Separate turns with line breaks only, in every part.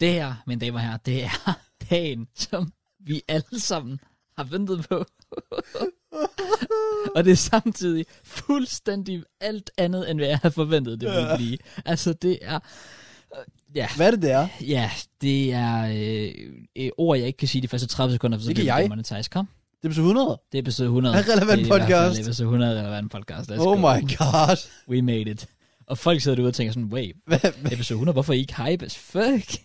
Det her, mine damer og herrer, det er dagen, som vi alle sammen har ventet på. og det er samtidig fuldstændig alt andet, end hvad jeg havde forventet, det ville blive. Altså, det er... øh, Ja,
Hvad er det, det er?
ja det er øh, øh, ord, jeg ikke kan sige de første 30 sekunder, for så
Det kan
bliver
jeg.
det monetized. Kom,
Det er episode 100.
det er episode 100.
Er relevant
det i hvert fald
podcast.
episode 100 relevant podcast. Let's
oh
go.
my god.
We made it. Og folk sidder derude og tænker sådan, wait,
Hvad- hvad-
episode 100, hvorfor er I ikke hype as fuck?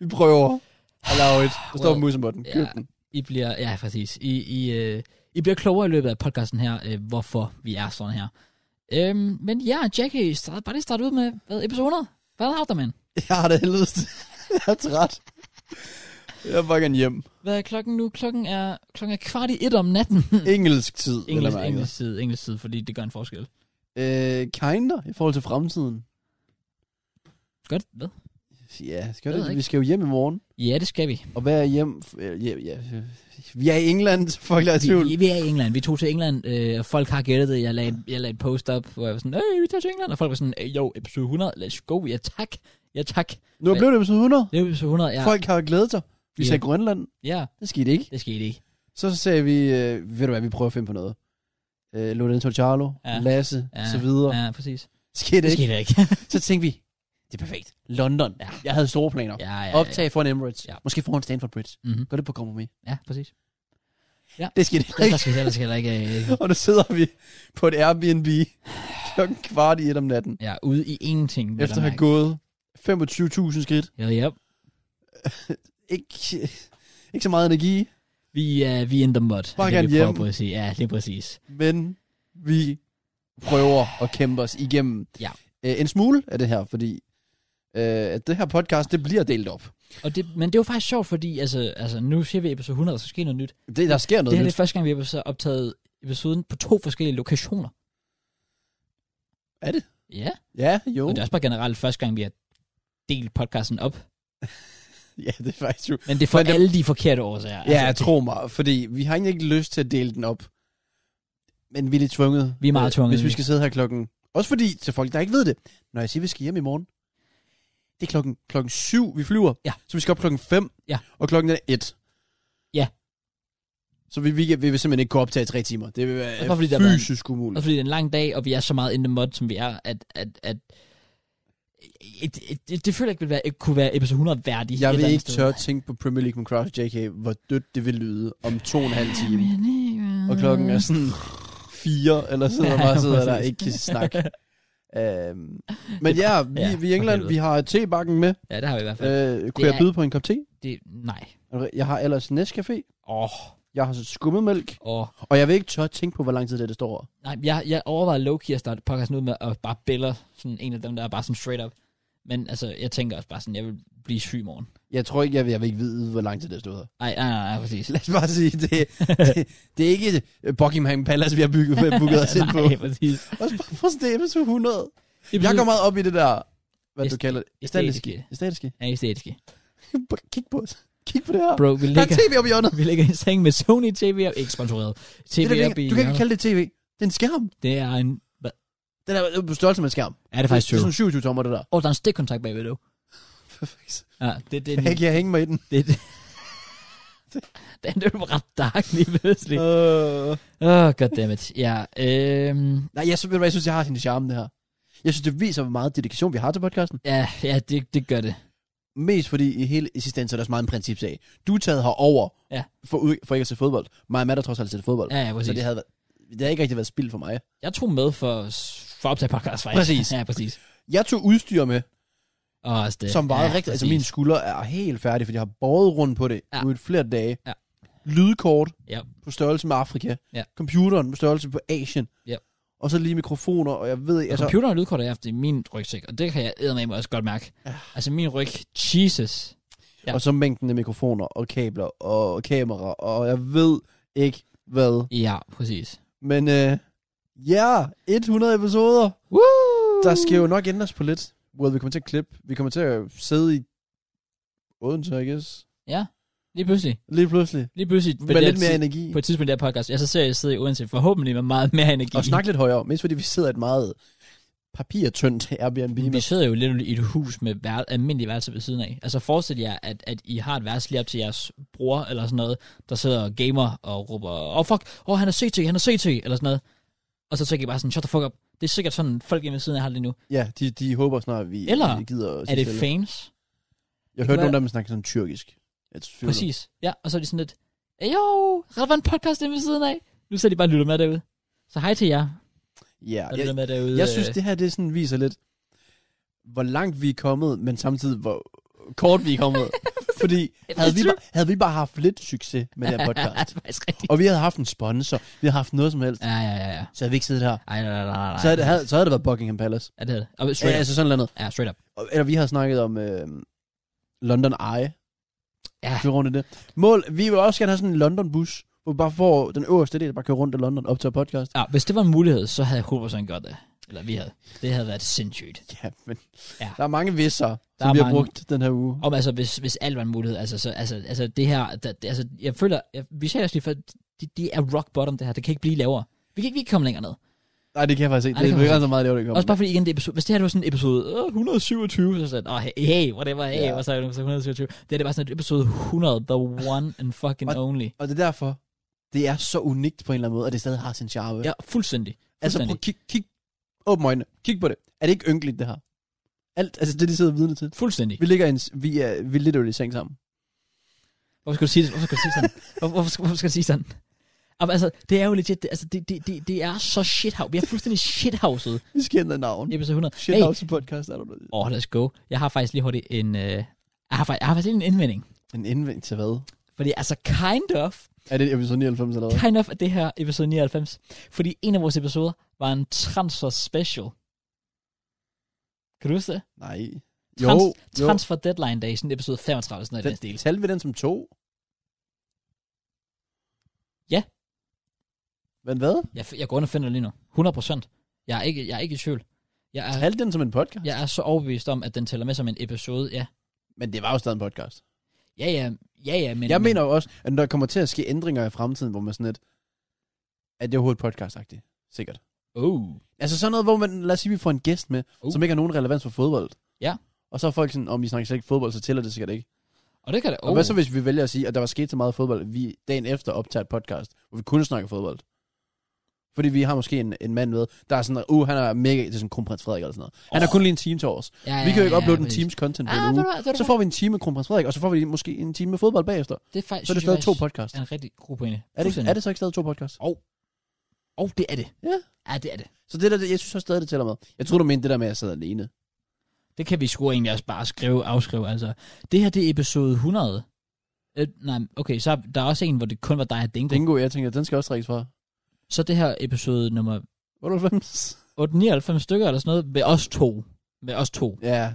Vi prøver. Allow it. Der står
Well,
well, musen på den. Køb
ja.
den.
I bliver, ja præcis, I, I, øh, I bliver klogere i løbet af podcasten her, øh, hvorfor vi er sådan her. Øhm, men ja, Jackie, start, bare lige starte ud med, hvad, episode 100? Hvad har der, mand?
Jeg har det helvedes. jeg er træt. Jeg er fucking hjem.
Hvad er klokken nu? Klokken er, klokken er kvart i et om natten.
Engelsk tid. vel at
engelsk,
mærke.
engelsk side, engelsk side, fordi det gør en forskel.
Øh, kinder i forhold til fremtiden.
Godt, hvad?
Ja, skal
Jeg ved
det?
ikke.
Vi skal jo hjem i morgen.
Ja, det skal vi.
Og hvad er hjem? F- øh, Ja, ja, ja. Vi er i England, så folk der er i tvivl.
Vi, vi, vi er i England. Vi tog til England, øh, og folk har gættet det. Jeg lagde, et- jeg lagde et post op, hvor jeg var sådan, øh, vi tager til England. Og folk var sådan, "Øh, jo, episode 100, let's go. Ja, tak. Ja, tak.
Nu er blevet det episode 100.
Det er episode 100, ja.
Folk har glædet sig. Vi
Ja.
sagde Grønland.
Ja,
Det skete ikke.
det skete ikke.
Så sagde vi, øh, ved du hvad, vi prøver at finde på noget. Øh, Lorenzo Charlo,
Ja.
ja. Lasse,
Ja,
ja. så videre. Ja.
Ja, præcis.
Skete
Det
ikke.
skete ikke.
Så tænkte vi, det er perfekt. London. Ja. Jeg havde store planer. Ja.
ja, ja, ja.
Optag foran Emirates.
Ja.
Ja. Måske foran Stanford Bridge.
Mhm.
Gør det på kompromis.
Ja, præcis.
Det skete
Ellers
ikke.
skal ellers heller ikke... øh,
Og nu sidder vi på et Airbnb klokken kvart i et om natten.
Ja, ude i ingenting. vil
Efter
jeg
at have
mærke.
gået 25.000 skridt.
Ja, ja.
Ikke, ikke så meget energi,
Vi er vi er in the mud.
Bare
det,
gerne
vi prøver
hjem.
på at sige. Ja, lige præcis.
men vi prøver at kæmpe os igennem
Ja.
øh, en smule af det her, fordi øh, at det her podcast, det bliver delt op.
Og det, men det er jo faktisk sjovt, fordi altså, altså, nu siger vi episode 100, og så sker noget nyt.
Det, der sker
Det
noget
her det
det nyt.
er første gang, vi har så optaget episoden på to forskellige lokationer.
Er det?
Ja,
Ja, jo.
og det er også bare generelt første gang, vi har delt podcasten op.
Ja, det er faktisk jo.
Men det er for
Men det-
alle de forkerte årsager.
Ja, altså, tro mig, fordi vi har egentlig ikke lyst til at dele den op. Men vi er lidt tvunget.
Vi er meget
øh,
tvunget,
Hvis vi
vi.
skal sidde her klokken... Også fordi, til folk, der ikke ved det, når jeg siger, vi skal hjem i morgen, det er klokken, klokken syv, vi flyver.
Ja.
Så vi skal op klokken fem,
Ja.
og klokken er et.
Ja.
Så vi, vi, vi vil simpelthen ikke kunne optage i tre timer. Det vil
Også bare
være
fordi, der har været en-
fysisk umuligt.
Også fordi det er en lang dag, og vi er så meget in the mud, som vi er, at... at, at et, et, et, det føler jeg ikke, vil være, ikke kunne være episode 100 værdig.
Jeg vil ikke tør tænke på Premier League med Crash JK, hvor dødt det vil lyde om to og en halv time. Og klokken er sådan fire, eller sådan
Mm. Ja,
noget, ja, bare sidder der
præcis.
ikke kan snakke. øhm, men ja, vi,
ja,
ja, vi er i England,
for
vi har tebakken med.
Ja, det har vi i hvert fald. Øh,
Øh,
Det
kunne jeg
er-
byde på en kop te?
det, nej.
Jeg har ellers Nescafé.
Åh, oh,
Jeg har så skummemælk.
åh. Oh.
Og jeg vil ikke tør tænke på, hvor lang tid det, er, det står. over.
Nej, jeg, jeg overvejede low-key at starte podcasten ud med at bare bælge sådan en af dem, der er bare sådan straight up. Men altså, jeg tænker også bare sådan, jeg vil blive syg i morgen.
Jeg tror ikke, jeg vil, jeg vil ikke vide, hvor lang tid det står. her.
Nej, nej, nej, nej, præcis.
Lad os bare sige, det, det, det er ikke øh, Buckingham Palace, vi har bygget, booket os ind på.
nej, præcis.
Også bare for det er episode 100. Jeg går meget op i det der, hvad du
Æst-
kalder det.
æstetiske.
Æstetiske. Æstetiske.
Ja, æstetiske.
Kig på os. Kig på det her.
Bro, vi
Der
ligger,
er tv oppe i hjørnet.
vi ligger i seng med Sony TV, og ikke sponsoreret. TV
Det
op i
der, du kan ikke
hjørnet.
kalde det tv. Det er en skærm.
Det er en... Hvad?
Den er på størrelse med en skærm.
Er det faktisk
Det er
true?
sådan 27 tommer, det der.
Åh, oh, der er en stikkontakt bagved, du. Ja, det, det,
Jeg
det,
kan hænge mig i den.
det, det. Den er jo ret dark lige pludselig.
Uh...
Åh, oh, goddammit. Ja, øhm,
Nej, jeg, synes, ved du hvad, jeg synes, jeg har sin charme, det her. Jeg synes, det viser, hvor meget dedikation vi har til podcasten.
ja, ja det, det gør det.
Mest fordi i hele eksistensen er der så meget en principsag. Du er taget herover
Ja.
for, ud- for ikke at se fodbold. Mig og Matt har trods alt set fodbold.
Ja, ja,
så
præcis.
det havde, været, det havde ikke rigtig været spild for mig.
Jeg tog med for, for at optage podcast, faktisk.
Præcis.
Ja, præcis.
Jeg tog udstyr med,
Og også det.
som var
ja,
ja, rigtigt. Altså,
præcis.
min skulder er helt færdig, fordi jeg har båret rundt på det
Ja.
ja. nu i flere dage.
Ja.
Lydkort
Ja.
på størrelse med Afrika.
Ja.
Computeren på størrelse på Asien.
Ja.
Og så lige mikrofoner, og jeg ved...
Altså,
Altså,
computeren og lydkortet er efter min rygsæk, og det kan jeg eddermame også godt mærke. Altså min ryg, Jesus. ja.
Og så mængden af mikrofoner og kabler og kamera, og jeg ved ikke hvad.
Ja, præcis.
Men øh, ja, 100 episoder.
Woo!
Der skal jo nok ændres på lidt. Well, vi kommer til at klippe. Vi kommer til at sidde i Odense, I guess.
Lige pludselig.
Lige pludselig.
Lige pludselig. på
Med
det her
lidt mere
tid-
energi.
På et tidspunkt i det her podcast, jeg så ser jeg sidde i Odense, forhåbentlig med meget mere energi.
Og snakke lidt højere, mest fordi vi sidder i et meget papirtyndt Airbnb.
Vi
Med,
sidder jo lidt i et hus med vær- almindelige værelser ved siden af. Altså forestil jer, at, at I har et værelse lige op til jeres bror eller sådan noget, der sidder og gamer og råber, åh oh, fuck, åh oh, han er CT, han er CT, eller sådan noget. Og så tænker I bare sådan, shut the fuck up. Det er sikkert sådan, folk inde ved siden af har det lige nu.
ja, de, de håber snart, at vi
Eller
vi gider at
Er det
sige selv.
fans?
Jeg
det
hørte
kan
nogle af dem snakke sådan tyrkisk. Jeg tvivler.
Præcis. Ja, og så er de sådan lidt, jo, relevant podcast inde ved siden af. Nu sidder de bare og lytter med derude. Så hej til jer,
Ja,
der lytter
jeg,
med derude.
jeg synes,
Øh,
det her det sådan viser lidt, hvor langt vi er kommet, men samtidig hvor kort vi er kommet. Fordi havde vi, bare, havde vi bare haft lidt succes med den her
Ja,
podcast,
det er faktisk rigtigt.
og vi havde haft en sponsor, vi havde haft noget som helst,
Ja, ja, ja, ja.
så havde vi ikke siddet her.
Ej, nej, nej, nej, nej.
Så havde, det- havde, så havde det været Buckingham Palace.
Ja, det er det. Og
Ja,
straight up.
altså sådan noget.
Ja, straight up.
Og- Eller vi har snakket om øh, London Eye.
Ja.
Kører rundt i det. Mål, vi vil også gerne have sådan en London bus, hvor vi bare får den øverste del, der bare kører rundt i London op til podcast.
Ja, hvis det var en mulighed, så havde jeg 100% gjort det. Eller vi havde. Det havde været sindssygt.
Ja, men
Ja.
ja. der er mange visser, der som
er
vi har
mange.
brugt den her uge.
Om altså, hvis, hvis alt var en mulighed, altså, så, altså, altså det her, der, det, altså, jeg føler, jeg, vi sagde også lige før, det, det er rock bottom det her, det kan ikke blive lavere. Vi kan ikke, vi kan ikke komme længere ned.
Nej, det kan jeg faktisk ikke.
Nej,
det,
det
det
kan
er
man
ikke så meget lavt, det kommer.
Også bare fordi, igen, det er episode, hvis det her det var sådan en episode øh, 127, så sådan, åh, oh, hey, whatever, hey,
Ja.
yeah. så er det så 127. Det er det bare sådan et episode 100, the one and fucking
Og-
only.
Og det er derfor, det er så unikt på en eller anden måde, at det stadig har sin charme.
Ja, fuldstændig.
altså, prøv
fuldstændig.
at kig, kig, åbn øjnene, kig på det. Er det ikke ynkeligt, det her? Alt, altså det, de sidder vidne til.
Fuldstændig.
Vi ligger i en, s- vi er, vi er literally i seng sammen.
Hvorfor skal du sige det? Hvorfor skal du sige sådan? Hvor, hvorfor, skal- hvorfor skal du sige sådan? Jamen, altså, det er jo legit, det, altså, det, det, det, det er så shithouse. Vi er fuldstændig shithouset
Vi skal ændre navn.
i episode 100.
Shit, hey. podcast er der blevet.
Åh, oh, let's go. Jeg har faktisk lige hurtigt en... Øh, jeg, har, fa- jeg har faktisk lige en indvending.
En indvendt til hvad?
Fordi altså, kind of,
Er det episode 99 eller hvad?
kind of er det her episode 99. Fordi en af vores episoder var en transfer special. Kan du huske det?
Nej.
Trans, transfer deadline day, sådan episode 35, sådan noget i den
Den,
stil.
talte vi den som to?
Ja.
Men hvad?
Jeg, f- jeg går ind og finder det lige nu. 100 procent. Jeg, er ikke- jeg er ikke i tvivl. Jeg er,
Talte den som en podcast?
jeg er så overbevist om, at den tæller med som en episode, ja.
Men det var jo stadig en podcast.
Ja, ja, ja, ja, men...
Men, jeg mener jo også, at der kommer til at ske ændringer i fremtiden, hvor man sådan lidt, at det er overhovedet podcastagtigt. Sikkert.
Men, oh,
Altså sådan noget, hvor man, lad os sige, vi får en gæst med,
Uh.
uh. som ikke har nogen relevans for fodbold.
Ja.
Og så er folk sådan, om I snakker slet ikke fodbold, så tæller det sikkert ikke.
og det kan det...
Oh. Og hvad så, hvis vi vælger at sige, at der var sket så meget fodbold, at vi dagen efter optager et podcast, hvor vi kun snakker fodbold? Fordi vi har måske en, en mand med, der er sådan, uh, han er mega til sådan kronprins Frederik eller sådan noget. Han har
Åh.
kun lige en time til os.
Oh. ja,
Vi kan jo ikke uploade en
præcis.
times content på
Ah,
en
ved
uge.
du hvad, det,
Så får vi en time med kronprins Frederik, og så får vi måske en time med fodbold bagefter.
det er faktisk,
Så er det
synes jeg
stadig to
faktisk
podcast.
er en rigtig god pointe.
Er det, er det så ikke stadig to podcasts?
Åh, oh, det er det.
Ja.
Ja, det er det.
Så det der, det- jeg synes også stadig, det tæller med. Jeg tror du mente det der med, at jeg sad alene.
Det kan vi sgu egentlig også bare skrive afskrive. Altså, det her, det er episode 100. Øh, nej, okay, så er der er også en, hvor det kun var dig og Dingo.
Dingo, jeg tænkte, den skal også trækkes fra.
Så det her episode nummer
98.
899 stykker eller sådan noget, med os to. Med os to.
Ja.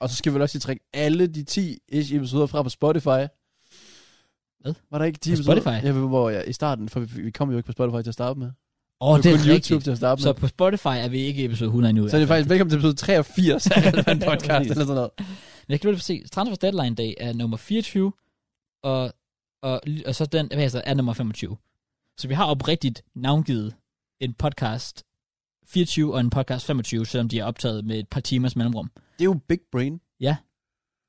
Og så skal vi vel også lige trække alle de 10 ish episoder fra på Spotify.
Hvad?
Var der ikke 10
På
episoder?
Spotify?
Ja, hvor jeg, i starten, for vi, vi kom jo ikke på Spotify til at starte med.
Åh, oh,
vi
det er
kun YouTube
rigtigt.
til at starte med.
Så på Spotify er vi ikke i episode 100 endnu. i
Så er det
hvert fald.
faktisk velkommen til episode 83 af Relevant Podcast
Præcis.
eller sådan noget.
Men jeg kan lige se, Transfer Deadline Day er nummer 24, og, og, og så den hvad hedder, det, er nummer 25. Så vi har oprigtigt navngivet en podcast 24 og en podcast 25, selvom de er optaget med et par timers mellemrum.
Det er jo Big Brain.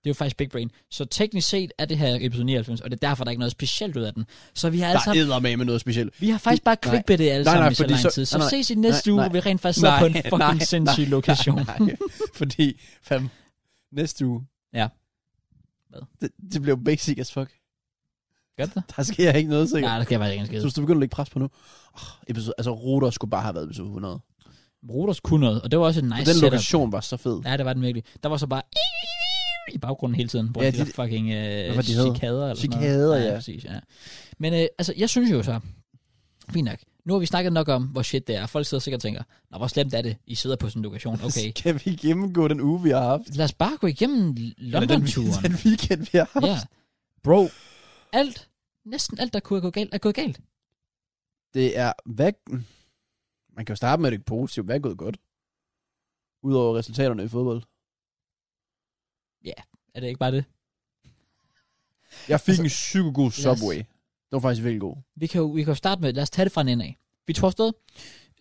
Det er jo faktisk Big Brain. Så teknisk set er det her episode 99, og det er derfor, der er ikke noget specielt ud af den. Så vi har
Der
altså,
er med med noget specielt.
vi har faktisk bare
Nej.
clickbaitet alle
Nej,
sammen
nej,
i så
fordi
lang
så-
tid. Så
nej, nej.
ses i næste
Nej,
uge,
nej.
hvor vi rent faktisk sidder på en
Nej,
fucking
nej,
sindssyg lokation.
Nej, fordi fam, næste uge.
Ja. Hvad?
Det, det bliver jo basic as fuck.
Gør det det?
Der sker ikke noget, sikkert.
Nej, der kan jeg faktisk ikke en skid.
Så hvis du begynder at lægge pres på nu. Oh, episode, altså, Rotor skulle bare have været episode 100. Nice
Roters kunne noget, og det var også et nice
og den
setup.
lokation var så fed.
Ja, det var den virkelig. Der var så bare i baggrunden hele tiden, hvor ja,
Ja,
de, der
de-
fucking øh,
var de hed?
cikader eller sådan
Cikader,
noget.
ja.
præcis, ja. Men øh, altså, jeg synes jo så, fint nok, nu har vi snakket nok om, hvor shit det er. Folk sidder sikkert og tænker, nå, hvor slemt er det, I sidder på sådan en lokation, okay.
Kan vi gennemgå den uge, vi har haft?
Lad os bare gå igennem
Eller den,
London-turen.
den weekend, vi har haft.
Ja. Bro, alt, næsten alt, der kunne gå galt, er gået galt.
Det er, hvad... Man kan jo starte med det positive. Hvad er gået godt? Udover resultaterne i fodbold.
Er det ikke bare det?
Jeg fik
Altså,
altså, en psyko god
os-
Subway. Det var faktisk virkelig god.
Vi kan jo vi kan jo starte med, lad os tage det fra en ende af. Vi tog afsted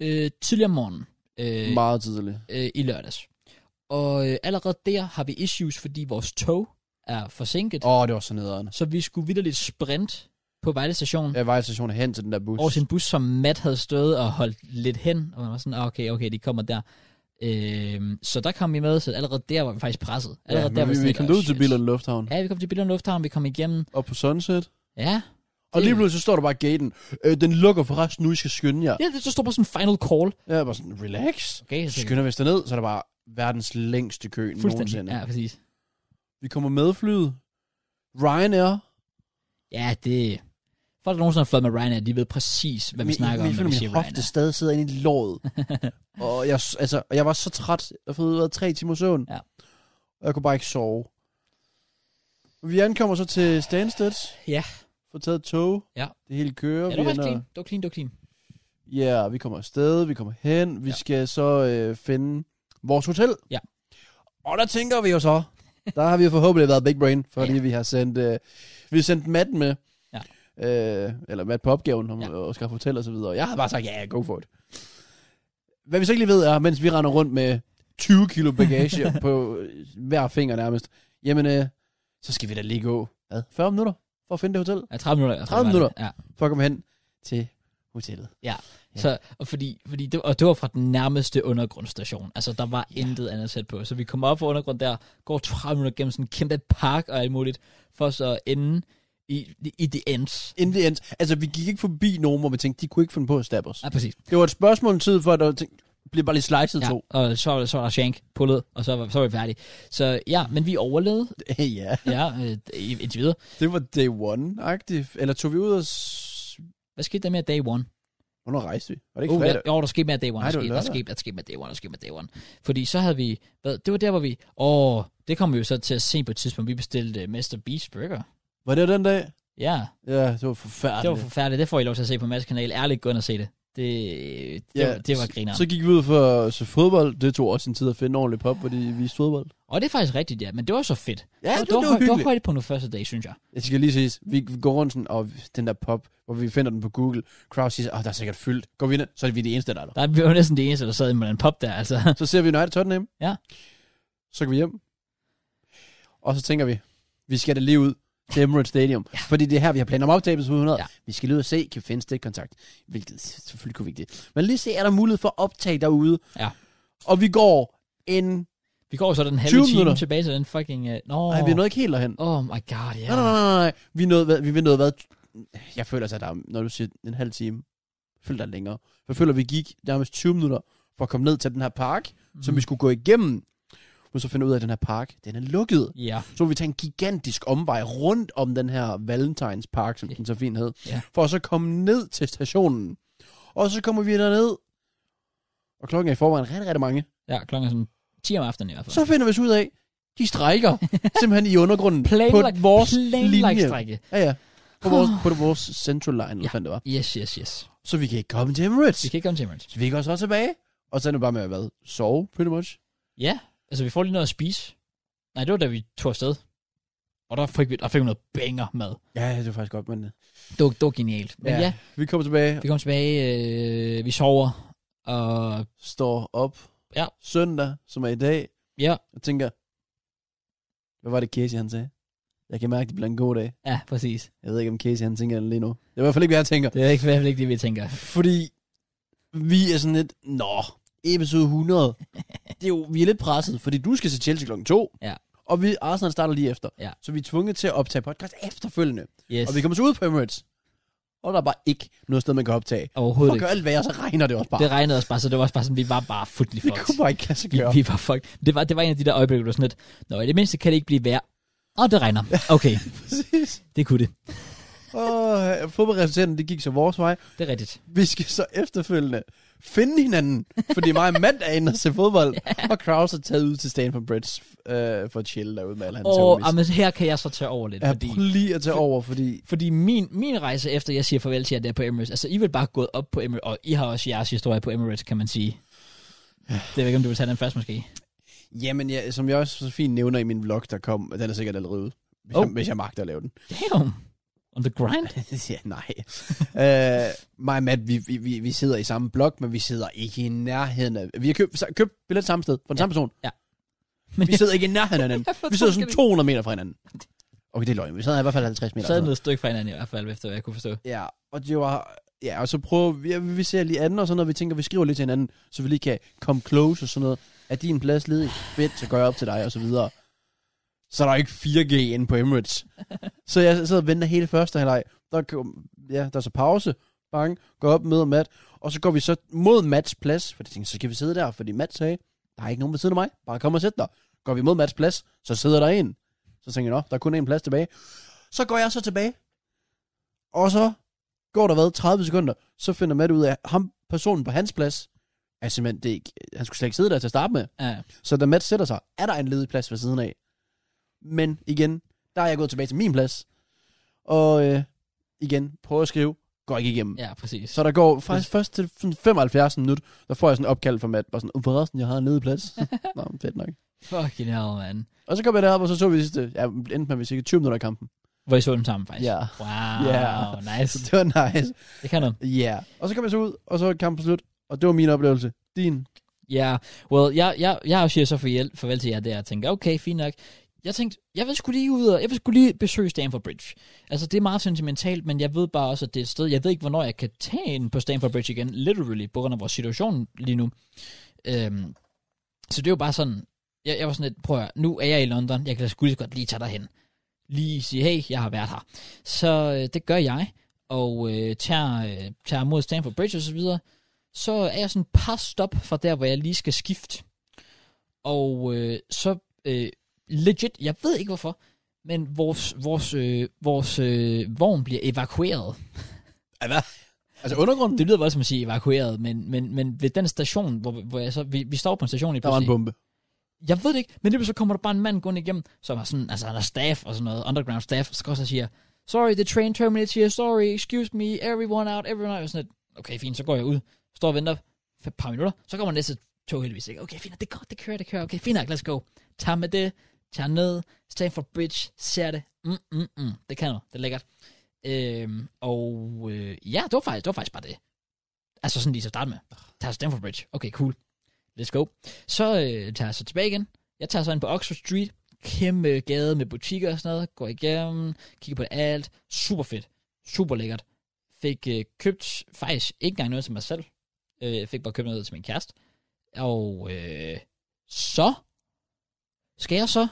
øh, tidligere om morgenen. øh,
Meget tidligt.
øh, i lørdags. Og øh, allerede der har vi issues, fordi vores tog er forsinket.
Åh, oh, det var så nederen.
Så vi skulle vidderligt sprint på Vejle station ja,
Jeg var i stationen hen til den der bus.
over sin bus, som Matt havde stået og holdt lidt hen. Og man var sådan, "Ah, okay, okay, de kommer der. Øhm, så der kom vi med, så allerede der var vi faktisk presset. Allerede
ja,
der
der,
var
vi,
sådan
vi
lidt,
kom
"Oh,
ud til
shit."
Billund Lufthavn.
Ja, vi kom til Billund Lufthavn, vi kom igennem.
Og på Sunset.
Ja,
Og
Det-
lige pludselig så står der bare gaten. Øh, den lukker forresten nu, I skal skynde jer.
ja det, så står bare sådan final call.
Ja. Jeg var sådan, relax.
Okay, så
Skynder vi os derned, så er der bare verdens længste kø
fuldstændig.
nogensinde.
Ja, præcis.
Vi kommer med flyet. Ryanair.
Ja, det... Folk, der nogensinde har flået med Ryanair, de ved præcis, hvad vi snakker om,
min,
når vi
min, min
siger
hofte
Ryanair.
stadig sidder inde i låret. og jeg, altså, og jeg var så træt. Jeg har fået hvad, tre timer søvn.
Ja.
Og jeg kunne bare ikke sove. Vi ankommer så til Stansted.
Ja.
Får taget et tog.
Ja.
Det hele kører.
Ja, det var
vi
faktisk
ender-
clean. Det var clean, det var clean.
Ja, yeah, vi kommer afsted, vi kommer hen, vi ja. skal så øh, finde vores hotel.
Ja.
Og der tænker vi jo så, der har vi jo forhåbentlig været big brain, fordi
Ja,
ja. vi har sendt, øh, vi har sendt Matt med.
Ja.
Øh, eller Matt på opgaven, om
Ja.
ja. at skaffe hotel og så videre. Jeg har bare sagt, ja, yeah, go for it. Hvad vi så ikke lige ved er, mens vi render rundt med 20 kilo bagage på øh, hver finger nærmest, jamen, øh, så skal vi da lige gå hvad, 40 minutter for at finde det hotel,
Ja, 30 minutter. jeg tror,
30
det var
minutter.
det. Ja.
for at komme hen til hotellet. Ja.
Så, og, fordi, fordi det, og det var fra den nærmeste undergrundstation. Altså, der var ja. intet andet sæt på. Så vi kommer op fra undergrund der, går 30 minutter gennem sådan en kæmpe park og alt muligt, for så at ende i, i, i the ends.
In the end. Altså, vi gik ikke forbi nogen, hvor vi tænkte, de kunne ikke finde på at stabbe os.
Ja, præcis.
Det var et spørgsmål om tid, for at der var tænkt, blev bare lige slicet
Ja,
to.
og så, var- så var der Shank pullet, og så var, så var vi færdige. Så ja, men vi overlevede,
ja,
ja, øh, i- indtil videre.
det var day one-agtigt. Eller tog vi ud og... S-
Hvad skete der med day one?
Hvornår rejste vi? Var det ikke
Oh,
fredag?
ja, jo, der skete mere day one.
Nej,
der,
det var
skete, der,
lørdag.
skete, der skete mere day one, der skete mere day one. Fordi så havde vi, hvad, det var der, hvor vi, åh, det kom vi jo så til at se på et tidspunkt, vi bestilte uh, Mr. Beast Burger.
Var det den dag?
Ja,
Ja, det var forfærdeligt.
det var forfærdeligt. Det får I lov til at se på Mads kanal. Ærligt, gå ind og se det. Det, det,
Ja,
var, det var griner.
Så gik vi ud for så fodbold. Det tog også en tid at finde ordentligt pop, fordi vi viste fodbold.
Og det er faktisk rigtigt, ja. Men det var så fedt.
Ja,
det, var, høj- det var højdepunktet første dag, synes jeg.
Jeg skal lige ses. Vi vi går rundt sådan, og den der pop, hvor vi finder den på Google. Crowd siger, at oh, der er sikkert fyldt. Går vi ind, så er vi de eneste, der er der.
Der vi var næsten det eneste, der sad med den pop der, altså.
Så ser vi United Tottenham.
Ja.
Så går vi hjem. Og så tænker vi, vi skal da lige ud til Emirates Stadium. ja. Fordi det er her, vi har planer om optagelse på 100.
Ja.
Ja. Vi skal lige ud og se, kan vi finde stikkontakt. Hvilket selvfølgelig kunne vi ikke det. Men lige se, er der mulighed for at optage derude.
Ja.
Og vi går en...
Vi går så den
20
halve time
minutter.
tilbage til den fucking... Uh, Nå,
Oh. Nej, vi er nået ikke helt derhen.
Oh my god, ja.
Nej, nej, nej, nej. Vi er nået, hvad- vi er nået hvad? Jeg føler altså, at der er, når du siger en halv time, jeg føler der er længere. Jeg føler, vi gik nærmest 20 minutter for at komme ned til den her park, mm. som vi skulle gå igennem. Men så finder vi ud af, at den her park, den er lukket.
Ja,
Så ville vi tage en gigantisk omvej rundt om den her Valentines Park, som den så fint hed,
Ja.
for at så komme ned til stationen. Og så kommer vi derned, og klokken er i forvejen rigtig, rigtig mange.
ja klokken er sådan 10 om aftenen i hvert fald.
Så finder vi så ud af, de strækker simpelthen i undergrunden på vores linje.
strække.
Ja, ja. På vores, på vores Central Line, eller
Ja.
ja. fandt det var.
Yes, yes, yes.
Så vi kan ikke komme til Emirates.
Vi kan ikke komme til Emirates.
Så vi går så tilbage, og så er det bare med at hvad? sove, pretty much.
Ja, altså vi får lige noget at spise. Nej, det var da vi tog afsted. Og der fik vi der fik vi noget banger mad.
Ja, ja, det var faktisk godt, men...
Det var, det var genialt. Men ja, ja
Vi kommer tilbage,
vi kommer tilbage, øh, vi sover, og
står op
Ja.
søndag, som er i dag,
ja,
og tænker, hvad var det Casey han sagde? Jeg kan mærke, det bliver en god dag.
ja, præcis.
Jeg ved ikke, om Casey han tænker det lige nu. Det er i hvert fald ikke, hvad jeg tænker.
Det er ikke, i hvert fald ikke det, vi tænker.
Fordi vi er sådan lidt, nå, episode 100. det er jo, vi er lidt presset, fordi du skal til Chelsea klokken 2.
Ja.
Og vi, Arsenal starter lige efter.
Ja.
Så vi er tvunget til at optage podcast efterfølgende.
Yes,
Og vi kommer så ud på Emirates. Og der er bare ikke noget sted, man kan optage.
overhovedet
Fuck
ikke.
alt vejr, så regner det også bare.
Det regnede også bare, så det var også bare sådan, vi var bare fuldelig
det
fucked.
kunne bare ikke lade sig
Vi,
gøre.
vi var fucked. Det var, det var en af de der øjeblikke, hvor du var sådan lidt, Nå, i det mindste kan det ikke blive værd. Åh, det regner. Okay,
Præcis.
det kunne det.
Og fodboldresultaterne, det gik så vores vej.
Det er rigtigt.
Vi skal så efterfølgende finde hinanden, fordi mig og Matt er inde og se fodbold, og Kraus er taget ud til Stanford Bridge øh, for at chille derude med alle hans
Og
terrorister.
jamen, her kan jeg så tage over lidt,
Ja,
fordi...
prøv lige at tage over, fordi...
Fordi min, min rejse efter, jeg siger farvel til jer der på Emirates, altså I er vel bare gået op på Emirates, og I har også jeres historie på Emirates, kan man sige. Det ved jeg ikke, om du vil tage den først måske.
Jamen, ja, som jeg også så fint nævner i min vlog, der kom, den er sikkert allerede ude, hvis,
Oh.
jeg, hvis jeg magter at lave den.
Damn. On the grind?
ja, nej. øh, mig og Matt, vi, vi- vi, vi sidder i samme blok, men vi sidder ikke i nærheden af... Vi har købt, sa- købt billet samme sted, fra den
Ja.
samme person.
Ja.
Men vi sidder ikke i nærheden af hinanden.
Jeg forstår
vi sidder sådan
slet
200 meter fra hinanden. Okay, det er løgn. Vi sad i hvert fald 50 meter.
Så er
fra
det et stykke fra hinanden i hvert fald, efter hvad jeg kunne forstå.
Ja, og det var... Ja, og så prøver vi, ja, vi ser lige anden og sådan noget, vi tænker, vi skriver lidt til hinanden, så vi lige kan komme close og sådan noget. Er din plads ledig? Fedt, så går jeg op til dig og så videre. Så er der ikke 4G inde på Emirates. Så jeg sidder og venter hele første halvleg. Der, kom- ja, der er så pause. Bang, går op, møder Matt. Og så går vi så mod Mats plads, fordi jeg tænkte, så skal vi sidde der, fordi Matt sagde, der er ikke nogen ved siden af mig, bare kom og sæt dig. Går vi mod Mats plads, så sidder der en. Så tænker jeg, nå, der er kun en plads tilbage. Så går jeg så tilbage, og så går der hvad, 30 sekunder, så finder Matt ud af, at ham, personen på hans plads, er simpelthen, det er ikke, han skulle slet ikke sidde der til at starte med.
Ja,
Så da Matt sætter sig, er der en ledig plads ved siden af. Men igen, der er jeg gået tilbage til min plads. Og øh, igen, prøver at skrive, går ikke igennem.
ja præcis.
Så der går faktisk først til sådan 75 minut, der får jeg sådan en opkald fra Matt, bare sådan, "Uh, forresten, jeg har en ledig plads. Nå, men fedt nok.
Fucking hell, man.
Og så kom jeg derop, og så så vi sidste, ja, endte med, at vi cirka 20 minutter af kampen.
Hvor I så dem sammen, faktisk.
Ja.
Wow,
Ja.
nice.
Så det var nice.
Det kan noget.
Ja. Yeah. Og så kom jeg så ud, og så var kampen slut, og det var min oplevelse. Din.
Ja, yeah. well, jeg, jeg, jeg siger så farvel, farvel til jer der, og tænker, okay, fint nok. Jeg tænkte, jeg vil skulle lige ud og, jeg vil skulle lige besøge Stanford Bridge. Altså, det er meget sentimentalt, men jeg ved bare også, at det er et sted, jeg ved ikke, hvornår jeg kan tage ind på Stanford Bridge igen, literally, på grund af vores situation lige nu. Øhm, så det er jo bare sådan, jeg, jeg var sådan lidt, prøv at høre, nu er jeg i London, jeg kan da sgu lige så godt lige tage derhen. Lige sige, hey, jeg har været her. Så øh, det gør jeg, og øh, tager, øh, tager mod Stanford Bridge og så videre så er jeg sådan et par stop fra der, hvor jeg lige skal skifte. Og øh, så øh, legit, jeg ved ikke hvorfor, men vores, vores, øh, vores øh, vogn bliver evakueret.
Hvad? Altså undergrunden?
Det lyder voldsomt at sige evakueret, men, men, men ved den station, hvor, hvor jeg så, vi, vi står på en station i
Der var en bombe.
jeg ved det ikke, men det så kommer der bare en mand gående igennem, som er sådan, altså han er staff og sådan noget, underground staff, så går så og siger, sorry, the train terminates here, sorry, excuse me, everyone out, everyone out, og sådan lidt, okay, fint, så går jeg ud, står og venter et par minutter, så kommer næste tog heldigvis ikke, okay, fint, nok, det går, det kører, det kører, okay, fint nok, let's go, tager med det, tager ned, Stanford Bridge, ser det, mm, mm, mm, det kan noget, det er lækkert, øhm, og øh, ja, det var, faktisk, det var faktisk bare det, altså sådan lige til at starte med, tager Stanford Bridge, okay, cool, let's go, så øh, tager jeg så tilbage igen. Jeg tager så ind på Oxford Street. Kæmpe gade med butikker og sådan noget. Går igennem, kigger på det alt. Super fedt. Super lækkert. Fik øh, købt faktisk ikke engang noget til mig selv. Øh, jeg fik bare købt noget til min kæreste. Og øh, så skal jeg så...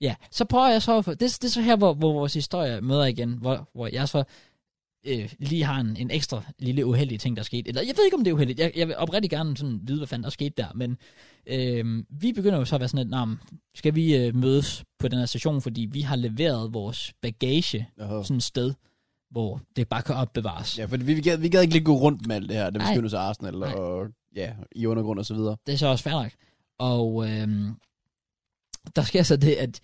Ja, så prøver jeg så... at få- Det, det er så her, hvor, hvor vores historie møder igen. Hvor, hvor jeg så øh, lige har en, en ekstra lille uheldig ting, der skete. Eller jeg ved ikke, om det er uheldigt. Jeg, jeg vil oprigtigt gerne sådan vide, hvad fanden der skete der. Men øh, vi begynder jo så at være sådan lidt, nah, men skal vi øh, mødes på den her station, fordi vi har leveret vores bagage sådan et sted, hvor det bare kan opbevares.
Ja, for vi, vi, gad, vi gad ikke lige gå rundt med alt det her, da vi
Nej.
skulle til Arsenal
Nej.
og ja, i undergrund og så videre.
det er så også fair nok. Og øhm, der sker så det, at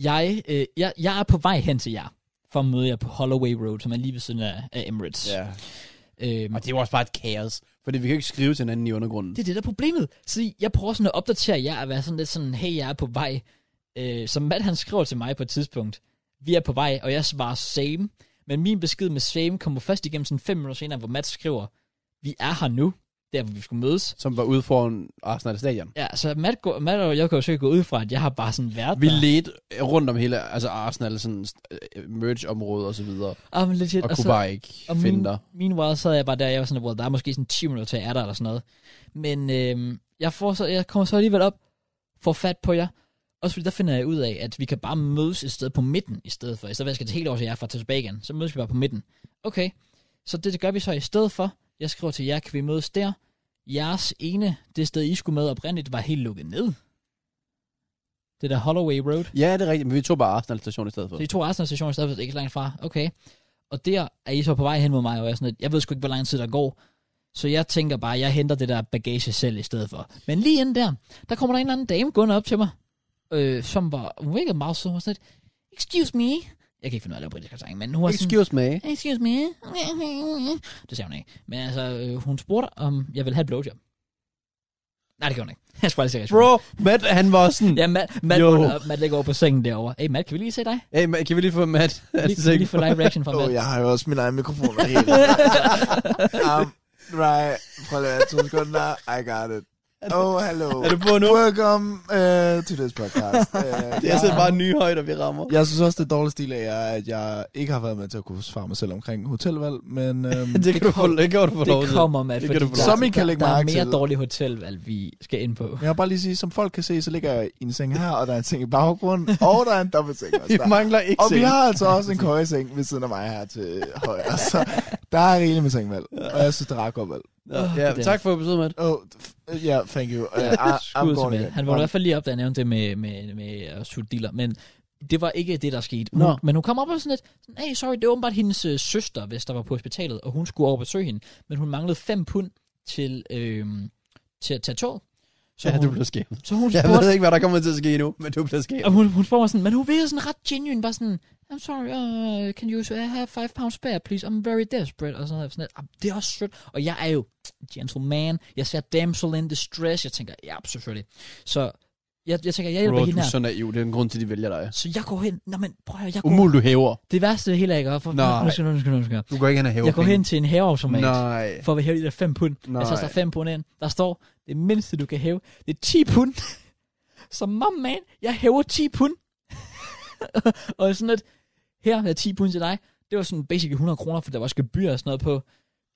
jeg, øh, jeg, jeg er på vej hen til jer, for at møde jer på Holloway Road, som er lige ved siden af, af Emirates.
Ja.
Øhm,
Og det var også bare et kaos, fordi vi kan jo ikke skrive til hinanden i undergrunden.
det er det, der er problemet. Så jeg prøver sådan at opdatere jer, at være sådan lidt sådan, hey, jeg er på vej. Øh, som Matt, han skriver til mig på et tidspunkt, vi er på vej, og jeg svarer same. Men min besked med same kommer først igennem sådan fem minutter senere, hvor Matt skriver, vi er her nu, der hvor vi skulle mødes.
Som var ude foran Arsenal stadion.
Ja, så Matt, går, Matt og jeg kan jo sikkert gå ud fra, at jeg har bare sådan været
Vi
der.
ledte rundt om hele altså Arsenal sådan øh, merge-område og så videre,
Ah, men legit.
og kunne bare ikke
og
finde
min-
dig.
Meanwhile sad jeg bare der, jeg var sådan, well, der er måske sådan 10 minutter til, jeg er der, eller sådan noget. Men øhm, jeg, får så, jeg kommer så alligevel op, får fat på jer. Også fordi der finder jeg ud af, at vi kan bare mødes et sted på midten, i stedet for. I stedet for, at jeg skal til helt over til jer fra tilbage igen, så mødes vi bare på midten. Okay, så det, det gør vi så i stedet for. Jeg skriver til jer, kan vi mødes der? Jeres ene, det sted, I skulle med oprindeligt, var helt lukket ned. Det der Holloway Road.
Ja, det er rigtigt, men vi tog bare Arsenal station i stedet for.
Så I to Arsenal stationer i stedet for, det er ikke så langt fra. Okay. Og der er I så på vej hen mod mig, og jeg, er sådan, lidt, jeg ved sgu ikke, hvor lang tid der går. Så jeg tænker bare, jeg henter det der bagage selv i stedet for. Men lige inden der, der kommer der en eller anden dame gående op til mig, øh, som var mega meget sød. Hun var sådan lidt, excuse me. Jeg kan ikke finde ud af at lave britisk accent, men hun var sådan,
Excuse me.
excuse me. Det sagde hun ikke. Men altså, øh, hun spurgte, om jeg ville have et blowjob. Nej, det gjorde han ikke. Jeg skulle bare lige se reaktionen.
Bro, Matt, han var sådan...
Ja, Matt, Matt,
Jo.
vågner op. Matt ligger over på sengen derovre. Hey, Matt, kan vi lige se dig?
Hey, Matt, kan vi lige få Matt? Altså,
Lige, kan vi lige få live reaction fra
Åh,
Matt.
oh, jeg har jo også min egen mikrofon. der er helt- um, right. Prøv lige at være to sekunder. I got it. Oh, hello.
Er du på nu?
Welcome uh, to this podcast. Uh,
Det er så bare nye højder, vi rammer.
Jeg synes også, det er dårlig stil af jer, at jeg ikke har været med til at kunne forsvare mig selv omkring hotelvalg, men øhm,
Det kan du få, det kan du få lov
Det
til.
kommer, Matt,
Det kan
fordi
du få
der,
lov til. Som I kan
der,
lægge
der er
mærke
mere
til.
dårlige hotelvalg, vi skal ind på.
jeg vil bare lige sige, som folk kan se, så ligger jeg i en seng her, og der er en seng i baggrunden, og der er en dobbeltseng
altså.
også
Vi
der.
mangler ikke
Og vi
seng.
har altså også en køjeseng ved siden af mig her til højre, så der er rigeligt med sengvalg, og jeg synes, det er ret godt valg.
Ja,
Åh,
ja,
det er-
tak for episoden, Matt.
Oh, f- yeah, thank you. Uh, I, I'm
Skud til
going Um,
Matt.
again.
Han var i hvert fald lige op, da jeg nævnte det med, med, med at sutte dealer, men det var ikke det, der skete. Hun,
Nå.
Men hun kom op og sådan lidt, sådan, hey, sorry, det var åbenbart hendes øh, søster, hvis der var på hospitalet, og hun skulle over og besøge hende, men hun manglede 5 pund til, øh, til at tage toget. Så,
Ja,
hun,
du blev skæmt.
så hun
Jeg
spurgte,
ved ikke, hvad der kommer til at ske endnu, men du blev skæmt.
Og hun, hun spurgte mig sådan, men hun virkede sådan ret genuine, bare sådan, I'm sorry, uh, can you uh, have five pounds spare, please? I'm very desperate, og sådan noget. Sådan noget. Ah, det er også sødt. Og jeg er jo gentleman, jeg ser damsel in distress, jeg tænker, ja, selvfølgelig. Så jeg, jeg tænker, jeg hjælper
Bro, du
hende
er
her.
så naiv. Det er en grund til, de vælger dig.
Så jeg går hen, nå men prøv at høre, jeg går,
Umul, du hæver.
det værste af det hele er, jeg gør, for,
Nej.
nu skal, nu skal, nu skal,
Du går ikke hen og hæver
jeg går hen til en hæveautomat,
Nej.
for at hæve de der 5 pund.
Nej.
Jeg så der 5 pund ind. Der står, det mindste du kan hæve, det er 10 pund. Så mom man, jeg hæver 10 pund. og sådan lidt, her er 10 pund til dig. Det var sådan basically 100 kroner, for der var også gebyr og sådan noget på.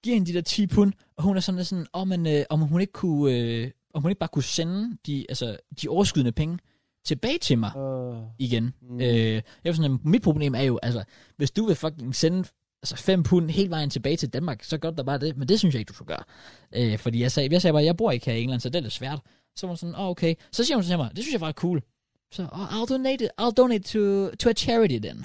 Giv hende de der 10 pund, og hun er sådan lidt sådan, om, man, øh, om hun ikke kunne, øh, om hun ikke bare kunne sende de, altså, de overskydende penge tilbage til mig igen. Mm. Øh, jeg var sådan, mit problem er jo, altså, hvis du vil fucking sende altså 5 pund hele vejen tilbage til Danmark, så gør der bare det, men det synes jeg ikke, du skulle gøre. Øh, fordi jeg sagde, jeg sagde bare, jeg bor ikke her i England, så det er lidt svært. Så var hun sådan, oh, okay. Så siger hun til mig, det synes jeg var cool. Så, oh, I'll donate, it. I'll donate to, to a charity then.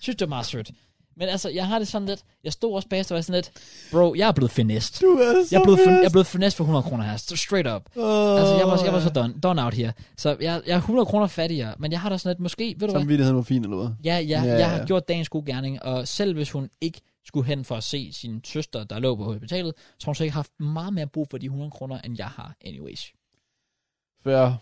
synes det var meget sødt. Men altså, jeg har det sådan lidt, jeg stod også bagefter og var sådan lidt, bro, jeg er blevet finest.
Du er så
Jeg er blevet, fin- jeg er blevet finest for 100 kroner her, så straight up. Altså, jeg var, jeg var så done, done out her. Så jeg, jeg er 100 kroner fattigere, men jeg har da sådan lidt, måske, ved du hvad,
Samvittigheden var fin, eller hvad?
Ja, ja,
Ja,
ja, jeg
ja.
har gjort dagens gode gerning, og selv hvis hun ikke skulle hen for at se sin søster, der lå på hospitalet, så har hun sikkert haft meget mere brug for de 100 kroner, end jeg har anyways.
Fair.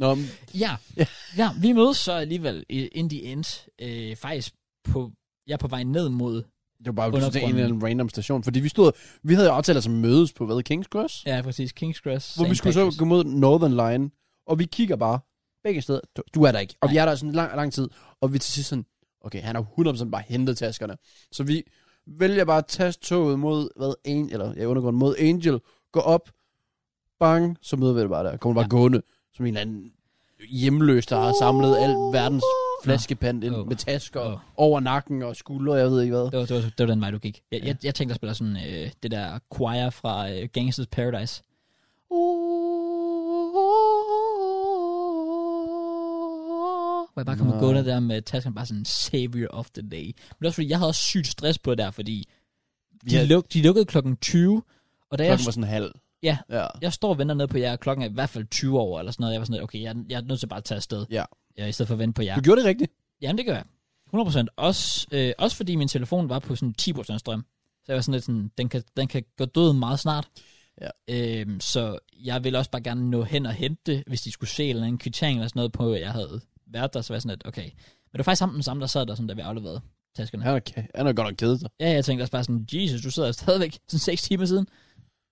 Nå, men
Ja,
Ja.
ja vi mødes så alligevel i- in the end, øh, faktisk på, jeg er på vej ned mod,
det var bare
Undergrunden.
det en eller anden random station. Fordi vi stod, vi havde jo aftalt os at mødes på, hvad, Kings Cross?
ja præcis, King's Cross.
Hvor vi
St.
skulle så
Patrick's.
gå mod Northern Line, og vi kigger bare begge steder. Du, du er der ikke. Og vi er der sådan lang, lang tid, og vi er til sidst sådan, okay, han har 100% bare hentet taskerne. Så vi vælger bare at tage toget mod, hvad, Angel, eller jeg undergår mod Angel, går op, bang, så møder vi det bare der. Kommer bare
Ja.
gående, som en eller anden hjemløs, der har samlet al verdens flaskepand ind
Åh.
med tasker
Åh.
over nakken og skuldre, jeg ved ikke hvad.
Det var, det, var, det var den vej, du gik. Jeg, jeg, jeg tænkte at spille sådan øh, det der choir fra øh, Gangsters Paradise. Hvor jeg bare kom og
Nå.
gå der med tasken, bare sådan savior of the day. Men det er også fordi, jeg havde også sygt stress på det der, fordi de,
Ja.
luk, de lukkede klokken 20, og da jeg,
Klokken var sådan halv.
Ja.
ja.
jeg står og venter ned på jer, og klokken er i hvert fald 20 over, eller sådan noget. Jeg var sådan, lidt, okay, jeg, jeg er nødt til bare at tage afsted,
Ja.
ja, i stedet for at vente på jer.
Du gjorde det rigtigt.
Jamen, det gør jeg. 100%. Også, øh, også fordi min telefon var på sådan 10% strøm. Så jeg var sådan lidt sådan, den kan, den kan gå død meget snart.
Ja.
Øhm, så jeg ville også bare gerne nå hen og hente det, hvis de skulle se en eller anden kvittering eller sådan noget på, at jeg havde været der. Så var jeg sådan lidt, okay. Men det var faktisk ham den samme, der sad der, sådan, da vi afleverede taskerne. Ja.
Han er, han er godt nok kedet sig.
ja, jeg tænkte også bare sådan, Jesus, du sidder stadigvæk sådan 6 timer siden.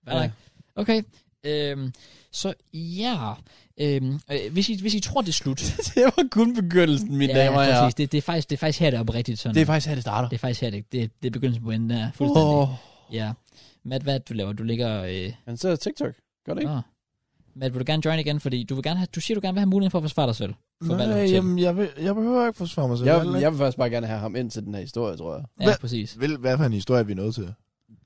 Hvad ja.
Ja.
Okay. Øhm, så ja, øhm, øh, hvis, I, hvis I tror, det er slut.
det var kun begyndelsen, mine ja, damer og
ja,
herrer.
præcis. Det, det, er faktisk, det er faktisk her, det er oprigtigt sådan.
Det er faktisk her, det starter.
Det er faktisk her, det, det, det er begyndelsen på enden der, fuldstændig. Oh.
Åh,
Ja. Matt, hvad er det, du laver? Du ligger... Øh,
han sidder TikTok. Gør det ikke?
oh. Matt, vil du gerne join igen? Fordi du, vil gerne have, du siger, du gerne vil have muligheden for at forsvare dig selv. For valget
Nej,
til.
jamen, jeg, vil, jeg behøver ikke forsvare mig selv.
Jeg, jeg vil faktisk bare gerne have ham ind til den her historie, tror jeg.
Ja,
Hvad-
præcis.
Vil, hvad for en historie er vi nået til?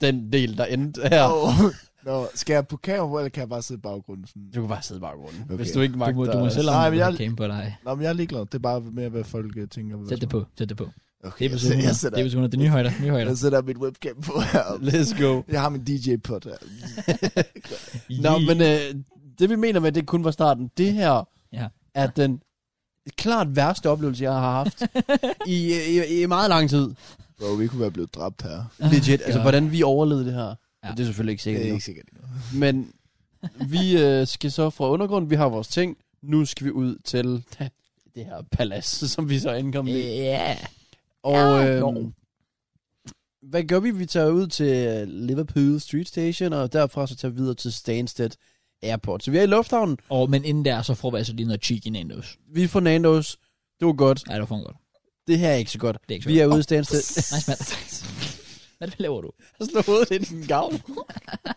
Den del, der endte her.
Oh. Nå, skal jeg på kamera, eller kan jeg bare sidde i baggrunden? Sådan?
Du kan bare sidde bare rundt, okay.
Okay.
hvis du ikke
Du
magter.
må, du må selv om,
Nej,
du
men
vil
jeg-
have game på dig.
Nå, men jeg er ligeglad. Det er bare mere, hvad folk øh, tænker. hvad
Sæt det
som-
på, sæt det på. Det
Okay,
er
jeg,
episode 100.
sætter,
Det
jeg,
er
sætter,
episode 100. Det er nye højder. Nye højder.
jeg sætter mit webcam på her.
Let's go.
Jeg har min DJ-pot her.
Nå,
Yee.
men øh, det vi mener med, at det kun var starten. Det her
Ja.
er den klart værste oplevelse, jeg har haft i, i, i meget lang tid.
Bro, vi kunne være blevet dræbt her.
Legit. Altså,
God.
hvordan vi overlevede det her.
Ja.
Ja. Det er selvfølgelig ikke
Det
sikkert.
er
endnu.
ikke sikkert. endnu.
Men vi øh, skal så fra undergrunden, vi har vores ting. Nu skal vi ud til det her palads, som vi så er ankommet i.
Yeah.
Og øh,
Nå.
hvad gør vi? Vi tager ud til øh, Liverpool Street Station, og derfra så tager vi videre til Stansted Airport. Så vi er i lufthavnen.
Og, men inden der, så får vi altså lige noget cheeky Nando's.
Vi er fra Nando's. Det var godt.
Ja, det var fucking godt.
Det her er ikke så godt.
Det er ikke så
Vi er
godt.
ude i Stansted.
Nice, mand. Hvad laver du?
Jeg slår hovedet ind i en gavl.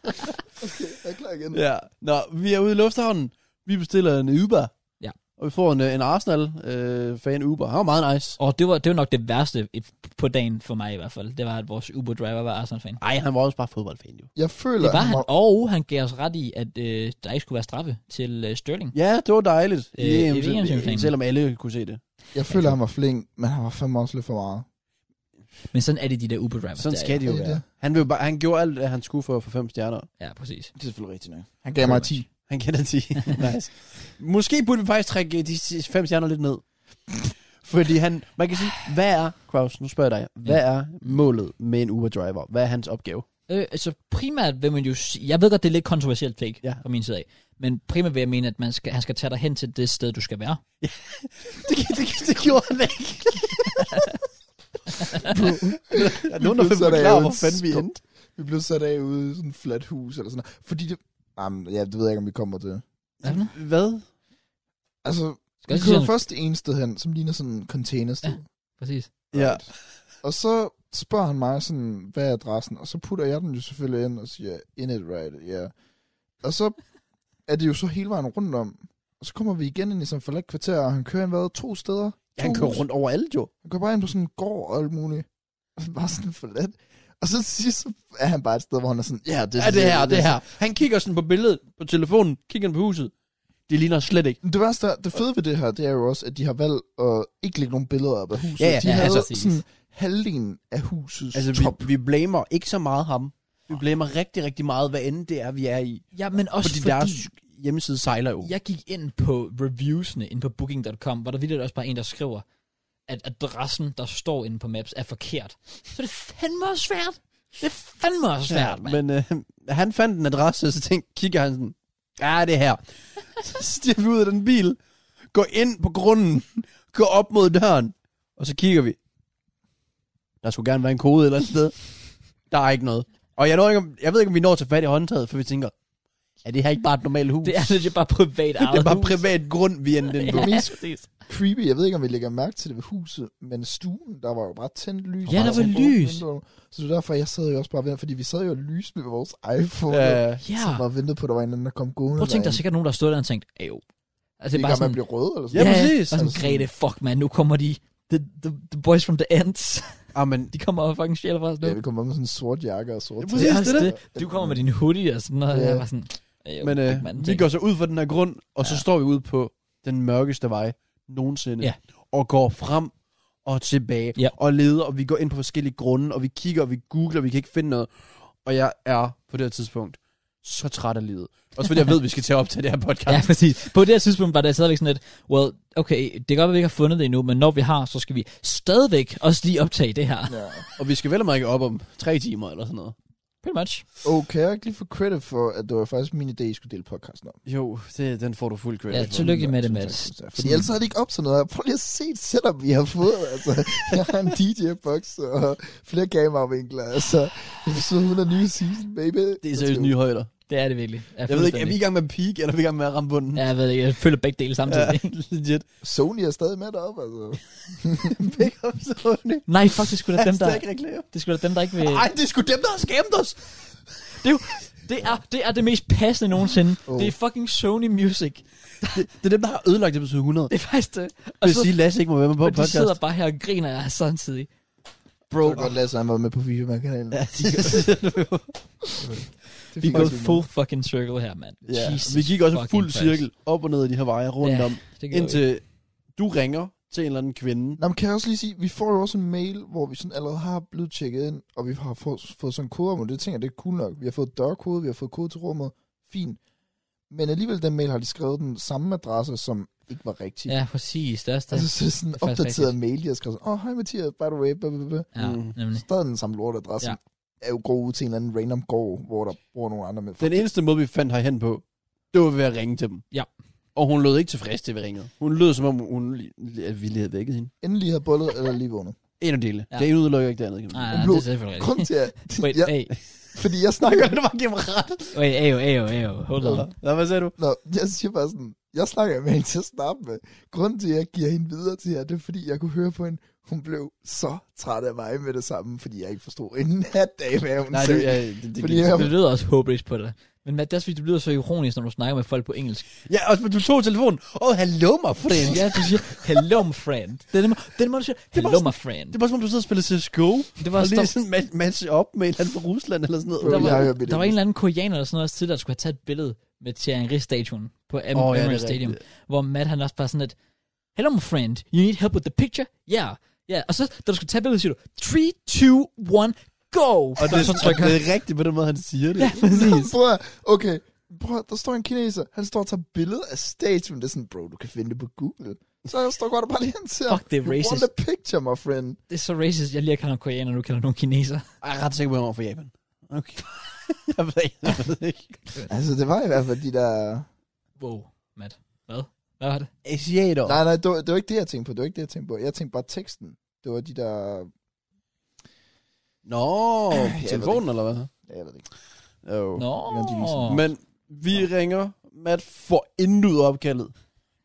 Jeg er klar igen.
Ja. Nå, vi er ude i lufthavnen. Vi bestiller en Uber.
Ja.
Og vi får en, øh, en Arsenal-fan Uber. Han var meget nice.
Og det var, det var nok det værste i- på dagen for mig i hvert fald. Det var, at vores Uber-driver var Arsenal-fan.
Nej, han var også bare fodboldfan, jo.
Jeg føler,
Det var han,
var-
og han gav os ret i, at øh, der ikke skulle være straffe til øh, Sterling.
Ja, det var dejligt.
Øh,
I
i
EM, selv-
VM-semifinalen.
Selvom alle kunne se det.
jeg føler, han var flink, men han var fandme også lidt for meget.
Men sådan er det de der Uber-drivers.
Sådan
der,
skal det jo
det er
være.
det.
Han, ville bare, han gjorde alt, hvad han skulle for at få fem stjerner.
Ja, præcis.
Det er selvfølgelig rigtigt nok.
Han gav mig 10.
Han kender 10. nice. Måske burde vi faktisk trække øh, de si- fem stjerner lidt ned. Fordi han, man kan sige, hvad er, Kraus, nu spørger jeg dig, hvad er målet med en Uber-driver? Hvad er hans opgave?
Øh, altså primært vil man jo sige, jeg ved godt, det er lidt kontroversielt take
Ja.
ja. fra min side af, men primært vil jeg mene, at man skal, han skal tage dig hen til det sted, du skal være.
Det, det, det gjorde han ikke. er nogen, der
Så er
finder
der
klar,
jo
hvor
en
fanden vi
skub.
endte.
Vi blev sat af ude i sådan et fladt hus eller sådan noget. Fordi det... Jamen, ja, det ved jeg ikke, om vi kommer til.
Hvad?
Altså,
Skal
vi
jeg sige
kører
sådan?
først det ene sted hen, som ligner sådan en containersted.
Ja. Præcis.
Ja.
Og så spørger han mig sådan, hvad er adressen? Og så putter jeg den jo selvfølgelig ind og siger, in it right, ja. Yeah. Og så er det jo så hele vejen rundt om. Og så kommer vi igen ind i sådan et forladt kvarter, og han kører ind hvad, to steder.
Ja, han
To
kører
huse.
rundt over alt jo.
Han går bare ind på sådan en gård og alt muligt. Og så bare sådan forladt. Og så til sidst så er han bare et sted, hvor han er sådan, ja, det,
Ja, det her, det her. Han kigger sådan på billedet på telefonen, kigger han på huset. Det ligner slet ikke.
Men Det, værste, er- det fede ved det her, det er jo også, at de har valgt at ikke lægge nogen billeder op af huset.
Ja, ja,
de
ja,
havde
præcis.
sådan halvdelen af husets
Altså,
altså,
vi,
top. Vi,
vi blamer ikke så meget ham. Vi blamer rigtig, rigtig meget, hvad end det er, vi er i.
Ja, men også
Fordi,
fordi,
fordi deres hjemmeside sejler jo.
jeg gik ind på reviewsne inde på booking.com, hvor der vildt også bare en, der skriver, at adressen, der står inde på Maps, er forkert. Så det er fandme også svært. Det er fandme også svært, ja, mand.
men øh, han fandt en adresse, og så tænkte, kigger han sådan, ja, det er her. så stiger vi ud af den bil, går ind på grunden, går op mod døren, og så kigger vi. Der skulle gerne være en kode eller et sted. Der er ikke noget. Og jeg, når ikke, om, jeg ved ikke, om vi når til fat i håndtaget, for vi tænker, er det her ikke bare et normalt hus?
Det er legit bare privat eget
det er bare
hus.
privat grund, vi endte inde på.
Ja, præcis.
Creepy, jeg ved ikke, om vi lægger mærke til det ved huset, men stuen, der var jo bare tændt lys.
Ja,
Og
der
sådan
var
åbent
lys.
vindue. Så det er derfor, jeg sad jo også bare ved, fordi vi sad jo og lyste med vores iPhone. Ja.
Øh,
Ja,
Som var ventet på, at der var en anden, der kom gående.
prøv at tænke, der er
derind.
sikkert nogen, der stod der og tænkt, ajo. Altså,
det er bare sådan... man bliver rød eller
Ja,
sådan noget.
præcis.
Og sådan,
Altså,
Grete, fuck man, nu kommer de, the, the, the boys from the ends,
ah, men,
de kommer og fucking stjæler fra os nu.
Ja, vi kom op med sådan en sort jakke og sort
Ja,
tæer.
præcis, det er
også
det.
Du kommer med din hoodie og sådan noget,
Ja.
og jeg var sådan, "Ej,
men
fuck, mand,
øh, vi
tænk."
går så ud fra den her grund, og så står vi ude på den mørkeste vej nogensinde,
Ja.
og går frem og tilbage,
Ja.
og leder, og vi går ind på forskellige grunde, og vi kigger, og vi googler, og vi kan ikke finde noget. Og jeg er på det her tidspunkt så træt af livet. Også fordi jeg ved, at vi skal til at optage det her
Ja,
podcast.
præcis. På det her tidspunkt var det stadigvæk sådan lidt, well, okay, det kan godt være, vi ikke har fundet det endnu, men når vi har, så skal vi stadigvæk også lige optage det her.
Ja.
Og vi skal vel og meget op om tre timer eller sådan noget.
Pretty much.
Og Oh, kan jeg ikke lige få credit for, at det var faktisk min idé, I skulle dele podcasten om?
Jo, det, den får du fuld credit
Ja,
for.
tillykke med det,
Tusind tak,
Mads.
tusind tak. Fordi ellers havde det ikke optaget noget. Prøv lige at se et setup, vi har fået. Altså, jeg har en DJ-box og flere kameravinkler. Altså, episode 100 nye season, baby.
Det er
Let's
seriøst
go.
nye højder.
Det er det virkelig. Ja,
Jeg ved ikke, er vi
fuldstændig.
i gang med at peak, eller er vi i gang med at ramme bunden?
Ja, jeg ved ikke, jeg føler begge dele samtidig.
Ja, legit.
Sony er stadig med deroppe, altså.
Pick up Sony.
Nej, fuck, det skulle da dem, der, Øh.
Hashtag reklame.
det skulle da dem, der ikke vil...
Ej, det er sgu dem, der har skæmt os.
Det er, jo, det er, det er det mest passende nogensinde.
Oh.
Det er fucking Sony Music.
Det er dem, der har ødelagt episode 100.
Det er faktisk det. Og
Det vil
så,
sige, Lasse ikke må være med på
og de
podcast.
sidder bare her og griner af os samtidig.
Bro. Det var godt, Lasse, han var med på Videoman-kanalen. Ja,
Vi er gået full fucking circle her, mand.
ja.
Jesus
Vi gik også
fucking
fuld
Christ.
cirkel op og ned ad de her veje rundt
Ja,
om,
Det gjorde vi.
indtil du ringer til en eller anden kvinde.
Nå, men kan jeg også lige sige, vi får jo også en mail, hvor vi sådan allerede har blevet tjekket ind, og vi har fået, fået sådan en kode, og det tænker jeg, det er cool nok. Vi har fået dørkode, vi har fået kode til rummet, fint. Men alligevel den mail har de skrevet den samme adresse, som ikke var rigtig.
Ja, præcis. Det er også det.
Altså så sådan en
Det er faktisk
opdateret
rigtigt.
mail, de har skrevet sådan, åh, oh, hej Mathias, by the way, blah, blah, blah.
Ja,
Mm.
nemlig.
Stadig den samme lortadresse.
Ja.
Ja. Er jo god ud til en eller anden random gård, hvor der bor nogle andre med.
Den eneste måde, vi fandt herhen på, Det var ved at ringe til dem.
Ja.
Og hun lød ikke tilfreds, det vi ringede. Hun lød, som om hun, li- at vi lige havde vækket hende.
Endelig har bollet eller lige vågnet.
En af dele.
Ja.
Ja. Det udelukker ikke det andet. Kan man.
Nej, nej,
sige.
det er selvfølgelig
Grund
rigtigt.
til at...
Wait,
ja,
hey,
fordi jeg snakker...
det var gennem ret.
wait, ayo, ayo, ayo, hold on.
Nå, hvad sagde du?
Nå, jeg siger bare sådan... Jeg snakker med hende til at starte med. Grunden til, at jeg giver hende videre til jer, det er, fordi jeg kunne høre på hende, hun blev så træt af mig med det samme, fordi jeg ikke forstod en nat af, hvad hun
Nej, det,
sagde.
ja, det, det,
Fordi
det,
jeg-
Du lyder også håbløst på det. Men Matt, det er også fordi, du lyder så ironisk, når du snakker med folk på engelsk.
ja, og du tog telefonen. Åh, oh, hallo, my friend.
ja, du siger, hello, my friend. Det er den, måde- den måde, du siger,
er bare
hello, my
sådan-
friend.
Det var som om, du sidder og spiller CSGO.
Det var,
Og
der,
lige sådan match, match op med et eller andet fra Rusland eller sådan noget.
Bro,
der, var,
jeg hører mit
der var en
engelsk.
eller anden koreaner eller sådan noget også tidligere, der skulle have taget et billede med Thierry Henry-statuen på Am-
Åh,
oh,
ja, det er
Stadium,
rigtigt.
hvor Matt han også bare sådan et, hello, my friend, you need help with the picture? Yeah, yeah. Og så, da du skulle tage billedet, siger du, 3, 2, 1, go!
Og det,
så
og
trykker
det er rigtigt på den måde, han siger det.
Ja, præcis.
Prøv at, okay, prøv at, der står en kineser, han står og tager billede af statuen, det er sådan, bro, du kan finde det på Google. Så jeg står godt og bare lige hen til ham.
Fuck, det er
You
racist.
want a picture, my friend.
Det er så racist, jeg lige kalder ham koreaner, nu kalder nogen kineser.
Jeg er ret sikker på, at han var fra Japan. Okay. jeg ved ikke. Jeg ved ikke.
Altså, det var i hvert fald de der...
Wow, Matt. Hvad? Hvad var det?
Asiater.
Nej, nej, det var, det var ikke det, jeg tænkte på, det var ikke det, jeg tænkte på. Jeg tænkte bare teksten. Det var de der...
Nå, på
ved
telefonen eller hvad?
Ja, jeg ved det ikke.
Jo.
Nå.
Det kan de vise
Men vi ringer. Matt får intet ud af opkaldet.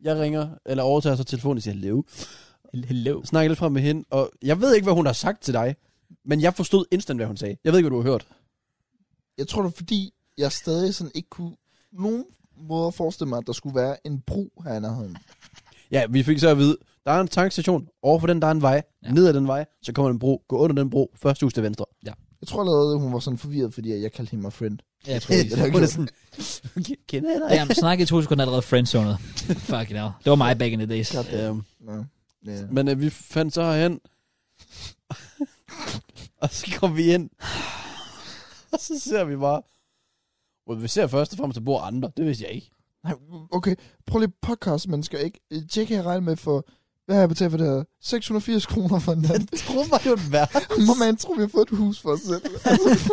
Jeg ringer, eller overtager så telefonen og siger, Leo.
Hello.
Snakker lidt frem med hende, og jeg ved ikke, hvad hun har sagt til dig. Men jeg forstod instant, hvad hun sagde. Jeg ved ikke, hvad du har hørt.
Jeg tror, det var fordi, jeg stadig sådan ikke kunne... Nogen måder forestille mig, at der skulle være en bro her i nærheden.
Ja, vi fik så at vide, der er en tankstation. Over for den, der er en vej.
Ja.
Ja. Ned ad den vej, så kommer der en bro. Gå under den bro. Første hus til venstre.
Jeg tror allerede, hun var sådan forvirret, fordi jeg kaldte hende my friend.
Ja, jeg tror,
præcis.
Hun er sådan, kender jeg dig?
Jamen, snakke i to sekunder allerede friendzonet. Fucking hell. Det var mig back in the days.
God damn.
Øhm,
Nå. Ja.
Men øh, vi fandt så herhen. og så kom vi ind. og så ser vi bare. Well, vi ser først og fremmest, at der bor andre. Det vidste jeg ikke.
Nej, okay. Prøv lige podcast, mennesker, ikke? Øh, Tjek her regne med for... Hvad har jeg betalt for det her? 680 kroner for en nat.
Jeg troede bare, det var en værre.
Må man tro, vi har fået et hus for os selv. Altså,
Jeg vidste,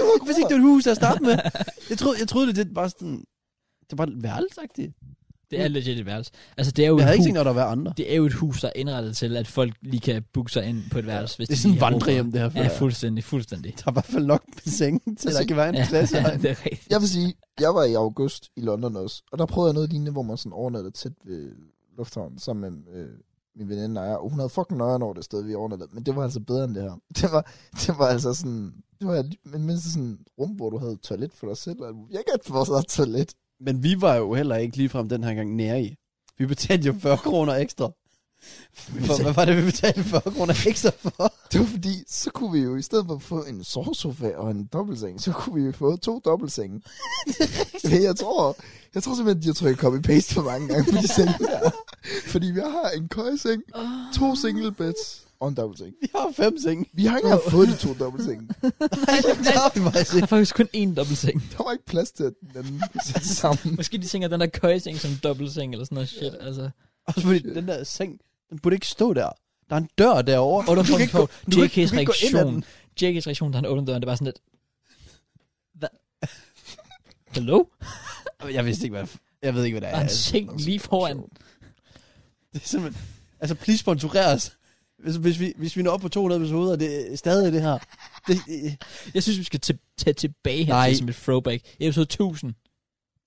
jeg vidste ikke, det var et hus at starte med. Jeg troede, jeg troede det, det var sådan... Det var værelsagtigt.
Det er legit et værelse. Altså, det er jo
Jeg havde
et
ikke
hus,
tænkt, at der var andre.
det er jo et hus, der er indrettet til, at folk lige kan booke sig ind på et værelse. Hvis
Det er
de
sådan
lige
en
har brug for
vandrehjem, det her.
det.
Ja,
Ja, fuldstændig, fuldstændig.
der er i hvert fald nok med sengen, til der kan være en
Ja,
klasse.
ja, det er rigtigt.
jeg vil sige, jeg var i august i London også, og der prøvede jeg noget lignende, hvor man sådan overnattede tæt ved lufthavnen, sammen med øh, min veninde Naja, og hun havde fucking nøjeren over det sted, vi overnattede, men det var altså bedre end det her. Det var, det var altså sådan, det var men mindst sådan et rum, hvor du havde toilet for dig selv, og alt muligt. jeg kan ikke få sig et toilet.
Men vi var jo heller ikke ligefrem den her gang nære i. Vi betalte jo 40 kroner ekstra. For, hvad var det, vi betalte 40 kroner ekstra for?
Det var fordi, så kunne vi jo, i stedet for at få en sovesofa og en dobbeltseng, så kunne vi jo få to dobbeltsenge. Men jeg tror, jeg tror simpelthen, at de har trykket copy-paste for mange gange på de senge der. Fordi vi har en køjeseng, to single beds og en dobbeltseng.
Vi har fem senge.
Vi har ikke engang fået de to dobbeltsenge.
Nej, det har vi faktisk
Der
ikke.
er faktisk kun én dobbeltseng.
Der var ikke plads til, at den anden kunne sætte sammen.
Måske de tænker den der køjeseng som dobbeltseng eller sådan noget shit. Altså,
Også fordi den der seng, den burde ikke stå der. Der er en dør derovre.
og der
kan
får
ikke
på
gå- du kan ikke- du
JK's
kan ikke gå ind ad
reaktion.
den.
JK's reaktion, da han åbner døren, det var sådan lidt... Hvad? Hello?
Jeg vidste ikke, hvad jeg ved ikke, hvad det
Der
er.
er en
Altså,
seng lige foran.
det er simpelthen, altså, please sponsorer os. Hvis, hvis, vi, hvis vi når op på 200 episoder, det er stadig det her. Det, det,
Jeg synes, vi skal til- tage tilbage her
Nej.
til som et throwback. I episode 1000.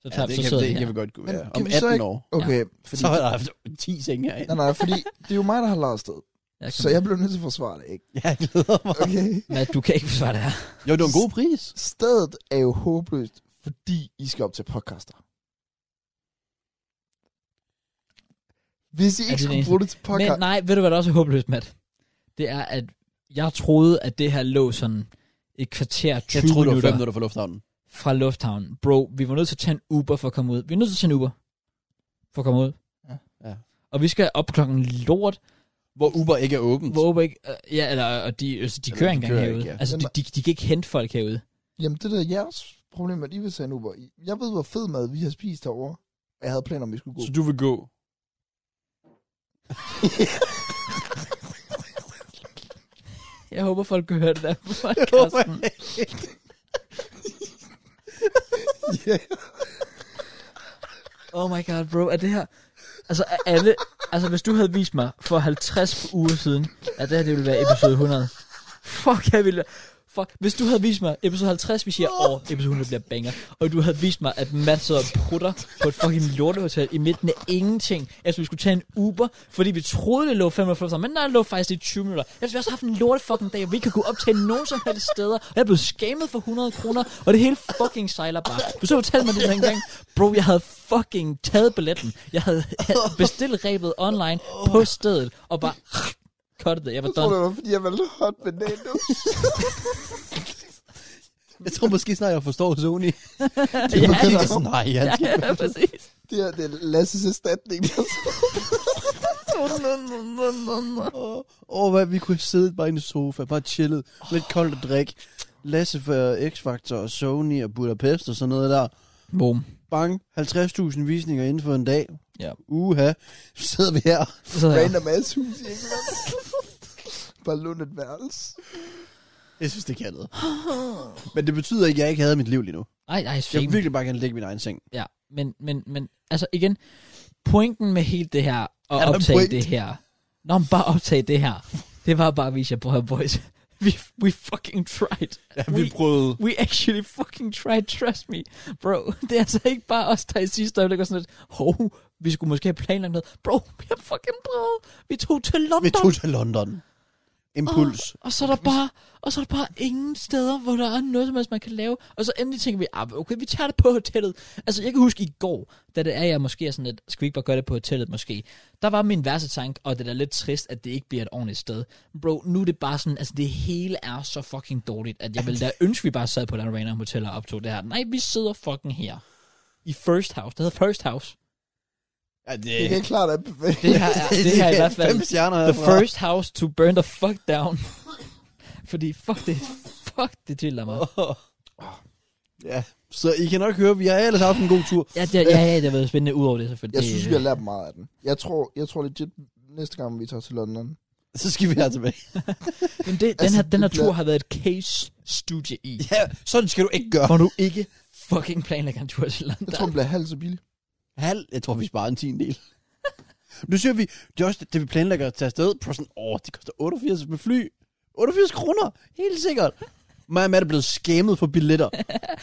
Så tager ja, så sidder det, her.
godt gå.
Men
Ja.
kan
Om
vi så
18
ikke-
år.
Okay, fordi...
Så har der haft 10 senge herinde.
Nej, nej, fordi det er jo mig, der har lejet sted.
Jeg kan-
Så jeg blev nødt til at forsvare det, ikke?
Jeg glæder mig.
Okay.
Matt, du kan ikke forsvare det her.
Jo, det var en god pris.
Stedet er jo håbløst, fordi I skal op til podcaster. Hvis I
det
ikke skulle
eneste?
bruge det til
Men
podcast...
nej, ved du hvad der også er håbløst, Matt? Det er, at jeg troede, at det her lå sådan et kvarter, 20
Jeg troede, det var
minutter
5 minutter fra lufthavnen.
fra lufthavnen. Bro, vi var nødt til at tage en Uber for at komme ud. Vi er nødt til at tage en Uber for at komme ud.
Ja.
Ja.
Og vi skal op klokken lort,
Hvor Uber ikke er åbent.
hvor Uber ikke... øh, Ja, eller og de, altså, de
Eller
kører
de
engang
kører
herude.
ikke, ja.
Altså, de, de, de kan ikke hente folk herude.
Jamen, det der er jeres problem, at I vil tage en Uber. I- Jeg ved, hvor fed mad vi har spist herovre. Og jeg havde planer om, vi skulle gå.
Så du vil gå.
Jeg håber, folk kan høre det der på podcasten.
Yeah.
Oh my god, bro, er det her... Altså, er alle... Altså, hvis du havde vist mig for 50 uger siden, at det her, det ville være episode 100. Fuck, jeg ville... Fuck, hvis du havde vist mig episode 50, vi siger, åh, oh, episode 100 bliver banger, og du havde vist mig, at Mads sidder og prutter på et fucking lortehotel i midten af ingenting, efter vi skulle tage en Uber, fordi vi troede, det lå 45 minutter, men nej, det lå faktisk i 20 minutter. Ellers vi også haft en lorte fucking dag, og vi ikke kunne optage nogen som helst steder, og jeg blev skamet for 100 kroner, og det hele fucking sejler bare. Du så fortalte mig det den gang, bro, jeg havde fucking taget billetten, jeg havde bestilt rebet online på stedet, og bare cuttet det, jeg var
Jeg tror,
done.
det var, fordi jeg valgte hot banana.
Jeg tror måske snart, jeg forstår Sony.
Det er
Det
ja,
er sådan, nej, jeg skal...
Ja, præcis.
det, her, det er Lasses erstatning.
Åh, oh, hvad, vi kunne sidde bare i en sofa, bare chillet, lidt koldt at drikke. Lasse for X-Factor og Sony og Budapest og sådan noget der.
Boom.
Bang, 50.000 visninger inden for en dag.
Ja.
Uha, så sidder vi her.
Så ja.
Random ass hus i England. Bare lån et værelse.
Jeg synes, det kan noget. Men det betyder ikke, at jeg ikke havde mit liv lige nu.
Ej, ej,
Jeg vil
shame.
virkelig bare gerne ligge i min egen seng.
Ja, men, men, men, altså igen, pointen med hele det her,
Er der
at
en
optage
point?
det her, når man bare optage det her, det var bare at vise jer, prøv at høre, boys, we, we fucking tried. Ja, we,
prøvede.
we actually fucking tried, trust me. Bro, det er altså ikke bare os, der i sidste øjeblik var sådan lidt, hov, vi skulle måske have planlagt noget. Bro, vi har fucking prøvet. Vi tog til London.
Vi tog til London. Impuls.
Og så er der bare, og så er der bare ingen steder, hvor der er noget, som helst, man kan lave. Og så endelig tænker vi, ah, okay, vi tager det på hotellet. Altså, jeg kan huske i går, da det er, jeg måske er sådan lidt, skal vi ikke bare gøre det på hotellet måske? Der var min værste tanke, og det er da lidt trist, at det ikke bliver et ordentligt sted. Bro, nu er det bare sådan, altså det hele er så fucking dårligt, at jeg ville da ønske, vi bare sad på et eller andet random hotel og optog det her. Nej, vi sidder fucking her. I First House. Det hedder First House.
Ja, det,
Det kan jeg klart anbefale.
Det her er, det her er i hvert fald...
Fem stjerner
The
herfra.
first house to burn the fuck down. Fordi fuck det, fuck det driller mig.
Ja, så I kan nok høre, vi har ellers haft en god tur.
Ja, det, ja, ja, det har været spændende ud over det selvfølgelig.
Jeg
Det-
synes, vi har lært meget af den. Jeg tror, jeg tror legit, næste gang vi tager til London,
Så skal vi altså her tilbage.
Men det, den,
altså,
her, den her
det bliver-
tur har været et case studie i,
Ja, sådan skal du ikke gøre.
hvor du ikke fucking planlægger en tur til London.
jeg tror, den bliver halvt så billig.
Halv, jeg tror, vi sparer en tiendel. Nu siger vi, det er også det, vi planlægger at tage afsted. Prøv sådan, åh, det koster 88 med fly. 88 kroner, helt sikkert. Mig og Matt er blevet skæmmet for billetter.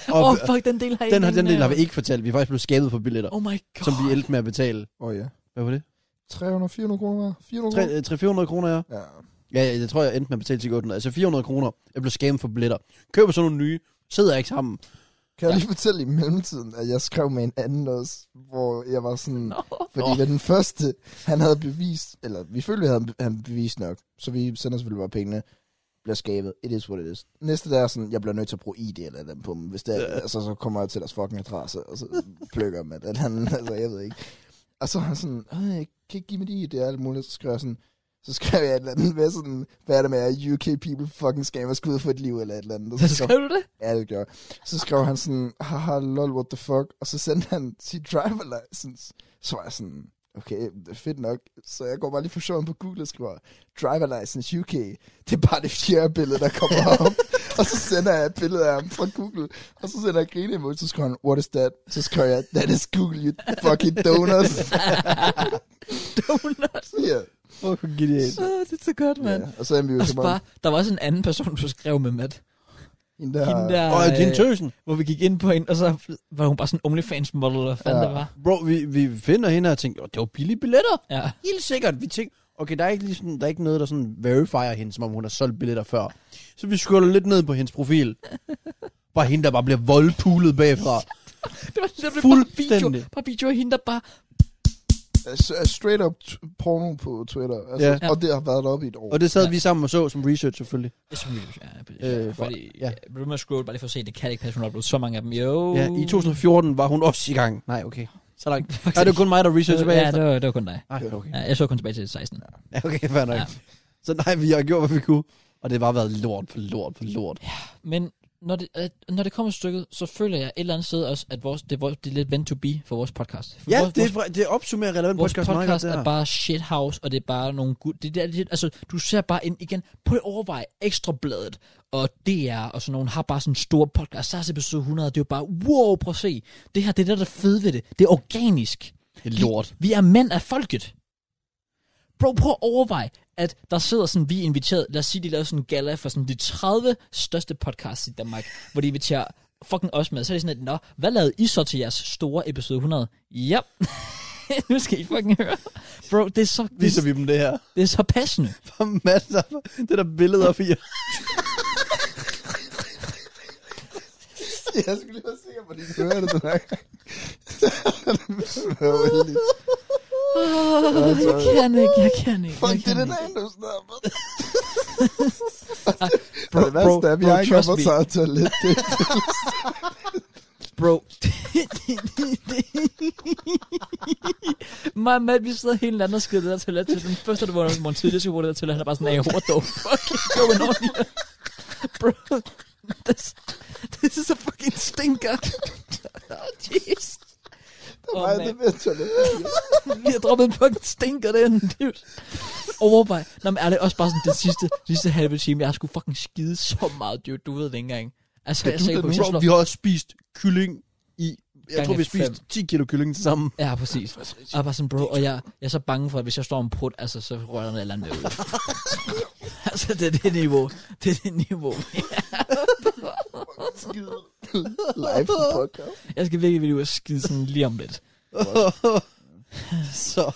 Og
Åh, oh, fuck, den del har jeg
den, her,
ikke
den del har vi
nævnt.
ikke fortalt. Vi er faktisk blevet skæmmet for billetter,
Oh my god.
som vi endte med at betale.
Åh oh, ja.
Hvad var det?
300-400 kroner hver? 400 kroner?
300-400 kroner, ja.
Ja.
Ja, ja, jeg tror, jeg endte med at betale til 800. Altså 400 kroner. Jeg blev skæmmet for billetter. Køber sådan nogle nye. Sidder ikke sammen.
Kan jeg lige fortælle i mellemtiden, at jeg skrev med en anden også, hvor jeg var sådan...
Nå.
Fordi
Nå.
ved den første, han havde bevist, eller vi følte, at han- han bevist nok, så vi sender selvfølgelig bare pengene, bliver skabet. It is what it is. Næste der er sådan, jeg bliver nødt til at bruge ID eller et eller andet på dem. Hvis det er, altså, så kommer jeg til deres fucking adresse, og så plukker man det. Han, altså, jeg ved ikke. Og så er han sådan, "Øh, jeg kan ikke give mit ID og alt muligt. Så skriver jeg sådan, så skrev jeg et eller andet med sådan, hvad er det med, at UK people fucking scammer skud for et liv eller et eller andet. Og
Så
så skrev
skrev du det?
Ja, det gjorde jeg. Så skrev han sådan, haha, lol, what the fuck? Og så sendte han sit driver license. Så var jeg sådan, okay, det er fedt nok. Så jeg går bare lige for sjov ind på Google og skriver, driver license UK. Det er bare det fjerde billede, der kommer op. og så sender jeg et billede af ham fra Google. Og så sender jeg grine imod, så skriver han, what is that? Så skriver jeg, that is Google, you fucking donuts.
Donuts.
yeah.
Fuck, genialt.
Åh, det er så godt, mand.
ja. Og så er vi jo
Og
så
så
bare,
bare, der var også en anden person, du skrev med, Matt.
hende der,
Hende der,
Og
øh,
din tøsen.
hvor vi gik ind på hende, og så var hun bare sådan en OnlyFans-model, eller hvad fanden
Ja.
det var.
Bro, vi, vi finder hende og tænker, "Åh, det var billige billetter.
Ja.
Helt sikkert. Vi tænker, okay, der er, ikke ligesom, der er ikke noget, der sådan verifier hende, som om hun har solgt billetter før. Så vi scroller lidt ned på hendes profil. Bare hende, der bare bliver voldpulet bagfra.
Det var det var bare video,
Fuldstændig.
bare video af hende, der bare...
s- straight up t- porno på Twitter. Altså,
Ja.
Og det har været deroppe i et år.
Og det sad
Ja.
ja. vi sammen og så som research selvfølgelig.
Jeg synes, ja,
Øh,
ja,
for-
fordi, ja.
ja.
Vil du med at scroll bare lige for at se, det kan ikke passe, hun har uploadet så mange af dem. Jo.
Ja, i 2014 var hun også i gang. Nej, okay. Så langt.
Fuck,
Nej, det var kun mig, der researchede
Øh, ja,
bagefter.
det var, det var kun dig.
Nej, okay.
Ja, jeg så kun tilbage til 16.
Ja, okay, fair nok.
Ja.
Så nej, vi har gjort, hvad vi kunne. Og det har bare været lort på lort på lort.
Men når det, at, når det kommer til stykket, så føler jeg et eller andet sted også, at vores, det, er vores, det er lidt vent to be for vores podcast. For
Ja,
vores,
det,
vores,
er, det opsummerer relevant
vores
podcast, meget godt,
podcast
det
er
her.
bare shithouse, og det er bare nogle gud... Det, det, det, altså, du ser bare ind igen på det overvej, Ekstrabladet og DR og sådan nogle har bare sådan store podcast. Så er det episode 100, det er jo bare, wow, prøv at se. Det her, det er det, der er fede ved det. Det er organisk.
Det er lort.
Vi er mænd af folket. Bro, prøv at overveje, at der sidder sådan, vi er inviteret, lad os sige, de lavede sådan en gala for sådan de 30 største podcasts i Danmark, hvor de inviterer fucking os med. Så er det sådan, at, nå, hvad lavede I så til jeres store episode 100? Ja. nu skal I fucking høre. Bro, det er så, det,
Viser
er-
vi dem det her?
det er så passende.
Bare masser af det der billeder af fire.
jeg skulle lige være sikker på, at de hører det den her gang. det var uheldigt.
Oh, jeg kan ikke, jeg kan ikke. jeg
Fuck, det er
kan
det
ikke.
der endnu snart.
Bro,
mand. Det værste er, at jeg ikke har
trust me.
fået taget toilet. Det er
Bro. Mig og Matt, vi sidder helt andet og skrider det der toilet til. Den første, der var morgen tidlig, så var det der toilet, han er bare sådan, hey, what the fuck is going on here? Bro, this, this is a fucking stinker. Oh, jeez. Åh,
mig,
mand.
det er toilet.
Vi har droppet en fucking stinker derinde, dude. Overvej. Nå, men er det også bare sådan den sidste, sidste halve time, jeg har sgu fucking skide så meget, dude. Du ved det ikke engang. Altså, jeg sagde på, hvis jeg
Bro,
slår...
vi har også spist kylling i... Jeg
Gange
tror, vi har spist 10 kilo kylling til sammen.
Ja, præcis. Jeg er bare sådan, bro, og jeg, jeg er så bange for, at hvis jeg står om prut, altså, så rører der noget eller andet ud. altså, det er det niveau. Det er det niveau.
Skide. Live på podcast.
Jeg skal virkelig, virkelig ud og skide sådan lige om lidt.
Så...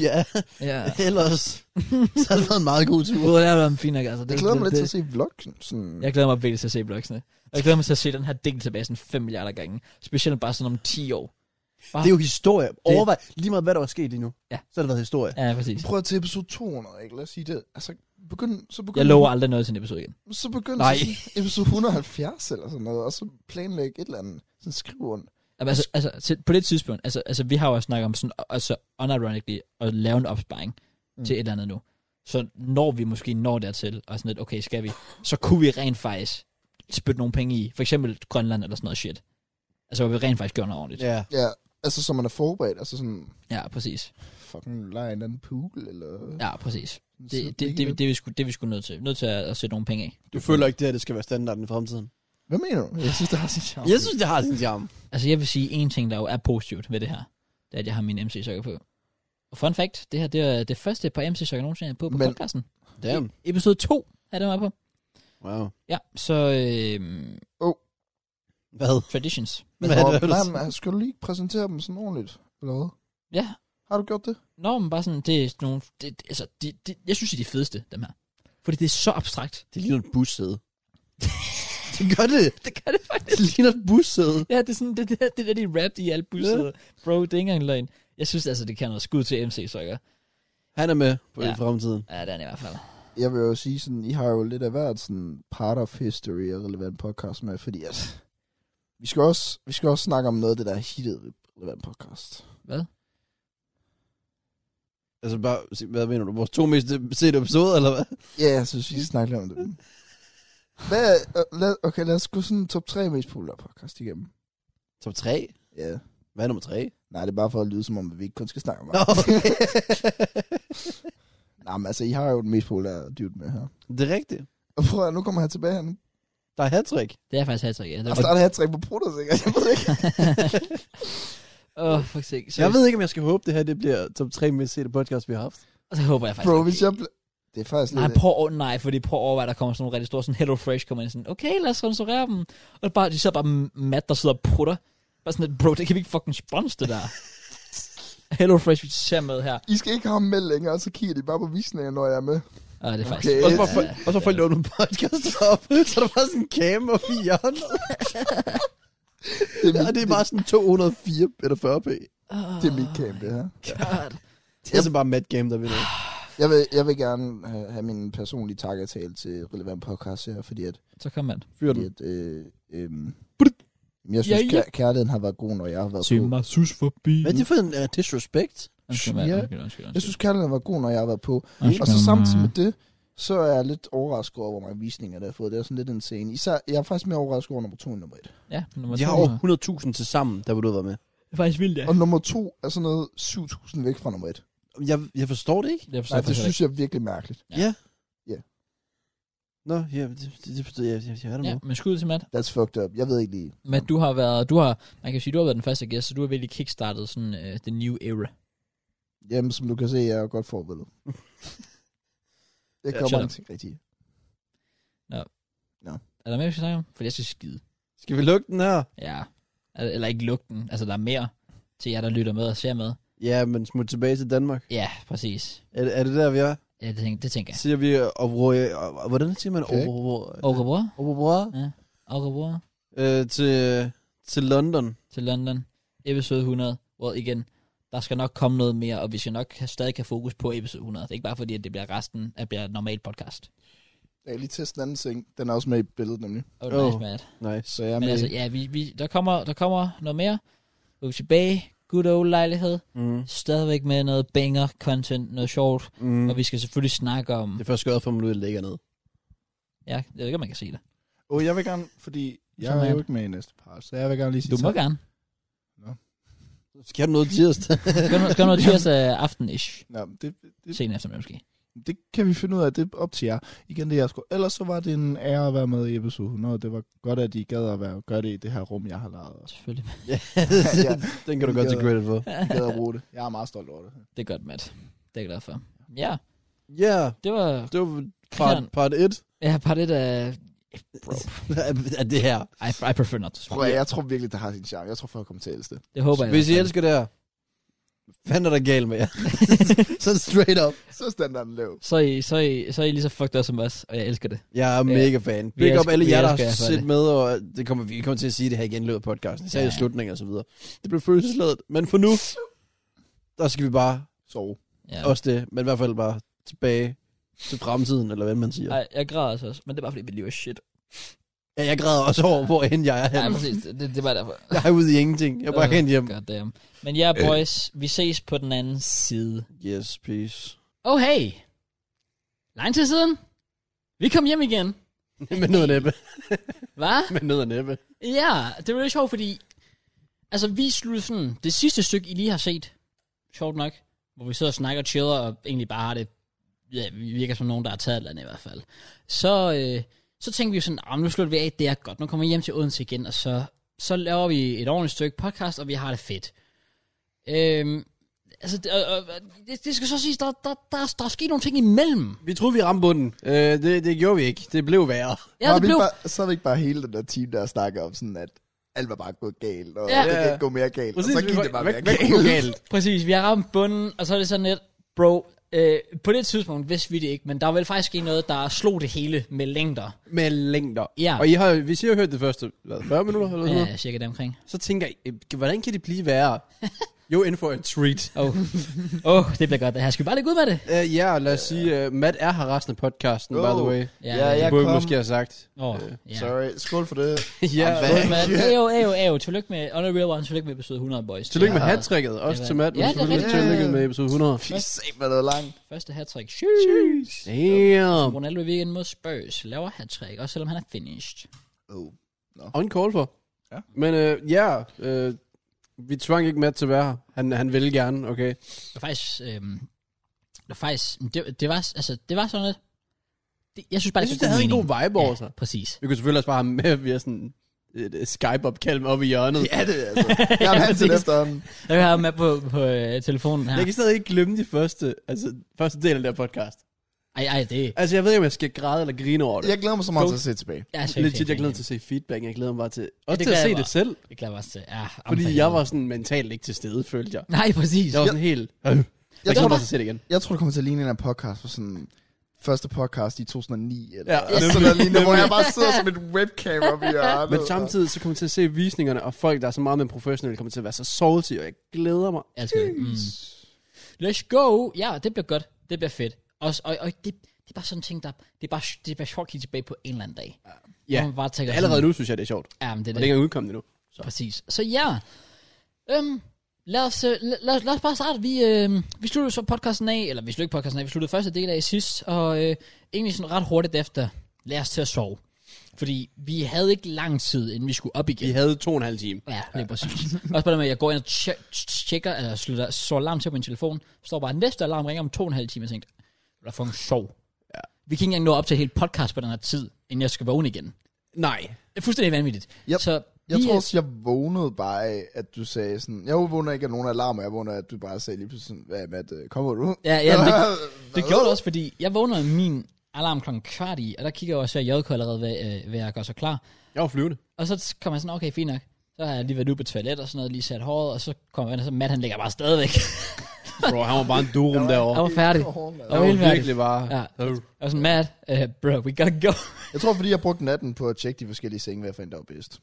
Ja,
Ja.
ellers... Så har det været en meget god tur.
Bro, det har været en fin nok, altså.
Jeg
Det-
glæder mig
det-
lidt til at
det-
se vloggen. Sådan.
Jeg glæder mig virkelig til at se blogsene. Jeg glæder mig til at se den her del tilbage sådan 5 milliarder gange. Specielt bare sådan om 10 år.
Det er jo historie. Overvej lige meget, hvad der var sket lige nu.
Ja.
Så har det været historie.
Ja, præcis.
Prøv at til episode 200, ikke? Lad os sige det. Altså, begynd, så begynd,
Jeg lover aldrig noget til en episode igen.
Så begynd
Nej.
Nej. episode 170 eller sådan noget, og så planlæg et eller andet. Sådan skriv rundt.
Jamen, Altså, altså til, på det tidspunkt, altså, altså vi har jo også snakket om sådan, altså unironically, at lave en opsparing mm.
Mm.
til et eller andet nu. Så når vi måske når dertil, og sådan lidt, okay, skal vi, så kunne vi rent faktisk spytte nogle penge i, for eksempel Grønland eller sådan noget shit. Altså, hvor vi rent faktisk gør noget ordentligt.
Ja.
Ja, altså så man er forberedt, altså sådan,
Ja, præcis.
fucking lege en eller anden pool, eller...
Ja, præcis.
sådan sidde og
Det, det, det,
drikke
det,
lidt.
det, vi skulle, det vi skulle nødt til. Nødt til at, at sætte nogle penge af.
Du føler ikke det her, det skal være standarden i fremtiden?
Hvad mener du? Jeg synes, det har sin charme.
Jeg synes, det har sin charme.
Altså, jeg vil sige, en ting, der jo er positivt ved det her, det er, at jeg har min MC-sokker på. Og fun fact, det her, det er det første par MC-sokker, nogensinde jeg har på på Men...
Men-
podcasten. E-
Damn.
Episode 2 er det, mig på.
Wow.
Ja, så øh,
Hvad?
traditions.
Hvad er det,
Nå,
du
nej, men altså, skal du lige præsentere dem sådan ordentligt, eller hvad?
Ja,
Har du gjort det?
nå, men bare sådan, det er nogle, det, det- altså, de, de, jeg synes, de er de fedeste, dem her. Fordi det er så abstrakt.
Det ligner et bussæde. det gør det.
Det gør det faktisk.
Det ligner et bussæde.
Ja, det er sådan, det, det, det der, de er rapped i alt busset. Bro, det er ikke engang løgn. Jeg synes altså, det kan noget skud til MC, så jeg
Han er med på
Ja.
ja. fremtiden.
Ja, det er han i hvert fald.
Jeg vil jo sige sådan, I har jo lidt af hvert sådan part of history og relevant podcast med, fordi at vi skal også, vi skal også snakke om noget af det, der er hittet ved relevant podcast.
Hvad?
Altså bare, hvad mener du? Vores to mest sete episoder, eller hvad?
Ja, jeg synes, vi skal snakke lidt om det. Hvad, øh, lad, okay, lad os gå sådan top 3 mest populære podcast igennem.
Top 3?
Ja.
Hvad er nummer 3?
Nej, det er bare for at lyde, som om vi ikke kun skal snakke om
Nå, okay.
Nej, men altså, I har jo den mest populære dude med her.
det er rigtigt.
Og prøv at, nu kommer han tilbage her nu.
Der er hat-trick.
Det er faktisk hat ja. Det
Og
var...
starter her træk på prutter, sikkert. Jeg ved ikke.
Åh, oh, for sake. Så,
Jeg ved ikke, om jeg skal håbe, det her det bliver top 3 mest sete podcast, vi har haft.
så håber jeg faktisk.
Bro,
ikke.
hvis jeg ble... Det er faktisk
Nej,
lidt...
prøv at, nej, fordi prøv at overveje, der kommer sådan nogle rigtig store, sådan Hello Fresh kommer ind, sådan, okay, lad os sponsorere dem. Og bare, de sidder bare mat, der sidder og prutter. Bare sådan lidt, bro, det kan vi ikke fucking spons, det der. Hello Fresh, vi ser med her.
I skal ikke have ham med længere, så kigger de bare på visninger, når jeg er med.
Og Ah, det er faktisk...
Okay.
Og så var
Ja,
folk, og så folk der åbner podcast op, så er der bare sådan en camera og fire hjørner.
Det er
Og
mit,
det er bare sådan 204 eller 40p.
Oh,
det er mit camp, det her.
God.
Det er så bare Mad Game, der vinder.
Jeg vil, jeg vil gerne have, have min personlige takketale til relevant podcast her, fordi at,
Så kom man.
Fyr den.
fordi at øh, øh, jeg synes,
ja.
ja, ja. kærligheden har været god, når jeg har været på.
mig sus forbi.
Hvad er det for en uh, disrespect?
Undskyld, mand.
Ja.
Undskyld, undskyld, undskyld.
Jeg synes, kærligheden var god, når jeg har været på.
Undskyld,
Og så
mand.
samtidig med det, så er jeg lidt overrasket over, hvor mange visninger det har fået. Det er sådan lidt en scene. Især, jeg er faktisk mere overrasket over nummer to end nummer et.
Ja, nummer
De
to.
har over 100.000 til sammen, der vil du have været med.
Det er faktisk vildt, ja.
Og nummer to er sådan noget 7.000 væk fra nummer et.
Jeg, jeg forstår det ikke.
Jeg forstår
Nej, det
faktisk
synes jeg er virkelig mærkeligt.
Nå, ja, det, det, det forstår jeg. Jeg, jeg, jeg er der
ikke.
ja.
Ja, men skud til Matt.
That's fucked up. Jeg ved ikke lige.
Matt, du har været, du har, man kan sige, du har været den første gæst, så du har virkelig kickstartet sådan uh, the new era.
Jamen, som du kan se, jeg er jo godt forberedt. jeg
Ja,
gør
shut
mange
up.
ting rigtigt.
Er der mere, vi skal snakke om? For jeg skal skide.
Skal vi lukke den her?
Ja. Eller eller ikke lugten. Altså, der er mere til jer, der lytter med og ser med.
Ja, men smut tilbage til Danmark.
Ja, præcis.
Er, det- er det der, vi er?
Ja, det, tænker, det tænker jeg.
Siger vi, øh, og, hvor, og, og, hvordan siger man
Okay.
okay. over,
Og Gabor,
over,
og Gabor
øh, til, til London?
til London. Episode 100, hvor igen, der skal nok komme noget mere, og vi skal nok have, stadig have fokus på episode 100. Det er ikke bare fordi, at det bliver resten af bliver et normalt podcast.
Jeg kan lige teste en anden ting. Den er også med i billedet, nemlig.
Oh, nice,
Åh.
Matt.
Nice.
Så jeg er
Men
med.
altså, ja, vi, vi, der, kommer, der kommer noget mere. Vi er tilbage. Good old lejlighed.
Mm.
Stadigvæk med noget banger-content, noget sjovt.
Mm.
Og vi skal selvfølgelig snakke om...
Det er først skørt for, at man ligger ned.
Ja, jeg ved ikke, om man kan se det.
oh, jeg vil gerne, fordi jeg
Sådan
er
er
jo
det.
ikke med i næste par, så jeg vil gerne lige sige
Du må
tak.
gerne.
Skal du noget tirsdag?
Skal noget, skal noget tirsdag aften-ish.
Nå, men det, det,
Sen eftermiddag måske.
det, kan vi finde ud af, det er op til jer. Igen, det er jeg sgu. Ellers så var det en ære at være med i episode 100. Det var godt, at I gad at være, gøre det i det her rum, jeg har lavet.
Selvfølgelig.
ja,
ja.
den kan du godt til credit for.
I gad at bruge det. Jeg er meget stolt over det.
Det er godt, Matt. Det er jeg glad for. Ja,
Ja,
det var...
det var part,
Christian.
part 1
Jeg har bare lidt af...
af det her.
I, I prefer not to speak.
Prøv, at- jeg tror virkelig, det har sin charme. Jeg tror, folk kommer til at elske det.
Det håber jeg.
Hvis I
i hvert fald.
elsker det her, fanden er der galt med jer? så straight up.
Så er standarden lav.
Så er, I, så, er I, så er I lige så fucked up som os, og jeg elsker det.
Jeg er
Ja.
mega fan.
Vi
Big up
elsker-
alle
vi
jer, der
elsker
har
jer for
set
det.
med, og det kommer, vi kommer til at sige det her igen i løbet af podcasten, især
Ja.
i slutningen og så videre. Det blev følelsesladet, men for nu, der skal vi bare,
Sove.
Ja.
også det, men i hvert fald bare tilbage til fremtiden, eller hvad man siger.
Ej, jeg græder altså også, men det er bare fordi, vi lever shit.
Ja, jeg græder også over, hvor end jeg er
Ja,
henne.
præcis. Det, det er bare derfor.
Jeg er ude i ingenting. Jeg er bare
Øh,
hen hjem.
God damn. Men ja,
Øh.
boys, vi ses på den anden side.
Yes, peace.
Oh, hey. Lang tid siden. Vi kom hjem igen.
med noget næppe.
Hvad?
Med noget næppe.
Ja, det var lidt sjovt, fordi... Altså, vi sluttede sådan... Det sidste stykke, I lige har set, sjovt nok, hvor vi sidder og snakker og chiller, og egentlig bare har det... Ja, vi virker som nogen, der har taget et eller andet i hvert fald. Så, øh, så tænkte vi jo sådan, ah, nu slutter vi af, det er godt, nu kommer vi hjem til Odense igen, og så, så laver vi et ordentligt stykke podcast, og vi har det fedt. Øhm, altså, det, og, og, det, det skal så siges, der, der, der, der er sket nogle ting imellem.
Vi troede, vi ramte bunden. Øh, det, det gjorde vi ikke. Det blev værre.
Ja,
var
det
vi
blev,
ikke bare, så er vi ikke bare hele den der team, der snakker om sådan, at alt var bare gået galt, og
Ja.
ja. det kan
Ja.
ikke gå mere galt,
Præcis, vi
og så gik
var-
det bare
hvad-
mere
hvad
galt.
kunne gå galt?
Præcis, vi har ramt bunden, og så er det sådan lidt, bro, øh, på det tidspunkt vidste vi det ikke, men der var vel faktisk en noget, der slog det hele med længder.
Med længder.
Ja.
Og I har, hvis I har hørt det første hvad, 40 minutter, eller sådan
Ja,
noget,
øh, cirka der omkring.
så tænker I, øh, hvordan kan det blive værre? Jo, inden for en treat.
Åh, oh. oh, det bliver godt det her. Skal vi bare lægge ud med det?
Øh, ja, lad os sige, uh, Matt er her resten af podcasten, oh. by the
Oh.
way.
Ja,
Ja,
Det
jeg
burde I
kom.
måske have sagt.
Åh, oh, ja.
Sorry, skål for det.
ja,
Jamen,
Skål,
hvad?
mand. Ayo, ayo, ayo. Tillykke med Unreal One. Tillykke med episode 100, boys.
Tillykke med
Det er
hattricket, også
var-
til Matt,
Ja, det
men
er
selvfølgelig
rigtigt.
tillykke med episode 100.
Fy sat, hvor det var langt.
Første hat-trick.
Damn.
Ronaldo i weekenden mod Spurs laver hat-trick, også selvom han er finished.
Oh.
On call for.
Ja.
Men øh, ja, øh, vi tvang ikke Matt til at være her. Han, han ville gerne, okay?
Det var faktisk... Øhm, det var faktisk... Det, det, var, altså, det var sådan lidt... Det, jeg synes bare,
Jeg
det
synes,
gav
det havde en
mening.
god vibe over sig.
Ja, præcis.
Vi kunne selvfølgelig også bare have med via sådan et øh, Skype-opkald med oppe i hjørnet.
Ja, det er altså. Jeg er vant til det
præcis.
efterhånden.
Jeg har ham med på, på øh, telefonen her.
Jeg kan stadig ikke glemme de første, altså, første del af den her podcast.
Ej, ej, det er...
Altså, jeg ved ikke, om jeg skal græde eller grine over det.
Jeg glæder mig så meget til at se tilbage.
Ja,
Jeg Legit, jeg glæder mig til at se feedback. Jeg glæder mig bare til, også
det
til at
glæder
se
jeg
det
mig.
selv.
Jeg glæder mig også til... Ja, jamen, for
Fordi jeg
helvede.
var sådan mentalt ikke til stede, følte jeg.
Nej, præcis.
Jeg var sådan helt... Øh, jeg
Jeg
glæder
tror,
mig til at se det igen.
jeg tror, det kommer til at ligne en af podcast for sådan første podcast i 2009, eller
Ja,
ja, sådan noget lignende, hvor jeg bare sidder som et webcam oppe i hjørnet. altså.
Men samtidig så kommer jeg til at se visningerne, og folk, der er så meget mere professionelle, kommer til at være så salty, og jeg glæder mig.
Jeg elsker det. Mm. Let's go. Ja, det bliver godt. Det bliver fedt. Og, og, og det, det er bare sådan en ting, der... Det er bare, det er bare sjovt at kigge tilbage på en eller anden dag.
Ja,
Hvor man bare tænker
allerede
sådan,
nu synes jeg, det er sjovt.
Ja, men det er
Og det
det.
kan udkomme endnu.
Præcis. Så ja. Øhm, Lad os, øh, la- lad, os, lad os bare starte. Vi, øh, vi sluttede så podcasten af, eller vi sluttede ikke podcasten af, vi sluttede første del af i sidst, og øh, egentlig sådan ret hurtigt efter, lad os til at sove. Fordi vi havde ikke lang tid, inden vi skulle op igen.
Vi havde to og en halv time.
Ja, lige præcis. Også på det med, at jeg går ind og tje- tjekker, eller slutter, så alarm til på min telefon, står bare, næste alarm ringer om to og en halv time, og tænkte, det er fucking sjov. Ja. Vi kan ikke engang nå op til et helt podcast på den her tid, inden jeg skal vågne igen.
Nej.
Det er fuldstændig vanvittigt.
Yep.
Så
Jeg
vi,
tror
øh,
også, jeg vågnede bare af, at du sagde sådan... Jeg vågner ikke af nogen alarmer, jeg vågner af, at du bare sagde lige pludselig sådan... Hvad, Matt, øh, kommer du?
Ja, ja, men det,
Hvad?
det gjorde det også, fordi jeg vågner min alarm klokken kvart i, og der kigger jeg også, at JK allerede ved, øh, ved at gøre sig klar.
Jeg var flyvende.
Og så kommer jeg sådan, okay, fint nok. Så har jeg lige været ude på toilet og sådan noget, lige sat håret, og så kommer jeg ind, og så Matt, han ligger bare stadigvæk.
Bro, han var bare en durum
Jeg
derovre.
var færdig.
Åh,
Jeg
Han
var
var
helt færdig.
virkelig bare...
Ja.
Ja.
Og sådan, Matt, uh, bro, we gotta go.
Jeg tror, fordi jeg brugte natten på at tjekke de forskellige senge, hvad jeg fandt, der var bedst.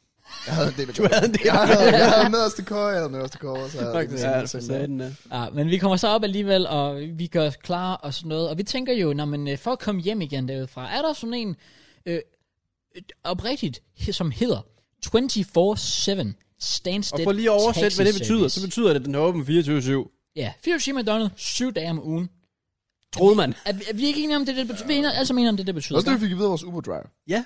Jeg havde en del af
Du havde en del
Jeg havde, jeg havde nederste køje, jeg havde nederste køje, så jeg havde
Faktisk,
en
ja,
del
for
senge. der.
satan, ja.
Ja, men vi kommer så op alligevel, og vi gør os klar og sådan noget. Og vi tænker jo, når man for at komme hjem igen derudefra, er der sådan en øh, øh, oprigtigt, he- som hedder 24-7
Og
Standstill
for lige at oversætte, hvad det
Taxi
betyder, så
Service.
betyder det, at den er åben 24-7.
Ja, 24 timer i døgnet, 7 dage om ugen.
Troede man.
Er, vi- er vi ikke enige om det, det betyder? Vi er enige- alle sammen enige om det, det betyder.
Også det, vi fik at vide af vores Uber driver.
Ja.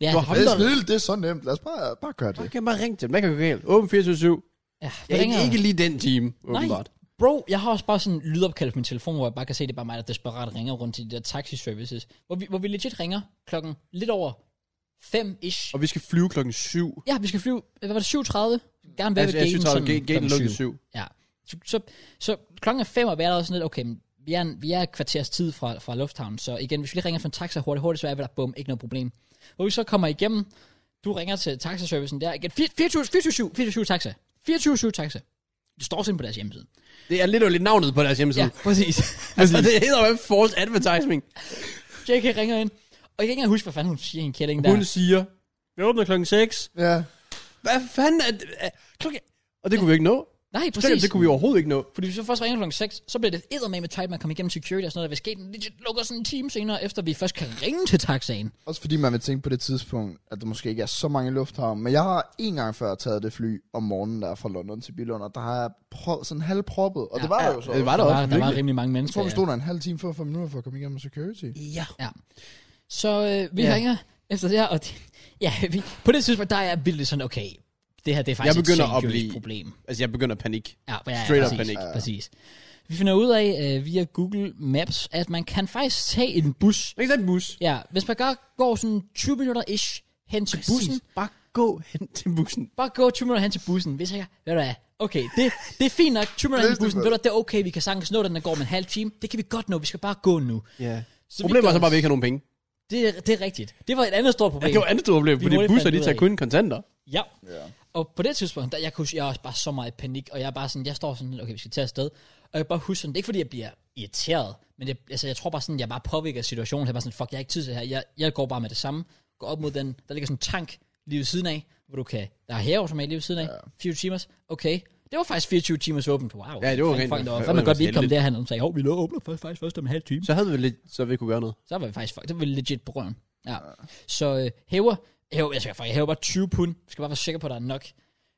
ja,
du har
Det er
Hold da-
snilt, det er så nemt. Lad os bare, bare gøre
Man
det.
kan bare ringe til dem. Man kan gå galt. Åben 24-7.
ja,
Ja, ikke,
ikke,
ikke lige den time, åbenbart.
Bro, jeg har også bare sådan en lydopkald på min telefon, hvor jeg bare kan se, at det er bare mig, der desperat ringer rundt til de der taxi-services. Hvor vi, hvor vi legit ringer klokken lidt over 5-ish.
Og vi skal flyve klokken 7.
Ja, vi skal flyve, øh, hvad var det, 7.30? Gerne være ved
Altså, jeg
gaten
synes,
sådan
at gaten
klokken
lukkede
syv.
7.
Ja. Så, så, så klokken er 5, og vi er allerede sådan lidt, okay, men vi er, en- vi er et kvarters tid fra, fra lufthavnen, så igen, hvis vi lige ringer for en taxa hurtigt, hurtigt, så er vi der, bum, ikke noget problem. Hvor vi så kommer igennem, du ringer til taxaservicen der, igen, 24 24 24 taxa, 24 taxa. Det står simpelthen på deres hjemmeside.
Det er lidt lidt navnet på deres
Ja,
hjemmeside.
præcis.
Altså, det hedder jo en false advertising.
JK ringer ind, og jeg kan ikke engang huske, hvad fanden hun siger, en kælling der.
Hun siger, vi åbner klokken 6.
Ja.
Hvad fanden er det? er- Klokken... Og det kunne vi ikke nå.
Nej,
Præcis.
præcis.
Det kunne vi overhovedet ikke nå.
Fordi hvis vi først ringer klokken 6, så bliver det eddermame med tight, man kommer igennem security og sådan noget, der vil ske. Den legit lukker sådan en time senere, efter vi først kan ringe til taxaen.
Også fordi man vil tænke på det tidspunkt, at der måske ikke er så mange lufthavne. Men jeg har en gang før taget det fly om morgenen, der er fra London til Billund, og der har jeg prøvet sådan halvproppet. Og
Ja,
det var
ja,
der jo så.
det var
der,
også
var, der var
virkelig.
rimelig mange
Jeg
mennesker.
tror, vi stod der en halv time før, fem minutter for at komme igennem security.
Ja.
Så øh, vi
Ja.
ringer efter det her, og det, ja, vi, på det tidspunkt, der er jeg vildt sådan, okay, det her det er faktisk
Jeg begynder
et
at
seriøst
blive-
problem.
Altså, jeg begynder at panik.
Ja, ja, ja,
Straight up
præcis,
panik.
Præcis. Vi finder ud af øh, via Google Maps, at man kan faktisk tage en bus.
Man kan tage en bus.
Ja, hvis man gør, går sådan 20 minutter-ish hen til bussen,
Bare gå hen til bussen.
Bare gå 20 minutter hen til bussen. Hvis jeg, ved du hvad, okay, det, det er fint nok, 20 minutter hen til bussen,
Næste
ved
mand.
du hvad, det er okay, vi kan sagtens nå den, der går om en halv time. Det kan vi godt nå, vi skal bare gå nu.
Ja.
Så vi
Problemet er
gør
så bare, at vi ikke har nogen penge.
Det, er- det er rigtigt. Det var et andet stort problem.
Det var andet problem, fordi
hurtigt
busser,
fandt
de
ud af
tager
det.
kun kontanter.
Ja.
Ja.
Og på det tidspunkt, der, jeg, kunne, huske, jeg er også bare så meget i panik, og jeg er bare sådan, jeg står sådan, okay, vi skal tage afsted. Og jeg kan bare husker sådan, det er ikke fordi, jeg bliver irriteret, men det, altså, jeg tror bare sådan, jeg bare påvirker situationen, så jeg er bare sådan, fuck, jeg har ikke tid til det her, jeg, jeg går bare med det samme, går op mod den, der ligger sådan en tank lige ved siden af, hvor du kan, der er hæve, som er lige ved siden af, ja. 24 timers, okay, det var faktisk 24 timers åbent, wow.
Ja, det var rent-
faktisk. Det var
det
fandme
var
godt, vi ikke kom
heldigt.
derhen, og sagde, hov, vi lå åbner først, faktisk først om en halv time
Så havde vi lidt, så vi kunne gøre noget.
så var vi faktisk, det var vi legit på røven. Ja. Så øh, hæver, hæver, jeg, skal, faktisk- jeg hæver bare 20 pund, jeg skal bare være sikker på, at der er nok.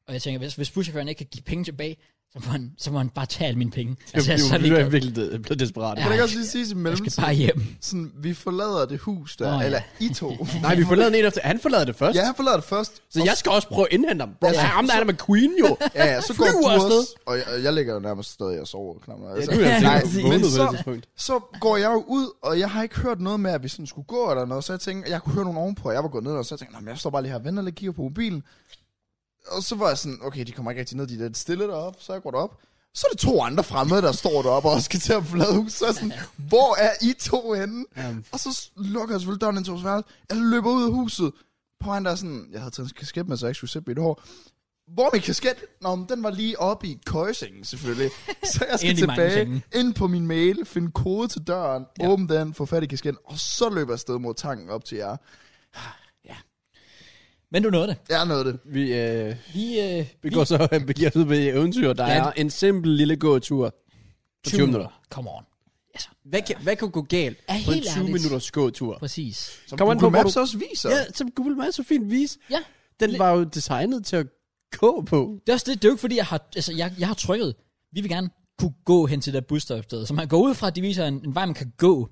Og jeg tænker, hvis, hvis buschaufføren ikke kan give penge tilbage, så må han, så må han bare tage alle mine penge.
Altså,
jeg,
det
så
var,
er
vi
vi
var
ikke-
virkelig de- blevet desperat.
Ja.
Kan det ikke også lige sige i
jeg
mellemtiden?
skal bare hjem.
sådan, vi forlader det hus
Nå,
der, oh,
ja.
ja. eller I to.
Nej, vi forlader den en efter. Han forlader det først.
ja, han forlader det først.
Så jeg skal også prøve at indhente ham. Bro,
Ja,
ja, ham der er med Queen jo.
Ja, ja, så går
Flyver
du
afsted.
også, og jeg, og jeg ligger jo nærmest stadig og sover. Knap, nok. altså.
du er jo
Nej,
sikkert
men
vågnet på
så,
det tidspunkt.
så går jeg jo ud, og jeg har ikke hørt noget med, at vi sådan skulle gå eller noget, så jeg tænkte, jeg kunne høre nogen ovenpå, og jeg var gået ned, og så tænkte jeg, "Nå, men jeg står bare lige her og venter lidt, kigger på mobilen. Og så var jeg sådan, okay, de kommer ikke rigtig ned, de er lidt stille deroppe, så jeg går derop. Så er det to andre fremmede, der står deroppe og også skal til at forlade huset. Så er jeg sådan, hvor er I to henne?
Jamen.
Og så lukker jeg selvfølgelig døren ind til vores værelse. Jeg løber ud af huset. På han der er sådan, jeg havde taget en kasket med, så jeg ikke skulle sætte mit hår. Hvor er min kasket? Nå, men den var lige oppe i køjsengen, selvfølgelig. Så jeg skal
Ind i mangelsengen.
tilbage, ind på min mail, finde kode til døren, ja. åbne den, få fat i kasketten, og så løber jeg afsted mod tanken op til jer.
Men du nåede det.
Jeg nåede det.
Vi, øh,
Vi, øh,
vi går så og begiver os ud på eventyr. Der
Ja.
er en simpel lille gåtur. På 20 minutter.
Come on. Altså,
Hvad kan, hvad kan gå galt
Ja,
på en
helt
20
ærligt.
minutters gåtur?
præcis.
Som
Kommer an på,
Google
hvor
Maps
du-
også viser.
Ja, som Google Maps så fint vise.
Ja,
Den var jo designet til at gå på?
Det er også det, det er jo ikke fordi, jeg har, altså, jeg, jeg har trykket. Vi vil gerne kunne gå hen til det der busstopsted. Så man går ud fra, at de viser en, en vej, man kan gå.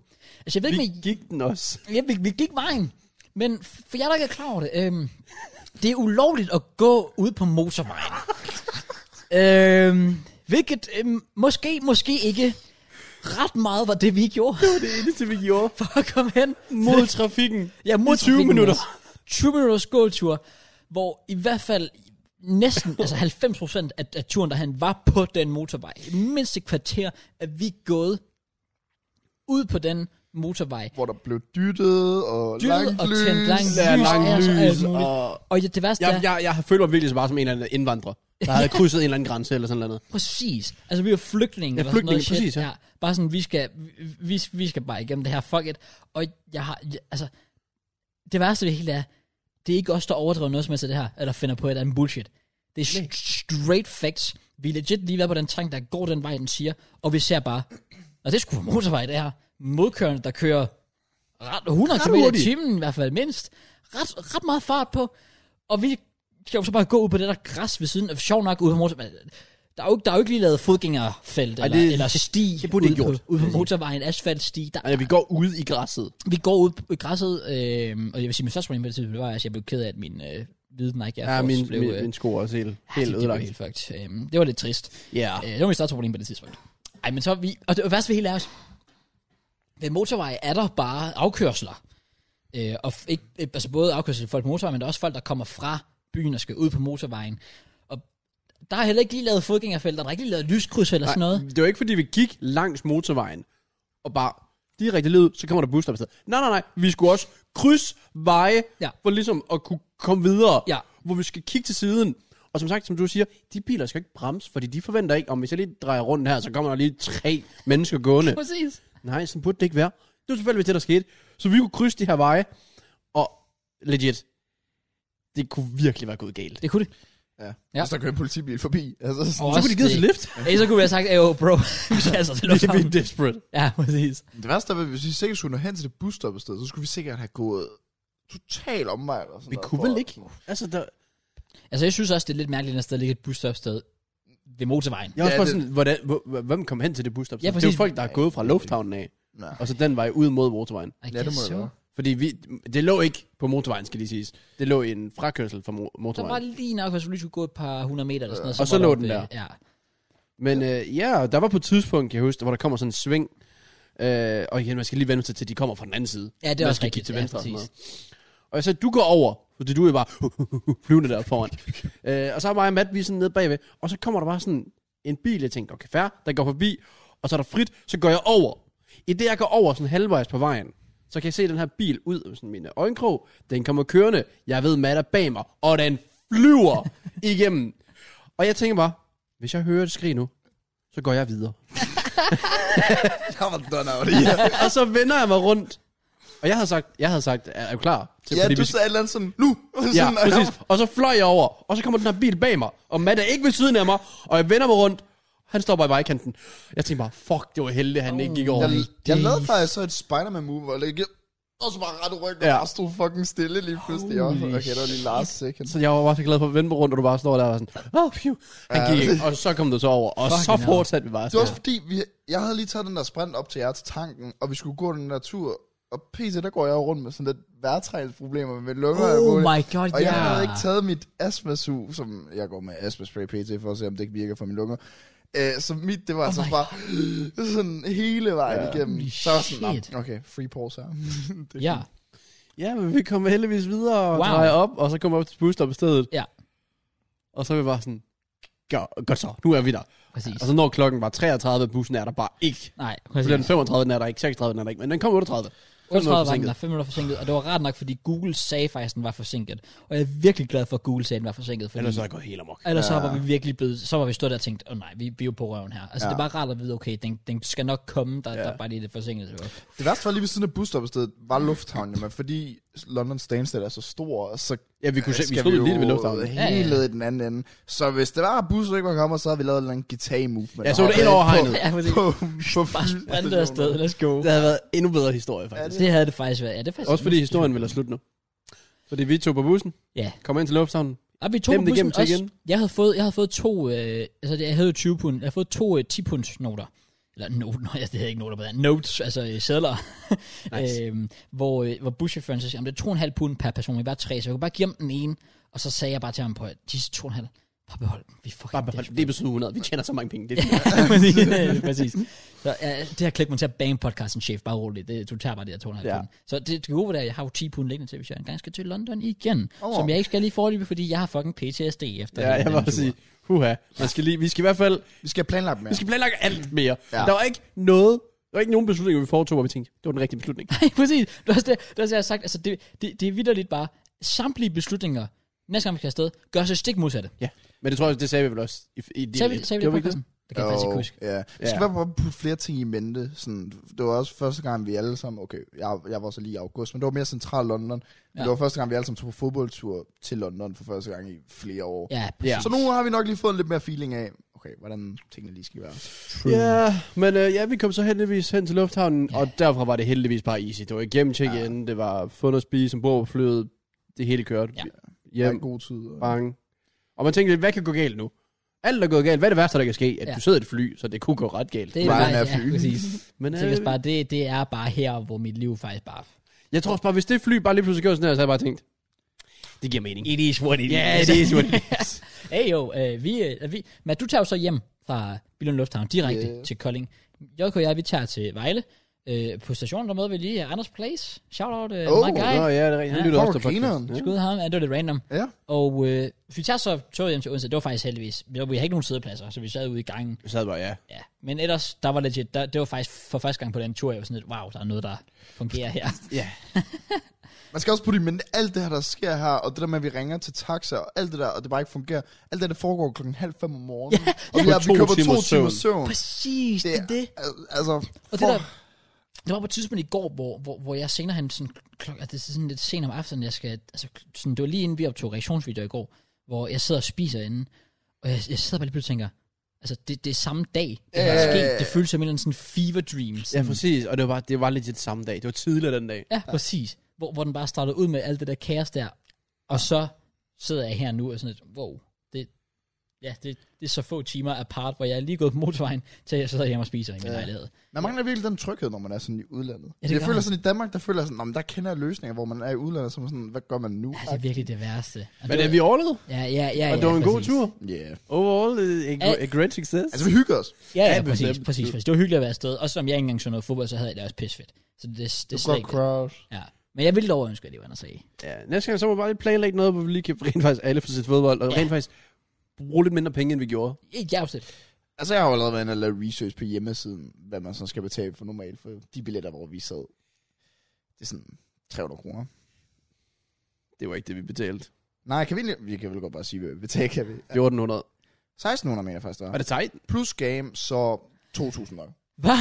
Altså, jeg ved ikke,
Vi
om I-
gik den også.
Ja, vi, vi gik vejen. Men f- for jeg der ikke er klar over det, øhm, det er ulovligt at gå ud på motorvejen. øhm, hvilket øhm, måske, måske ikke ret meget var det, vi gjorde
Det eneste, vi gjorde.
for at komme hen.
Mod trafikken.
Ja, mod
I 20
trafikken
minutter.
også. 20 minutters gåtur, hvor i hvert fald næsten, altså 90 procent af, af turen, der han var på den motorvej, mindst et kvarter, at vi gået ud på den motorvej,
Hvor der blev dyttet og
Dyttet
langt
og
lys.
tændt langt
Der er
Lys
langt
er så alt
lys.
muligt.
Og...
Og ja, det værste
Jeg,
er,
jeg, jeg føler mig virkelig så meget som en eller anden indvandrer, der havde krydset en eller anden grænse eller sådan noget.
præcis. Altså, vi er flygtninge.
Ja,
eller sådan noget
flygtninge, præcis,
Shit.
ja.
Ja. Bare sådan, vi skal, vi- vi, vi skal bare igennem det her, fuck it. Og jeg har, jeg, altså, det værste ved det hele er, det er ikke os, der overdriver noget som helst af det her, eller finder på et eller andet bullshit. Det er st- straight facts. Vi er legit lige været på den trang, der går den vej, den siger, og vi ser bare, og det skulle på motorvej, det her. Modkørende, der kører ret, 100
Ret
km i
hurtigt.
timen, i hvert fald mindst. Ret, ret meget fart på. Og vi skal jo så bare gå ud på det der græs ved siden. Og sjov nok ude på motorvejen. Der er jo, ikke- der er jo ikke lige lavet fodgængerfelt eller,
det-
eller sti
det burde de
ude,
ikke
på,
gjort,
ude på
vil jeg sige.
motorvejen. Asfaltsti. Der,
Altså, vi går ud i græsset.
vi går ud i græsset. Øh, og jeg vil sige, min største problem på det tidspunkt, det var, at jeg blev ked af, at min øh, hvide Nike Air
Ja,
Force
min,
blev...
min,
øh,
min sko er også helt,
ja,
helt
de- de blev
ødelagt.
helt fucked. Øhm, det var lidt trist.
Ja.
Øh, det var mit største problem på det tidspunkt. Ej, men så er vi... Og det værste ved hele er også, ved motorveje er der bare afkørsler. Øh, og f- ikke, øh, altså både afkørsler til folk på motorvejen, men der er også folk, der kommer fra byen og skal ud på motorvejen. Og der er heller ikke lige lavet fodgængerfelter, der er ikke lige lavet lyskryds eller sådan
Nej,
noget.
Det var ikke, fordi vi gik langs motorvejen og bare direkte lige ud, så kommer der busstop sted. Nej, nej, nej. Vi skulle også krydse veje
Ja.
ja. for ligesom at kunne komme videre.
Ja.
Hvor vi skal kigge til siden. Og som sagt, som du siger, de biler skal ikke bremse, fordi de forventer ikke, om hvis jeg lige drejer rundt her, så kommer der lige tre mennesker gående.
Præcis.
Nej, sådan burde det ikke være. Det var selvfølgelig det, der skete. Så vi kunne krydse de her veje, og legit, det kunne virkelig være gået galt.
Det kunne det.
Ja.
Ja.
ja. Så der kører en politibil forbi. Altså, sådan,
Og
Så kunne de give os et lift.
Ej, så kunne vi have sagt, "Ey, oh, bro, vi skal altså til
Vi
lufthavnen.
er desperate.
Ja, præcis.
Det værste var, at hvis vi sikkert skulle nå hen til det busstoppested, så skulle vi sikkert have gået total omvej eller sådan
Vi
noget,
kunne
for-
vel ikke. Altså, der,
Altså, jeg synes også, det er lidt mærkeligt, at der stadig ligger et busstopsted ved motorvejen.
Jeg er også
Ja,
bare
det-
sådan, hvordan, hvor- hvor- hvem kom hen til det busstop?
Ja,
Ja, det er jo
præcis.
folk, der er gået fra lufthavnen af,
Nej.
og så den vej ud mod motorvejen.
I
Ja, det må
guess
det
so.
være.
Fordi vi, det lå ikke på motorvejen, skal lige siges. Det lå i en frakørsel fra mo-
Der var
motorvejen.
lige nok, hvis du lige skulle gå et par hundrede meter eller sådan noget.
Øh, Og så
var
lå
der-
den der.
Ja.
Men øh, ja, der var på et tidspunkt, kan jeg huske, hvor der kommer sådan en sving. Øh, og igen, man skal lige vende sig til, at de kommer fra den anden side.
Ja, det er
man
også
skal
rigtigt.
kigge til
Ja,
venstre og sådan
præcis.
noget. Og jeg sagde, du går over, fordi du er bare flyvende der foran. øh, og så er mig og Matt, vi er sådan nede bagved, og så kommer der bare sådan en bil, jeg tænkte, okay, fair, der går forbi, og så er der frit, så går jeg over. I det, jeg går over sådan halvvejs på vejen, så kan jeg se den her bil ud af sådan mine øjenkrog. Den kommer kørende, jeg ved, Matt er bag mig, og den flyver igennem. Og jeg tænker bare, hvis jeg hører et skrig nu, så går jeg videre.
Jeg var done out. Ja,
og så vender jeg mig rundt. Og jeg havde sagt, jeg havde sagt, er er du klar? Til,
ja
fordi
du
vi-
sagde et eller andet sådan, nu!
ja,
sådan,
præcis. Og så fløj jeg over, og så kommer den her bil bag mig, og Matt er ikke ved siden af mig, og jeg vender mig rundt, han står bare i vejkanten. Jeg tænkte bare, fuck, det var heldigt, at han oh, ikke gik over.
Jeg, jeg lavede faktisk så et Spider-Man move, hvor jeg gik- og så bare ret ryggen,
Ja.
ja. og bare stod fucking stille lige pludselig. Jeg var sådan, Okay, der var lige last second.
Så jeg var bare så glad for at vende mig rundt, og du bare står der og var sådan, oh, phew. Han
Ja.
gik ikke, og så kom du så over, og
Fucking
så
hell.
fortsatte vi bare.
Det var også fordi, vi, jeg havde lige taget den der sprint op til jer til tanken, og vi skulle gå den der tur. Og PC, der går jeg jo rundt med sådan lidt værtrænsproblemer med lunger og alt
Oh
muligt.
my god,
Og
ja.
jeg havde ikke taget mit astmasu, som jeg går med astmaspray pt. for at se, om det ikke virker for mine lunger. Øh, så mit, det var oh så
my
bare sådan hele vejen ja. igennem.
Holy
så var jeg sådan,
shit.
"Nå, okay, free pause her. det er
Ja,
fint.
Ja, men vi kom heldigvis videre og
Wow.
wow. drejer op, og så kom vi op til busstoppestedet.
Ja.
Og så var vi bare sådan, "Gør- godt så, nu er vi der.
præcis.
Og så når klokken var 33, bussen er der bare ikke.
Nej,
Så
præcis.
bliver Altså, den 35, den er der ikke, 36, den er der ikke, men den kom 38.
38 var den der, 5 minutter forsinket, og det var ret nok, fordi Google sagde faktisk, at den var forsinket. Og jeg er virkelig glad for, at Google sagde, at den var forsinket. Fordi,
Ellers så er jeg gået helt amok.
ellers så var vi virkelig blevet, så var vi stået der og tænkt, åh oh, nej, vi, vi er jo på røven her. Altså
Ja.
det var rart at vide, okay, den, den skal nok komme, der, der er bare lige det forsinkelse.
Det værste var lige ved siden af busstoppestedet, var lufthavnen, men fordi London Stansted er så stor, og så
Ja, vi kunne se, vi
skal
stod
jo
lige ved lufthavnen.
Hele
Ja, ja, ja.
i den anden ende. Så hvis det var, at bussen ikke var kommet, så havde vi lavet en eller anden guitar movement.
Ja, så var det ind over hegnet.
Ja, præcis.
På, på,
Bare sprinte afsted, let's go.
Det havde været endnu bedre historie, faktisk.
Det havde det faktisk været. Ja, det er faktisk
Også fordi historien ville have slut nu. Fordi vi tog på bussen,
Ja.
kom ind til lufthavnen,
Ej, vi tog
Dem
på
det igennem
bussen
til
også.
igen.
Jeg havde fået, jeg havde fået to, øh, altså det- jeg havde jo 20 pund, jeg havde fået to øh, 10 punds noter. Eller note, nej, det havde ikke noter på det. Notes, altså øh, sædler.
Nice.
Nice. øhm, hvor, øh, hvor buschaufføren så siger, "Jamen, det er 2,5 pund per person, vi er bare tre, så jeg kunne bare give ham den ene. Og så sagde jeg bare til ham på, at de 2,5, bare behold den, vi er fucking
Bare behold, det er episode 100. Vi tjener så mange penge. Det er
præcis. Ja, præcis. Så, ja, det har klædt mig til at bange podcasten, chef. Bare roligt. Det, du tager bare det her 200
Ja.
ja. pund. Så det, det gode ved det er, at jeg har jo 10 pund liggende til, hvis jeg engang skal til London igen.
Åh.
Oh. Som jeg ikke skal lige forløbe, fordi jeg har fucking PTSD efter
ja,
hele
jeg
den
må også
tur.
sige, huha. Man skal lige, vi skal i hvert fald,
Vi skal planlægge mere.
vi skal planlægge alt mere.
Ja.
Der var ikke noget, der var ikke nogen beslutninger, vi foretog, hvor vi tænkte, det var den rigtige beslutning.
Nej, præcis. Det er også det, det, er også det jeg har sagt. Altså, det, det, det er vidderligt bare. Samtlige beslutninger, næste gang vi skal afsted, gør sig stik modsatte.
Ja. Men det tror jeg, det sagde vi vel også i, i din
Sagde vi, sagde vi det
Gjorde
på podcasten? Det kan jeg faktisk ikke huske.
Ja. Vi skal
Ja.
bare prøve at putte flere ting i mente. Sådan, det var også første gang, vi alle sammen... Okay, jeg, jeg var så lige i august, men det var mere central London. Men
Ja.
det var første gang, vi alle sammen tog på fodboldtur til London for første gang i flere år.
Ja,
Ja.
Så nu har vi nok lige fået lidt mere feeling af, okay, hvordan tingene lige skal være.
Ja, men øh, ja, vi kom så heldigvis hen til lufthavnen, og derfra var det heldigvis bare easy. Det var igennem check in, det var fundet at spise, som bor på flyet, det hele kørte.
Ja.
Ja, en
Hjem,
god tid. og-
bang. Og man tænkte, hvad kan gå galt nu? Alt er gået galt. Hvad er det værste, der kan ske? At
Ja.
du sidder i et fly, så det kunne gå ret galt.
Det er
Ryan
bare,
er
ja,
fyn.
præcis.
men, øh,
Jeg tænker bare, det, det er bare her, hvor mit liv faktisk bare...
jeg tror også bare, hvis det fly bare lige pludselig gjorde sådan her, så havde jeg bare tænkt, det giver mening.
It is what it
Ja, det er what it is.
Hey jo, øh, vi, øh, vi, men du tager jo så hjem fra Billund Lufthavn direkte
Yeah.
yeah. til Kolding. JK og jeg, vi tager til Vejle. Øh, på stationen, der møder vi lige øh, Anders Place. Shout out, øh,
Oh,
oh, my guy.
Nå, ja, det er rigtigt. Han
Ja.
lytter også
Fuck,
til podcasten.
grineren.
Ja.
Skud ham, ja, det var lidt random.
Ja.
Og øh, vi tager så toget hjem til Odense. Det var faktisk heldigvis. Vi vi havde ikke nogen sædepladser, så vi sad ude i gangen.
Jeg sad bare, ja.
Ja. Men ellers, der var legit, der, det var faktisk for første gang på den tur, jeg var sådan lidt, wow, der er noget, der fungerer her.
Man skal også putte i mente alt det her, der sker her, og det der med, at vi ringer til taxa, og alt det der, og det bare ikke fungerer. Alt det, der foregår klokken halv fem om morgenen. Ja, og vi,
På
har,
to
vi køber
timers
to
søvn.
timers søvn.
Præcis, det er det.
al- Altså,
Og det
for,
der, det var på et tidspunkt i går, hvor, hvor, hvor jeg senere hen, sådan, klok, altså, det er sådan lidt sent om aftenen, jeg skal, altså, sådan, det var lige inden vi optog reaktionsvideoer i går, hvor jeg sidder og spiser inden, og jeg, jeg sidder bare lige pludselig og tænker, altså det, det er samme dag, det her
Ja,
er
ja, ja, ja.
sket, det føles som en eller anden sådan fever dream.
Ja,
Sådan.
præcis. Og det var, det var lidt det samme dag. Det var tidligere den dag.
ja, præcis. Hvor, hvor den bare startede ud med alt det der kaos der, og så sidder jeg her nu og sådan lidt, wow, det, ja, det, det er så få timer apart, hvor jeg er lige gået på motorvejen, til jeg sidder hjemme og spiser i min
Ja.
lejlighed. Altså,
man mangler virkelig den tryghed, når man er sådan i udlandet. Ja,
det
jeg
gør
føler
man.
sådan i Danmark, der føler jeg sådan, "Nå, men der kender jeg løsninger, hvor man er i udlandet, som sådan, hvad gør man nu?
Ja, det er virkelig det værste. Og
Men
det-
er vi overlevede?
Ja, ja, ja.
Og
ja,
det var en god
præcis.
tur.
Yeah.
Overall, øh, a,
gr-
a great success.
Altså, vi hygger os.
Ja,
Ja,
ja, præcis,
bestemt.
præcis, præcis. Det var hyggeligt at være afsted. Også som jeg ikke engang så noget fodbold, så havde jeg det også pissefedt. Så det, det, det er
Det
slet
godt
ikke det.
crowd.
Ja. Men jeg ville dog ønske, at det var andet at sige.
ja, næste gang, så må vi bare lige planlægge noget, hvor vi lige kan rent faktisk alle for sit fodbold, og
Ja.
rent faktisk bruge lidt mindre penge, end vi gjorde.
Ikke jeg afsted.
Altså, jeg har jo allerede været inde og lavet research på hjemmesiden, hvad man så skal betale for normalt for de billetter, hvor vi sad. Det er sådan 300 kroner.
Det var ikke det, vi betalte.
Nej, kan vi, egentlig- vi kan vel godt bare sige, hvad vi betaler, kan vi?
1400.
1600 mener jeg faktisk, det
Var
var.
det tight?
Plus game, så 2000 nok.
Hvad?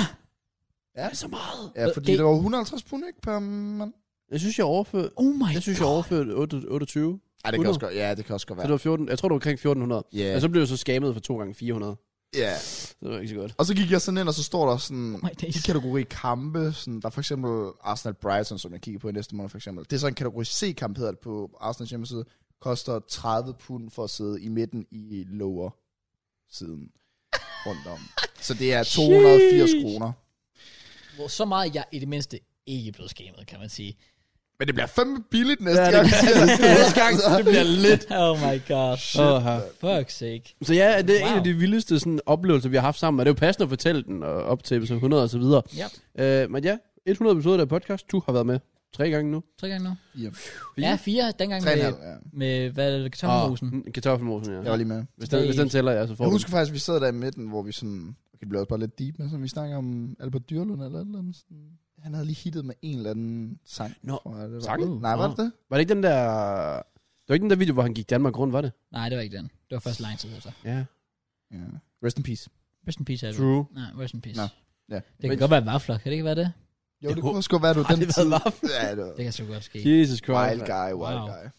Ja.
så meget.
Ja,
Øh,
fordi
det-
det var 150 pund, ikke? Per mand.
Jeg synes, jeg overførte...
Oh my
Jeg synes, jeg
god.
overførte 8 28.
Ej, det kan også godt, ja, det kan også godt
Så
være.
det var 14, jeg tror, det var omkring 1400.
Ja.
Og så blev jeg så skammet for 2 gange 400.
Ja.
Det var ikke så godt.
Og så gik jeg sådan ind, og så står der sådan
Oh my
Oh
days.
i kategori kampe. Sådan, der er for eksempel Arsenal Brighton, som jeg kigger på i næste måned for eksempel. Det er så en kategori C-kamp, hedder det på Arsenals hjemmeside. Koster 30 pund for at sidde i midten i lower siden rundt om. Så det er 280
Sheesh.
kroner.
Hvor så meget jeg i det mindste ikke blev skammet, kan man sige.
Men det bliver fandme billigt næste
Ja, det
gang.
Næste gang, det bliver lidt.
Oh my god.
Åh, her.
Fuck's sake.
Så ja, det er wow. en
Wow.
af de vildeste sådan, oplevelser, vi har haft sammen. Og det er jo passende at fortælle den og op til episode 100 og så videre.
Ja,
Øh, men ja, 100 episoder af podcast. Du har været med tre gange nu.
tre gange nu.
Ja.
Ja, fire. Dengang
Tre og en
med,
halv, ja.
med hvad er det, kartonhusen.
Mm, Kartoffelmosen, ja.
Jeg var lige med.
Hvis den, hvis den tæller, ja, så får
Jeg
du
husker faktisk, at vi sad der i midten, hvor vi sådan... Okay, det blev også bare lidt deep, men sådan, vi snakker om Albert Dyrlund eller et eller andet. Sådan, han havde lige hittet med en eller anden sang.
Nå,
tror jeg, det var.
sangen?
Nej, var
Nå.
det det?
den. Var det ikke den der... Det var ikke den der video, hvor han gik Danmark rundt, var det?
Nej, det var ikke den. Det var først lang tid efter.
Ja.
Ja. Rest in peace.
Rest in peace, Albert.
True.
Nej, rest in peace.
Nå, ja.
Det kan
Men-
godt være vafler, kan det ikke være det?
Jo,
Jeg
det
håber-
kunne også godt være, at du
Har
den
det
tid.
været love?
Ja, det var.
Det kan så godt ske.
Jesus Christ.
Wild guy, wild
Wow.
guy.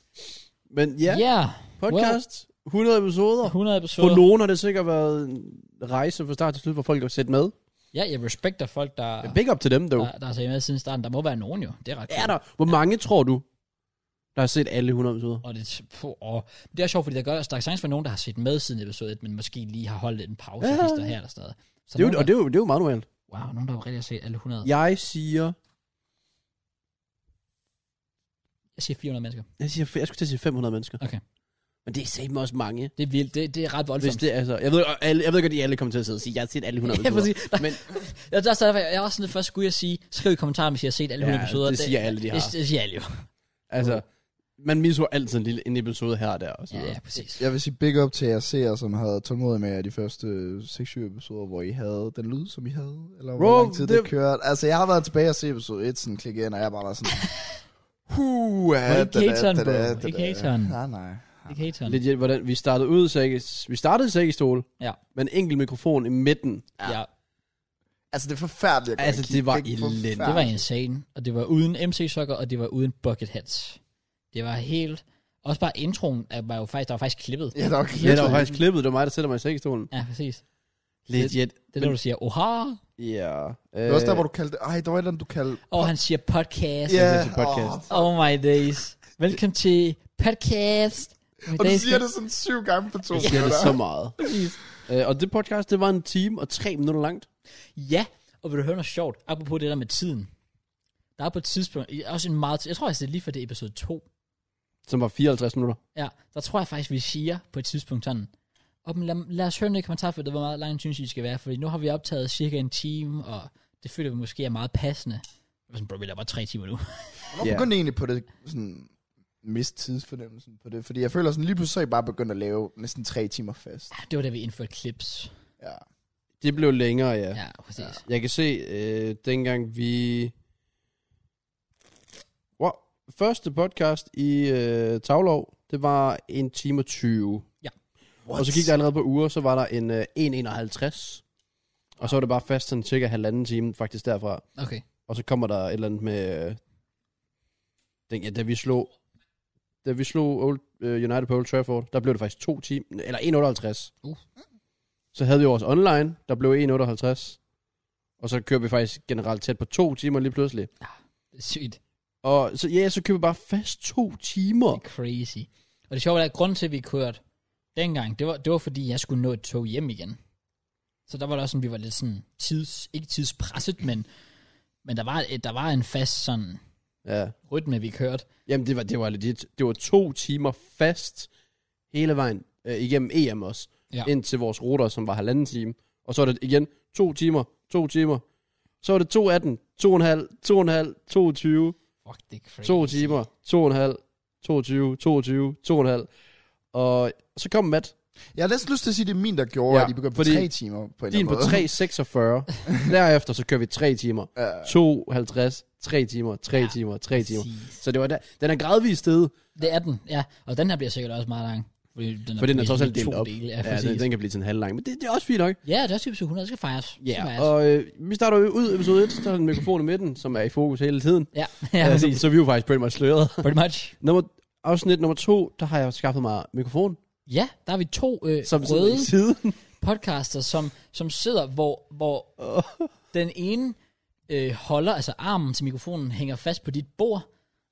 Men ja,
Ja, yeah.
podcast. 100 episoder.
100
For
episoder.
nogen har det sikkert været en rejse fra start til slut, hvor folk har set med.
Ja, jeg respekter folk, der...
Men Big up til dem, dog.
Der, der har set med siden starten. Der må være nogen jo. Det er ret
Er
cool.
der? Hvor mange tror du, Der har set alle 100 episoder.
Og det, puh, og det er sjovt, fordi der gør, at der er sagtens for nogen, der har set med siden episode 1, men måske lige har holdt en pause
Ja.
ja. hister her eller sådan noget. Så
Det er jo,
nogen,
og det er jo, det er jo meget normalt.
der, wow, nogen, der rigtig har set alle 100. Ja.
Jeg siger...
Jeg siger 400 mennesker.
Jeg, siger, jeg skulle til at sige 500 mennesker.
Okay.
Men det er satme også mange.
Det er vildt. Det, det er ret voldsomt.
Hvis det, altså, jeg, ved, og alle, jeg ved godt, at I alle kommer til at sidde og sige, jeg har set alle 100
ja,
episoder.
præcis. Der,
Men
jeg, der, der, jeg var sådan lidt først, skulle jeg sige, skriv i kommentaren, hvis jeg har set alle
Ja,
100 episoder.
det siger alle, de har.
Det, det siger alle jo.
altså, man misser altid en, lille, en episode her og der. Og så
Ja,
videre.
ja, præcis.
Jeg vil sige big up til jer seere, som havde tålmodighed med jer de første øh, 6-7 episoder, hvor I havde den lyd, som I havde, eller hvor
Bro,
lang tid det,
det-
det kørte. Altså, jeg har været tilbage og se episode 1, sådan klik ind, og jeg er bare der sådan... Huh,
Må
ja,
ikke hateren, bro. Ikke hateren.
Nej, nej.
Ikke hateren.
Legit, hvordan vi startede ud, så ikke, vi startede i sækkestol,
Ja.
med en enkelt mikrofon i midten.
Ja,
Altså, det er forfærdeligt. at gå
Altså,
og kigge.
det var
er
elendigt.
forfærdeligt.
det var insane. Og det var uden MC-sokker, og det var uden bucket hats. Det var helt... Også bare introen er- var jo faktisk, der var faktisk klippet.
Ja,
Ja,
der var
der var
klippet.
faktisk klippet, det var mig, der sætter mig i sækkestolen.
Ja, præcis.
Legit.
Det er der, du siger, oha,
Ja. Øh,
Det var også der, hvor du kaldte... Ej, der var et eller andet, du kaldte...
og han siger podcast.
Ja.
Yeah.
det er til podcast.
åh,
Oh my days. Velkommen til podcast. Med
og du
days-
siger det sådan syv gange på to
Jeg siger det så
minutter.
meget. øh, og det podcast, det var en time og tre minutter langt.
Ja, og vil du høre noget sjovt? Apropos det der med tiden. Der er på et tidspunkt, i- også en meget, jeg tror faktisk, det er lige for det er episode 2.
Som var 54 minutter.
Ja, der tror jeg faktisk, vi siger på et tidspunkt sådan, og men lad, lad, os høre noget i kommentarfeltet, hvor meget langt synes I det skal være, fordi nu har vi optaget cirka en time, og det føler vi måske er meget passende. Jeg var sådan, bro, vi laver bare tre timer nu.
Hvornår
Ja.
yeah. begyndte I egentlig på det sådan miste tidsfornemmelsen på det? Fordi jeg føler sådan lige pludselig, så er I bare begyndt at lave næsten tre timer fast.
det var da vi indførte clips.
Ja.
Det blev længere, ja.
Ja, præcis.
Jeg kan se, øh, dengang vi... Wow. Første podcast i øh, Tavlov, det var en time og 20.
What?
Og så gik der allerede på uger, så var der en øh, 1,51. Og så var det bare fast sådan cirka halvanden time faktisk derfra.
Okay.
Og så kommer der et eller andet med... Øh, den, ja, da vi slog... Da vi slog Old, øh, United på Old Trafford, der blev det faktisk to timer... Eller 1,58.
Uh.
Så havde vi vores online, der blev 1,58. Og så kører vi faktisk generelt tæt på to timer lige pludselig.
Det er sygt.
Og så, ja, så kører vi bare fast to timer.
Det er crazy. Og det sjove er, at grunden til, at vi kørte dengang, det var, det var fordi, jeg skulle nå et tog hjem igen. Så der var det også sådan, vi var lidt sådan tids, ikke tidspresset, men, men der, var, et- der var en fast sådan
Ja.
rytme, vi kørte.
Jamen, det var, det var legit. Det var to timer fast hele vejen øh, igennem EM også.
Ja.
Ind til vores ruter, som var halvanden time. Og så er det igen to timer, to timer. Så er det 2.18, 2.5, 2.5, 22,
Fuck, det er crazy.
2 timer, 2.5, 22, 22, 2.5. Og så kom Matt,
Jeg har næsten lyst til at sige, at det er min, der gjorde,
Ja,
ja, at I begyndte på
fordi
tre timer på en
din på
eller anden
3.46. Derefter så kører vi 3 timer,
måde. Ja.
2.50, 3 timer, 3
Ja.
timer, 3 timer.
Præcis.
Så det var der. Den er gradvist stedet,
Det er den, ja. Og den her bliver sikkert også meget lang. Fordi den
for den er
delt
trods
i
alt delt
to
op.
Dele, ja,
Ja,
præcis.
den, den kan blive sådan halvlang, men det, det er også fint nok.
ja, det er også typisk 100, det skal fejres. Det skal
Ja,
fejres.
yeah. og øh, vi starter jo ud i episode 1, der er en mikrofon i midten, som er i fokus hele tiden.
ja, ja,
Øh,
præcis.
så, så vi er jo faktisk pretty much sløret.
Pretty much.
Nummer, afsnit nummer 2, der har jeg skaffet mig mikrofon,
Ja, der er vi to øh,
som sidder
røde
i siden.
podcaster, som, som sidder, hvor, hvor den ene øh, holder, altså armen til mikrofonen hænger fast på dit bord,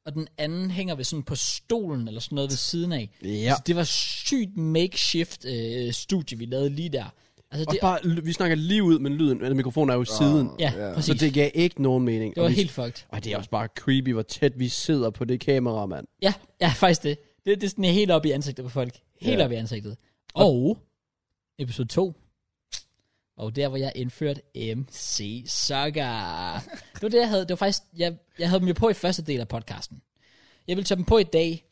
og den anden hænger ved sådan på stolen eller sådan noget ved siden af.
Ja.
Så det var sygt makeshift øh, studie, vi lavede lige der. Altså
Og
det,
bare, ly- vi snakker lige ud, men lyden, eller mikrofonen er jo i siden.
ja,
ja.
præcis.
Så det gav ikke nogen mening.
det var
og vi,
helt fucked.
Og det er også bare creepy, hvor tæt vi sidder på det kamera, mand.
Ja, ja, faktisk det. Det, det er sådan helt op i ansigtet på folk. Helt
Ja.
op i ansigtet. Og episode 2. Og der, hvor jeg indførte MC Sucker. Det var det, jeg havde. Det var faktisk, jeg, jeg havde dem jo på i første del af podcasten. Jeg ville tage dem på i dag,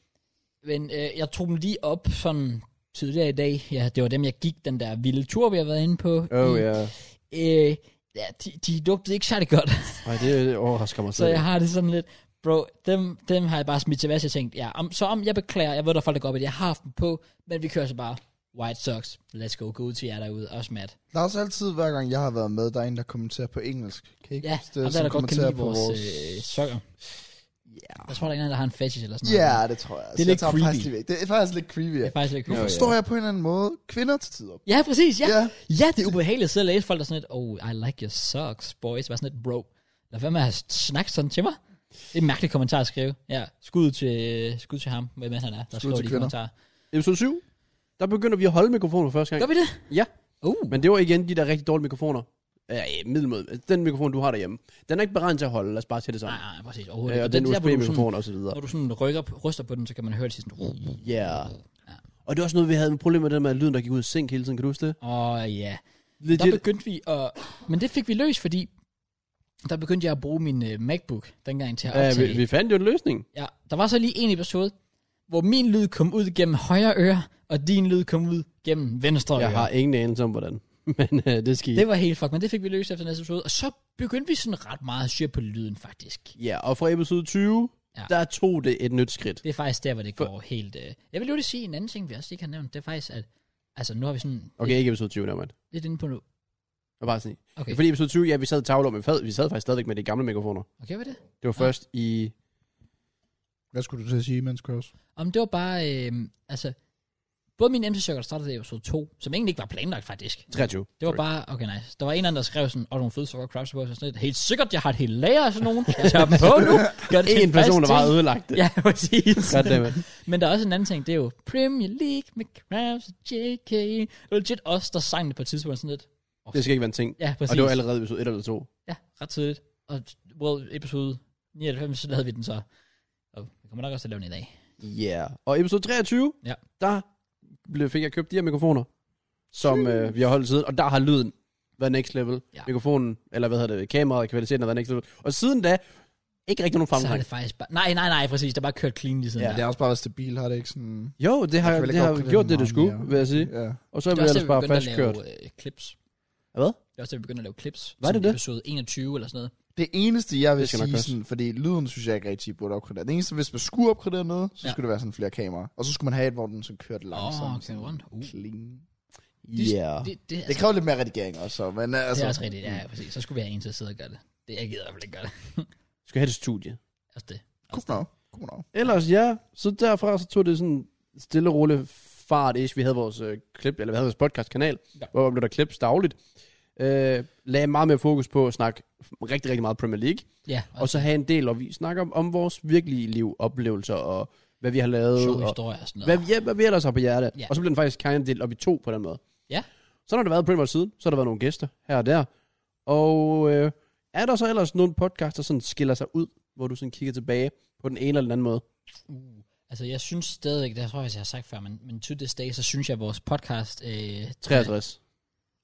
men øh, jeg tog dem lige op sådan tidligere i dag. Ja, det var dem, jeg gik den der vilde tur, vi har været inde på.
Oh
i,
ja. Yeah.
øh, ja, de, de lugtede ikke særlig godt.
Ej, det, det overrasker mig
Så
slet
jeg
ikke.
har det sådan lidt, bro, dem, dem har jeg bare smidt til vask. Jeg tænkte, ja, om, så om jeg beklager, jeg ved, der er folk, der går op i det. Jeg har haft dem på, men vi kører så bare White Sox. Let's go, gå ud til jer derude, også Matt.
Der er også altid, hver gang jeg har været med, der er en, der kommenterer på engelsk. Kan I ikke
Ja,
huske
det, og der er
Som
der godt kan lide
kommenterer på
vores, øh, sokker.
Ja,
Jeg tror, der er en anden, der har en fetish eller
øh,
sådan noget.
yeah, det tror jeg.
Det er
Så jeg
lidt
tager dem
creepy.
Faktisk lige væk. Det er faktisk lidt creepy.
Det
Ja.
er faktisk lidt
Nå,
cool.
ja.
Forstår jeg på en eller anden måde kvinder til tider?
Ja, præcis, ja.
ja.
Ja, det er ubehageligt at sidde og læse folk, der er sådan lidt, oh, I like your socks, boys. Bare sådan lidt, bro, lad være med at snakke sådan til mig. Det er en mærkelig kommentar at skrive. Ja, skud til, øh, skud til ham, hvem end han er, der
Skud
skriver
til
de
kvinder.
kommentarer.
Episode 7, der begynder vi at holde mikrofonen for første gang.
Gør vi det?
Ja.
Uh,
Men det var igen de der rigtig dårlige mikrofoner. Øh, middelmåde. Den mikrofon, du har derhjemme. Den er ikke beregnet til at holde, lad os bare sige det
nej,
sådan.
nej, præcis.
Øh,
Overhovedet.
og
ikke.
den
Det er der, hvor du sådan-
USB-mikrofon og så videre.
Når du sådan rykker, på- ryster på den, så kan man høre det sådan...
Ja. Og det var også noget, vi havde et problem med, det der med at lyden, der gik ud af sink hele tiden. Kan du huske det?
Åh, oh, ja. Der
Legit.
begyndte vi at... Men det fik vi løs, fordi... Der begyndte jeg at bruge min uh, MacBook dengang til at
Ja,
optage.
vi, vi fandt jo en løsning.
Ja, der var så lige en episode, hvor min lyd kom ud gennem højre øre, og din lyd kom ud gennem venstre øre.
Jeg har ingen anelse om, hvordan. Men øh, det skal I.
Det var helt fuck, men det fik vi løst efter næste episode. Og så begyndte vi sådan ret meget at styre på lyden, faktisk.
Ja, og fra episode 20,
Ja.
ja. der tog det et nyt skridt.
Det er faktisk der, hvor det går helt... Øh... Jeg vil jo lige sige en anden ting, vi også ikke har nævnt. Det er faktisk, at... Altså, nu har vi sådan
Okay, ikke episode 20, nærmere.
lidt, lidt inde på nu.
Jeg var bare sådan.
Okay,
Okay. Fordi episode 20, ja, vi sad i tavler, men fad, vi sad faktisk stadigvæk med de gamle mikrofoner.
okay hvad er det?
Det var
Ja.
først i...
Hvad skulle du til at sige, mens Cross?
Om det var bare... Øh... Altså, både min MC Circle startede i episode 2, som egentlig ikke var planlagt, faktisk.
23.
Det var bare, okay nice. Der var en eller anden, der skrev sådan, åh, nogle fede sukker crabs på, og sådan lidt, helt sikkert, jeg har et helt lager af sådan nogen. Jeg tager dem på nu. Gør det til
En person, der
fast
bare
ting.
ødelagt det.
Ja, præcis.
Goddammit.
Men der er også en anden ting, det er jo Premier League med Krabs og JK. Det var legit os, der sang det på et tidspunkt sådan lidt.
Det skal ikke være en ting.
Ja, præcis.
Og det var allerede episode 1 eller 2.
Ja, ret tidligt. Og well, episode 99, så lavede vi den så. Og vi kommer nok også til at lave den i dag.
Ja. Yeah. Og episode 23,
Ja.
der blev, fik jeg købt de her mikrofoner, som øh, vi har holdt siden. Og der har lyden været next level.
Ja.
Ja. Mikrofonen, eller hvad hedder det, kameraet og kvaliteten har været next level. Og siden da, ikke rigtig nogen
Så har
fremgang.
det faktisk bare... Nej, nej, nej, præcis. Det har bare kørt clean lige siden
Ja.
der.
Det har også bare været stabil, har det ikke sådan...
Jo, det har,
Jeg føler
det
ikke,
har
jeg har
gjort det, det
meget
skulle,
mere.
vil jeg sige.
Ja.
Og så
Det er også,
er vi ellers
der, vi
bare
begyndte at
fastkørt.
lave øh, clips.
Hvad?
Det er også, der, vi begyndte at lave clips.
Var
sådan
det det?
Episode 21 eller sådan noget.
Det eneste, jeg vil
Det skal nok
sige,
passe.
sådan, fordi lyden synes jeg ikke rigtig burde opgradere. Det eneste, hvis man skulle opgradere noget, så
Ja.
ja. skulle det være sådan flere kameraer. Og så skulle man have et, hvor den sådan kørte langsomt.
okay,
sådan
rundt. Uh.
Clean.
Ja.
Det, det, det, altså,
Det kræver lidt mere redigering også, så, men altså...
det er også rigtigt.
Mm.
Ja, ja, præcis. Så skulle vi have en til at sidde og gøre det. Det jeg gider i hvert fald ikke gøre det.
Skal have det studie.
Også det.
Cool now. Cool now.
Ellers ja, så derfra så tog det sådan stille og roligt fart ish. Vi havde vores øh, klip, eller vi havde vores podcastkanal,
Ja.
ja. hvor blev der klips dagligt. Øh, lagde meget mere fokus på at snakke rigtig, rigtig meget Premier League.
Ja,
Og så have en del, hvor vi snakker om, om vores virkelige liv, oplevelser og hvad vi har lavet.
sjove
og,
historier og sådan noget.
hvad, ja, hvad vi ellers har på hjerte.
Ja.
Ja. Og så blev den faktisk kind delt op i to på den måde.
Ja.
Så har der været Premier siden, så har der været nogle gæster her og der. Og øh, er der så ellers nogle podcasts, der sådan skiller sig ud, hvor du sådan kigger tilbage på den ene eller den anden måde?
Uh, altså, jeg synes stadigvæk, det tror jeg, jeg har sagt før, men, men to this day, så synes jeg, at vores podcast... Øh,
63.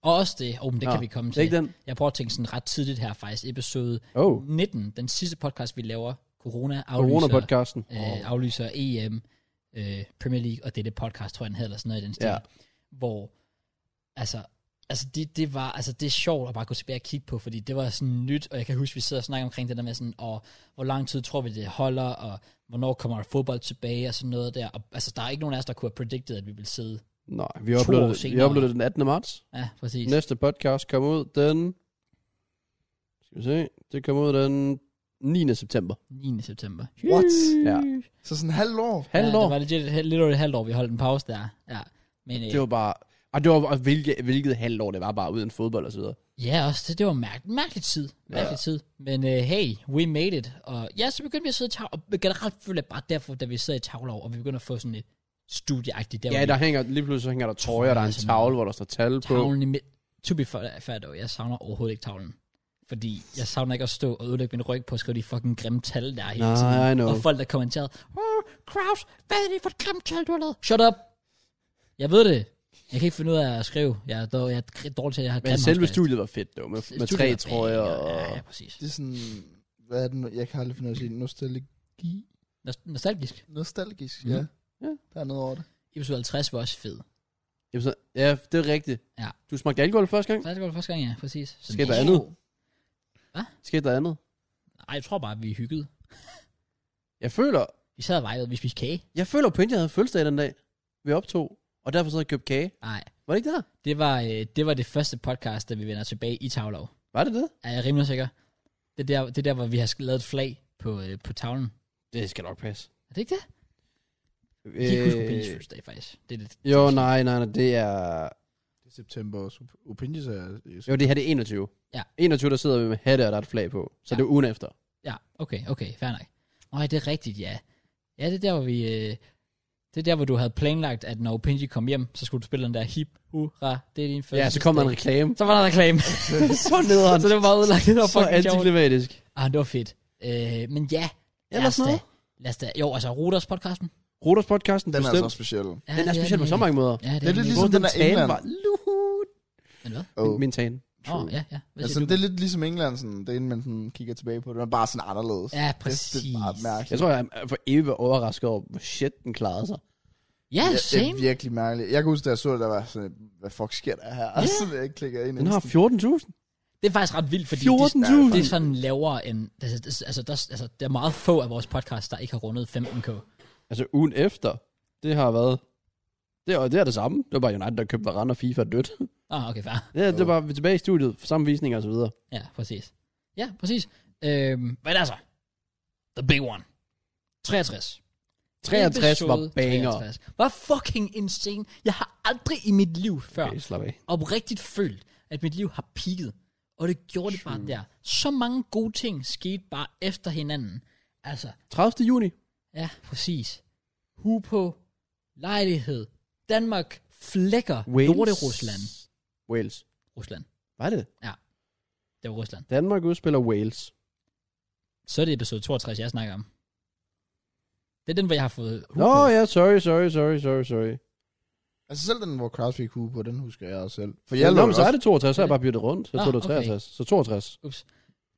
og også det, oh, men det
altså- Nå,
kan vi komme
Det er
til.
ikke den?
Jeg prøver at tænke sådan ret tidligt her faktisk, episode
Oh,
19, den sidste podcast, vi laver, corona aflyser,
Corona-podcasten.
øh, aflyser EM, øh, Premier League, og det er det podcast, tror jeg, den hedder, eller sådan noget i den stil.
Ja.
Hvor, altså, altså det, det var, altså det er sjovt at bare gå tilbage og kigge på, fordi det var sådan nyt, og jeg kan huske, vi sidder og snakker omkring det der med sådan, og hvor lang tid tror vi, det holder, og hvornår kommer der fodbold tilbage, og sådan noget der. Og, altså, der er ikke nogen af os, der kunne have predicted, at vi ville sidde.
Nej, vi
år
uploadede, vi
senere.
uploadede den 18. marts.
Ja, præcis.
Næste podcast kommer ud den... Skal vi se? Det kommer ud den 9. september.
9. september.
What?
Ja.
Så sådan en halv år.
Halvt
ja,
år.
det var legit, et hal- lidt over et halvt år, vi holdt en pause der. Ja. Men, øh,
Det var bare... Og det var, og hvilket, hvilket halvår det var, bare uden fodbold og så videre.
Ja, også det, det var mærk- mærkelig tid. Mærkelig ja. tid. Men uh, hey, we made it. Og ja, så begyndte vi at sidde i tavler. Og generelt føler jeg bare derfor, da vi sidder i tavler, og vi begynder at få sådan et studieagtigt der.
Ja, der hænger, lige pludselig så hænger der trøjer, der er en
Sådan
tavle,
noget.
hvor der står tal på.
tavlen i midt. To be fair, fair dog, jeg savner overhovedet ikke tavlen. Fordi jeg savner ikke at stå og ødelægge min ryg på at skrive de fucking grimme tal der hele
Nej, I
tiden.
know.
Og folk, der kommenterede, oh, Kraus, hvad er det for et grimt tal, du har lavet? Shut up! Jeg ved det. Jeg kan ikke finde ud af at skrive. Jeg er, dog, jeg er dårlig til, at jeg har
Men
grim
selve
håndskrift.
studiet var fedt, dog, med, med tre
Studiet-
trøjer
Ja,
og...
ja, præcis.
Det er sådan... Hvad er det nu? Jeg kan aldrig finde ud af at sige. Nostalgi.
Nost- Nostalgisk.
Nostalgisk,
Mhm.
ja.
Ja.
Der er noget over det.
episode 50 var også fed.
Jamen, så- Ja, det er rigtigt.
Ja.
Du smagte alkohol første gang?
Så det var det første gang, ja, præcis. Så
Skete der
Ja.
andet?
Hvad?
Skete der andet?
Nej, jeg tror bare, vi hyggede.
Jeg føler,
Vi sad og vejlede, vi spiste kage.
jeg føler på, at jeg havde fødselsdag den dag, vi optog, og derfor så havde jeg købt kage.
Nej,
Var det ikke der?
det var, øh, det var det første podcast, da vi vender tilbage i Tavlov.
Var det det?
Er jeg rimelig sikker? Det er der, det er der hvor vi har sk- lavet et flag på, øh, på tavlen.
Det skal nok passe.
Er det ikke det? Øh, de kunne sgu fødselsdag, faktisk. Det er lidt,
jo, nej, nej, nej, det er...
Det er september, og Opinions er... altså
Jo, det her det er 21.
Ja.
21, der sidder vi med hatte, og der er et flag på. Så
Ja.
ja. det er ugen efter.
Ja, okay, okay, fair nok. Nej, det er rigtigt, ja. Ja, det er der, hvor vi... Øh, det er der, hvor du havde planlagt, at når Pinji kom hjem, så skulle du spille den der hip, hurra, det er din første
Ja, så kom der en reklame.
Så var der en reklame.
så nederen.
så det var bare udlagt. Det var
Så
fucking sjovt.
antiklimatisk.
Ah, det var fedt. Øh, men ja, lad
Ellers
os, da,
noget?
lad os da, jo, altså Ruders podcasten.
Roters podcasten,
Den er
bestemt.
altså også speciel.
Ja,
den er
det
speciel på
den
så
egentlig.
mange måder.
Ja, det
Det er
er
lidt
lidt
ligesom-
Både
den er
tale
England.
var luhut.
Men hvad?
Oh.
Min tale.
Åh, oh, ja, ja. Hvad
Altså,
siger
det
du?
er lidt ligesom England, sådan, det er inden man sådan, kigger tilbage på det. Den er bare sådan anderledes.
Ja,
Det, det
præcis.
er bare mærkeligt.
Jeg tror, jeg er for evigt overrasket over, hvor shit den klarede sig.
Ja,
Ja, det
same.
er virkelig mærkeligt. Jeg kan huske, da jeg så det, der var sådan, hvad fuck sker der her? Og så jeg klikker ind.
Den har
instant.
14.000.
Det er faktisk ret vildt, fordi de,
14.000?
det er sådan lavere end... Altså, det- altså, der, altså, der er meget få af vores podcast, der ikke har rundet 15k.
Altså ugen efter, det har været... Det er, det er det samme. Det var bare United, der købte Varane og FIFA er dødt.
Ah, okay, fair.
Det, er, det var vi er tilbage i studiet, samme visninger og så videre.
Ja, præcis. Ja, præcis. Øhm, men altså, the big one. 63.
63 var
Episode
banger.
63. Var fucking insane. Jeg har aldrig i mit liv før
Okay, slap af.
oprigtigt følt, at mit liv har peaked. Og det gjorde det bare der. Så mange gode ting skete bare efter hinanden. Altså,
30. juni.
ja, præcis. Hupo, lejlighed, Danmark, flækker,
Wales.
Lorte-Rusland.
Wales.
Rusland.
Var det?
Det var Rusland.
Danmark udspiller Wales.
Så er det episode 62, jeg snakker om. Det er den, hvor jeg har fået Hupo.
Nå ja, sorry, sorry, sorry, sorry, sorry.
Altså selv den, hvor Kraus fik hue på, den husker jeg også selv. For
Ja,
jeg
Nå,
lå
men så er
også,
det 62, så har jeg bare byttet rundt. Jeg
Nå,
troede, det var
okay.
63. Så 62.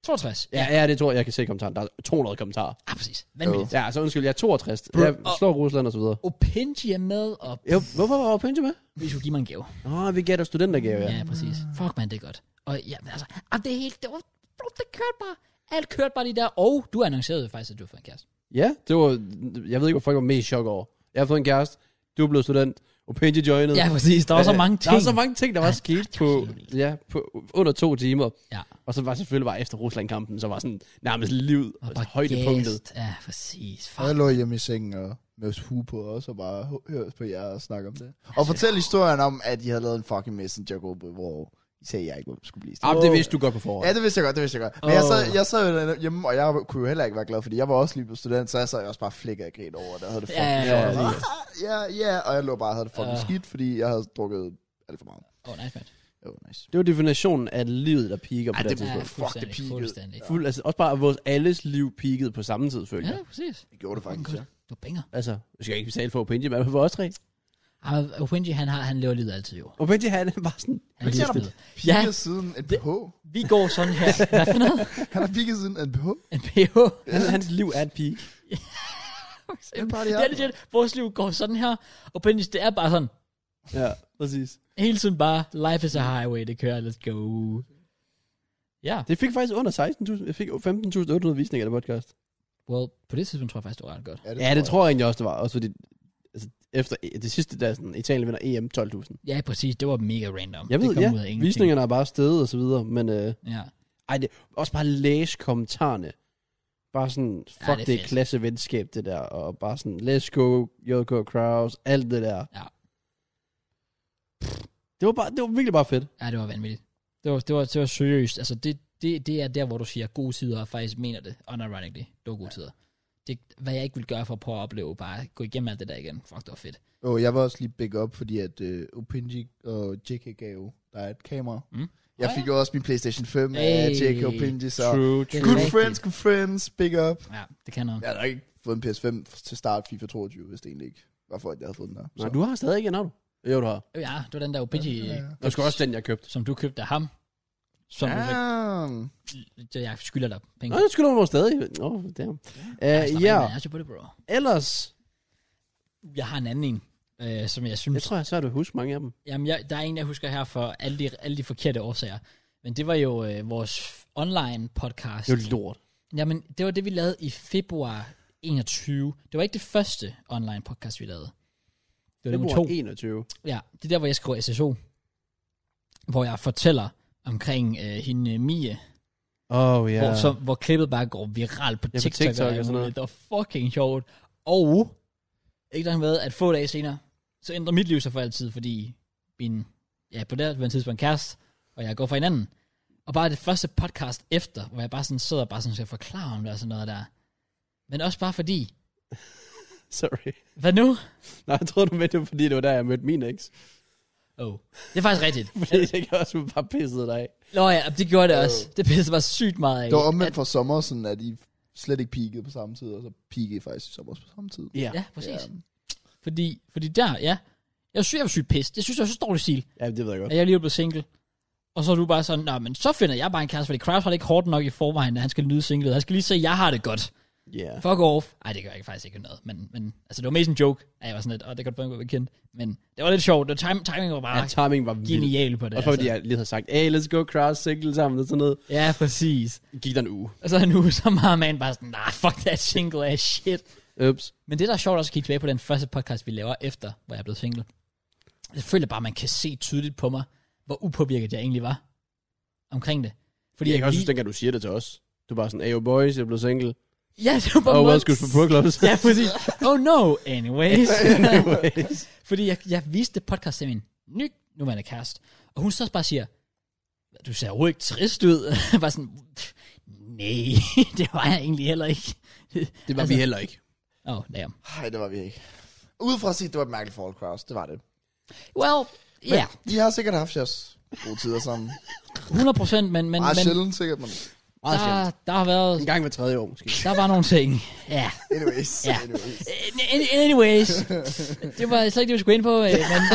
62.
Ja, ja, det tror jeg, jeg kan se kommentaren. Der er 200 kommentarer.
Ah, præcis. Vanvittigt.
Ja, så undskyld, jeg er 62. Jeg slår Rusland og så videre.
Opinji er med, og
Jo, hvorfor var Pinja med?
vi skulle give mig en gave.
Åh, oh, vi gav dig studentergave, ja.
Ja, præcis. Fuck, man, det er godt. Og ja, men altså, ah, det er helt, det, var, bro, det kørte bare. Alt kørte bare lige der, og du annoncerede jo faktisk, at du får en kæreste.
Ja, det var, jeg ved ikke, hvor folk var mest i chok over. Jeg har fået en kæreste, du er blevet student, og Pinja joinede.
Ja, præcis. Der var så
Øh,
mange
Der
ting.
var så mange ting, der var sket
det
på,
var helt vildt.
ja, på under to timer.
Ja.
Og så var selvfølgelig bare efter Rusland-kampen, så var sådan nærmest livet altså, højdepunktet.
gæst. Ja, præcis.
og jeg
Fuck.
lå hjemme i sengen og med hue på også, og bare h- hørte på jer og snakke om det. Og fortæl historien om, at I havde lavet en fucking messenger-gruppe, hvor I sagde, at jeg ikke skulle blive
Ah,
stillet.
det vidste du godt på forhånd.
Ja, det vidste jeg godt, det vidste jeg godt. Men jeg sad, jeg sad jo hjemme, og jeg kunne jo heller ikke være glad, fordi jeg var også lige blevet student, så jeg sad jo også bare flækket og grin over, der havde det fucking
Ja, ja,
sjovt.
ja,
Og bare, "Ah, Ja, ja, og jeg lå bare og havde det fucking
Ah.
skidt, fordi jeg havde drukket alt for meget.
Åh, oh, nice, man.
Jo, nice.
Det var definitionen af livet, der piker på
Ej,
det,
det-
Ja,
tidspunkt.
fuck, det
fuldstændig.
peakede.
fuldstændig.
Fuld, altså, også bare vores alles liv peakede på samme tid, føler
Ja,
jeg.
præcis.
Det gjorde det
Fucking
faktisk, ja.
godt. Du banger.
Altså, jeg skal ikke betale for Opinji, men for os tre.
Ah, men Opinji, han, har, han lever livet altid jo.
Opinji, han er bare sådan...
Han er
Opinji, han er-
livsfed. Ja,
Pigget siden en BH.
vi går sådan her. Hvad for noget?
Han har pigget siden en BH.
En PH.
Hans, hans liv er et peak.
Den bare, de
Det
har.
er legit. Vores liv går sådan her. Og Benji, det er bare sådan.
Ja, præcis.
Hele tiden bare, life is a highway, det kører, let's go. Ja,
Det fik faktisk under 16.000. Jeg fik 15.800 visninger af det podcast.
well, på det tidspunkt tror jeg faktisk, det var ret godt.
Ja, det tror jeg egentlig også, det var. Også fordi, altså, efter det sidste, der sådan, Italien vinder E EM 12.000.
Ja, præcis, det var mega random.
Jeg ved,
det kom
ja,
ud af ingenting.
visningerne er bare stedet og så videre, men øh,
Ja,
ej, det, også bare læs kommentarerne. Bare sådan, fuck, ja,
det er
det, det er
fedt.
klassevenskab, det der, og bare sådan, let's go, Joko Kraus, alt det der.
Ja.
Det var, bare, det var virkelig bare fedt.
ja det var vanvittigt. Det var, det var, det var seriøst. Altså, det, det, det er der, hvor du siger gode tider, og faktisk mener det, unironically. Det var gode tider. Det, hvad jeg ikke ville gøre for at prøve at opleve, bare gå igennem alt det der igen. Fuck, det var fedt.
Og jeg var også lige big up, fordi at uh, Opinji og JK gav jo dig et kamera.
Mm.
Jeg
Åh,
fik jo også min PlayStation 5 af
Hey.
JK og Opinji, så...
True,
Det er
Good
rigtigt.
friends, good friends, big up.
Ja, det kan noget.
Jeg har nok ikke fået en PS5 til start FIFA 22, hvis det egentlig ikke var for, at jeg havde fået den der.
Nej, du har stadig ikke en, har du? Jo, du har.
Ja, det var den der Opinji,
Ja, ja, ja.
Det var sgu også den, jeg købte.
som du købte af ham. Som du fik-
Damn.
det, jeg skylder dig penge.
Nå, det skulle du stadig. Nå, oh, damn.
Jeg
Uh,
slapper
ja,
af med at jeg er på det, bro.
ellers...
Jeg har en anden en, øh, som jeg synes...
Jeg tror, jeg er svært at huske mange af dem.
Jamen, jeg, der er en, jeg husker her for alle de, alle de forkerte årsager. Men det var jo øh, vores online podcast.
Det var lort.
Jamen, det var det, vi lavede i februar 21. Det var ikke det første online podcast, vi lavede. Det var
Det
nummer
var
to.
21.
Ja, det er der, hvor jeg skriver SSO. Hvor jeg fortæller omkring øh, hende øh, Mie,
Oh, ja.
yeah. hvor, så, hvor klippet bare går viralt på
på
TikTok,
TikTok og
alt
sådan noget.
muligt. Det var fucking sjovt. Og ikke nok med, at få dage senere, så ændrer mit liv sig for altid, fordi min, ja, på det her tidspunkt kæreste, og jeg går fra hinanden. Og bare det første podcast efter, hvor jeg bare sådan sidder og bare sådan skal forklare om det og sådan noget der. Men også bare fordi,
Sorry.
hvad nu?
Nej, jeg tror du mente det, var, fordi det var der, jeg mødte min eks.
Oh. Det er faktisk rigtigt.
Fordi det gjorde også bare pissede dig. af.
Nå ja, det gjorde det også. Det pissede mig sygt meget af.
Det var omvendt for sommer, sådan at I slet ikke peakede på samme tid, og så peakede I faktisk i sommer på samme tid.
Ja, præcis.
Ja.
Fordi, fordi der, ja. Jeg synes, jeg var sygt pis. Det synes jeg var så dårlig stil,
Ja, det ved jeg godt.
at jeg lige er blevet single. Og så er du bare sådan, nej, men så finder jeg bare en kæreste, fordi Kraus har det ikke hårdt nok i forvejen, at han skal nyde singlet. Han skal lige se, at jeg har det godt.
Ja. Yeah.
Fuck off. Ej, det gør jeg faktisk ikke noget. Men, men altså, det var mest en joke, at jeg var sådan lidt, åh, det kan godt være, bekendt. Men det var lidt sjovt. Det time, timing var bare
Ja,
ja,
timing var vildt.
genial på det. altså.
Også fordi jeg lige havde sagt, hey, let's go cross single sammen og sådan noget.
Ja, præcis.
Gik der en uge.
Og så nu, så meget man bare sådan, nej, nah, fuck that single ass shit.
Ups.
Men det, der er sjovt også at kigge tilbage på den første podcast, vi laver efter, hvor jeg er blevet single. Jeg føler bare, man kan se tydeligt på mig, hvor upåvirket jeg egentlig var omkring det. Fordi
Jeg kan også
lige-
synes, dengang du siger det til os. Du er bare sådan, hey, yo boys, jeg er blevet single.
Ja, det var på
Og
en
oh,
måde-
welcome to Pro Clubs.
Ja, præcis. Oh no, anyways.
Anyways.
Fordi jeg, jeg viste det podcast til min ny nuværende kæreste, og hun så også bare siger, du ser jo ikke trist ud. Jeg var sådan, nej, det var jeg egentlig heller ikke.
Det var
Altså-
vi heller ikke.
Åh, oh, damn.
Ej, det var vi ikke. Udefra set, det var et mærkeligt forhold, Kraus. Det var det.
Well, ja,
De har sikkert haft jeres gode tider sammen.
100%, men, men, men
Meget
der,
sjældent sikkert, men
der, har været,
En gang hver tredje år, måske.
der var nogle ting. Ja.
anyways.
Ja.
anyways.
An- Anyways, det var slet ikke det, vi skulle ind på, øh, men...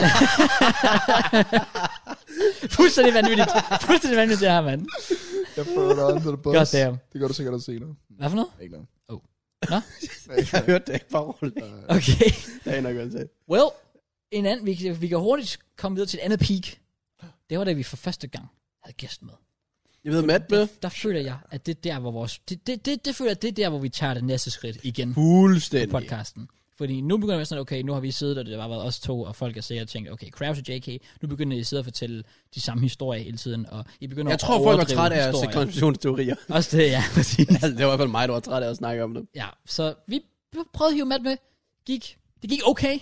Fuldstændig vanvittigt. Fuldstændig vanvittigt, det her, mand.
Jeg prøver dig under the bus.
God damn.
Det gør du sikkert også senere.
Hvad for noget?
Ikke noget.
Oh. Nå?
Jeg hørte det ikke bare roligt.
Okay.
Det er nok også.
Well, en anden, vi, kan- vi kan hurtigt komme videre til et andet peak. Det var da vi for første gang havde gæst med.
Jeg ved, Matt med.
Der, der føler jeg, at det er der, hvor vores... Det, det, det, det føler jeg, det er der, hvor vi tager det næste skridt igen på
Fuldstændig.
podcasten. Fordi nu begynder jeg sådan, okay, nu har vi siddet, og det har bare været os to, og folk har sikkert tænkt, okay, Kraus og JK, nu begynder I at sidde og fortælle de samme historier hele tiden, og I begynder
Jeg
at
tror, folk var
overdrive
trætte af at se
historier.
konspirationsteorier.
Også det, ja, præcis.
Altså, det var i hvert fald mig, der var træt af at snakke om dem.
Ja, så vi prøvede at hive Matt med. Gik, det gik okay.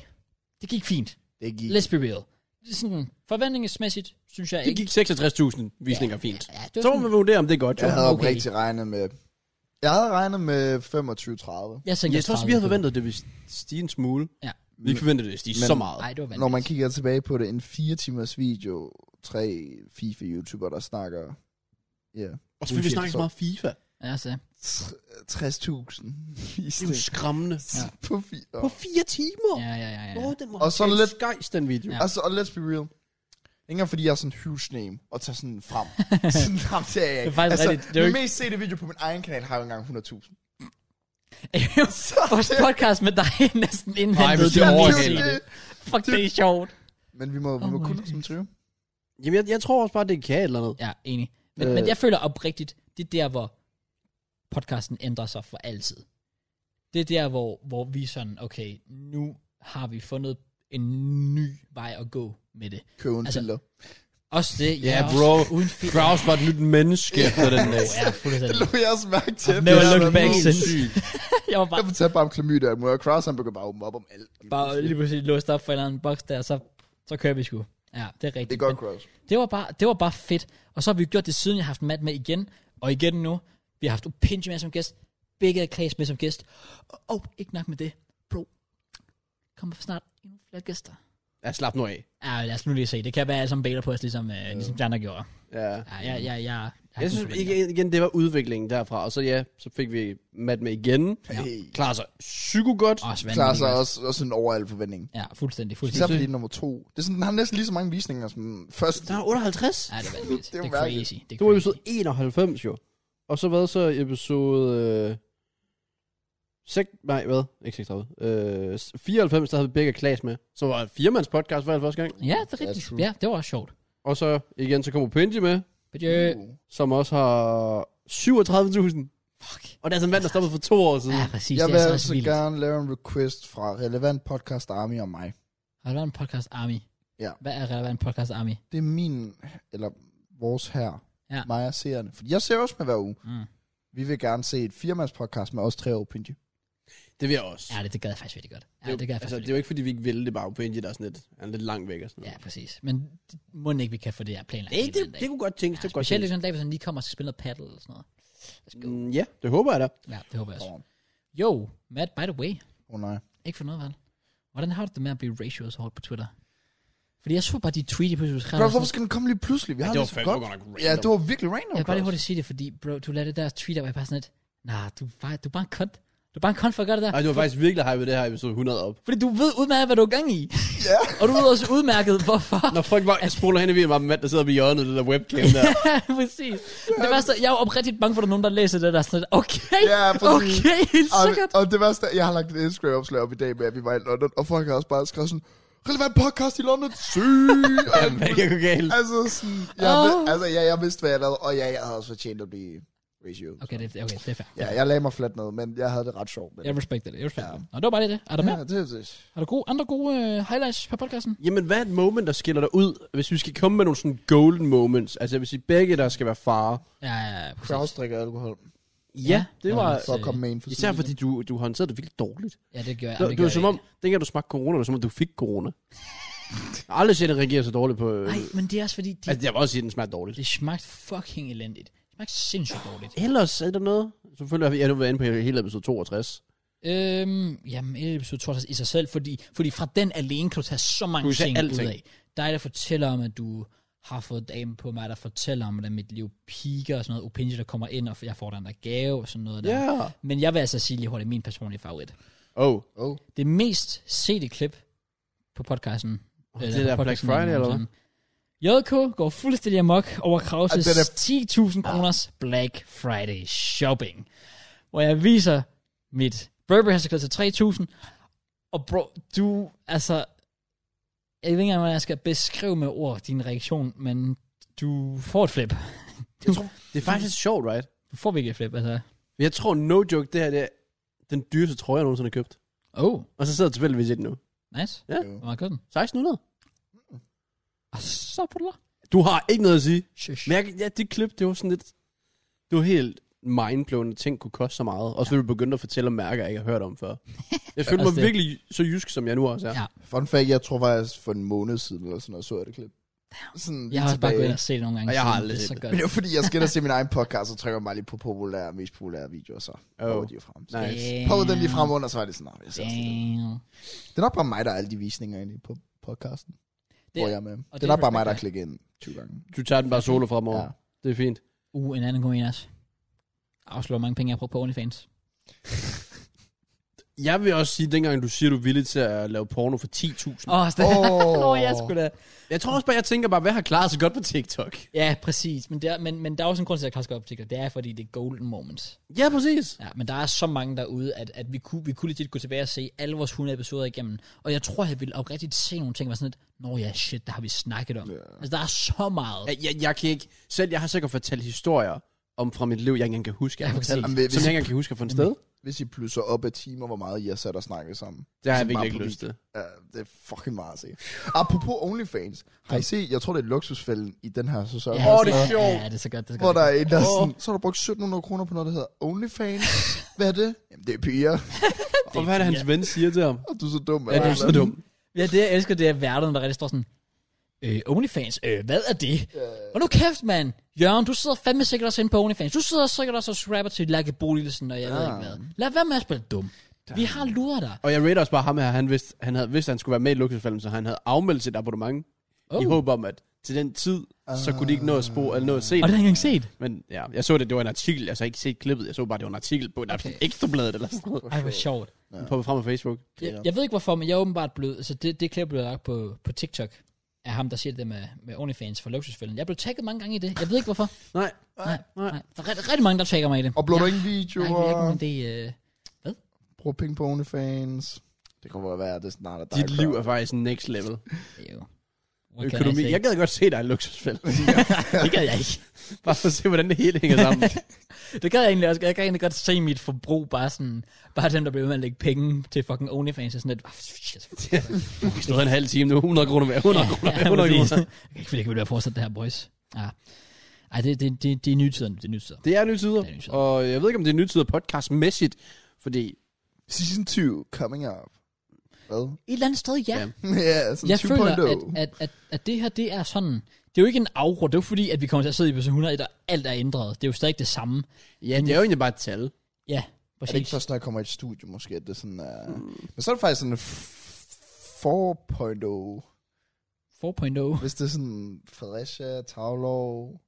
Det gik fint.
Det gik.
Let's be real. Det er sådan, forventningsmæssigt, synes jeg
Det
ikke.
gik 66.000 visninger fint.
Ja, det var
Så må
sådan,
man vurdere, om det er godt.
Jeg
jo.
havde
Okay.
oprigtigt regnet med... Jeg havde regnet med 25-30.
jeg tænkte,
Jeg tror også, vi havde forventet, at det ville stige en smule.
Ja.
Vi ikke forventede, at det stige
Men-
så meget.
Nej, det var vanvittigt.
Når man kigger tilbage på det, en 4 timers video, tre FIFA-YouTubere, der snakker... Ja.
Og selvfølgelig, vi snakker så meget FIFA.
Ja, så.
tr-
Det er
60.000
jo
visninger
skræmmende.
Ja.
på fire.
På fire timer.
Ja, ja, ja. ja.
Åh, den må
Og så
have
lidt-
skejs, den video.
Ja.
Altså, og let's be real. Ikke engang fordi jeg er sådan en huge name, og tager sådan frem. sådan frem til jeg ikke.
Det er faktisk
altså,
rigtigt. Det er jo
min
ikke-
mest sete video på min egen kanal har jo engang 100.000.
Vores podcast med dig er næsten
Nej,
indhentet.
hvis det
det
er
overhælder
overhældet.
det. Fuck, det er sjovt.
Men vi må, vi
Oh
må
my
kunne
days.
som trio.
Jamen, jeg, jeg tror også bare, det kan et eller andet.
Ja, enig. Men,
Øh.
men jeg føler oprigtigt, det er der, hvor podcasten ændrer sig for altid. Det er der, hvor, hvor vi sådan, okay, nu har vi fundet en ny vej at gå med det.
Købe en
Altså,
altså, filter.
Også det,
Ja,
også
bro.
Uden fedt.
Kraus var et nyt menneske efter den dag.
Ja, fuldstændig.
Det lå jeg også mærke til.
I've never
Det er
looked
sådan
back
helt
since.
sygt.
Jeg var bare
Jeg fortalte bare om klamydia og alt muligt, og Kraus han begyndte bare at åbne op om alt.
bare lige pludselig låst op for en eller anden boks der, så, så kører vi sgu. Ja, det er rigtigt.
Det er godt, Kraus.
det, var bare, det var bare fedt. Og så har vi gjort det siden, jeg har haft Matt med igen, og igen nu. Vi har haft Opinji med som gæst, begge af Klaas med som gæst. Og oh, ikke nok med det, bro. Kommer for snart endnu flere gæster.
Ja, slap nu af.
Ja, lad os nu lige se. Det kan være, at alle sammen bailer på os, ligesom, øh, ligesom de andre gjorde.
Ja.
Ja, ja, ja, ja. Jeg,
Jeg synes igen, igen, det var udviklingen derfra. Og så ja, så fik vi Matt med igen.
Ja.
Hey.
Klarer sig psyko godt.
Også
Klarer
vanvittigt.
sig
også.
også, også en over al forventning.
Ja, fuldstændig,
Især
fuldstændig.
fordi den er nummer to. Det er sådan, den har næsten lige så mange visninger som den første.
Der er 58.
Ja, det er vanvittigt.
Det
Det
er
er
jo
crazy. Det er
Det var
crazy.
episode 91 jo. Og så hvad så episode... Øh, 6, nej, hvad? Ikke 36. Øh, 94, der havde vi begge Klaas med. Så var det firmands podcast for første gang.
Ja, det er
Ja,
rigtigt.
true.
Ja, det var også sjovt.
Og så igen, så kommer Pinji med,
But, øh,
Uh.
som også har 37.000.
fuck.
Og det er altså en mand, der stoppede for to år siden.
Ja, præcis.
Jeg
det
vil
er så også
altså
vildt.
gerne lave en request fra Relevant Podcast Army om mig.
Har du lavet en podcast Army?
Ja.
Hvad er relevant podcast Army?
Det er min, eller vores her,
Ja.
ja. mig og seerne. Fordi jeg ser også med hver uge.
Mm.
Vi vil gerne se et firmandspodcast med os tre over Pinji.
Det vil jeg også.
Ja, det, det gad jeg faktisk virkelig godt. Ja,
er jo-
det gad jeg faktisk
altså, det er
virkelig
jo ikke, fordi vi ikke ville det bare på Indien, der er sådan lidt, han er lidt langt væk og sådan
godt.
noget.
Ja, præcis. Men det- må den ikke, vi kan få det her planlagt.
det,
en eller anden
det,
dag.
det kunne godt tænkes,
Ja,
det kunne godt
specielt
tænkes.
hvis han en dag, hvis han lige kommer og skal spille noget paddle eller sådan noget. Let's go.
Mm, ja, det håber jeg da.
Ja, det håber jeg også.
Åh,
Jo, Matt, by the way.
oh, nej.
Ikke for noget, vel? Hvordan har du det med at blive ratioet så hårdt på Twitter? Fordi jeg så bare de tweet, jeg pludselig skrev.
Bro,
og sådan-
hvorfor skal den komme lige pludselig? Vi har
det
det
var
så
fandme
godt.
godt nok random.
Ja, det var virkelig random.
Jeg vil bare lige
Claus.
hurtigt sige det, fordi bro, du lavede det der tweet, og jeg var bare sådan lidt, nah, du, er bare, du er bare en kont. Du er bare en kont for at gøre det der.
Ej, du har faktisk virkelig hypet det her episode 100 op.
Fordi du ved udmærket, hvad du er gang i.
Ja.
og du ved også udmærket, hvorfor.
Når folk bare spoler hen i videoen, var mand, der sidder ved hjørnet, det der webcam der.
præcis. Det var så, jeg er jo oprigtigt bange for, at der er nogen, der læser det der sådan lidt, okay,
Ja, præcis.
okay, helt
Og,
sikkert.
og det værste, er, jeg har lagt et Instagram-opslag op i dag med, at vi var i London, og folk har også bare skrevet sådan, relevant podcast i London, syg! og alt
Hvad
muligt.
kan gå galt?
altså, sådan, jeg,
Åh.
oh. altså, ja, jeg vidste, hvad jeg lavede, og ja, jeg havde også fortjent at blive ratio.
Okay, det, okay, det er fair.
Ja, jeg lagde mig fladt ned, men jeg havde det ret sjovt. Men,
Jeg respekter det, jeg respekter
Ja.
det. Nå, det var bare det, det. Er der mere?
ja, det, det,
Har du gode, andre gode øh, highlights på podcasten?
Jamen, hvad er et moment, der skiller dig ud, hvis vi skal komme med nogle sådan golden moments? Altså, jeg vil sige, begge der skal være far.
Ja, ja, ja, præcis.
Kraus drikker alkohol,
Ja,
det
nå,
var...
men
for at komme med en for
Især
siden.
fordi du, du håndterede det virkelig dårligt.
Ja, det gør jeg.
Du,
det
du
gør
var
jeg
som om,
ikke.
dengang du smagte corona, det var som om, du fik corona. Jeg har aldrig set, at den reagerer så dårligt på...
Nej, men det er også fordi, de,
Altså, jeg vil også sige, at den smager dårligt.
det smagte fucking elendigt. Det smagte sindssygt dårligt.
Ellers er der noget. Selvfølgelig har vi- ja, nu været inde på hele episode 62.
Øhm, jamen, episode 62 i sig selv, fordi, fordi fra den alene kan du tage så mange
Du kan tage
ting
alting.
ud af. Dig, der fortæller om, at du har fået damen på mig, der fortæller om, hvordan mit liv piker og sådan noget. Opinji, der kommer ind, og jeg får den der gave og sådan noget der.
Ja.
Men jeg vil altså sige lige hurtigt, min personlige favorit.
Oh.
Oh.
Det mest sete klip på podcasten.
Det der Black Friday, eller hvad?
JK går fuldstændig amok over Krauses
Ah, den
10.000 kroners Black Friday shopping. Hvor jeg viser mit Burberry halsklæde til 3.000. Og bro, du, altså... Jeg ved ikke engang, hvordan jeg skal beskrive med ord din reaktion, men du får et flip.
Det er faktisk sjovt, right?
Du får virkelig et flip, altså.
Men Jeg tror, no joke, det her det er den dyreste trøje, jeg nogensinde har købt.
Oh,
Og så sidder jeg tilfældigvis i den nu.
nice.
Ja.
Hvor meget gør den?
1600.
Og så på det.
Du har ikke noget at sige.
Shush.
Men jeg, ja, det klip, det var sådan lidt... Det var helt mindblowende, at ting kunne koste så meget. Og så ville du begynde at fortælle om mærker, jeg ikke har hørt om før. Jeg følte mig
Også det.
virkelig så jysk, som jeg nu også er.
Ja.
Fun fact, jeg tror faktisk for en måned siden, eller sådan noget, så jeg det klip. Sådan lige
Jeg har også bare
tilbage.
gået ind og set det nogle gange.
Og jeg har
siden.
aldrig
Det er
set
så
det.
godt.
Men det var fordi, jeg skal ind og se min egen podcast, og trykker mig lige på populære, mest populære videoer, så
Oh.
oh. de jo frem. Så
Nice.
Damn.
prøvede den lige frem under, så var det sådan, nej, jeg ser også lidt.
Damn.
Det er nok bare mig, der er alle de visninger egentlig på podcasten, det, hvor jeg er med. Det,
det er
er nok bare mig, der har
respekt,
klikket ind 20 gange.
Du tager den bare solo fremover.
Ja.
Ja. Det er fint.
Uh, en anden god en også. Afslår mange penge, jeg har brugt på OnlyFans.
Jeg vil også sige, dengang du siger, du er villig til at lave porno for 10.000.
Åh, oh,
Åh.
oh. jeg skulle da.
Jeg tror også bare, jeg tænker bare, hvad har klaret sig godt på TikTok?
Ja, præcis. Men, det er, men, men der er også en grund til, at jeg klasker op til det. Det er, fordi det er golden moments.
Ja, præcis.
Ja, men der er så mange derude, at, at vi, kunne, vi kunne legit gå tilbage og se alle vores 100 episoder igennem. Og jeg tror, jeg ville oprigtigt se nogle ting, og være sådan lidt, Nå ja, shit, der har vi snakket om. Yeah. Altså, der er så meget.
Jeg, jeg, jeg kan ikke... Selv jeg har sikkert fortalt historier om fra mit liv, jeg ikke engang kan huske, jeg
Ja,
har
præcis.
fortalt, som
Jamen,
jeg
hvis-
ikke engang kan huske at få en sted.
Hvis I plusser op af timer, hvor meget I har sat og snakket sammen.
Det har jeg
Sådan
virkelig
bare
ikke
på
lyst til.
Ja, det er fucking meget at se. Apropos OnlyFans. Har I set, jeg tror det er luksusfælden i den her sæson.
Ja,
Ja.
Åh, det er
ja,
sjovt.
Ja, det er så godt. Det er så
Hvor
godt.
der er en, der er
Åh.
sådan, så har du brugt 1700 kroner på noget, der hedder OnlyFans. Hvad er det? Jamen, det er piger.
Og hvad er det, hans ven siger til ham?
Og du er så dum.
Ja,
eller
du er
hvad?
så dum.
Ja, det jeg elsker, det er værterne, der rigtig står sådan, øh, OnlyFans, øh, hvad er det? Og nu kæft, mand. Jørgen, du sidder fandme sikkert også inde på OnlyFans. Du sidder sikkert også og subscriber til Lærke Bolilsen, og jeg ved
Ja.
ikke hvad. Lad være med at spille dum. Vi har luret dig.
Og jeg rater også bare ham her. Han vidste, han havde, vidste, at han skulle være med i luksusfælden, så han havde afmeldt sit abonnement. Oh. I
Oh.
håb om, at til den tid, så kunne de ikke nå at spore eller nå at se
Og det har jeg
det.
ikke engang set.
Men ja, jeg så det, det var en artikel. Jeg så ikke set klippet. Jeg så bare, det var en artikel på en okay.
Okay.
ekstrabladet eller sådan noget.
Ej, hvor sjovt.
På frem på Facebook.
Jeg, jeg ved ikke hvorfor, men jeg er åbenbart blevet... Så det, det klip blev lagt på, på TikTok af ham, der siger det der med, med OnlyFans for luksusfælden. Jeg blev tagget mange gange i det. Jeg ved ikke hvorfor.
Nej,
Nej, nej. Der er rigtig, rigtig mange, der tagger mig i det.
Og blå
jeg,
du ikke
nej, jeg ved ikke,
videoer?
om det... Øh,
Brug penge på OnlyFans. Det kunne godt være, at det snart er dig.
dit liv
Carl.
er faktisk next level.
det er jo... What can I
Økonomi.
say?
Jeg gad godt se dig i luksusfælden.
det gad jeg ikke.
bare for at se, hvordan det hele hænger sammen.
Det gad jeg egentlig også. Jeg gad egentlig godt se mit forbrug bare sådan... Bare dem, der blev ved med at lægge penge til fucking OnlyFans og sådan lidt... Oh, shit.
Vi stod en halv time nu. 100 kroner hver. 100 kroner hver.
Ja,
100
præcis.
kroner.
Jeg kan ikke, fordi jeg ikke vil være fortsat det her, boys. Ja. Ej, det, det, det, det er nytiderne. Det er nytiderne.
Det er nye tider.
Det er nye tider.
Og jeg ved ikke, om det er nye tider podcastmæssigt. Fordi
Season 2 coming up. Hvad?
Et eller andet sted, ja.
Ja.
ja, sådan oh.
jeg
2.0.
føler, at, at, at, at det her, det er sådan... Det er jo ikke en afrund, det er jo fordi, at vi kommer til at sidde i episode 101, og alt er ændret. Det er jo stadig det samme.
Ja, det er jo egentlig bare et tal.
Ja,
Er det ikke
præcis.
først, når jeg kommer i et studie, måske, at det er sådan... Uh...
Mm.
Men så er det faktisk sådan en 4.0,
4.0.
oh. hvis det er sådan Fredericia, Tavlov,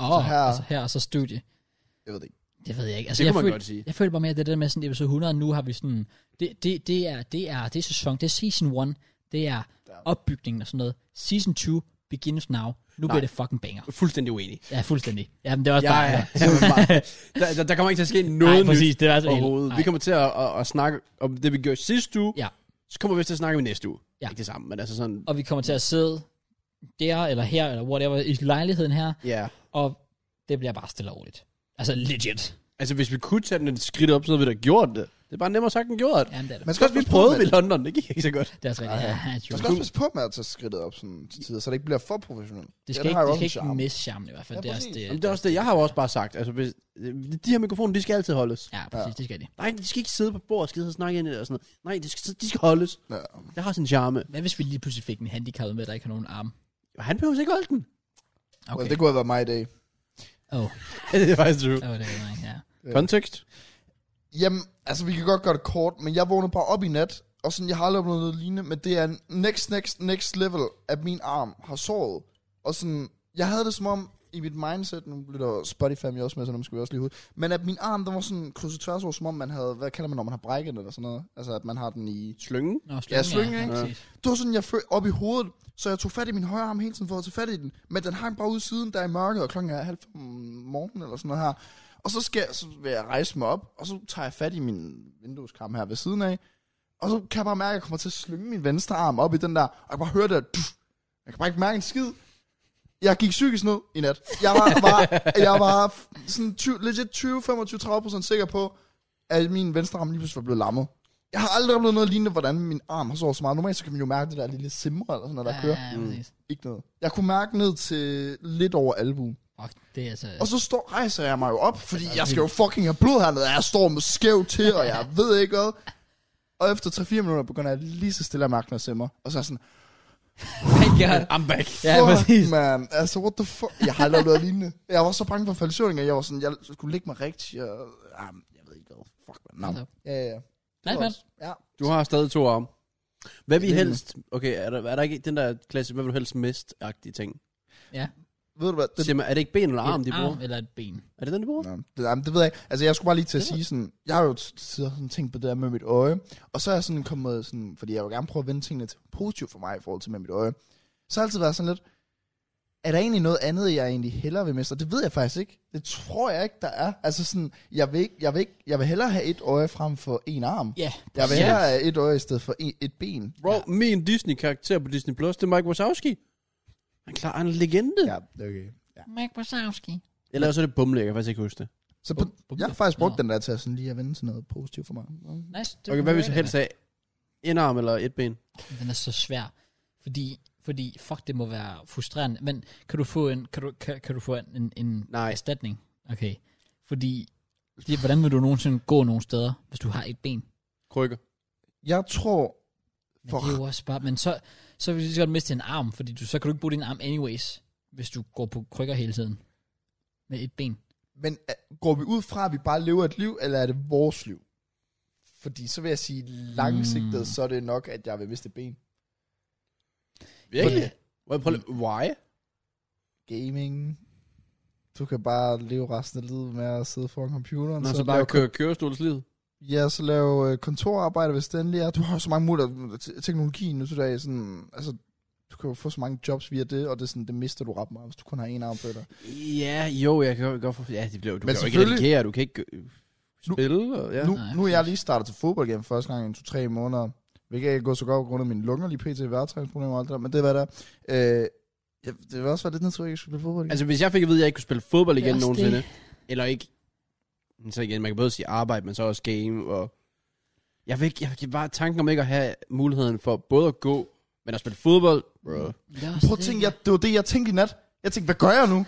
Åh, oh,
her-
altså her og så studie.
jeg ved det ikke.
Det ved jeg ikke. Altså,
Det
jeg
kunne man
føler,
godt sige.
Jeg føler bare mere, at det der med sådan episode 100, nu har vi sådan, det, det, det, er, det, er, det er sæson, det er season 1, det er opbygningen og sådan noget. Season 2 begins now. Nu Nej. bliver det fucking banger.
Fuldstændig uenig.
Ja, fuldstændig. Jamen, det er også
Jeg
bare...
er simpelthen bare... der, der, der kommer ikke til at ske noget
Nej, præcis.
nyt
Det er altså helt-
overhovedet. Vi
nej.
kommer til at, at, at, snakke om det, vi gjorde sidste uge.
Ja.
Så kommer vi også til at snakke om næste uge.
Ja.
Ikke det samme, men altså sådan...
Og vi kommer til at sidde der, eller her, eller whatever, i lejligheden her,
Ja.
og det bliver bare stille og roligt. Altså, legit.
Altså, hvis vi kunne tage den et skridt op, så havde vi da gjort det. Det er bare nemmere sagt end gjort. Ja.
Jamen, det er det.
Man
Så også, vi
passe på
prøvede
med
ved
det.
London. Det gik ikke så godt.
Det er også rigtigt. Ja, ja,
Man
true.
skal også passe på med at tage skridtet op sådan til tider, så det ikke bliver for professionelt.
det
den
skal ikke,
har jo
det
også
skal
en
ikke
charme.
misse charmen i hvert fald.
Ja,
det er også
præcis.
det.
Jamen, det er også det. Jeg har jo også bare sagt, altså, hvis, de her mikrofoner, de skal altid holdes.
Ja, præcis, det skal det.
Nej, de skal ikke sidde på bord og skide og snakke ind i det og sådan noget. Nej, de skal, de skal holdes.
Ja.
Det har sin charme.
Hvad hvis vi lige pludselig fik en handicappet med, der ikke har nogen arm?
Og Han behøver ikke holde den.
Okay.
Well, Altså, det kunne have været mig i dag. Øh,
oh,
det er faktisk true.
det var det, ikke? ja.
Kontekst?
Jamen, altså vi kan godt gøre det kort, men jeg vågnede bare op i nat, og sådan, jeg har aldrig oplevet noget lignende, men det er en next, next, next level, at min arm har såret. Og sådan, jeg havde det som om, i mit mindset, nu blev der Spotify med også med, så dem skal vi også lige ud, men at min arm, den var sådan krydset tværs over, som om man havde, hvad kalder man, når man har brækket den eller sådan noget, altså at man har den i...
Slyngen?
Nå, slynge,
slynge,
ja,
ikke?
præcis.
Det var sådan, jeg følte op i hovedet, så jeg tog fat i min højre arm hele tiden for at tage fat i den, men den hang bare ude i siden, der er i mørket, og klokken er halv fem om morgenen eller sådan noget her. Og så, skal jeg, så vil jeg rejse mig op, og så tager jeg fat i min vindueskram her ved siden af, og så kan jeg bare mærke, at jeg kommer til at slynge min venstre arm op i den der, og jeg kan bare høre det der, duf. jeg kan bare ikke mærke en skid. Jeg gik psykisk ned i nat. Jeg var, var, jeg var f- sådan 20, legit 20, 25, 30 procent sikker på, at min venstre arm lige pludselig var blevet lammet. Jeg har aldrig oplevet noget lignende, hvordan min arm har såret så meget. Normalt så kan man jo mærke det der lille simre eller sådan noget, der
Ja,
kører.
Ja, præcis.
Ikke noget. Jeg kunne mærke ned til lidt over albuen.
Fuck, det er altså...
Og så står, rejser jeg mig jo op, fordi jeg skal jo fucking have blod hernede, og jeg står med skæv til, og jeg ved ikke hvad. Og efter 3-4 minutter begynder jeg lige så stille at mærke noget simmer. Og så er jeg sådan,
Thank God.
I'm back.
Ja,
Fuck,
præcis.
man. Altså, what the fuck? Jeg har aldrig oplevet lignende. Jeg var så bange for at falde i søvn, at jeg var sådan, jeg skulle ligge mig rigtigt, og... Ah, men jeg ved ikke hvad. Fuck, man. No.
Altså,
Ja, ja, ja.
Nice, man.
Ja.
Du har stadig to arme. Hvad vi
Det er
helst... Okay, er der, er der ikke den der klasse, hvad vil du helst miste-agtige ting?
Ved du hvad?
Det,
Det,
Siger man, er det ikke ben eller arm,
Et
de bruger?
Arm eller et ben.
Er det den, de bruger?
Nå, det, jamen, det ved jeg ikke. Altså, jeg skulle bare lige til at
Det ved-
sige sådan, jeg har jo t- siddet og sådan tænkt på det der med mit øje, og så er jeg sådan kommet sådan, fordi jeg vil gerne prøve at vende tingene til positivt for mig i forhold til med mit øje, så har jeg altid været sådan lidt, er der egentlig noget andet, jeg egentlig hellere vil miste? Og det ved jeg faktisk ikke. Det tror jeg ikke, der er. Altså sådan, jeg vil, ikke, jeg vil, ikke, jeg vil hellere have et øje frem for en arm.
Ja,
Jeg vil
præcis.
hellere have et øje i stedet for en, et ben.
Bro, ja. min Disney-karakter på Disney+, Plus, det er Mike Wazowski. Han klar, han er en legende. Ja.
okay. Ja.
Mike Wazowski.
Eller så er det Bumle, jeg kan faktisk ikke huske det.
Så på,
Bum, bum,
jeg har
bum.
faktisk brugt
Nå.
den der til at sådan lige at vende til noget positivt for mig.
Nice. det
Okay,
kunne
hvad vil
være
du
det,
helst
man.
have? En arm eller et ben?
Den er så svær. Fordi, fordi, fuck, det må være frustrerende. Men kan du få en, kan du, kan, kan du få en, en, en
Nej.
erstatning? Okay. Fordi, det, hvordan vil du nogensinde gå nogen steder, hvis du har et ben?
Krykker.
Jeg tror...
Men
Fuck.
det er jo også bare, men så, så vil du lige så godt miste en arm, fordi du, så kan du ikke bruge din arm anyways, hvis du går på krykker hele tiden. Med et ben.
Men øh, går vi ud fra, at vi bare lever et liv, eller er det vores liv? Fordi så vil jeg sige, langsigtet,
Hmm.
Mm.
mm. så er det nok, at jeg vil miste et ben.
Virkelig? Prøv, prøv, why?
Gaming. Du kan bare leve resten af livet med at sidde foran computeren.
Nå, så bare
lave,
køre kørestolslivet.
Ja, så lave øh, kontorarbejde, hvis det endelig er. Du har jo så mange muligheder. Te- Teknologien nu til dag, sådan, altså, du kan jo få så mange jobs via det, og det, er sådan, det mister du ret meget, hvis du kun har en arm på dig.
Ja, jo, jeg kan godt for... Ja, det bliver, du
Men
kan jo ikke
selvfølgelig-
redigere, du kan ikke øh,
Nu-
spille. Og, ja.
Nu,
Nej,
nu er jeg
præcis.
lige startet til fodbold igen første gang i 2-3 måneder. Hvilket ikke er gået så godt på grund af mine lunger lige pt. Værtræningsproblemer og alt det der. Men det var der. Øh, jeg, det vil også være lidt naturligt, at jeg skulle spille fodbold igen.
Altså, hvis jeg fik at vide, at jeg ikke kunne spille fodbold
Det er
igen
også
nogensinde, eller ikke... Så igen, man kan både sige arbejde, men så også game, og... Jeg vil ikke... Jeg, det er bare tanken om ikke at have muligheden for både at gå, men at spille fodbold, bro.
Det er også
Prøv at
det,
tænke, jeg, det var det, jeg tænkte i nat. Jeg tænkte, hvad gør jeg nu?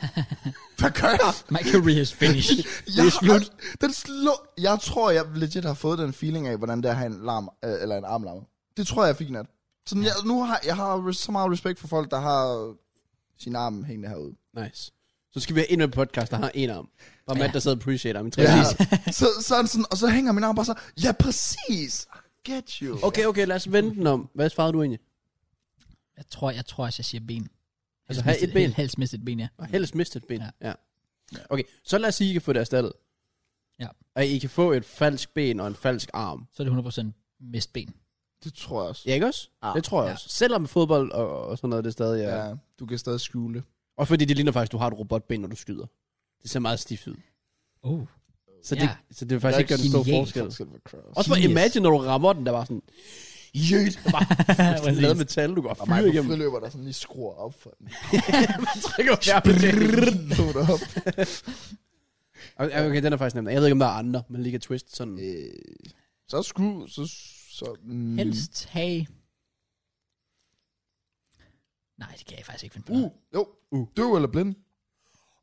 hvad gør jeg?
My career is finished.
Jeg, det er slut. Den slå, jeg tror, jeg legit har fået den feeling af, hvordan det er at have en, larm, øh, eller en armlamme. Det tror jeg, jeg fik i nat. Sådan, jeg, nu har jeg har res- så meget respekt for folk, der har sin arm hængende herude.
Nice. Så skal vi have endnu en podcast, der har en arm. Og Matt, der sidder og appreciater ham i tre
Ja.
timer.
så, sådan, sådan, og så hænger min arm bare så, ja præcis, get you.
Okay, okay, lad os vende den om. Hvad svarede du egentlig?
jeg tror, jeg tror også, jeg siger ben. Helst
Altså, have
mistet-
et ben.
hel- Helst mistet et ben, ja.
Og helst mistet et ben.
Ja.
Ja. Okay, så lad os sige, I kan få det erstattet.
Ja.
Og I kan få et falsk ben og en falsk arm.
Så er det 100% mist ben.
Det tror jeg også.
Ja, ikke også?
Ja.
Det tror jeg
Ja.
også. Selvom fodbold og, og sådan noget, det er stadig er... Ja.
Ja, du kan stadig skjule. det.
Og fordi det ligner faktisk, at du har et robotben, når du skyder. Det ser meget stift ud.
Oh.
Så det,
Ja.
så det er faktisk ikke gør den store
Genial
forskel.
Forskel for cross.
Også for
Genius.
imagine, når du rammer den, der var sådan... Jødt! Der var
Præcis.
lavet metal, du går
Og
fyre
mig på
igennem.
friløber, der sådan lige skruer op for den.
Trykker du på det?
Lå det op.
Okay, okay, den er faktisk nem. Jeg ved ikke, om der er andre, men lige kan twist sådan...
Øh, så skru, så... så mm,
Helst have... Nej, det kan jeg faktisk ikke finde på.
Uh, jo.
Uh.
Uh. Døv eller blind?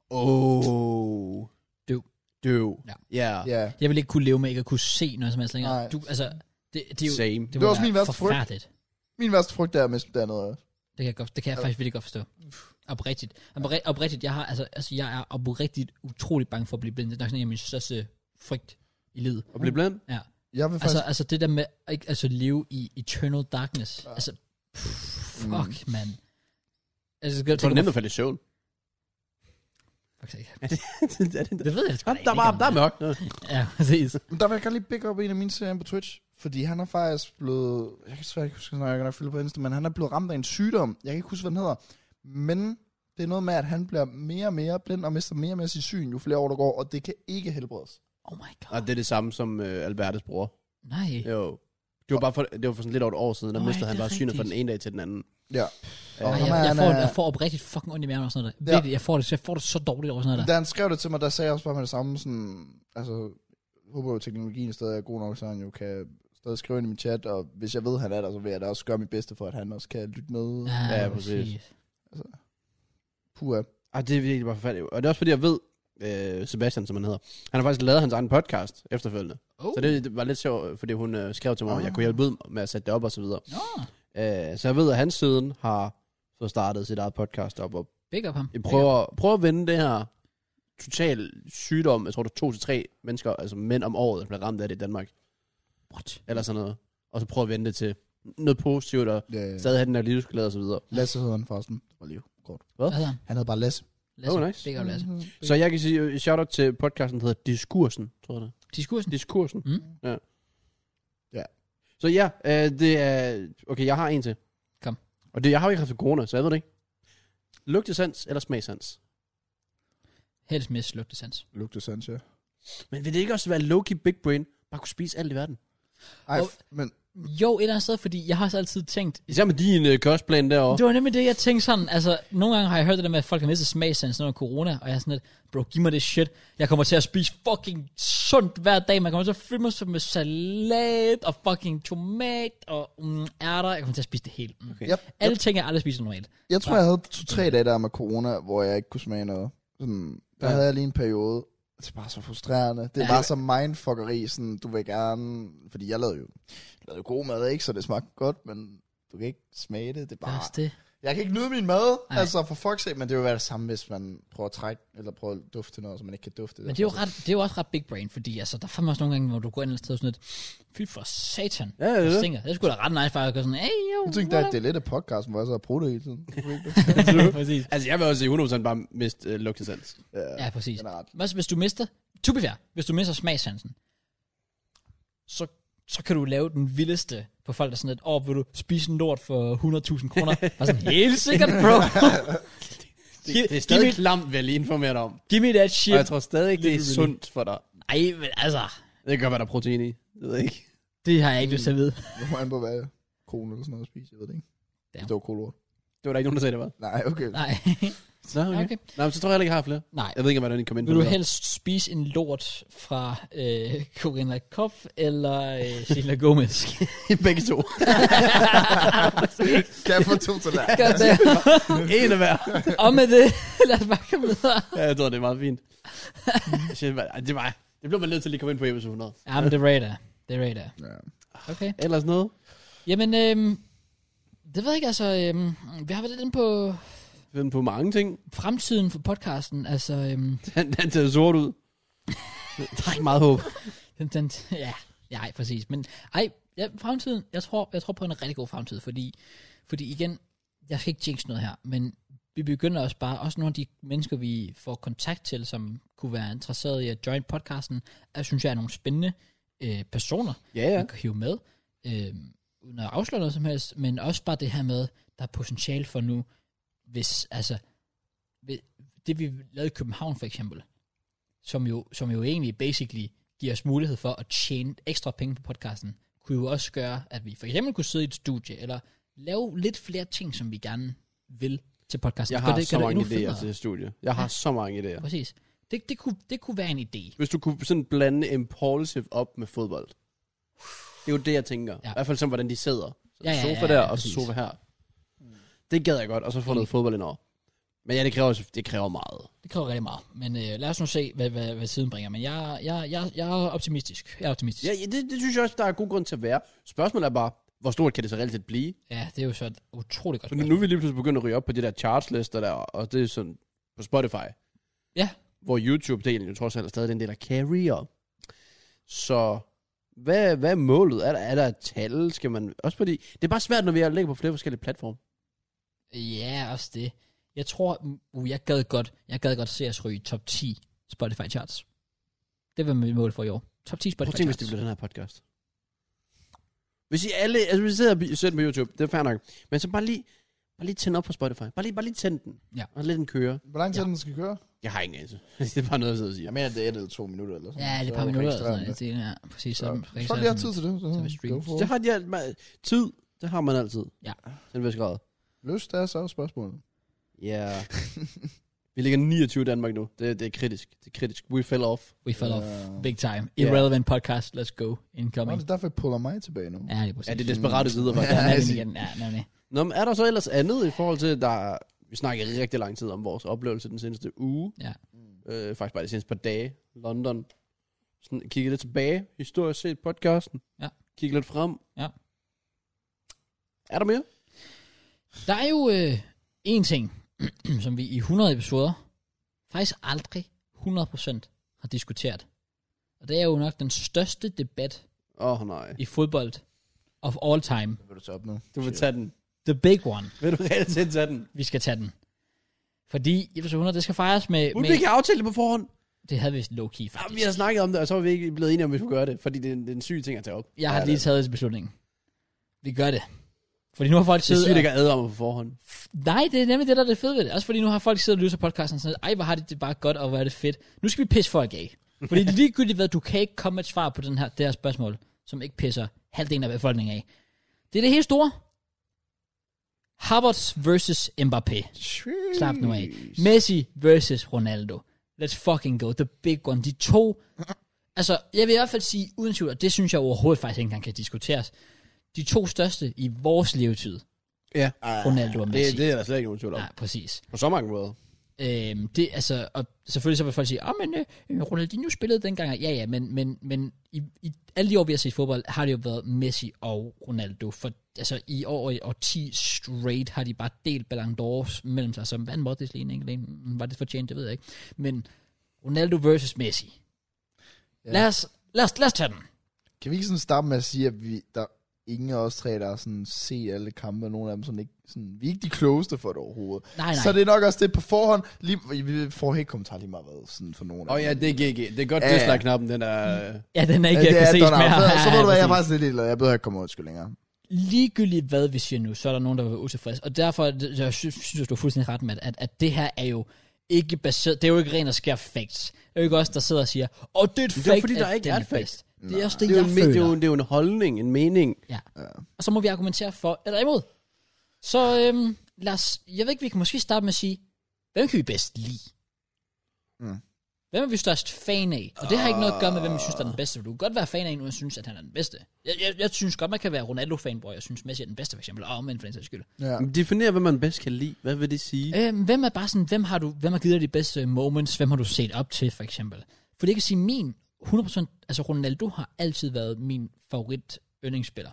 Oh.
Døv.
Døv.
Ja.
Ja.
Ja.
Jeg vil ikke kunne leve med ikke at kunne se noget som helst længere.
Nej.
Du, altså, det, det er jo...
Same.
Det,
var
må
også
være
min værste frygt.
Forfærdeligt.
Min værste frygt er at miste det andet øje.
Det kan jeg, godt, det kan jeg faktisk virkelig godt forstå. Oprigtigt. Opri- Oprigtigt, jeg, har, altså, altså, jeg er oprigtigt utrolig bange for at blive blind. Det er nok sådan en af mine største frygt i livet.
Og blive blind?
Ja.
Jeg vil
Altså,
faktisk...
altså det der med at ikke, altså, leve i eternal darkness. Ja. Altså, pff, fuck, mm. mand. Altså, jeg,
Jeg tror, det er nemt at falde i søvn.
at...
er det
Det ved jeg sgu da
der,
ikke,
var,
om
der er
det
mørkt. Nå.
Ja, præcis.
Men der vil jeg gerne lige pick op en af mine serier på Twitch. Fordi han er faktisk blevet... Jeg kan svært ikke huske, når jeg kan nok følge på Insta, men han er blevet ramt af en sygdom. Jeg kan ikke huske, hvad den hedder. Men det er noget med, at han bliver mere og mere blind og mister mere og mere sit syn, jo flere år der går, og det kan ikke helbredes.
Oh my
Og
god.
det er det samme som øh, Albertes bror.
Nej.
Jo. Det var, bare for, det var for sådan lidt over et år siden, der
Nej,
mistede han
det er
bare synet fra den
rigtigt.
ene dag til den anden.
Ja.
Ja.
Ej,
Og
jeg,
ham er-
jeg,
han
får,
er-
jeg får oprigtigt fucking ondt i maven og sådan noget der.
Ja.
Virkelig, jeg får, det, jeg får det så dårligt over sådan noget der.
Da han skrev det til mig, der sagde jeg også bare med det samme, sådan, altså, jeg håber jo, at teknologien stadig er god nok, så han jo kan stadig skrive ind i min chat, og hvis jeg ved, han er der, så vil jeg da også gøre mit bedste for, at han også kan lytte med. Ja.
Ja, præcis.
Puha.
Ej, det er virkelig bare forfærdeligt. Og det er også fordi, jeg ved, øh, Sebastian, som han hedder, han har faktisk lavet hans egen podcast efterfølgende.
Oh.
Så det, det var lidt sjovt, fordi hun øh, skrev til mig,
Ah.
om jeg kunne hjælpe ud med at sætte det op og så videre.
Nå,
Øh, så jeg ved, at han siden har så startet sit eget podcast op, og
big up ham.
Jeg prøver, prøver at vende det her total sygdom. Jeg tror, der er to til tre mennesker, altså mænd om året, der bliver ramt af det i Danmark.
What?
Eller sådan noget. Og så prøver at vende det til noget positivt, og
Ja,
stadig have den der livsglæde og så videre.
Lasse hedder han forresten. Det var lige kort.
Hvad hedder han?
Han hedder bare Lasse. Mm-hmm.
Lasse.
Oh, nice.
Big up, Lasse.
Så jeg kan sige øh, shout-out til podcasten, der hedder Diskursen, tror jeg det. er.
Diskursen.
Diskursen.
Mm.
Ja.
Ja.
Så ja, øh, det er... Okay, jeg har en til.
Kom.
Og det, jeg har jo ikke haft corona, så jeg ved det ikke. Lugtesans eller smagsans?
Helst med lugtesans.
Luke de Sanchez.
Men vil det ikke også være low-key big brain? Bare kunne spise alt i verden.
Ej,
Og-
f- men
Jo, et eller andet sted, fordi jeg har også altid tænkt...
Især med din øh, kostplan derovre.
Det var nemlig det, jeg tænkte sådan, altså, nogle gange har jeg hørt det der med, at folk har mistet smagsansen under corona, og jeg er sådan lidt, bro, giv mig det shit. Jeg kommer til at spise fucking sundt hver dag. Man kommer til at fylde mig med salat og fucking tomat og mm, ærter. Jeg kommer til at spise det hele. Mm.
Okay.
jeg, jeg,
Alle ting, jeg aldrig spiser normalt.
jeg tror, jeg havde to-tre dage der med corona, hvor jeg ikke kunne smage noget. Sådan, der
Ja.
havde jeg lige en periode. Det er bare så frustrerende. Det er
Ja.
bare så mindfuckeri, sådan, du vil gerne... Fordi jeg lavede jo, jeg lavede jo god mad, ikke? Så det smagte godt, men du kan ikke smage det. Det er
Det er
bare...
også det.
Jeg kan ikke nyde min mad,
Nej.
Ej. altså for fuck's sake, men det vil være det samme, hvis man prøver at trække, eller prøver at dufte til noget, som man ikke kan dufte.
Men det er, jo ret, det er jo også ret big brain, fordi altså, der er fandme også nogle gange, hvor du går ind et sted og sådan lidt, fy for satan.
Ja, ja, ja.
Jeg tænker, det skulle da ret nice faktisk at gøre sådan, hey, jo.
Jeg tænkte, at det er lidt af podcasten, hvor jeg så har brugt det hele tiden.
det Præcis.
Altså, jeg vil også sige 100% bare miste øh, lugtesans.
Ja, præcis.
øh,
Generelt.
Hvad så, hvis du mister, to be fair, hvis du mister smagssansen, så, så kan du lave den vildeste på folk, der er sådan lidt, åh, vil du spise en lort for 100.000 kroner? Bare sådan, helt sikkert, bro.
Det, det er
Giv
stadig
mig-
klamt, vil jeg lige informere dig om.
Give me that
Og jeg
shit.
tror stadig ikke, det er
Lidt
sundt for dig.
Ej, men altså,
Det kan godt være, der er protein i. Det ved jeg ikke.
det har jeg ikke lyst til at vide.
Nu må han på hvad kolen eller sådan noget at spise, jeg ved det ikke.
Ja.
Ja. Det var kolort.
Det var der ikke nogen, der sagde, det var.
Nej, okay. Nej.
Nej.
Nå, okay. okay.
Okay.
Nå, men så tror jeg heller ikke, jeg har flere.
Nej.
Jeg ved ikke, om hvordan I kom ind på
Vil du
det. der.
helst spise en lort fra øh, Corinna Kopf eller øh, Sheila Gomez?
Begge to.
Kan jeg få to til dig?
Godt der.
en af hver.
Og med det, lad os bare komme videre.
Ja, jeg tror, det er meget fint. Jeg synes, man- det, var, det blev man nødt til at lige komme ind på episode 100.
Ja, men det er radar. Det er radar.
Ja.
Okay.
Ellers noget?
Jamen, øhm, det ved jeg ikke, altså, øhm, vi har været lidt inde på
Vi er på mange ting.
fremtiden for podcasten, altså, øhm,
Han, han ser sort ud. Der er ikke meget håb.
den, den, ja, ja, ej, præcis, men ej, ja, fremtiden, jeg tror, jeg tror på en rigtig god fremtid, fordi, fordi igen, jeg skal ikke jinx noget her, men vi begynder også bare, også nogle af de mennesker, vi får kontakt til, som kunne være interesseret i at join podcasten, er, synes jeg er nogle spændende øh, personer,
Ja, ja.
man kan hive med, øh, uden at afsløre noget som helst, men også bare det her med, der er potentiale for nu, hvis, altså, ved- det vi lavede i København for eksempel, som jo, som jo egentlig basically giver os mulighed for at tjene ekstra penge på podcasten, kunne jo også gøre, at vi for eksempel kunne sidde i et studie, eller lave lidt flere ting, som vi gerne vil til podcasten.
Jeg
Gør
har
det,
så
gør det endnu
mange idéer
federe.
til det studie. Jeg har så mange idéer.
Præcis. Det, det, kunne, det kunne være en idé.
Hvis du kunne sådan blande impulsive op med fodbold. Det er jo det, jeg tænker. Ja.
Ja.
I hvert fald sådan, hvordan de sidder. Så
Ja,
ja, Mm.
ja,
sofa
ja,
der,
ja,
og så
præcis.
sofa her. Det gad jeg godt, og så få
Enig.
noget fodbold indover. Men ja, det kræver, også- det kræver meget.
Det kræver rigtig meget. Men øh, lad os nu se, hvad, hvad, hvad siden bringer. Men jeg, jeg, jeg, jeg er optimistisk. Jeg er optimistisk.
Ja, ja det, det, synes jeg også, der er god grund til at være. Spørgsmålet er bare, hvor stort kan det så reelt set blive?
Ja, det er jo så et utroligt godt
Så nu, nu er vi lige pludselig begyndt at ryge op på de der chartslister der, og det er sådan på Spotify.
Ja.
Hvor YouTube-delen jo trods alt er stadig den del, der carrier. Så hvad, hvad er målet? Er der, er der et tal? Skal man... Også fordi, det er bare svært, når vi ligger på flere forskellige platforme.
spørgsmål. Ja, også det. Jeg tror, uh, jeg gad godt, jeg gad godt se os ryge i top 10 Spotify charts. Det var mit mål for i år. Top 10
Prøv at
Spotify
tænke, hvis
charts.
det bliver den her podcast. Hvis I alle... Altså, hvis I sidder og bi- ser den på YouTube, det er fair nok. Men så bare lige, bare lige tænd op på Spotify. Bare lige, bare lige tænd den.
Ja.
Og lad den køre.
Hvor lang tid ja. den skal køre?
Jeg har ingen anelse. det er bare noget, jeg sidder og siger.
Jeg mener, det er det to minutter eller sådan
ja, det er et par minutter. Eller sådan, noget. det er, ja, præcis. Så,
Så,
registrerer
så lige har
sådan-
tid til det. Så,
vi streamer.
go for
Det
it.
har de alt, man, tid, det har man altid.
Ja.
Til en vis grad.
Lyst er så spørgsmålet.
Ja. Yeah. vi ligger 29 i Danmark nu. Det, det er kritisk. Det er kritisk. We fell off.
We fell off
Ja.
big time.
Ja.
Irrelevant podcast. Let's go.
Øh, Nå,
Incoming.
det er derfor, jeg puller mig tilbage nu.
Ja, det er præcis.
Ja, det er desperate tider,
Ja,
faktisk.
nemlig
altså-
igen. Ja, nemlig.
Nå, men er der så ellers andet i forhold til, at der... Vi snakkede rigtig lang tid om vores oplevelse den seneste uge.
Ja.
Øh, faktisk bare de seneste par dage. London. Sådan, kigge lidt tilbage. Historisk set podcasten.
Ja.
Kigge lidt frem.
Ja.
Er der mere?
Der er jo øh, en ting, som vi i 100 episoder faktisk aldrig 100% har diskuteret. Og det er jo nok den største debat
Åh oh, nej.
i fodbold of all time.
Det vil du tage op nu.
Du vil tage den.
The big one.
Vil du reelt set tage den?
Vi skal tage den. Fordi episode 100, det skal fejres med...
Må vi
med
ikke aftale det på forhånd?
det havde vi low-key
Ja,
faktisk.
vi har snakket om det, og så er vi ikke blevet enige om, at vi skulle gøre det, fordi det er en, det er en syg ting at tage op.
Jeg har lige taget beslutningen. Vi gør det. Fordi nu har folk
Det er
siddet...
sygt
og-
ikke at advaret mig på forhånd.
Nej, det er nemlig det, der er det fede ved det. Også fordi nu har folk siddet og lyttet til podcasten og sådan, ej, hvor har de det bare godt, og hvor er det fedt. Nu skal vi pisse folk af. Fordi ligegyldigt hvad, du kan ikke komme med et svar på den her, det her spørgsmål, som ikke pisser halvdelen af befolkningen af. Det er det helt store. Havertz versus Mbappé. Slap nu af. Messi versus Ronaldo. Let's fucking go. The big one. De to. Altså, jeg vil i hvert fald sige, uden tvivl, og det synes jeg overhovedet faktisk ikke engang kan diskuteres. De to største i vores levetid.
Ja.
Ronaldo og
Ah, Det,
Messi.
det er der slet ikke nogen tvivl om.
Nej, præcis.
På så mange måder.
Øhm, det, altså, og selvfølgelig så vil folk sige, at men øh, Ronaldinho spillede dengang. og Ja, ja, men, men, men i, i alle de år, vi har set fodbold, har det jo været Messi og Ronaldo. For, altså, i år og, og 10 straight har de bare delt Ballon d'Ors mellem sig. Som vandt Modric lige en enkelt en. Var det fortjent, det ved jeg ikke. Men Ronaldo versus Messi. Ja.
Ja.
Lad, os, lad, os, lad os tage den.
Kan vi ikke sådan starte med at sige, at vi, der er ingen af os tre, der har sådan set alle kampe, og nogle af dem sådan ikke, sådan, vi er ikke de klogeste for det overhovedet.
Nej, nej.
Så det er nok også det på forhånd, lige, vi får helt kommentar lige meget hvad, sådan for nogle af
Og ja, det er GG. Det er godt,
Ja,
ja,
ja.
dislike-knappen, den er...
Ja, den er
Ja,
ikke,
det
jeg
er
kan ses
Donald.
mere.
Så- Så ved du hvad, jeg er
præcis.
faktisk lidt ligeglad. Jeg behøver ikke komme undskyld længere.
ligegyldigt hvad vi siger nu, så er der nogen, der vil være utilfredse. Og derfor det- jeg sy- synes jeg, du er fuldstændig ret med, at, at det her er jo ikke baseret, det er jo ikke ren og skær facts. Det er jo ikke os, der sidder og siger, åh, det er et
Men
fact,
det er jo fordi,
at
der ikke
den
er et fact.
bedst." Det er også det,
Det er, jo
jeg
en, me- det, er
føler.
jo, det er jo en holdning, en mening.
Ja. Og så må vi argumentere for eller imod. Så øhm, lad os, jeg ved ikke, vi kan måske starte med at sige, Hvem kan vi bedst lide?
Mm.
Hvem er vi størst fan af? Og det har ikke noget at gøre med, hvem vi synes, der er den bedste. Du kan godt være fan af en, uden at synes, at han er den bedste. Jeg, jeg, jeg synes godt, man kan være Ronaldo-fanboy, og synes Messi er den bedste, for eksempel. Og omvendt for den sags skyld.
Ja.
Definér, hvad man bedst kan lide. Hvad vil det sige?
Øhm, hvem er bare sådan, hvem har, du, hvem har givet dig de bedste moments? Hvem har du set op til, for eksempel? For det kan sige, min 100%, altså Ronaldo har altid været min favorit yndlingsspiller.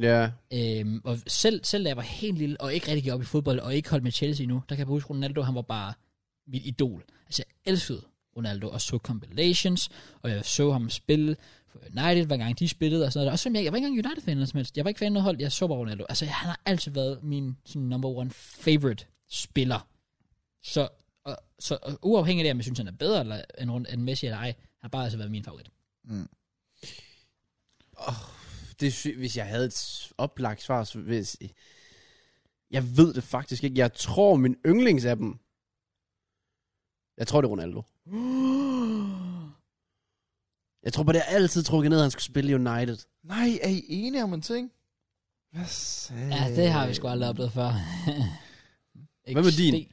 Ja.
Øhm, og selv, selv da jeg var helt lille, og ikke rigtig gik op i fodbold, og ikke holdt med Chelsea nu, der kan jeg huske, Ronaldo, han var bare mit idol. Altså, jeg elskede Ronaldo, og så compilations, og jeg så ham spille for United, hver gang de spillede, og sådan noget. Og selvom jeg, jeg var ikke engang United-fan eller noget som helst. Jeg var ikke fan af noget hold, jeg så bare Ronaldo. Altså, han har altid været min sådan, number one favorite spiller. Så, og, så og, uafhængigt af, om jeg synes, han er bedre eller, end, Ron- end Messi eller ej, han har bare altså været min favorit.
Det, sy- hvis jeg havde et s- oplagt svar, så hvis... Jeg ved det faktisk ikke. Jeg tror, min yndlings af dem... Jeg tror, det er Ronaldo. Jeg tror bare, det er altid trukket ned, at han skulle spille i United.
Nej, er I enige om en ting? Hvad sagde
Ja, det har vi sgu aldrig oplevet før.
Hvad med din?
XD.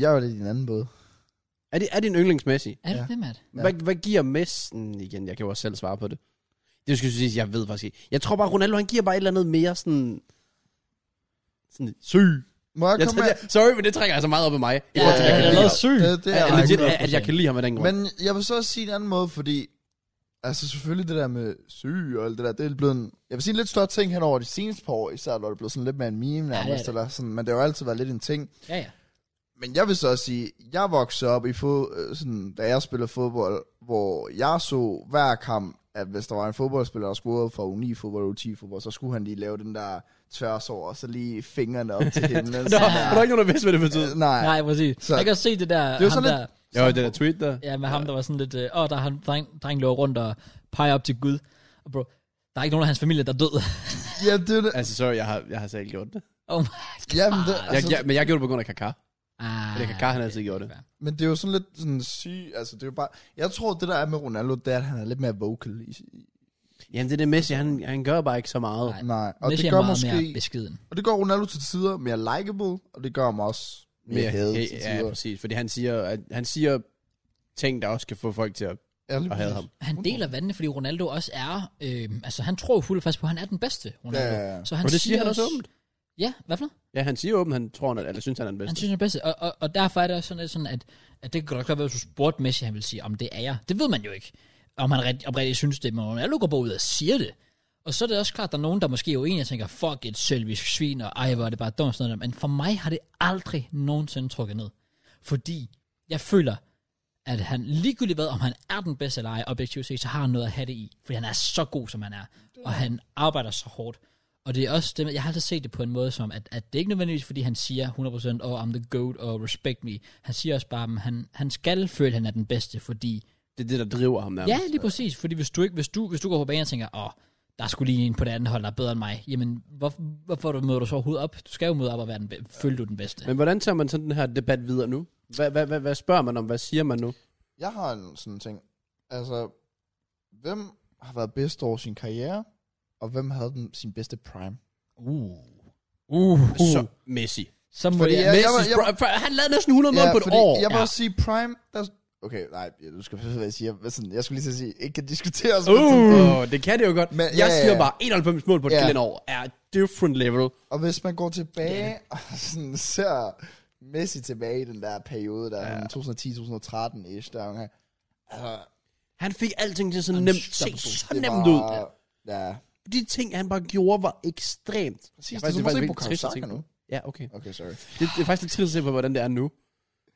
Jeg var lidt i en anden båd.
Er det, er det en yndlingsmæssig?
Er det
Ja.
det, Matt?
Ja.
Ja. Hvad, hvad giver messen igen? Jeg kan jo også selv svare på det. Det skal jeg sige, jeg ved faktisk ikke. Jeg tror bare, Ronaldo, han giver bare et eller andet mere sådan... Sådan syg.
Må jeg
Jeg
komme
tager,
med?
jeg, sorry, men det trækker altså meget op af mig.
Ja,
I forhold til,
ja, ja,
jeg kan
ja.
lide
noget
ham.
syg. Det, det er,
At-
er
legit, at, at jeg kan lide ham af den grund.
Men jeg vil så også sige en anden måde, fordi... Altså selvfølgelig det der med syg og alt det der, det er blevet en, Jeg vil sige en lidt større ting hen over de seneste par år, især når det er blevet sådan lidt mere en meme
det er
nærmest, ja,
det.
Eller sådan, men det har jo altid været lidt en ting.
Ja, ja.
Men jeg vil så også sige, jeg voksede op i fod, øh, sådan, da jeg spillede fodbold, hvor jeg så hver kamp, at hvis der var en fodboldspiller, der scorede fra U9 fodbold og U10 fodbold, så skulle han lige lave den der tværs over, og så lige fingrene op til himlen.
Nå,
sådan
var der ikke nogen, der vidste, hvad det
der.
betød?
Øh, Nej.
Nej, præcis. Så,
Så-
jeg kan også se det der,
Det
det
var
ham
sådan
der,
Jo, det der tweet der.
ja, med ham, der var sådan lidt, øh, åh, der er han, dreng, dreng løber rundt og peger op til Gud. Og bro, der er ikke nogen af hans familie, der er død.
Ja, det er det.
Altså, sorry, jeg har, jeg har selv gjort det.
oh my god.
Jamen, det,
Jeg,
altså,
jeg, men jeg gjorde det på grund af Kaká.
Ah,
Det kan Kar, han altid gjort det.
men det er jo sådan lidt sådan syg, altså det er jo bare, jeg tror det der er med Ronaldo, det er, at han er lidt mere vocal. I, i-
Jamen, det er det Messi, han, han gør bare ikke så meget.
Nej.
nej,
Og
og
Messi
det
det
gør
er meget mere
måske,
beskeden.
og det gør Ronaldo til tider mere likable, og det gør ham også mere hadet til
ja,
tider.
præcis. Fordi han siger, at, han siger ting, der også kan få folk til at,
Ja, lige
at have
præcis.
ham.
Han deler vandene, fordi Ronaldo også er, øh, altså han tror jo fuldt og fast på, at han er den bedste, Ronaldo.
Ja, ja, ja.
Så han
Og det siger han også åbent.
Ja, hvad for noget?
Ja, han siger åbent, han tror, han, er- eller synes, han er den
Han
bedste.
synes, han er bedst. Og, og, og derfor er det også sådan, lidt sådan at, at det kan godt være, hvis du spurgte Messi, han vil sige, om det er jeg. Det ved man jo ikke, om han rigtig, oprigtigt synes det, men Ronaldo går bare ud og siger det. Og så er det også klart, at der er nogen, der måske er uenige og tænker, fuck et selvisk svin, og ej, hvor er det bare dumt. og Sådan noget. der. Men for mig har det aldrig nogensinde trukket ned. Fordi jeg føler, at han ligegyldigt hvad, om han er den bedste eller ej, objektivt set, så har han noget at have det i. Fordi han er så god, som han er. Og han arbejder så hårdt. Og det er også det, jeg har altid set det på en måde som, at, at det er ikke nødvendigvis, fordi han siger 100%, oh, I'm the goat, og respect me. Han siger også bare, at han, han skal føle, at han er den bedste, fordi...
Det er det, der driver ham nærmest.
Ja, lige præcis. Fordi hvis du, ikke, hvis du, hvis du går på banen og tænker, åh, oh, der skulle lige en på det andet hold, der er bedre end mig. Jamen, hvor, hvorfor du- møder du så overhovedet op? Du skal jo møde op og være den, be- føle, du er den bedste.
Men hvordan tager man sådan den her debat videre nu? Hvad, hvad, hvad, hvad spørger man om? Hvad siger man nu?
Uh.
Jeg har en sådan ting. Altså, hvem har været bedst over sin karriere, og hvem havde den, sin bedste prime?
Uh. Uh. uh.
Så Messi.
så må
Fordi
jeg,
jeg-
Messi,
var- jeg var-
han lavede næsten 100 mål på et
fordi
år.
Jeg vil
Ja.
også sige prime, der... Okay, nej, du skal passe på, hvad jeg siger. Hvad Sådan, jeg skulle lige til at sige, ikke kan diskutere os.
Uh, det kan det jo godt. Men,
Mm. Men-
jeg
ja, ja,
siger
ja.
bare, 91 mål på et
Ja.
ja. år er different level.
Og hvis man går tilbage og sådan ser Messi tilbage i den der periode, der ja. 2010-2013-ish, der er altså,
Han fik alting til så
Han
nemt,
stopper
se så
det
nemt
var-
ud.
Ja,
De ting, han bare gjorde, var ekstremt.
præcis.
faktisk-
det er som at se
faktisk
på
lidt trist at
Karusaka
tænke på.
nu.
Ja, okay.
Okay, sorry.
Det, det er faktisk lidt trist at se på, hvordan det er nu.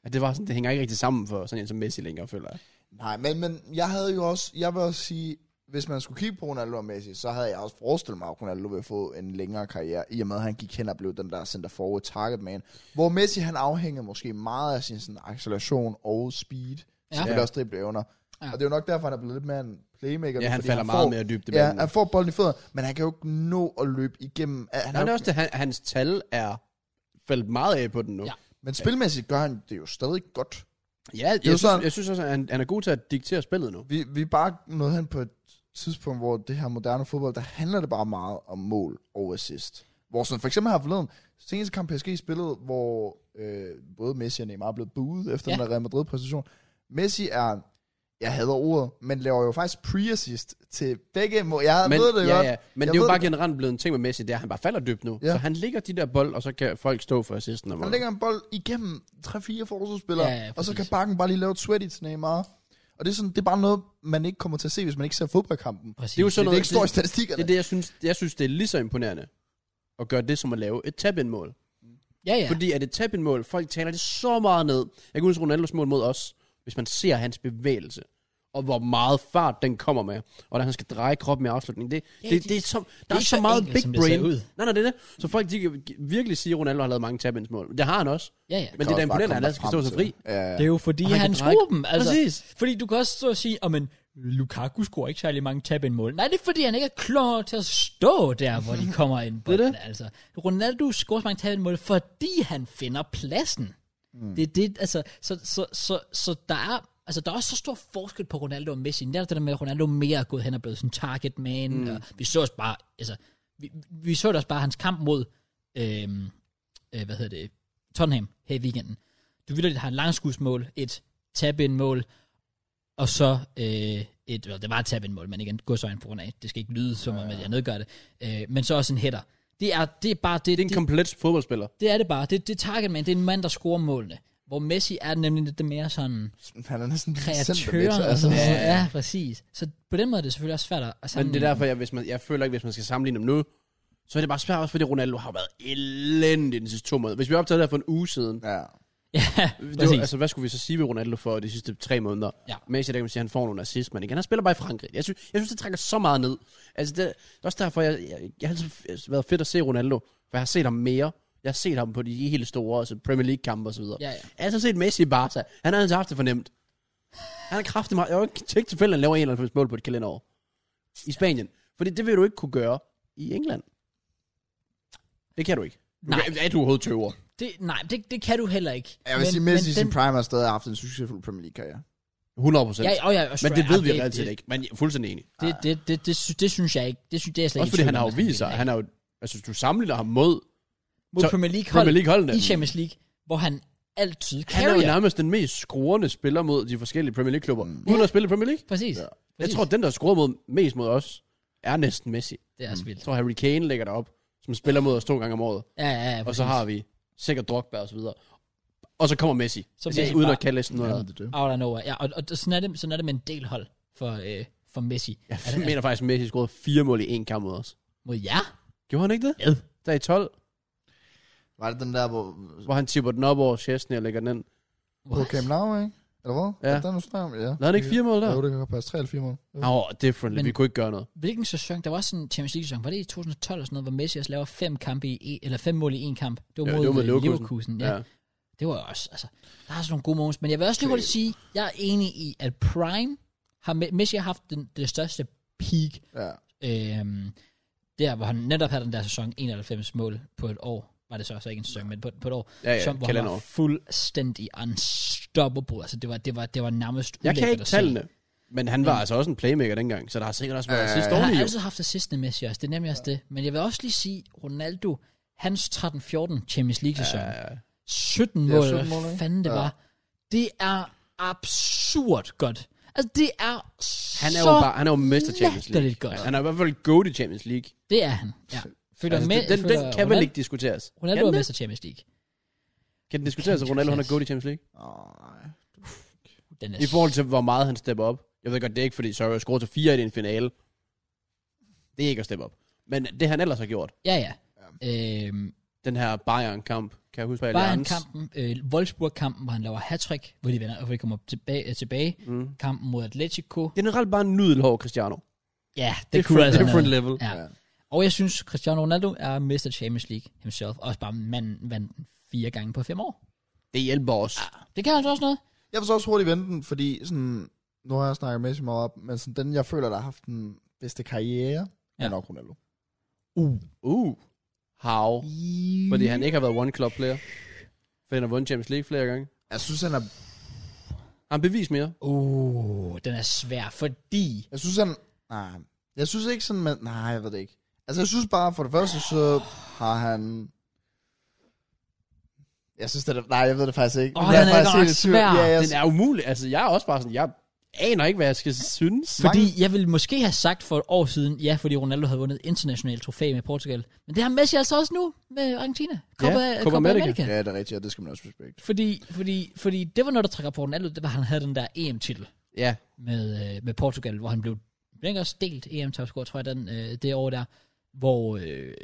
At det, var sådan, det hænger ikke rigtig sammen for sådan en som Messi længere, føler jeg.
Nej, men, men jeg havde jo også, jeg vil også sige, hvis man skulle kigge på Ronaldo og Messi, så havde jeg også forestillet mig, at Ronaldo ville få en længere karriere, i og med at han gik hen og blev den der center forward target man. Hvor Messi, han afhænger måske meget af sin sådan, acceleration og speed,
Ja.
ja. selvfølgelig også dribleevner.
Ja.
Ja. Og det er jo nok derfor, han er blevet lidt mere en playmaker.
Ja,
nu,
han
fordi
falder
han
meget
får,
mere dybt i
Ja,
banen.
han får bolden i fødderne, men han kan jo ikke nå at løbe igennem. Han er
Han er
jo,
også det, han, hans tal er faldt meget af på den nu.
Ja.
Ja,
men spilmæssigt gør han det jo stadig godt.
ja jeg,
jo
synes,
sådan-
jeg synes også, at han, han er god til at diktere spillet nu.
Vi, vi er bare nået hen på et tidspunkt, hvor det her moderne fodbold, der handler det bare meget om mål og assist. Hvor sådan, for eksempel her forleden, seneste kamp PSG spillede, hvor øh, både Messi og Neymar blev buet efter
Ja.
ja. den der Real Madrid-præstation. Messi er, jeg hader ordet, men laver jo faktisk pre-assist til begge mål. Jeg
Men,
ved det
ja,
godt.
ja. men
Jeg
det er jo
ved
bare
det.
generelt blevet en ting med Messi, det er, at han bare falder dybt nu. Ja.
Ja.
Så han ligger de der bold, og så kan folk stå for assisten. Og
Han lægger en bold igennem 3-4 forsvarsspillere,
Ja, ja,
og så kan
præcis.
bakken bare lige lave et sweaty til Neymar. Og det er, sådan, det er bare noget, man ikke kommer til at se, hvis man ikke ser fodboldkampen.
Præcis.
Det er jo
Så
sådan
det, det
noget,
ikke står i statistikkerne.
det, er det, jeg synes, jeg synes, det er lige så imponerende at gøre det, som at lave et tab-in-mål.
ja, ja.
Ja. Fordi at et tab-in-mål, folk taler det så meget ned. Jeg kan huske Ronaldos mål mod os, hvis man ser hans bevægelse, og hvor meget fart den kommer med, og da han skal dreje kroppen i afslutningen. Det,
Ja,
ja, det,
det-
det, er så, der
er
er,
ikke
ikke så
så
meget
enkelt, som
big
det ser
brain.
ud.
Nej, nej, det er det. Så folk de kan virkelig sige, at Ronaldo har lavet mange tab-in-mål. Det har han også.
ja, ja.
Men det er da imponerende, at han altid skal stå så fri.
Ja, ja.
Det er jo fordi,
Og han
han,
kan
han
dreje-
skruer dem. Altså,
Præcis.
Fordi du kan også stå og sige, at Lukaku scorer ikke særlig mange tab ind mål. Nej, det er fordi, han ikke er klar til at stå der, hvor de kommer ind på
Det er
den. Altså. Ronaldo scorer så mange tab ind mål, fordi han finder pladsen. Mm. Det er det, altså, så, så, så, så der er Altså, der er også så stor forskel på Ronaldo og Messi. Netop det der med, at Ronaldo mere er gået hen og blevet sådan target man. Mm. Og vi så også bare, altså, vi, vi så da også bare hans kamp mod, øhm, øh, hvad hedder det, Tottenham her i weekenden. Du vil har et langskudsmål, et tab-in-mål, og så øh, et, well, det var et tab-in-mål, men igen, godsøjen på grund af, det skal ikke lyde som om, at jeg nedgør det, øh, men så også en header. Det er, det er bare, det,
Det er en
det,
komplet fodboldspiller.
det, er det bare, det, det er target man, det er en mand, der scorer målene, hvor Messi er nemlig lidt mere sådan
Han er næsten
kreatør, og sådan
altså.
noget. Ja, præcis. Så på den måde er det selvfølgelig også svært at- at
altså, Men
sådan,
det er derfor, jeg, hvis man, jeg føler ikke, hvis man skal sammenligne dem nu, så er det bare svært også, fordi Ronaldo har været elendig de sidste to måneder. Hvis vi optagede det her for en uge siden,
Ja.
ja,
det var,
præcis.
altså, hvad skulle vi så sige ved Ronaldo for de sidste tre måneder?
Ja.
Messi, der kan man sige, at han får nogle assist, men igen, han spiller bare i Frankrig. Jeg synes, jeg synes det trækker så meget ned. Altså, det, det er også derfor, jeg, jeg, jeg har altid været fedt at se Ronaldo, for jeg har set ham mere. Jeg har set ham på de helt store, altså Premier League-kampe og så videre.
Ja, ja.
Jeg har altid set Messi i Barca. Han har altid haft det fornemt. Han har kraftet mig. Jeg har jo ikke tænkt tilfældigt, at han laver 91 mål på et kalenderår. I Spanien. Fordi det vil du ikke kunne gøre i England. Det kan du ikke. Du
Nej.
Kan, er du overhovedet tøver?
Det, nej, det, det kan du heller ikke.
Jeg vil
Men-
sige, Messi
men
i sin
den-
prime har stadig haft en succesfuld Premier League-karriere.
100 procent.
Ja, og jeg, og
Men det
Stray-
ved
ja,
vi reelt set ikke. Men jeg er fuldstændig enig.
Det, det, det, det, sy- det, synes jeg ikke. Det synes det er jeg slet
Også
ikke i
fordi
tvivl
han har
om,
jo
at
vist sig.
vil.
Han har jo, altså hvis du sammenligner ham mod
mod
så-
Premier League
Premier
hold
League-holdene.
i Champions League, hvor han altid
Han er jo
carrier.
nærmest den mest scorende spiller mod de forskellige Premier League-klubber. Uden at spille i Premier League.
Præcis.
Ja.
Mm. Præcis.
Jeg tror, den, der scorer mod, mest mod os, er næsten Messi.
det er også
Jeg
vildt.
tror, Harry Kane lægger derop, som spiller mod os to gange om året.
Ja, ja, ja.
Og så har vi sikkert Drogba og så videre. Og så kommer Messi.
Så
Så
bliver
Messi
det
uden
bare-
at kalde næsten noget.
Ja,
andet.
det er det.
Out of nowhere. Ja, og, og sådan, er det, sådan er det med en del hold for, øh, for Messi.
Jeg
Er det-
mener faktisk, at Messi scorede fire mål i en kamp mod os.
Mod jer?
Gjorde han ikke det?
Ja.
Der i 12,
Var det den der, hvor...
hvor han tipper den op over Chesney og lægger den ind.
På Camp Nou, ikke? Eller hvad?
Ja.
Er det nu snakker om? Ja.
Lavede han ikke fire mål der?
Ja, jo, det kan godt passe. 3 eller 4 mål. Jo.
Åh, oh, different.
Men-
Vi kunne ikke gøre noget.
Hvilken sæson? Der var også en Champions League-sæson. Var det i 2012 eller sådan noget, hvor Messi også laver fem, kampe i, en- eller fem mål i en kamp? Det var
Ja,
mod,
det var mod
øh,
Leverkusen.
Leverkusen. Ja.
Ja.
ja. Det var også, altså, der er sådan nogle gode moments. Men jeg vil også lige hurtigt sige, jeg er enig i, at Prime har, Me- Messi har haft den, det største peak
Ja.
Øhm, der, hvor han netop havde den der sæson, 91 mål på et år, var det så, så ikke en sæson, men på, på et år,
Ja, ja,
som, hvor han var
kalenderår.
fuldstændig unstoppable. Altså, det var, det var, det var nærmest
Jeg kan
ulækkert
ikke
at se.
tallene. Men han var altså også en playmaker dengang, så der har sikkert også været
Ja,
sidste
Altså, Han
år
har
jo.
altid haft assistene med sig også, det er nemlig også det. Men jeg vil også lige sige, Ronaldo, hans 13-14 Champions League-sæson, ja,
Ja,
17
Ja,
mål,
17
17
mål,
mål
ikke?
fanden det ja.
Ja.
var, det er absurd godt. Altså, det er
Han er
så
jo bare, han er jo mester Champions League.
latterligt godt.
Han er i hvert fald god i Champions League.
Det er han, ja. Føler
Altså,
med,
det- den,
føler
den kan vel
Ronaldo-
ikke diskuteres.
Ronaldo
Kan
er
den det?
mester Champions League.
Kan den diskuteres, at Ronaldo han er god i Champions League?
Åh, nej.
Den er
I forhold til, hvor meget han stepper op. Jeg ved godt, det er ikke, fordi Sorry har scoret til fire i en finale. Det er ikke at steppe op. Men det han ellers har gjort,
Ja, ja. Øhm,
den her Bayern-kamp, kan jeg huske på Allianz.
Bayern-kampen, øh, Wolfsburg-kampen, hvor han laver hattrick, hvor de vinder, og hvor de kommer tilbage. Øh, tilbage.
Mm.
Kampen mod Atletico.
Det er generelt bare en nudelhår, Cristiano.
Ja, det
Different,
kunne altså
different
noget.
level.
Ja. Og jeg synes, Cristiano Ronaldo er Mr. Champions League himself. Også bare manden vandt den fire gange på fem år.
Det hjælper os.
Det kan altså også noget.
Jeg vil så også hurtigt vente den, fordi sådan, nu har jeg snakket Messi meget op, men sådan, den, jeg føler, der har haft den bedste karriere, ja.
Ja.
er nok Ronaldo.
Uh.
Uh. How? Fordi han ikke har været one club player. Fordi han har vundet Champions League flere gange.
Jeg synes, han er,
Har han bevis mere?
Uh, den er svær, fordi...
jeg synes, han, nej, jeg synes ikke sådan, men, nej, jeg ved det ikke. Altså, jeg synes bare, for det første, så har han... Jeg synes, det er... Nej, jeg ved det faktisk ikke.
Åh,
Men jeg
den er
faktisk
godt
helt i tvivl.
svær.
Ja, jeg...
Den er umulig. Altså, jeg er også bare sådan, jeg aner ikke, hvad jeg skal synes.
Fordi jeg ville måske have sagt for et år siden, ja, fordi Ronaldo havde vundet international trofæ med Portugal. Men det har Messi altså også nu med Argentina. Copa, ja, Copa
Copa
America.
America.
America.
ja, det er rigtigt, og det skal man også respektere.
Fordi, fordi, fordi det var noget, der trækker på Ronaldo, det var, at han havde den der EM-titel
Ja,
med, øh, med Portugal, hvor han blev blev ikke også delt em topscorer tror jeg, den, øh, det år der, hvor øh,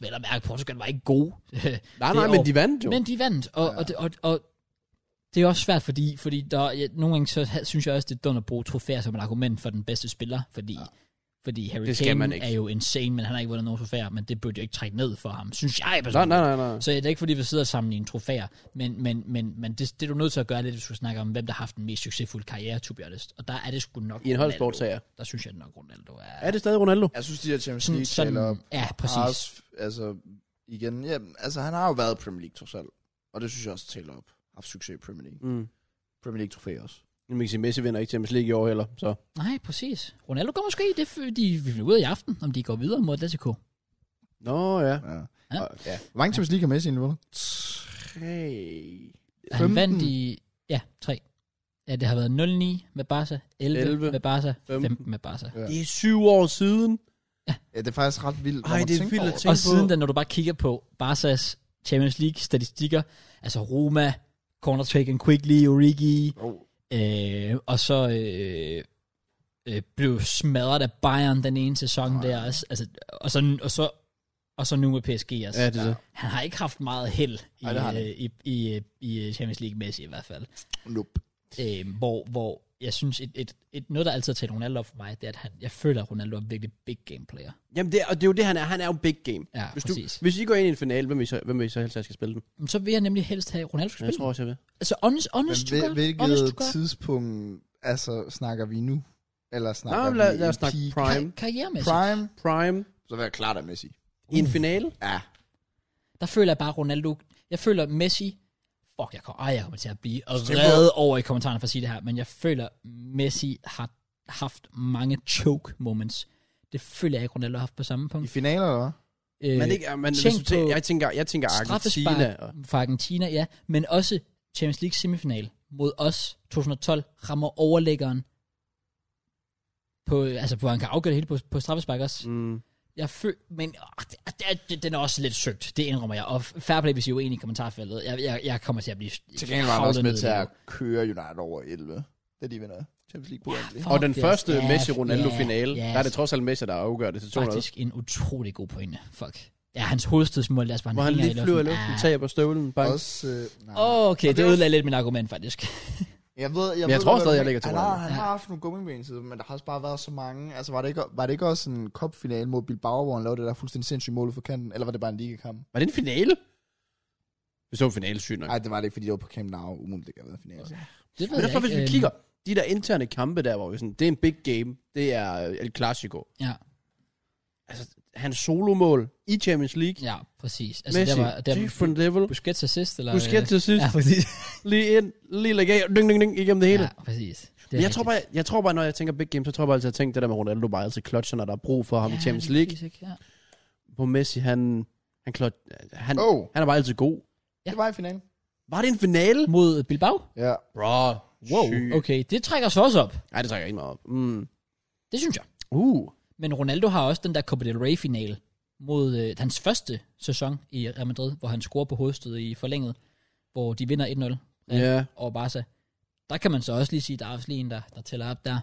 vel at mærke, Portugal var ikke god.
nej,
Det
nej,
er
men
over.
de vandt jo.
Men de vandt, og, ja. og, det, og, og det er også svært, fordi, fordi der, ja, nogle gange så ha- synes jeg også, det er dumt at bruge trofæer som et argument for den bedste spiller, fordi, ja. fordi Harry
Det skal man
Kane
ikke.
er jo insane, men han har ikke vundet nogen trofæer, men det burde jo ikke trække ned for ham, synes jeg
nej,
personligt.
nej, nej, nej.
Så det er ikke fordi, vi sidder og sammenligner trofæer, men, men, men, men det, det, er du nødt til at gøre lidt, hvis du skal snakke om, hvem der har haft den mest succesfulde karriere, to be honest. Og der er det sgu nok
I en
Ronaldo.
holdsport, sagde jeg.
Der synes jeg nok, Ronaldo er...
Er det stadig Ronaldo?
Jeg synes, de her Champions
sådan,
League taler
sådan, ja, præcis.
Ars, altså, igen, ja, altså han har jo været i Premier League trods alt. Og det synes jeg også taler op. Haft succes i Premier League.
Mm.
Premier League trofæ også.
Men man kan sige, Messi vinder ikke Champions League i år heller, så...
Nej, præcis. Ronaldo går måske, det er fordi, vi bliver ud i aften, om de går videre mod Atletico.
Nå, ja.
Ja.
Ja.
Og- ja.
Hvor mange Champions League har Messi egentlig vundet?
Tre...
Han
15.
vandt i... Ja, 3. Ja, det har været 0-9 med Barca, 11, 11
11,
med Barca, 15,
15
med Barca.
Ja.
Det er syv år siden.
Ja, det er faktisk ret vildt, når
Ej,
man
det er
tænker
vildt
over
at
det.
tænke
Og
på.
siden da, når du bare kigger på Barcas Champions League-statistikker, altså Roma, corner taken quickly, Origi,
Oh,
øh, og så øh, øh, blev smadret af Bayern den ene sæson der også. Altså, og, så, og, så, og så nu med PSG også.
Ja, det er det.
Han har ikke haft meget held i,
Nej, det har han
øh, i, i, øh, i øh, Champions League-mæssigt i hvert fald.
nope.
øh, hvor, hvor jeg synes, et, et, et, noget, der altid har talt Ronaldo op for mig, det er, at han, jeg føler, at Ronaldo er virkelig big game player.
Jamen, det er, og det er jo det, han er. Han er jo big game.
Ja,
Hvis, du,
præcis. Du...
hvis I går ind i en finale, hvem vil I så, hvem vil I så helst, at jeg skal spille den?
Men så vil jeg nemlig helst have, at Ronaldo skal
Jeg
spille.
tror også, jeg vil.
Altså, honest,
Men
honest,
hvil-
to God, honest to
hvilket
God,
tidspunkt, altså, snakker vi nu? Eller snakker
Nå, lad-
vi
lad os
en
snakke
peak?
prime.
Kar- karrieremæssigt.
Prime?
Prime
Så vil jeg klart af Messi.
i en finale.
Ja.
Der føler jeg bare, Ronaldo... Jeg føler Messi... Fuck, jeg kommer, ej, jeg kommer til at blive
Stem på.
reddet over i kommentarerne for at sige det her, men jeg føler, Messi har haft mange choke moments. Det føler jeg ikke, Ronaldo har haft på samme
I
punkt.
finaler, eller hvad?
Øh,
Men, ikke, men
tænk
hvis du tænker,
på
jeg tænker, jeg tænker Argentina.
straffespark
Og,
fra Argentina, ja, men også Champions League semifinal mod os 2012 rammer overlæggeren på, altså hvor han kan afgøre det hele på, på straffespark også. Mm.
mm,
Jeg føl, men åh, det, det, det, den er også lidt søgt, det indrømmer jeg. Og fair play, hvis I er uenige i kommentarfeltet. Jeg, jeg, jeg kommer til at blive
Til gengæld var han også
havlet
med
ned
til
i
at
det.
køre United over 11. Det de vinder Champions League på egentlig.
Fuck,
og den
det er-
første
ja,
Messi-Ronaldo-finale,
ja,
der er det trods alt Messi, der afgør det til 2
Faktisk en utrolig god pointe. Fuck. Ja, hans hovedstødsmål, lad os bare
Hvor han
hænger
lige flyver i luften,
Ah.
tager på støvlen. Bang.
Også, øh, nej.
Okay,
Og
det,
det er
det
også-
ødelagde lidt min argument, faktisk.
Jeg ved, jeg,
jeg
ved,
tror
godt, hvad
stadig,
du
jeg
mener.
ligger til
Han har,
Ronaldo.
han har haft nogle gummiben siden, men der har også bare været så mange. Altså, var det ikke, var det ikke også en cupfinale mod Bilbao, hvor han lavede det der fuldstændig sindssyge mål ud for kanten? Eller var det bare en ligakamp?
Var det en finale? Vi så en finale, sygt nok.
Nej, det var det ikke, fordi det var på Camp Nou. Umuligt, det kan have været en finale.
Det ved
Men derfor,
jeg
hvis
ikke.
vi
Øhm,
kigger, de der interne kampe der, hvor vi sådan, det er en big game, det er øh, El Clasico.
Ja.
Altså, hans solomål i Champions League,
Ja, præcis.
altså, Messi,
der var, der
different level.
Busquets assist, eller? øh,
Busquets til sidst,
Ja, præcis.
lige ind, lige lægge af, dyng, dyng, dyng, igennem det hele.
ja, præcis. Det
Men jeg tror, bare, jeg, jeg tror bare, når jeg tænker big game, så tror jeg bare altid, at jeg tænker det der med Ronaldo bare altid klotcher, når der er brug for ham ja, i Champions League.
Ja.
Hvor Messi, han, han, klot, han,
Åh, oh,
han er bare altid god.
Ja.
det var i finalen.
Var det en finale?
Mod Bilbao?
Ja.
Bro,
Wow, okay. Det trækker så også op.
Nej, det trækker jeg ikke meget op. Mm.
Det synes jeg.
Uh.
Men Ronaldo har også den der Copa del Rey-finale mod øh, hans første sæson i Real Madrid, hvor han scorer på hovedstødet i forlænget, hvor de vinder 1-0 Ja.
Ja. Yeah.
over Barca. Der kan man så også lige sige, der er også lige en, der, der tæller op der.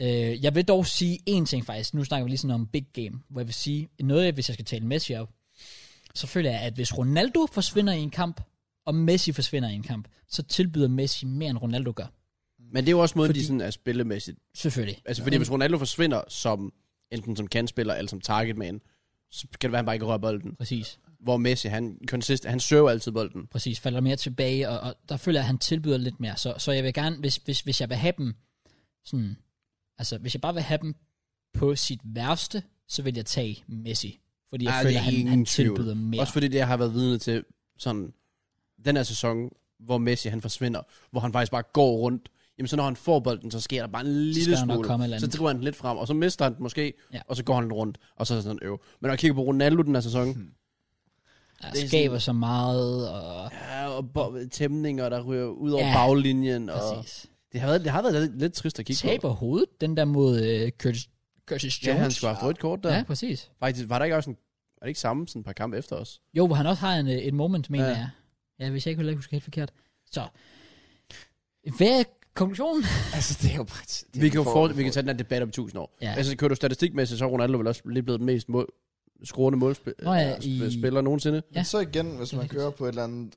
Øh, jeg vil dog sige én ting faktisk. Nu snakker vi lige sådan om big game, hvor jeg vil sige, noget af, hvis jeg skal tale Messi op, så føler jeg, at hvis Ronaldo forsvinder i en kamp, og Messi forsvinder i en kamp, så tilbyder Messi mere, end Ronaldo gør.
Men det er jo også måden, fordi...
Fordi-
de sådan er spillemæssigt.
Selvfølgelig.
Altså, fordi hvis Ronaldo forsvinder som enten som kandspiller eller som targetman, så kan det være, at han bare ikke rører bolden.
Præcis.
Hvor Messi, han, consist, han søger jo altid bolden.
Præcis. Falder mere tilbage, og, og der føler jeg, at han tilbyder lidt mere. Så, så jeg vil gerne, hvis, hvis, hvis jeg vil have dem sådan, altså hvis jeg bare vil have dem på sit værste, så vil jeg tage Messi. Fordi jeg
Ej, det
føler,
er
han,
ingen
han
tvivl.
tilbyder mere.
Ja. Også fordi det, jeg har været vidne til sådan den her sæson, hvor Messi han forsvinder, hvor han faktisk bare går rundt jamen så når han får bolden, så sker der bare en lille
skal der nok
smule.
komme et eller
Så
andet.
driver han den lidt frem, og så mister han den måske,
Ja.
og så går han lidt rundt, og så er sådan en øv. Men når jeg kigger på Ronaldo den her sæson,
Hmm.
Der
Det er
skaber så meget, og...
ja, og bo- tæmninger, der ryger ud over
Ja,
baglinjen, og
Præcis.
det har været, det har været lidt, lidt trist at kigge på.
Taber hovedet, den der mod øh, Curtis, Curtis
Ja,
Jones.
han skulle have haft rødt kort der.
Ja,
Ja.
præcis.
Faktisk, var der ikke også en, var det ikke samme sådan et par kampe efter os?
Jo, hvor han også har en, øh, et moment, mener
Ja.
ja. jeg. Ja, hvis jeg ikke heller ikke husker helt forkert. Så, hvad er konklusionen?
Altså, det er jo bare... det er
Vi
en
kan, jo
for-
for, vi kan tage den her debat om 1000 år. Ja.
Ja.
Altså, kører du statistikmæssigt, så er Ronaldo vel også lige blevet den mest mål, scorende målspiller
Nå ja, i-
spiller nogensinde.
Ja.
Men så igen, hvis
Det er
man
rigtigt.
kører på et eller andet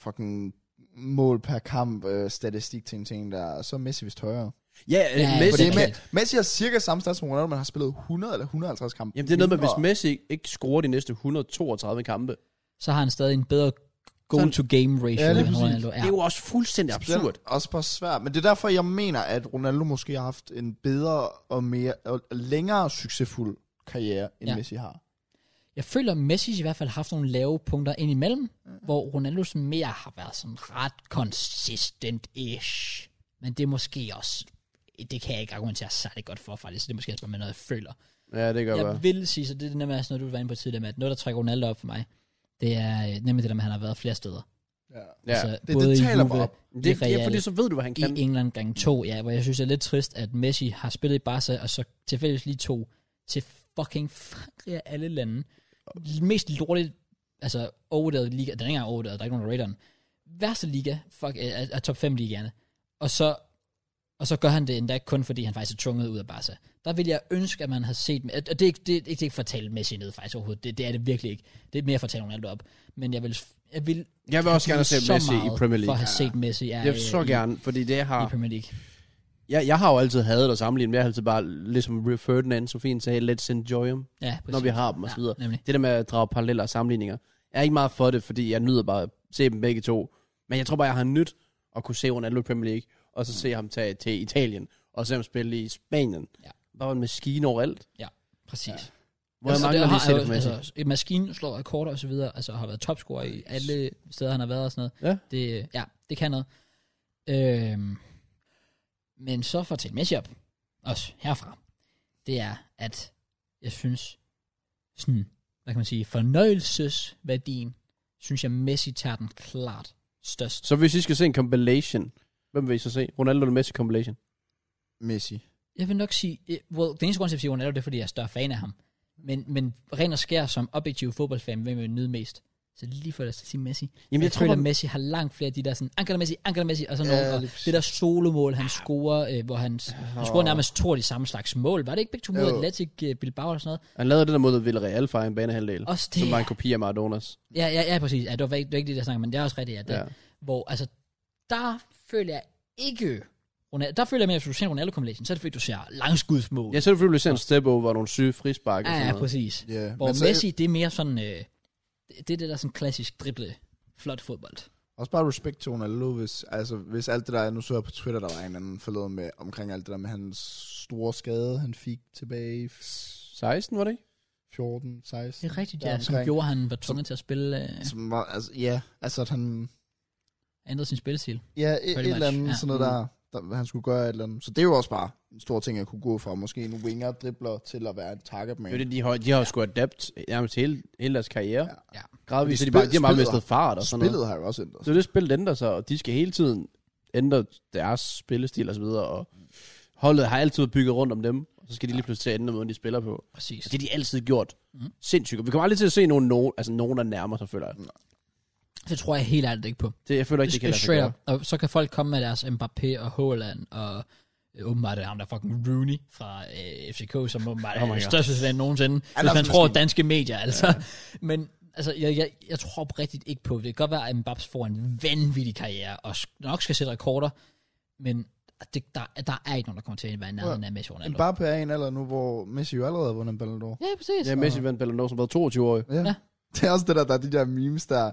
fucking mål per kamp, øh, statistik ting, ting der, så er Messi vist højere.
Ja, ja
Ja,
øh, Messi.
Fordi
det
Me-
kan-
Messi har cirka samme stats som Ronaldo, men har spillet 100 eller 150 kampe.
Jamen, det er noget med, hvis
mindre.
Messi ikke scorer de næste 132 kampe.
Så har han stadig en bedre goal-to-game ratio
Ja,
ja,
lige
end
præcis.
Ronaldo.
Ja. Det er jo også fuldstændig absurd.
Det er også bare svært. Men det er derfor, jeg mener, at Ronaldo måske har haft en bedre og, mere, og længere succesfuld karriere, end
Ja.
ja. Messi har.
Jeg føler, at Messi i hvert fald har haft nogle lave punkter indimellem, hvor Ronaldo sådan mere har været sådan ret consistent-ish. Men det er måske også... Det kan jeg ikke argumentere særlig godt for, faktisk. Det er måske også bare med noget, jeg føler.
Ja, det gør jeg.
Jeg vil sige, så det er det nemlig også noget, du var inde på tidligere med, at noget, der trækker Ronaldo op for mig, det er øh, nemlig det der med, at han har været flere steder.
Ja.
Ja.
Altså,
det
både i
taler
Juve,
bare op.
i
Det, det
Real,
er fordi, så ved du, hvad han kan.
i England gang to, ja, hvor jeg synes, det er lidt trist, at Messi har spillet i Barca, og så tilfældigvis lige to til fucking Frankrig af alle lande. Mest lortet, altså overdaget liga, den er ikke engang overdaget, der er ikke nogen, der rater den. Værste liga, fuck, øh, af, af top 5 ligaerne. Og så, og så gør han det endda kun, fordi han faktisk er tvunget ud af Barca. Der vil jeg ønske, at man havde set, at- og det er ikke, det, er- det er ikke for at tale Messi ned faktisk overhovedet, det, det er det virkelig ikke. Det er mere for at tale Ronaldo op. Men jeg vil, jeg vil
Jeg vil også gerne se
så
Messi i
meget
Premier
For
League.
at have set Messi ja,
Jeg
øh,
vil så
i-
gerne, fordi det har...
i Premier League.
Jeg, jeg har jo altid hadet at sammenligne, men jeg har altid bare, ligesom Rio Ferdinand, Sofien sagde, let's enjoy them,
Ja,
når vi har dem og så videre.
Ja, nemlig.
Det der med at drage paralleller og sammenligninger. Jeg er ikke meget for det, fordi jeg nyder bare at se dem begge to. Men jeg tror bare, jeg har nyt at kunne se Ronaldo i Premier League, og så se ham tage til Italien, og se ham spille i Spanien.
Ja.
Bare en maskine overalt.
Præcis. Ja.
Hvor jeg mangler lige at se det for Messi.
altså, et maskine slår rekorder og så videre, altså har været topscorer i alle steder, han har været og sådan noget.
Ja.
Det, ja, det kan noget. Øhm, men så for til Messi op, også herfra, det er, at jeg synes, sådan, hvad kan man sige, fornøjelsesværdien, synes jeg, Messi tager den klart størst.
Så hvis I skal se en compilation, hvem vil I så se? Ronaldo og Messi compilation.
Messi.
Jeg vil nok sige, eh, well, den eneste grund til, at jeg siger Ronaldo, det er, fordi jeg er større fan af ham. Men, men ren og skær som objektiv fodboldfan, hvem vil jeg nyde mest? Så lige for at sige Messi. Jamen, jeg, jeg tror, at
bare-
Messi har langt flere af de der sådan, Angela Messi, Angela Messi, og sådan
Ja,
noget. Og
lige præcis.
det der solomål, han scorer, øh, hvor han, han scorer nærmest to af de samme slags mål. Var det ikke begge to mod
Jo.
Atletic øh, Bilbao eller sådan noget?
han lavede det der mod Villarreal fra en banehalvdel,
Også det.
som var en kopi af Maradonas.
Ja, ja, ja, præcis. Ja, det var ikke, det var ikke det, der snakker, men det er også rigtigt, ja. Det,
Ja.
ja. Hvor, altså, der føler jeg ikke... Ronaldo, der føler jeg mere, at hvis du ser en Ronaldo-kompilation, så er det fordi, du ser langskudsmål.
Jeg så selvfølgelig vil se en step over nogle syge frispark. og
ja,
sådan
ja,
noget.
præcis.
Yeah.
Hvor så, Messi, det er mere sådan, øh, det er det der sådan klassisk drible, flot fodbold.
Også bare respekt til Ronaldo, hvis, altså, hvis alt det der, nu så jeg på Twitter, der var en anden forleden med, omkring alt det der med hans store skade, han fik tilbage i
16 var det ikke?
14, 16.
Det er rigtigt, ja, som
omkring.
gjorde, at han var tvunget til at spille, øh,
Som var, altså, ja, altså at han,
ændrede sin spillestil.
ja, et, et
much,
eller andet
ja. Mm.
ja. sådan noget der, der, han skulle gøre et eller andet. Så det er jo også bare en stor ting at kunne gå fra, måske en winger dribler til at være en target man.
Det er det, de har, de har jo sgu adapt nærmest hele, hele deres karriere. Ja.
Ja.
Ja.
Gradvist, så Altså, de, bare,
Fordi
de har bare
spillet-
mistet fart og sådan noget.
Spillet har jo også ændret sig.
Så det spil ændrer sig, og de skal hele tiden ændre deres spillestil og så videre, og holdet har altid været bygget rundt om dem, og så skal de lige pludselig til at ændre måden, de spiller på. Altså,
Præcis.
Det har de altid gjort. Mm. Sindssygt. Og Vi kommer aldrig til at se nogen, nogen, altså nogen der nærmer sig, føler jeg.
Det tror jeg helt ærligt ikke på.
Det, jeg føler ikke, det kan lade sig
straight
gøre.
up. Og så kan folk komme med deres Mbappé og Haaland og øh, åbenbart er det ham der fucking Rooney fra øh, FCK, som åbenbart
Oh
er
my
den
God.
største fan nogensinde,
er
hvis
også
man
en
tror
maskine.
danske medier, altså. Ja. Men altså, jeg, jeg, jeg tror oprigtigt ikke på det. Det kan godt være, at Mbappé får en vanvittig karriere og sk- nok skal sætte rekorder, men det, der, der er ikke nogen, der kommer til at være i nærheden af Messi og Ronaldo.
Mbappé er i en alder nu, hvor Messi jo allerede har vundet en Ballon d'Or.
Ja, præcis.
Ja, Messi vandt Ballon d'Or som var 22 år.
Ja.
Ja.
ja. Det er også det der, der er de der memes, der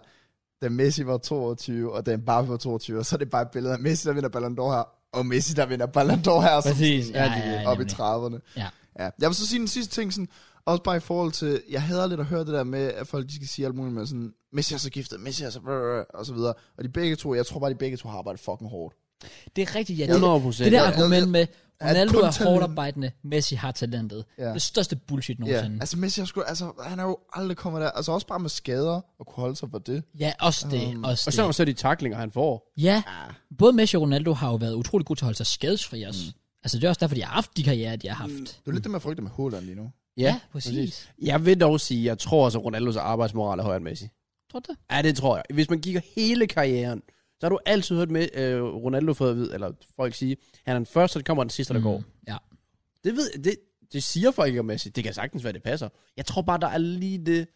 da Messi var 22, og da Mbappé var 22, og så er det bare et billede af Messi, der vinder Ballon d'Or her, og Messi, der vinder Ballon d'Or her, som
Præcis,
sådan,
ja,
er de
ja, ja,
oppe i
nemlig.
30'erne.
Ja.
ja. Jeg vil så sige den sidste ting, sådan, også bare i forhold til, jeg hader lidt at høre det der med, at folk de skal sige alt muligt med sådan, Messi er så giftet, Messi er så brr, brr, og så videre. Og de begge to, jeg tror bare, de begge to har arbejdet fucking hårdt.
Det er rigtigt, ja. Det,
100 procent.
det der
ja.
argument med,
At
Ronaldo
kun
er
talent-
hårdt arbejdende, Messi har talentet.
Ja.
Det største bullshit nogensinde.
Altså Messi, har sgu, altså, han er jo aldrig kommet der. Altså også bare med skader og kunne holde sig for det.
Ja, også det. Også
Øhm,
Um,
Og så er
det.
der så de taklinger, han får.
Ja, både Messi og Ronaldo har jo været utrolig gode til at holde sig skadesfri også.
Mm.
Altså det er også derfor, de har haft de karrierer, de har haft.
Det er jo lidt det, man frygter med Haaland lige nu.
Ja, præcis.
Jeg vil dog sige, jeg tror også, at Ronaldos arbejdsmoral er højere end Messi.
Tror du det?
Ja, det tror jeg. Hvis man kigger hele karrieren, så har du altid hørt med øh, Ronaldo fået at vide, eller folk sige, han er den første, der kommer, og den
Mm.
sidste, der går.
Ja.
Det, ved, det, det siger folk ikke om Messi. Det kan sagtens være, det passer. Jeg tror bare, der er lige det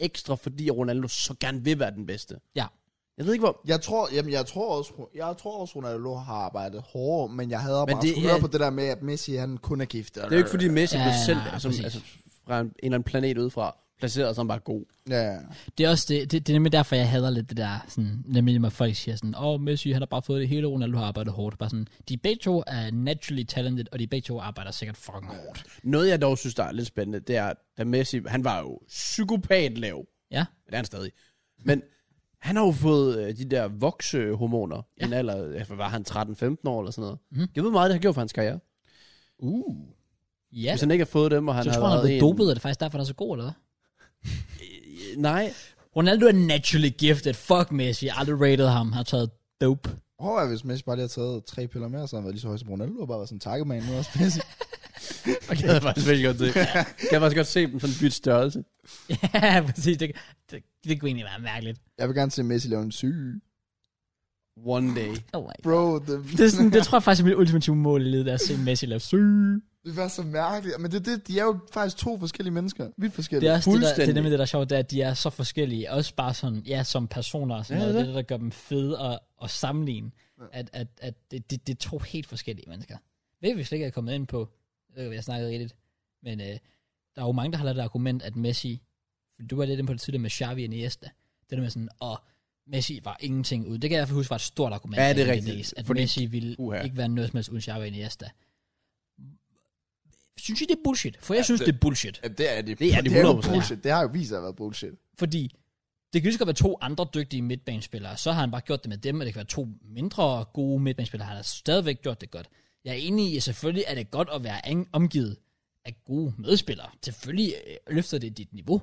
ekstra, fordi Ronaldo så gerne vil være den bedste.
Ja.
Jeg ved ikke, hvor...
Jeg tror, jamen, jeg tror også, jeg tror også Ronaldo har arbejdet hårdere, men jeg hader
Men
bare
det
at skulle høre
er-
på det der med, at Messi han kun er gift.
Det er jo ikke, fordi Messi
Ja,
blev selv
nej,
som,
præcis.
altså, fra en, en eller anden planet udefra, placeret som bare god.
Ja, ja.
Det er også det, det, det er nemlig derfor, jeg hader lidt det der, sådan, nemlig når folk siger sådan, åh, oh, Messi, han har bare fået det hele, Ronaldo har arbejdet hårdt. Bare sådan, de begge to er naturally talented, og de begge to arbejder sikkert fucking hårdt.
Noget, jeg dog synes, der er lidt spændende, det er, da Messi, han var jo psykopat lav.
Ja.
Det er han stadig. Men han har jo fået øh, de der voksehormoner ja. i en alder, øh, hvad var han 13-15 år eller sådan noget. Mm. Jeg ved meget, det har gjort for hans karriere.
Uh.
Ja,
Hvis
så
han ikke har fået dem, og han
jeg
har
tror, han er
været
blevet
en-
dopet, og det er faktisk derfor, han er så god, eller hvad?
Øh, Nej,
Ronaldo er naturally gifted. Fuck Messi, jeg har aldrig rated ham, Han har taget dope.
Prøv at hvis Messi bare lige har taget tre piller mere, så har han været lige så høj som Ronaldo, og bare været sådan en takkemand nu også Messi.
og jeg havde faktisk virkelig godt det. Jeg kan faktisk godt se dem sådan bytte størrelse.
ja, præcis, det, det, det kunne egentlig være mærkeligt.
jeg vil gerne se Messi lave en syg.
One day.
Oh my
Bro, det,
det, er sådan, det tror jeg faktisk er mit ultimative mål i livet, det er at se Messi lave syge.
det var så mærkeligt. Men det, det, de er jo faktisk to forskellige mennesker. Vidt
Det
forskellige.
er også det, der, det er
Fuldstændig.
nemlig det, der er sjovt, det er, at de er så forskellige. Også bare sådan, ja, som personer og sådan
Ja,
noget.
det
Det
er
er det, der gør dem fede at, at sammenligne. At, at, at det, det, det er to helt forskellige mennesker. Ved vi slet ikke er kommet ind på, øh, hvad jeg snakkede rigtigt. Men øh, der er jo mange, der har lavet det argument, at Messi, du var lidt inde på det tidligere med Xavi og Iniesta, det der med sådan, og Messi var ingenting ud. Det kan jeg i hvert fald huske var et stort argument.
Ja, det er
der
rigtigt.
dels, At
Fordi-
Fordi, Messi ville
Uha.
ikke være noget som helst uden Xavi og Iniesta. Synes I, det er bullshit? For jeg synes, det, det er bullshit.
Ja, det er det.
Det er det
det er jo
100%.
bullshit. Det har jo vist sig at være bullshit.
Fordi det kan lige så godt være to andre dygtige midtbanespillere, så har han bare gjort det med dem, og det kan være to mindre gode midtbanespillere, han har stadigvæk gjort det godt. Jeg er enig i, at selvfølgelig er det godt at være ang- omgivet af gode medspillere. Selvfølgelig øh, løfter det dit niveau.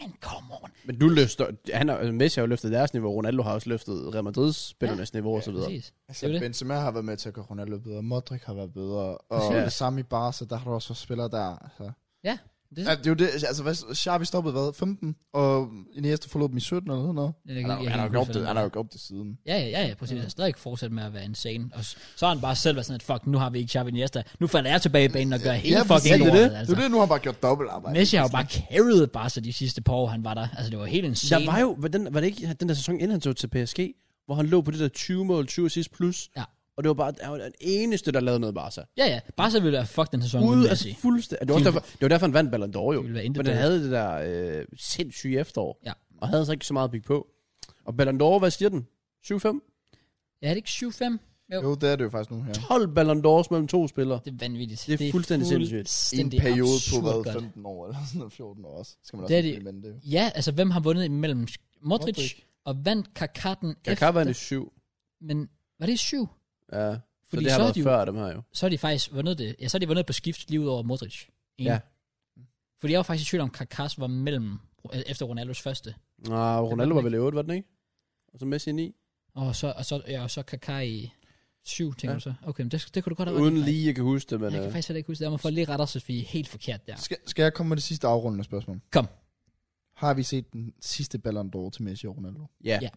Men come on.
Men du løfter, han har, altså Messi har jo løftet deres niveau, Ronaldo har også løftet Real Madrid-spillernes niveau og så videre.
Præcis.
Altså,
Det er jo det.
Benzema har været med til at gøre Ronaldo bedre, Modric har været bedre, og
Ja.
ja. det samme i Barca, der har du også været spillere der. Så.
Ja, det,
Ja, det er jo det, altså, hvad, Xavi stoppede hvad, 15, og Iniesta forlod dem i 17 eller sådan noget.
det, det
Han har, han har, jo gjort det, han har jo gjort det siden.
Ja, ja, ja, ja, præcis. Han har stadig fortsat med at være insane. Og s- så har han bare selv været sådan, at fuck, nu har vi ikke Xavi Iniesta. Nu falder jeg tilbage i banen og gør hele
ja, præcis.
fucking
det, er
lortet.
det. Altså. det er det, nu har han bare gjort dobbeltarbejde.
Messi har jo bare carried Barca de sidste par år, han var der. Altså, det var helt insane.
Der var jo, var, den, var det ikke den der sæson, inden han tog til PSG, hvor han lå på det der 20 mål, 20 assist plus,
Ja.
og det var bare han var den eneste, der lavede noget Barca.
Ja, ja. Barca ville være fuck den sæson uden
Ude af
Messi.
fuldstændig. Det var, også derfor, det var derfor, han vandt Ballon d'Or jo.
ville være intet
Men den
bedre.
havde det der øh, sindssyge efterår,
Ja.
og havde så ikke så meget at bygge på. Og Ballon d'Or, hvad siger den? 7-5?
Ja, er det ikke 7-5? Jo.
Jo, det er det jo faktisk nu her.
12 Ballon d'Ors mellem to spillere.
Det er vanvittigt.
Det er fuldstændig sindssygt.
I en
fuldstændig
periode på
absurd
hvad,
godt.
15 år eller sådan noget, 14 år også. Skal man
Det
også
er
det
det-
men det. er jo-
Ja, altså hvem har vundet imellem Modric, Modric.
Modric.
og vandt Kaká den
Kaká vandt i 7.
Men var det 7?
Ja. Så
Fordi
det har
så er
været
de jo-
før dem her jo.
Så har de faktisk vundet det. Ja, så har de vundet på skift lige ud over Modric. En.
Ja.
Fordi jeg var faktisk i tvivl om, Kakas var mellem, øh, efter Ronaldos første.
Nå, Ronaldo var vel i 8, var den ikke? Og så Messi i 9.
Og så, og så, ja, og så Kaká i 7, tænker
Ja.
ja. du så. Okay, men det, det kunne du godt have
Uden
ret i, faktisk.
lige, jeg kan huske det, men...
Jeg
øh,
kan faktisk heller ikke huske det. Jeg må få lige retter, så vi er helt forkert der.
Skal, skal jeg komme med det sidste afrundende spørgsmål?
Kom.
Har vi set den sidste Ballon d'Or til Messi og Ronaldo?
Ja.
Ja.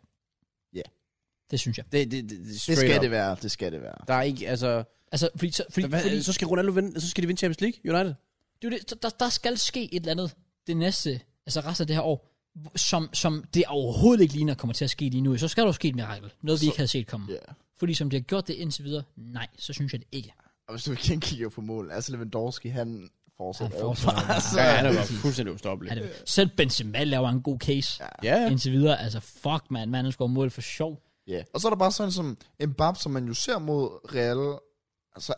Det synes jeg.
Det, det, det, det,
Det
straight
skal
up.
det være, det skal det være.
Der er ikke, altså...
Altså, fordi, så, fordi,
Fordi, hvad,
fordi
fordi, så skal Ronaldo vinde, så skal de vinde Champions League, United.
det, er jo det, Så der, der skal ske et eller andet det næste, altså resten af det her år, hvor- som, som det overhovedet ikke ligner kommer til at ske lige nu. Så skal der jo ske et mirakel. Noget, vi ikke havde set komme.
Ja.
Yeah. Fordi som de har gjort det indtil videre, nej, så synes jeg det ikke.
Og hvis du igen kigger på mål, altså Lewandowski, han fortsætter
Han
jo
fortsætter
bare,
bare.
så-
Ja, han er jo fuldstændig ustoppelig.
Er det, selv Benzema laver en god case ja.
Ja, ja.
indtil videre. Altså, fuck, man. Manden scorer mål for sjov.
Ja. Og så er der bare sådan som Mbappé, som man jo ser mod Real. Altså,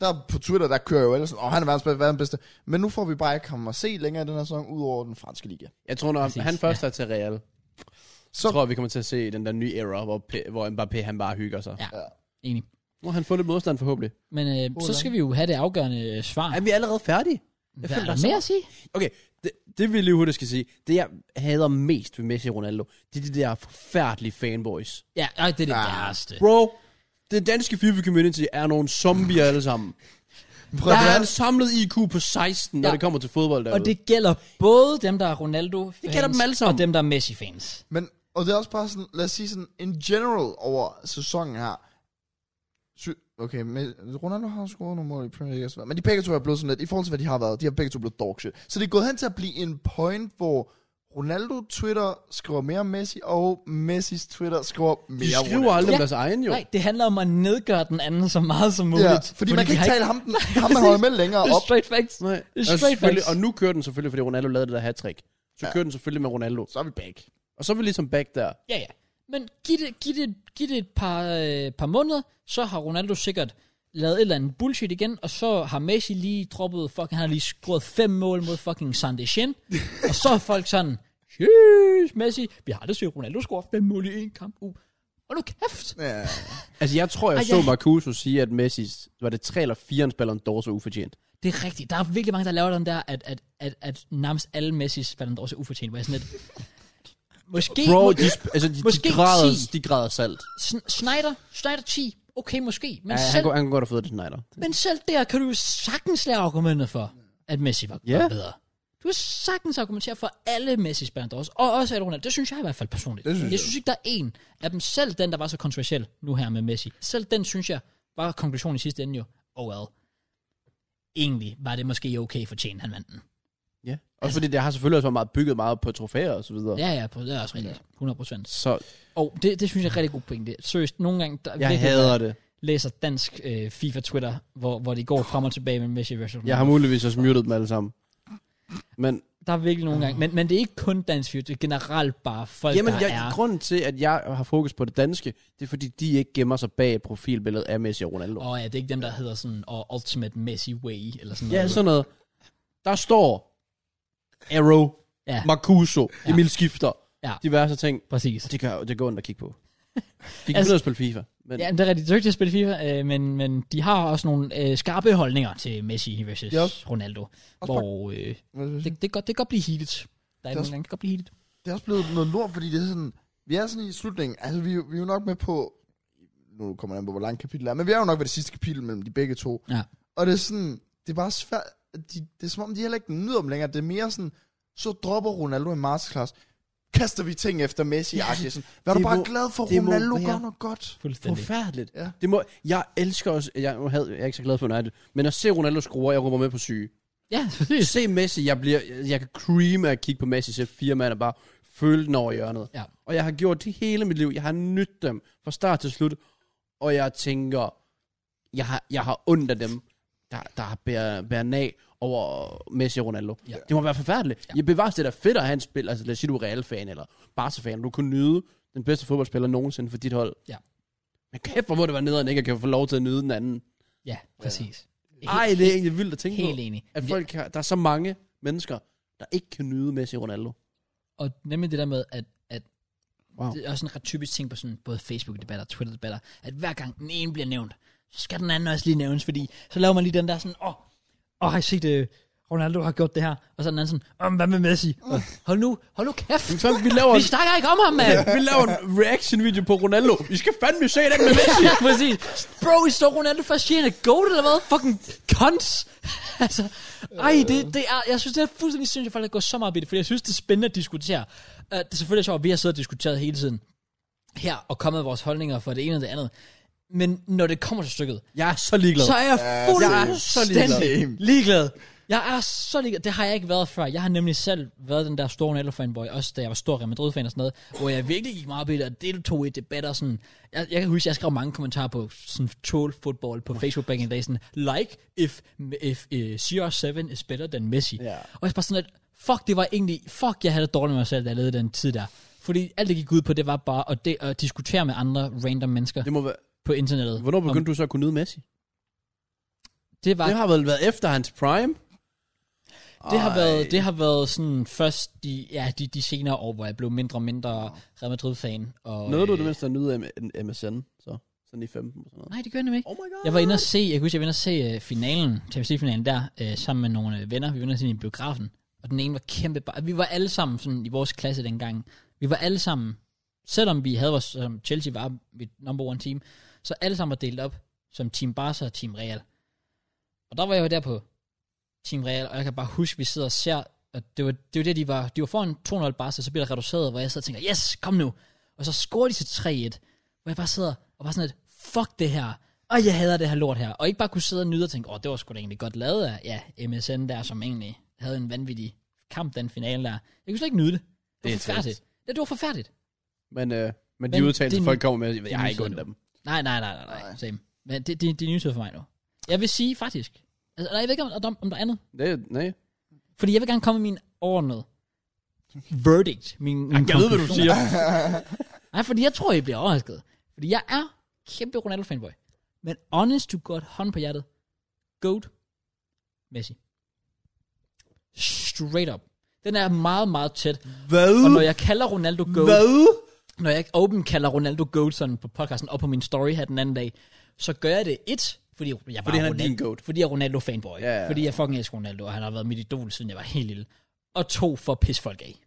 der på Twitter, der kører jo ellers sådan, åh, han er verdens bedste, verdens bedste. Men nu får vi bare ikke ham at se længere i den her sæson, ud over den franske liga.
Jeg tror, når
Præcis,
han først er til Real, Så
Så-
tror jeg, vi kommer til at se den der nye era, hvor, P- hvor Mbappé han bare hygger sig.
Ja.
Ja.
Enig.
Nu har han fundet modstand forhåbentlig.
Men øh, så
Hvordan?
skal vi jo have det afgørende øh, svar.
Er vi allerede færdige?
Hvad
føler,
er
der
der
er så
mere at sige?
Okay, det, det vi lige hurtigt skal sige. Det jeg hader mest ved Messi og Ronaldo, det er de der forfærdelige fanboys.
Ja, ej, det er det
Ah,
værste.
Bro, den danske FIFA community er nogle zombier alle sammen.
Prøv
Der
at
er
høre,
en samlet IQ på 16, når
Ja.
det kommer til fodbold derude.
Og det gælder både dem, der er ronaldo
Det gælder dem alle sammen.
og dem, der er Messi-fans.
Men, og det er også bare sådan, lad os sige sådan, in general over sæsonen her. Sy- okay, men Ronaldo har scoret nogle mål i Premier League, og sådan noget, men de begge to er blevet sådan lidt, i forhold til hvad de har været, de har begge to blevet dog shit. Så det er gået hen til at blive en point, hvor Ronaldo Twitter skriver mere om Messi, og Messis Twitter skriver mere
de skriver
Ronaldo.
aldrig
Ja.
om deres egen, jo.
Nej, det handler om at nedgøre den anden så meget som muligt.
Ja, fordi, fordi man kan
de
ikke
har
tale ham, den, ham man holder med længere
Det er
op.
straight facts.
Nej.
Det er
Og,
straight
selvfølgelig-
facts.
og nu kører den selvfølgelig, fordi Ronaldo lavede det der hat-trick. Så
Ja.
kører den selvfølgelig med Ronaldo.
Så er vi back.
Og så er vi ligesom back der.
Ja, ja. Men giv det, giv det, giv det et par, øh, par måneder, så har Ronaldo sikkert lavet et eller andet bullshit igen, og så har Messi lige droppet, fucking, han har lige scoret fem mål mod fucking San Dechen, og så er folk sådan, Jeez, Messi, vi har aldrig set Ronaldo score fem mål i en kamp. Uh. Og nu kæft!
Ja.
Altså, jeg tror, jeg
Ej,
så
jeg-
Marcuso sige, at Messi var det 3 eller 4 Ballon d'Or så ufortjent.
Det er rigtigt. Der er virkelig mange, der laver den der, at, at, at, at nærmest alle Messis Ballon d'Or er ufortjent. Hvor jeg sådan lidt, måske,
Bro,
må-
de, sp- altså, de,
Måske
de, græder,
10.
de græder salt.
Sn- Snyder, Snyder 10, okay måske, men,
Ja,
ja,
han,
selv,
går, han går godt have fået det til Snyder.
Men selv der kan du jo sagtens lave argumentet for, at Messi var
Ja.
yeah. bedre. Du kan sagtens argumentere for alle Messis Ballon d'Ors, og også alle Ronaldo. Det synes jeg i hvert fald personligt.
Det synes
jeg
jeg.
synes ikke, der er en af dem selv, den der var så kontroversiel nu her med Messi. Selv den, synes jeg, var konklusionen i sidste ende jo, oh well. Egentlig var det måske okay for tjene, han vandt den.
Ja. Også fordi det har selvfølgelig også været meget bygget meget på trofæer og så videre. Ja.
Ja, ja, på- det er også rigtigt. 100 procent.
Så
Og det, det synes jeg er rigtig god pointe. Seriøst, nogle gange, der
jeg
virkelig,
hader det.
læser dansk øh, FIFA-Twitter, hvor, hvor det går frem og tilbage med Messi versus Ronaldo.
Jeg har muligvis også muted dem alle sammen. Men,
Der er virkelig nogle gange. Men, men det er ikke kun dansk fyr, det er generelt bare folk,
jamen,
der
jeg,
er...
grunden til, at jeg har fokus på det danske, det er fordi, de ikke gemmer sig bag et profilbillede af Messi og Ronaldo.
Og ja, det er ikke dem, der hedder sådan og Ultimate Messi Way, eller sådan
Ja,
noget.
sådan noget. Der står Arrow,
Ja.
ja. Marcuso,
Ja.
ja. Emil Skifter,
Ja.
ja. diverse ting.
Præcis.
Det gør, det går ondt at kigge på. De
Altså-
kan altså, at spille FIFA. Men,
Ja, men det er rigtig dygtigt at spille FIFA, øh, men, men de har også nogle øh, skarpe holdninger til Messi versus
Ja, også-
Ronaldo, hvor øh, det, det, kan godt, det kan godt blive heatet. Der er nogle
også-
gange, det kan godt blive heatet.
det er også blevet noget lort, fordi det er sådan, vi er sådan i slutningen, altså vi, er jo- vi er jo nok med på, nu kommer det an på, hvor langt kapitel er, men vi er jo nok ved det sidste kapitel mellem de begge to.
Ja.
Og det er sådan, det er bare svært, at de, det er som om, de heller ikke nyder dem længere, det er mere sådan, så dropper Ronaldo en masterclass, kaster vi ting efter Messi, ja, sådan, vær du
det
bare
må-
glad for,
det må
Ronaldo
være-
gør noget godt.
Fuldstændig.
Forfærdeligt.
Ja.
Det må, jeg elsker også, jeg, nu havde, jeg er ikke så glad for United, men at se Ronaldo score, jeg rummer med på syge.
Ja, præcis.
Se Messi, jeg, bliver, jeg, jeg kan cream af at kigge på Messi, se fire mand og bare føle den over hjørnet.
Ja.
Og jeg har gjort det hele mit liv, jeg har nydt dem fra start til slut, og jeg tænker, jeg har, jeg har ondt af dem, der, der bærer, bærer nag over Messi og Ronaldo.
Ja.
Det må være forfærdeligt. Ja. Jeg bevares det der fedt at have en spil, altså lad os sige, du er Real-fan eller Barca-fan, du kunne nyde den bedste fodboldspiller nogensinde for dit hold.
Ja.
Men kæft, hvor må det være nederen, ikke at kan få lov til at nyde den anden.
Ja, præcis.
Ej, det er egentlig vildt at tænke
Helt
på.
enig.
At folk har, der er så mange mennesker, der ikke kan nyde Messi og Ronaldo.
Og nemlig det der med, at, at wow.
Wow.
det er også en ret typisk ting på sådan både Facebook-debatter og Twitter-debatter, at hver gang den ene bliver nævnt, så skal den anden også lige nævnes, fordi så laver man lige den der sådan, åh, oh, oh, har I set, øh, Ronaldo har gjort det her, og så den anden sådan, åh, oh, hvad med Messi? Og, hold nu, hold nu kæft,
Men fandme, vi laver,
vi snakker ikke om ham, mand!
vi laver en reaction-video på Ronaldo. I skal fandme se den med Messi.
ja, præcis. Bro, I står Ronaldo først siger, han er goat eller hvad? Fucking cons. altså, ej, det, det er, jeg synes, det er fuldstændig sindssygt, at folk går så meget op i det, for jeg synes, det er spændende at diskutere. Uh, det er selvfølgelig sjovt, at vi har siddet og diskuteret hele tiden her, og kommet med vores holdninger for det ene og det andet. Men når det kommer til stykket,
Jeg er så ligeglad.
så er jeg
Ja,
jeg er så
fuldstændig
ligeglad.
ligeglad. Jeg er så ligeglad. Det har jeg ikke været før. Jeg har nemlig selv været den der store Ronaldo fanboy, også da jeg var stor Real Madrid fan og sådan noget, hvor jeg virkelig gik meget op i det, og deltog i debatter. og Sådan. Jeg, jeg kan huske, jeg skrev mange kommentarer på sådan troll football på Facebook back in the day, sådan, like if, if uh, CR7 is better than Messi.
Ja.
Og jeg var sådan, at fuck, det var egentlig, fuck, jeg havde det dårligt med mig selv, da jeg levede den tid der. Fordi alt det gik ud på, det var bare at, de, at diskutere med andre random mennesker
Det må være,
på internettet.
hvornår begyndte du så at kunne nyde Messi?
Det var
Det har vel været efter hans prime.
Det har,
Ej.
været, det har været sådan først de, ja, de, de senere år, hvor jeg blev mindre og mindre Real Madrid-fan. Og,
Nåede du
øh,
det mindste at nyde af M- MSN, så? Sådan i 15 og sådan noget.
Nej, det gør jeg nemlig ikke.
Oh my god.
Jeg var inde og se, jeg kan huske, jeg var inde og se uh, finalen, Champions League-finalen der, uh, sammen med nogle uh, venner. Vi var inde og se den i biografen, og den ene var kæmpe bare. Vi var alle sammen sådan i vores klasse dengang. Vi var alle sammen, selvom vi havde vores, som Chelsea var mit number one team, så alle sammen var delt op som Team Barca og Team Real. Og der var jeg jo der på Team Real, og jeg kan bare huske, vi sidder og ser, og det var, det var det, de var, de var foran 2-0 Barca, så bliver der reduceret, hvor jeg sidder og tænker, yes, kom nu. Og så scorer de til 3-1, hvor jeg bare sidder og bare sådan lidt, fuck det her, og jeg hader det her lort her. Og ikke bare kunne sidde og nyde og tænke, åh, det var sgu da egentlig godt lavet af, ja, MSN der, som egentlig havde en vanvittig kamp, den finale der. Jeg kunne slet ikke nyde det. Det,
Det
var
er
forfærdeligt. Ja, det var forfærdeligt.
Men, øh, men
Men
de udtalelser,
det-
folk kommer med, jeg, jeg har
det-
ikke ondt af dem.
Nej, nej, nej, nej, nej. Same. Men det, det, det er nytid for mig nu. Jeg vil sige faktisk, altså, nej, jeg ved ikke, om, om, om der er andet.
Det, nej.
Fordi jeg vil gerne komme med min overordnede verdict. Min, min
Jeg ved, hvad du
konklusion.
siger.
Nej, fordi jeg tror, I bliver overrasket. Fordi jeg er kæmpe Ronaldo-fanboy. Men honest to God, hånd på hjertet. Goat. Messi. Straight up. Den er meget, meget tæt.
Hvad?
Og når jeg kalder Ronaldo Goat,
Hvad?
når jeg open kalder Ronaldo Goat sådan på podcasten og på min story her den anden dag, så gør jeg det et, fordi jeg var
Fordi han er
Ronaldo,
din goat.
Fordi jeg er Ronaldo fanboy.
Ja, ja, ja.
Fordi jeg fucking elsker Ronaldo, og han har været mit idol, siden jeg var helt lille. Og to, for at pisse folk af.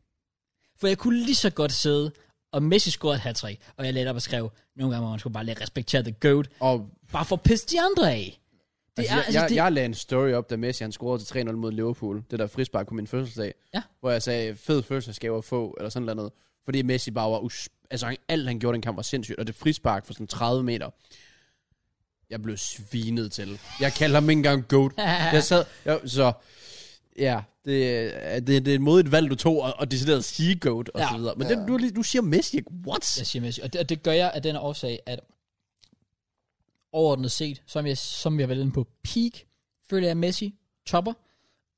For jeg kunne lige så godt sidde, og Messi scorede et hat og jeg lagde op og skrev, nogle gange må man skulle bare lige respektere the goat,
Og,
bare for at pisse de andre af. Det
altså, jeg, jeg, jeg lagde en story op, da Messi han scorede til 3-0 mod Liverpool. Det der frispark på min fødselsdag.
Ja.
Hvor jeg sagde, fed fødselsdagsgave at få, eller sådan noget. Fordi Messi bare var... Us- altså, han- alt han gjorde i den kamp var sindssygt. Og det frispark for sådan 30 meter. Jeg blev svinet til. Jeg kalder ham ikke engang goat. jeg sad... Jeg, så... Ja, det, er- det, det er et modigt valg, du tog, og, og decideret sige goat, og
Ja.
så videre. Men det, du, er lige- du siger Messi, ikke? what?
Jeg siger Messi. Og det, og det gør jeg af den årsag, at overordnet set, som jeg, som jeg var inde på peak, føler jeg Messi topper,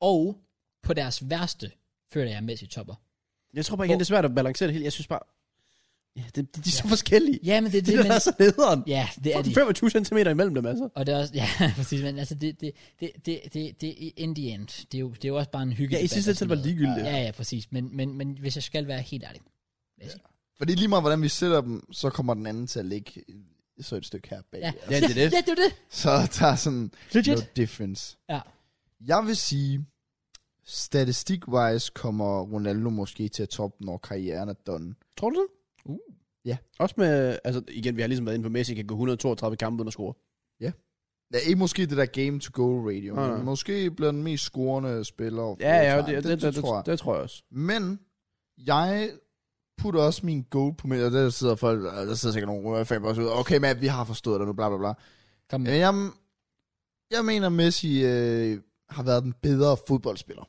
og på deres værste, føler jeg Messi topper.
Jeg tror bare igen,
Hvor-
det er svært at balancere det hele. Jeg synes bare, ja, det, de, de er så forskellige.
Ja, men det er
det,
det,
det
men,
der er så nederen.
ja, det er de.
Fucking 25 cm imellem dem, altså.
Og det er også, ja, præcis, men altså, det, det, det, det, det, det er in the end. Det er jo, det er jo også bare en hygge.
Ja, i sidste ende var det ligegyldigt.
Ja, ja, præcis. Men, men, men hvis jeg skal være helt ærlig. Messi.
Fordi lige meget, hvordan vi sætter dem, så kommer den anden til at ligge i- så et stykke her bag.
Ja,
os.
Ja, det er det.
Ja, det er det.
Så der er sådan
Legit.
no difference.
Ja.
Jeg vil sige, statistik-wise kommer Ronaldo måske til at toppe, når karrieren er done.
Tror du det?
Uh.
Ja.
Også med, altså igen, vi har ligesom været inde på, Messi kan gå 132 kampe uden at score.
Ja, ikke måske det der game to go radio,
Nej,
men
nej.
måske bliver den mest scorende spiller.
Ja, ja,
all
det,
time.
det, det, det, det,
tror jeg.
det, tror jeg også.
Men jeg putter også min goal på midten, og der sidder folk, og der sidder sikkert nogle fan også ud, okay, Matt, vi har forstået dig nu, bla bla bla.
Kom med.
Men jeg, jeg mener, Messi øh, har været den bedre fodboldspiller.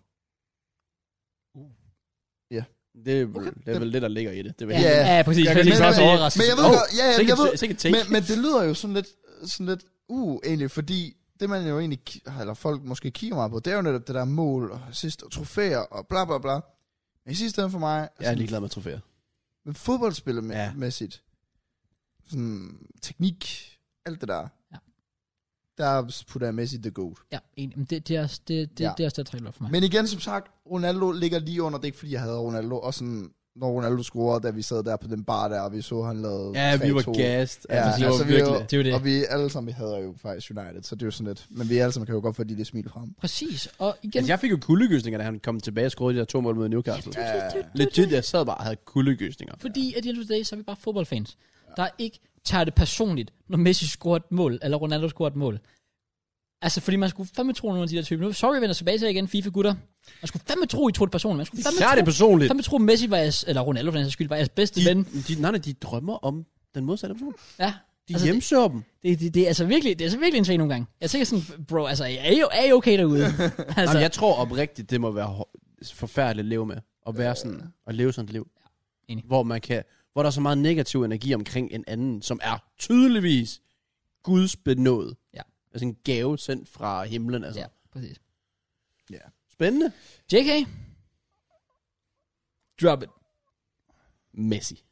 Det, er vel-
Okay.
det er vel det, der ligger i det. Det er vel
Ja,
helt-
ja, præcis. Jeg, jeg, jeg, jeg, jeg, jeg, jeg, jeg,
men jeg ved
Åh,
godt, ja, ja, jeg
sikkert,
ved,
sikkert take.
men, men det lyder jo sådan lidt, sådan lidt uh, egentlig, fordi det man jo egentlig, ki- eller folk måske kigger meget på, det er jo netop det der mål, og assist, og trofæer, og bla bla bla. Men i sidste ende for mig,
jeg er
sådan,
ligeglad med trofæer.
men fodboldspillemæssigt,
Ja.
ja. sådan teknik, alt det der,
Ja.
der putter jeg Messi the goat.
Ja, enig. Men det, det er også det, det,
Ja.
ja. det, er også det, der trækker op for mig.
Men igen, som sagt, Ronaldo ligger lige under, det er ikke fordi, jeg havde Ronaldo, og sådan, når Ronaldo scorede, da vi sad der på den bar der, og vi så, han lavede
Ja, vi var
3-2.
gassed.
Ja,
Altså, det var
altså, vi er jo-
virkelig.
det er jo det.
Og vi alle sammen, vi hader jo faktisk United, så det er jo sådan lidt, men vi alle sammen kan jo godt få de det smil frem.
Præcis. Og igen,
Altså, jeg fik jo kuldegysninger, da han kom tilbage og scorede de der to mål mod Newcastle. Legit, jeg sad bare og havde kuldegysninger.
Fordi at the end of the day, så er vi bare fodboldfans. Ja. Der ikke tager det personligt, når Messi scorer et mål, eller Ronaldo scorer et mål. Altså, fordi man skulle fandme tro nogle af de der typer. Nu, sorry, vi vender tilbage til jer igen, FIFA-gutter. Man skulle fandme tro, I tog det personligt. Man skulle fandme
Især det
tro,
personligt.
fandme tro, Messi var jeres, eller Ronaldo for den sags skyld, var jeres bedste
De,
ven.
de, nej, nej, de drømmer om den modsatte person.
Ja.
De
altså,
altså, hjemsøger dem.
det, det, det, det, er altså virkelig, det er altså virkelig en svag nogle gange. Jeg tænker sådan, bro, altså, er I, er I okay derude?
Altså,
altså,
Jamen, jeg tror oprigtigt, det må være hår- forfærdeligt at leve med. At være sådan, at leve sådan et liv.
Øh. enig.
Hvor man kan, hvor der er så meget negativ energi omkring en anden, som er tydeligvis Guds benåd.
Ja.
Altså en gave sendt fra himlen. Altså.
ja, præcis.
Spændende.
JK? Drop it.
Messi.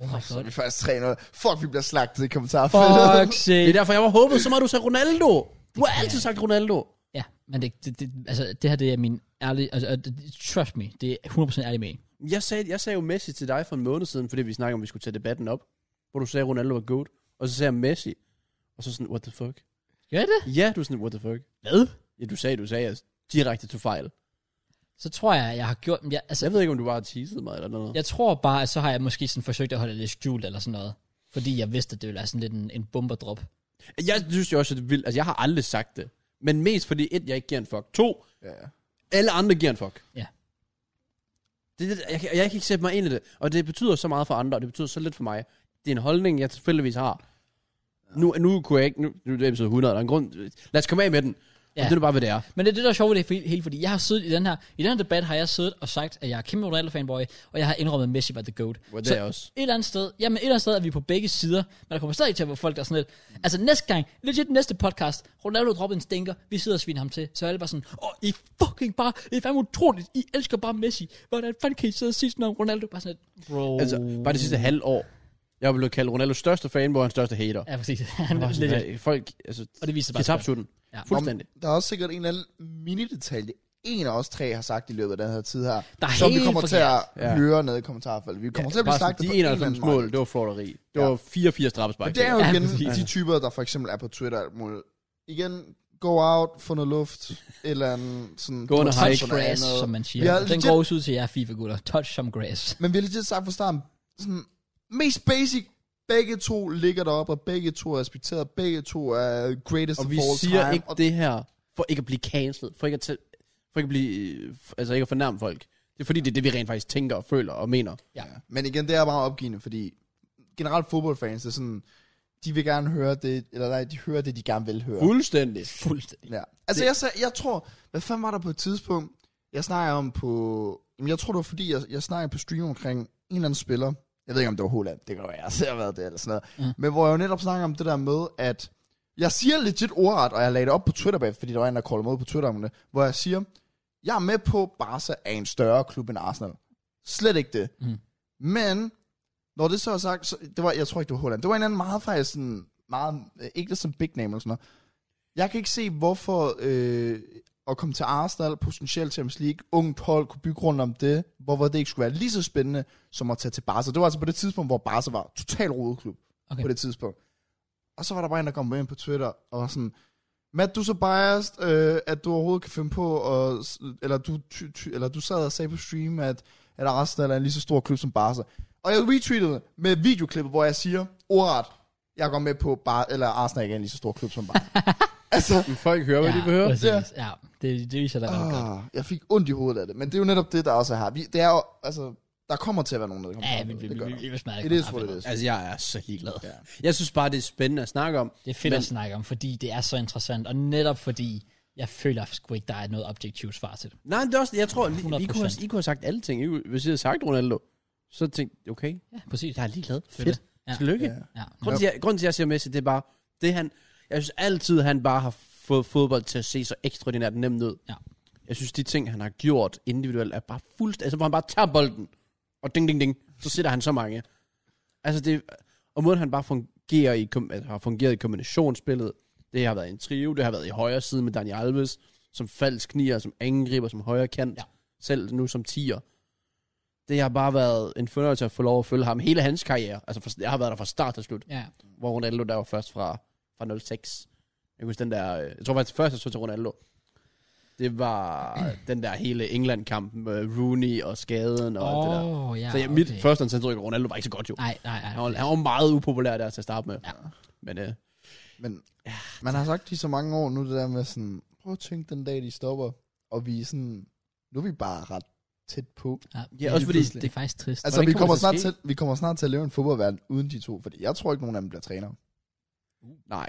Oh my
Så er
god.
vi faktisk 300. Fuck, vi bliver slagtet i kommentarfeltet.
Fuck
Det er
sake.
derfor, jeg var håbet så meget, du sagde Ronaldo. Du har
Øh. kan
altid sagt Ronaldo.
Ja, men det, det, det, altså, det her det er min ærlige, altså, og det- trust me, det er 100% ærlig med.
Jeg sagde, jeg sagde jo Messi til dig for en måned siden, fordi vi snakkede om, at vi skulle tage debatten op. Hvor du sagde, at Ronaldo var goat. Og så sagde jeg Messi. Og så sådan, what the fuck?
Gør jeg det?
Ja, du er sådan, what the fuck?
Hvad?
Ja, du sagde, du sagde, at direkte tog fejl.
Så tror jeg, jeg har gjort, jeg, altså,
Jeg ved ikke, om du bare har teaset mig eller noget.
jeg tror bare, at så har jeg måske sådan forsøgt at holde det lidt skjult eller sådan noget. Fordi jeg vidste, at det ville være sådan lidt en, en bomberdrop.
Jeg synes jo også, at det er vildt. Altså, jeg har aldrig sagt det. Men mest fordi, et, jeg ikke giver en fuck. To,
Ja, ja.
alle andre giver en fuck.
Ja.
Det, er det, jeg, kan- jeg kan ikke sætte mig ind i det. Og det betyder så meget for andre, og det betyder så lidt for mig. Det er en holdning, jeg tilfældigvis har. Nu, nu kunne jeg ikke... Nu, nu er det episode 100, der er en grund. Lad os komme af med den. Ja.
Ja.
Og det er bare, hvad det er.
Men det er det, der er sjovt ved det for- hele, fordi jeg har siddet i den her, i den her debat har jeg siddet og sagt, at jeg er kæmpe Ronaldo-fanboy, og jeg har indrømmet, at Messi var the GOAT.
Hvor det
Så-
er jeg også.
et eller andet sted, jamen et eller andet sted er vi på begge sider, men der kommer stadig til at være folk, der er sådan lidt, altså næste gang, legit næste podcast, Ronaldo dropper en stinker, vi sidder og sviner ham til, så er alle bare sådan, åh, I fucking bare, det er fandme utroligt, I elsker bare Messi, hvordan fanden kan I sidde og sige sådan noget om Ronaldo, bare sådan lidt, bro.
Altså, bare det
Oh.
sidste halve år. Jeg er blevet kaldt Ronaldos største fan, hvor han største hater.
Ja, præcis. Han
Ja,
var
sådan,
legit,
at folk, altså,
og det viser
de
bare,
tabte den.
Ja.
Fuldstændig.
Der er også sikkert en eller anden mini-detalje, en af os tre har sagt i løbet af den her tid her,
Der er
som vi
helt
kommer til at
forkert. Ja.
høre nede i kommentarfeltet. Vi kommer til at blive
Bare
sagt
sådan,
på
de
en eller anden
91 mål,
måde.
det var floteri. Det
Ja.
var 84 straffespark.
Men det er jo
Ja,
igen
præcis.
de typer, der for eksempel er på Twitter og alt muligt. Igen, go out, få noget luft, et eller andet sådan...
Gå under
du må
touch
tage på noget
grass,
andet.
som man
Vi
siger.
har
Ja, den
legit-
går også ud til jer FIFA-gutter. Touch some grass.
Men vi har lige sagt fra starten, sådan, mest basic, begge to ligger deroppe, og begge to er respekteret, begge to er greatest
Og
of
vi
all
siger
time.
ikke
og
det her, for ikke at blive cancelled, for ikke at, tæ- for ikke at blive, øh, f- altså ikke at fornærme folk. Det er fordi, det er det, vi rent faktisk tænker og føler og mener.
Men igen, det er bare opgivende, fordi generelt fodboldfans, det er sådan, de vil gerne høre det, eller nej, de hører det, de gerne vil høre.
Fuldstændig.
Fuldstændig.
Ja. Altså, jeg, sag- jeg tror, hvad fanden var der på et tidspunkt, jeg snakker om på, jamen, jeg tror det var fordi, jeg, jeg snakker på stream omkring en eller anden spiller, jeg ved ikke om det var Holland, det kan jo være, jeg ser været det eller sådan noget, men hvor jeg jo netop snakker om det der med, at jeg siger legit ordret, og jeg lagde det op på Twitter bag, fordi der var en, der kaldte mig ud på Twitter om det, hvor jeg siger, jeg er med på, Barca er en større klub end Arsenal. Slet ikke det.
Mm.
Men, når det så er sagt, så, det var, jeg tror ikke, det var Holland, det var en anden meget faktisk sådan, meget, øh, ikke som big name eller sådan noget, jeg kan ikke se, hvorfor øh, at komme til Arsenal, potentielt Champions League, ungt hold, kunne bygge rundt om det, hvorfor det ikke skulle være lige så spændende, som at tage til Barca. Det var altså på det tidspunkt, hvor Barca var total rodeklub
Okay.
okay. på det tidspunkt. Og så var der bare en, der kom med ind på Twitter og var sådan, Matt, du er så biased, øh, at du overhovedet kan finde på, og, s- eller, du, ty, ty, eller du sad og sagde på stream, at, at Arsenal er en lige så stor klub som Barca. Og jeg retweetede med videoklippet, hvor jeg siger, ordret, jeg går med på, Bar- eller Arsenal ikke er en lige så stor klub som Barca. altså,
Men folk hører, hvad de vil
ja,
høre.
præcis. ja. det, det viser dig ret godt.
Ah, jeg fik ondt i hovedet af det, men det er jo netop det, der også er her. Vi, det er jo, altså, der kommer til at være nogen, der kommer
Ja,
til
vi
at-
vi-
det gør
vi- vi- vi smadrer
der. It is what
kontraften.
it is.
Altså, jeg er så ligeglad. Ja. Jeg synes bare, det er spændende at snakke om.
Det er fedt men,
Men-
at snakke om, fordi det er så interessant, og netop fordi, jeg føler sgu ikke, der er noget objektivt svar til det.
Nej, men det er også, jeg tror, I, I, kunne,
100%.
have, I kunne have sagt alle ting. I, kunne- hvis I havde sagt Ronaldo, så tænkte jeg, okay,
Ja, præcis.
jeg er ligeglad.
er
Fedt.
Ja.
Tillykke.
Ja.
Ja.
Grunden til, jeg, grunden til, at jeg siger Messi, det er bare, det han, jeg synes altid, han bare har fået fodbold til at se så ekstraordinært nemt ud.
Ja.
Jeg synes, de ting, han har gjort individuelt, er bare fuldstændig, altså hvor han bare tager bolden, og ding, ding, ding, så sætter han så mange. Altså det, og måden han bare fungerer i, kom- altså, har fungeret i kombinationsspillet, det har været i en trio, det har været i højre side med Dani Alves, som falsk knier, som angriber, som højre kant,
Ja.
ja. selv nu som tier. Det har bare været en fornøjelse at få lov at følge ham hele hans karriere. Altså for, jeg har været der fra start til slut
ja.
hvor Ronaldo der var først fra, fra 06. Jeg kan huske den der, øh, jeg tror faktisk først, jeg så til Ronaldo. Det var den der hele England-kampen med Rooney og skaden og alt det der.
Åh, ja,
Så ja, mit første indtryk af Ronaldo var ikke så godt jo.
Nej, nej, nej.
Han var, han var meget upopulær der til at starte med.
Ja.
Men øh,
Men man har sagt i så mange år nu, det der med sådan, prøv at tænke den dag, de stopper, og vi er sådan, nu er vi bare ret tæt på.
Ja,
også fordi
det er faktisk trist.
Altså,
Hvordan
vi
kommer
kommer,
det til
snart
at
til, vi kommer snart til at leve en fodboldverden uden de to, fordi jeg tror ikke, nogen af dem bliver træner.
nej,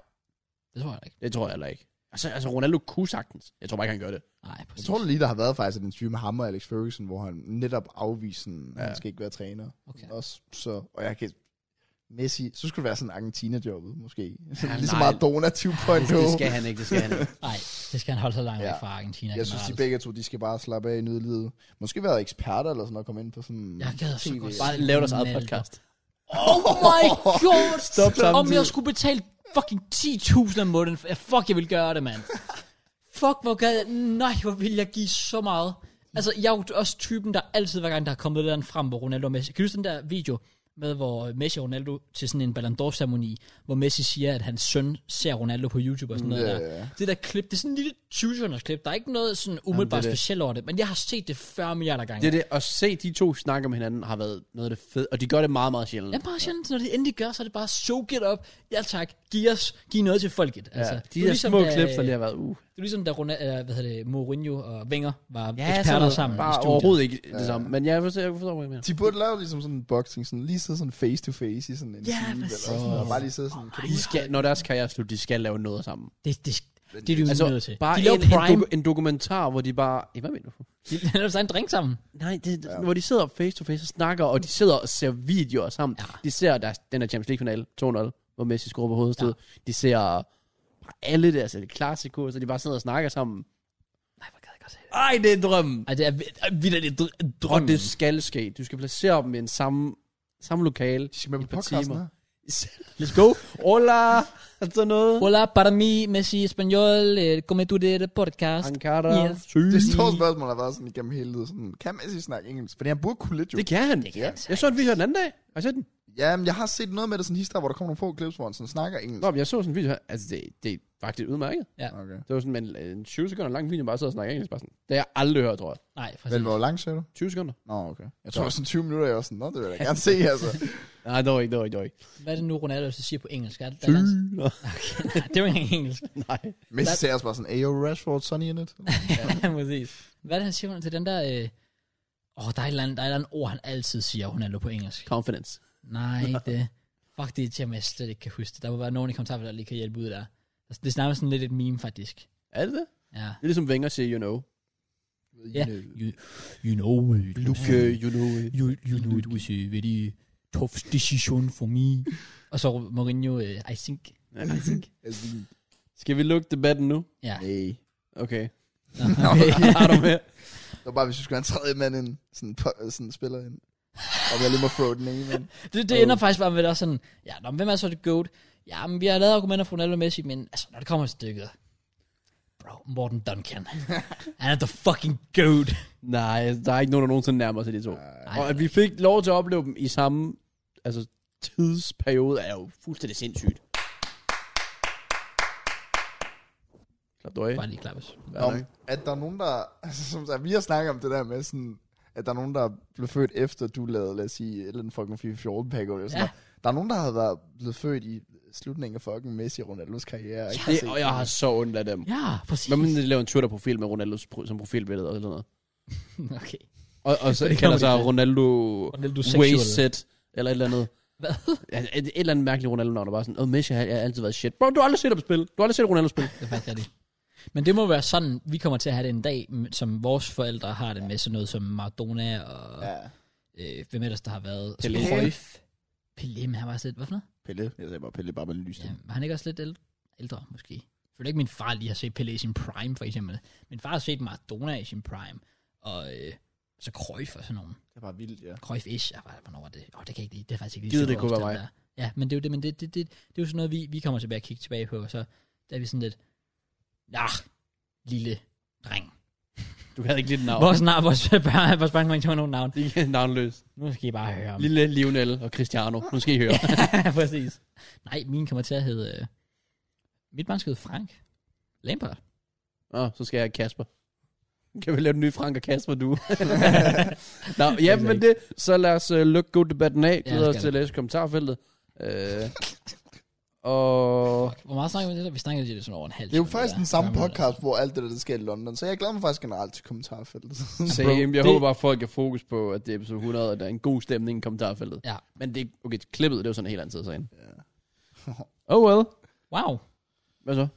Det tror jeg ikke.
det tror jeg heller ikke. Altså, altså Ronaldo kunne sagtens. Jeg tror bare ikke, han gør det.
Nej, præcis.
Jeg tror det lige, der har været faktisk en interview med ham og Alex Ferguson, hvor han netop afviser, at
Ja.
han skal ikke være træner.
Okay.
Også, så, og jeg kan... Messi, så skulle det være sådan Argentina-jobbet, måske. Ja,
Ja,
lige så
nej.
meget Dona 2.0.
Det skal han ikke, det skal han ikke.
Nej, det skal han holde sig langt væk
Ja.
fra Argentina.
Jeg synes, de
generelt.
begge to, de skal bare slappe af i nødlivet. Måske være eksperter eller sådan noget, komme ind på sådan...
Jeg gad så
TV.
godt.
Bare lave deres eget podcast.
Oh my god!
Stop
Om
samtidig.
jeg skulle betale fucking 10.000 om måneden. for- Ja, fuck, jeg vil gøre det, mand. fuck, hvor gad Nej, hvor vil jeg give så meget. Altså, jeg er jo også typen, der altid, hver gang der er kommet et eller andet frem, hvor Ronaldo og Messi... Kan du huske den der video med, hvor Messi og Ronaldo til sådan en Ballon d'Or-ceremoni, hvor Messi siger, at hans søn ser Ronaldo på YouTube og sådan noget
Ja,
der.
ja, ja.
Det der klip, det er sådan en lille 20 sekunders klip. Der er ikke noget sådan umiddelbart
det er det.
specielt over det, men jeg har set det 40 milliarder gange.
Det er det, at se de to snakke om hinanden har været noget af det fede, og de gør det meget, meget sjældent.
Ja, bare sjældent, når det endelig gør, så er det bare, so get up, ja tak, giv os, giv noget til folket. Altså,
Ja,
det er
de der
ligesom,
små
da-
klips, der lige har været, uh.
Det er ligesom, da Rona, eller, hvad hedder det, Mourinho og Wenger var ja, eksperter sammen i
Bare
studiet.
overhovedet ikke det samme. Men jeg forstår, jeg forstår, hvad jeg mener.
De burde lave ligesom sådan en boxing, sådan lige sidde sådan face to face i sådan en
Ja,
time, eller
præcis.
sådan, noget, og bare lige sidde sådan, kan du
De skal, når deres karriere er slut, de skal lave noget sammen.
Det, det, det, det er de jo altså, nødt
Altså,
til.
bare
de
en,
laver
en,
Prime,
doku- en dokumentar, hvor de bare... Eh, hvad mener du?
de laver sig en drink sammen.
Nej, det, ja. hvor de sidder face to face og snakker, og de sidder og ser videoer sammen.
Ja.
Ja. De ser deres, den der Champions League-finale, 2-0, hvor Messi scorer på hovedstød. Ja. De ser bare alle deres klassikere, så de bare sidder og snakker sammen.
Nej, hvor gad jeg godt se det.
Ej, det er drømmen!
Ej, det er vi- er vitterligt dr-
Og
drømmen.
det skal ske. Du skal placere dem i en samme, samme lokale.
de skal med
i
på
et par
podcasten
timer.
her?
Let's go. Hola! Sådan noget.
Hola, para mi, Messi, Espanol, eh, come tu de podcast.
Ankara.
Yes.
Sy.
Det store spørgsmål har været sådan igennem hele tiden, sådan, kan Messi snakke engelsk? Fordi han burde kunne lidt jo.
Det kan han.
kan
Det kan
han
han.
så
Jeg så en video her den anden dag. Har I set den?
Jamen, jeg har set noget med det, sådan en historie, hvor der kommer nogle få clips, hvor han sådan snakker engelsk.
Nå, men jeg så sådan en video her. Altså, det, det er faktisk udmærket.
Okay.
Det var sådan en, en 20 sekunder lang video, bare sidder og snakker engelsk. Bare sådan. Det har jeg aldrig hørt, tror jeg.
Nej, præcis.
Men hvor langt ser du?
20 sekunder?
Nå, okay. Jeg tror, sådan 20 minutter, jeg var sådan, nå, det vil jeg da gerne se, altså.
Nej, det var ikke, det var ikke, det var ikke.
Hvad er det nu, Ronaldo så siger på engelsk? Er det, der
Sy.
er langt-
Nå,
Nej, det er jo ikke engang engelsk.
Nej.
Messi ser også bare sådan, Ayo Rashford, Sonny in it.
ja, præcis. Hvad er det, han siger til den der... øh, Åh, øh... oh, der er et eller andet, der er et eller andet ord, han altid siger, Ronaldo på engelsk.
Confidence.
Nej, ikke det. Fuck, det er et tema, jeg slet ikke kan huske. det. Der må være nogen i kommentarerne, der lige kan hjælpe ud der. Altså, Det er nærmest sådan lidt et meme, faktisk.
Er det det?
Ja.
Det er ligesom Wenger siger, you know.
Ja. You, you know, it.
Luke,
øh,
you know.
you, you know, it was a very tough decision for me. Og så Mourinho, uh, I think.
Ja, I think.
Altså,
Skal vi lukke debatten nu?
Ja.
nej.
Okay.
Nå,
Okay, har du med?
Det var bare, hvis vi skulle have en tredje mand ind, sådan en po- sådan en spiller ind. Og jeg lige må throw den ene ind.
Det, det ender faktisk bare med, at der er sådan, ja, nå, men hvem er så det goat? Ja, men vi har lavet argumenter for Ronaldo og Messi, men altså, når det kommer til stykket, bro, Morten Duncan. Han er the fucking goat.
Nej, der er ikke nogen, der nogensinde nærmer sig de to.
nej,
Nej, og at vi fik lov til at opleve dem i samme altså, tidsperiode, er jo fuldstændig sindssygt. Klap dig
Bare lige klappes.
Nå, at der er nogen, der... Altså, som sagt, vi har snakket om det der med sådan... At der er nogen, der blev født efter, du lavede, lad os sige, et eller andet fucking FIFA 14 pack eller sådan
Ja.
ja. Der er nogen, der har været blevet født i slutningen af fucking Messi og Ronaldos karriere. Ikke?
det, og jeg har så ondt af dem.
Ja, præcis.
Hvad med, at de laver en Twitter-profil med Ronaldo som profilbillede og sådan noget?
Okay.
Og, og så
Det kommer
kalder sig
de til.
Ronaldo,
Ronaldo
Wayset, eller et eller andet.
Hvad?
Et, et, et eller andet mærkeligt Ronaldo-navn, der bare sådan, åh, oh, Messi har, har altid været shit. Bro, du har aldrig set ham spille. Du har aldrig set Ronaldo spille.
Det er faktisk rigtigt. Men det må være sådan, vi kommer til at have det en dag, m- som vores forældre har det med sådan noget som Maradona og ja.
Ja.
øh, hvem ellers der har været.
Pelé.
Cruyff. Pelé, men han var også lidt, hvad for noget?
Pelle. Jeg sagde bare Pelle, bare med en lys.
Ja,
Ja.
var han ikke også lidt ældre, ældre måske? Jeg føler ikke, min far lige har set Pelé i sin prime, for eksempel. Min far har set Maradona i sin prime, og øh, så Cruyff og sådan nogen.
Det er bare vildt, ja.
Cruyff ish, ah, hvornår var det? Åh, oh, det kan jeg ikke lide. Det er faktisk ikke lige
Gider
så
det kunne
godt
være
opstillet der. Ja, men det er jo det, men det, det, det, det er jo sådan noget, vi, vi kommer tilbage og kigge tilbage på, og så der er vi sådan lidt, nah, lille dreng.
Du havde ikke lige et navn.
Vores, nar, vores, børn- vores børn kommer ikke til at have nogen navn.
Det er navnløs.
Nu skal I bare høre om.
Lille Lionel og Cristiano. Nu skal I høre.
Præcis. Nej, min kommer til at hedde... Øh, mit barn skal hedde Frank. Lampard.
Nå, så skal jeg have Kasper. Kan vi lave den nye Frank og Kasper, du? Nå, ja, men det, så lad os uh, lukke god debatten af. Glæder
det
os
skal
til at læse kommentarfeltet. Øh, og
Hvor meget snakker vi om det der? Vi snakkede lige det sådan over en halv
Det er jo
time,
faktisk
der.
den samme
Fyrre minutter.
podcast, hvor alt det der, der sker i London. Så jeg glæder mig faktisk generelt til kommentarfeltet.
same. Jeg
det-
håber bare, at folk har fokus på, at det er episode 100, og der er en god stemning i kommentarfeltet.
Ja.
Men det, okay, klippet, det er jo sådan en helt anden side af sagen. Oh well.
Wow.
Hvad så?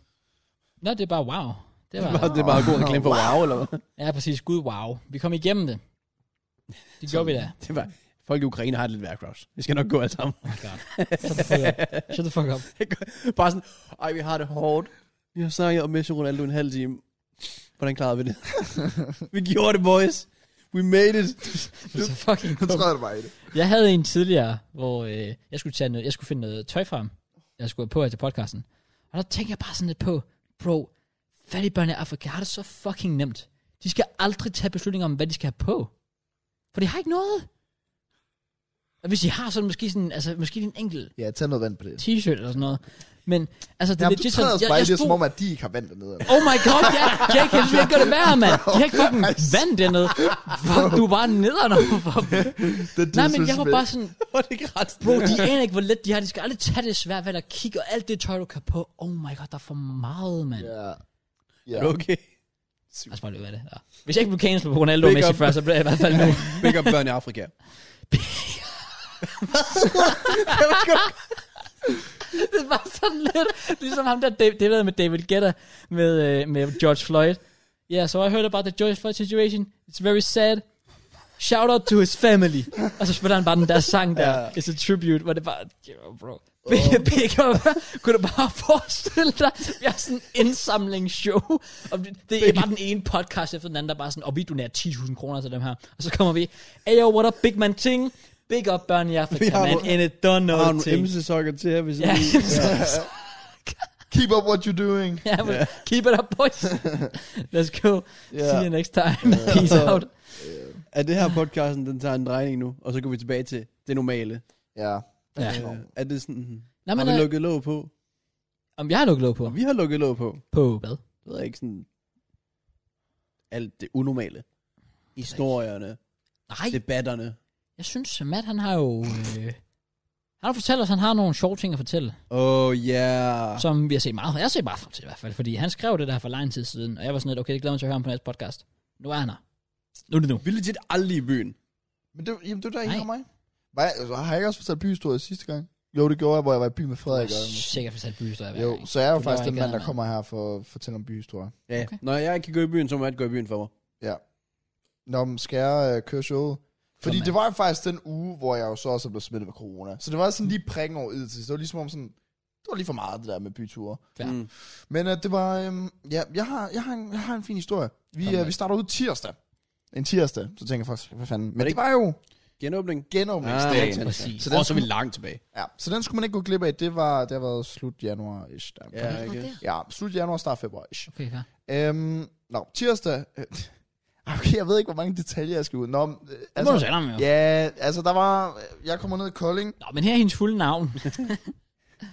Nå, det er bare wow. Det var,
Bare, det er bare god reklame for wow, eller hvad?
ja, præcis. Gud, wow. Vi kom igennem det. Det gjorde vi da.
Det var, folk i Ukraine har det lidt værre, Kraus. Det skal nok gå alt sammen.
God. Shut the fuck up. Shut the fuck up.
Bare sådan, ej, vi har det hårdt. Vi har snakket om Messi og Ronaldo en halv time. Hvordan klarede vi det? vi gjorde det, boys. We made it.
Så fucking
Jeg tror, det var i det.
Jeg havde en tidligere, hvor øh, jeg, skulle tage noget, jeg skulle finde noget tøj frem. Jeg skulle have på her til podcasten. Og der tænkte jeg bare sådan lidt på, bro, Fattige børn i Afrika har det så fucking nemt. De skal aldrig tage beslutninger om, hvad de skal have på. For de har ikke noget. Og hvis de har sådan måske sådan, altså måske en enkelt
Ja, tag noget vand på det.
t-shirt eller sådan noget. Men altså, det
Ja,
er
du
legit
træder
sådan,
os bare i det, som om, at de ikke har vand dernede. eller?
Oh my god, ja, Jake, jeg synes, jeg gør det værre, mand. De har ikke fucking
Ej, s-
vand dernede. Fuck, du er bare nederen overfor dem.
Det
Nej, men jeg var bare sådan,
Hvor er det ikke ret
bro, de aner ikke, hvor let de har. De skal aldrig tage det svært valg og kigge, og alt det tøj, du kan på. Oh my god, der er for meget, mand.
Ja. Ja.
Okay.
Lad os bare løbe af det. Ja. Hvis jeg ikke blev cancelled på Ronaldo og
Big
Messi
up.
før, så blev jeg i hvert fald nu.
Big up børn i Afrika.
det var sådan lidt, ligesom ham der, Dav- det ved jeg med David Guetta, med, øh, med George Floyd. Yeah, so I heard about the George Floyd situation. It's very sad. Shout out to his family. Og så spiller han bare den der sang der.
Ja.
It's a tribute, hvor det bare, yeah, bro. Big, big up. Kunne du bare forestille dig, vi har sådan en indsamlingsshow. Og det, det er bare den ene podcast efter den anden, der bare sådan, og vi donerer 10.000 kroner til dem her. Og så kommer vi, hey yo, what up, big man ting. Big up, børn i
Vi
Afrika,
har
man.
nogle-
And it done
Jeg har
nothing.
nogle MC-sokker til her, hvis
Ja,
I-
Keep up what you're doing.
yeah, but keep it up, boys. Let's go. See you next time. Peace
Yeah.
out.
Er det her podcasten, den tager en drejning nu, og så går vi tilbage til det normale.
Ja.
Ja.
Øh, er det sådan,
Nå,
har
men,
vi
øh,
lukket låg på?
om jeg har lukket låg på.
Vi har lukket låg på.
På hvad?
Det ved jeg ikke sådan, alt det unormale. Historierne,
Nej,
debatterne.
jeg synes, at Matt, han har jo... Øh, han har fortalt os, at han har nogle sjove ting at fortælle,
Oh yeah.
som vi har set meget. Jeg har set meget frem til i hvert fald, fordi han skrev det der for lang tid siden, og jeg var sådan lidt, okay, det glæder mig til at høre ham på næste podcast. Nu er han her. Nu er det nu.
Vi er legit aldrig i byen.
Men det, jamen, det var der
Nej.
ikke af mig. Var jeg, altså, har jeg ikke også fortalt byhistorie sidste gang? Jo, det gjorde jeg, hvor jeg var i by med Frederik. Og,
Sikkert fortalt byhistorie hver
jo,
gang.
så jeg er jo
Det
faktisk
var
den
ikke
mand, der
andet.
kommer her for at fortælle om byhistorie.
Ja,
Okay.
okay. Når jeg ikke kan gå i byen, så må jeg gå i byen for mig.
Nå, men skal jeg øh, køre showet? Fordi
Kom,
det var jo faktisk den uge, hvor jeg jo så også blev smittet med corona. Så det var sådan lige prikken over id til. Det var ligesom om sådan, det var lige for meget det der med byture.
Ja.
Mm.
Men øh, det var, øhm, ja, jeg har, jeg, har en, jeg har en fin historie.
Kom,
Vi, øh,
mand.
vi starter ud tirsdag. En tirsdag, så tænker jeg faktisk, hvad fanden. Men
det
det,
ikke-
var jo
Genåbning.
genåbningsdagen.
Ah,
Præcis.
Så
Så
den
den så er vi
skulle-
langt tilbage.
Ja, så den skulle man ikke gå glip af. Det var, det har været slut januar ish. Der.
Ja,
Nå,
okay.
der.
ja, slut januar, start februar ish.
Okay, klar.
Øhm, nå, tirsdag. øh, Okay, jeg ved ikke, hvor mange detaljer jeg skal ud. Nå, men, øh,
Det må du sige ham, jo.
Ja, altså der var... Jeg kommer ned i Kolding.
Nå, men her er hendes fulde navn.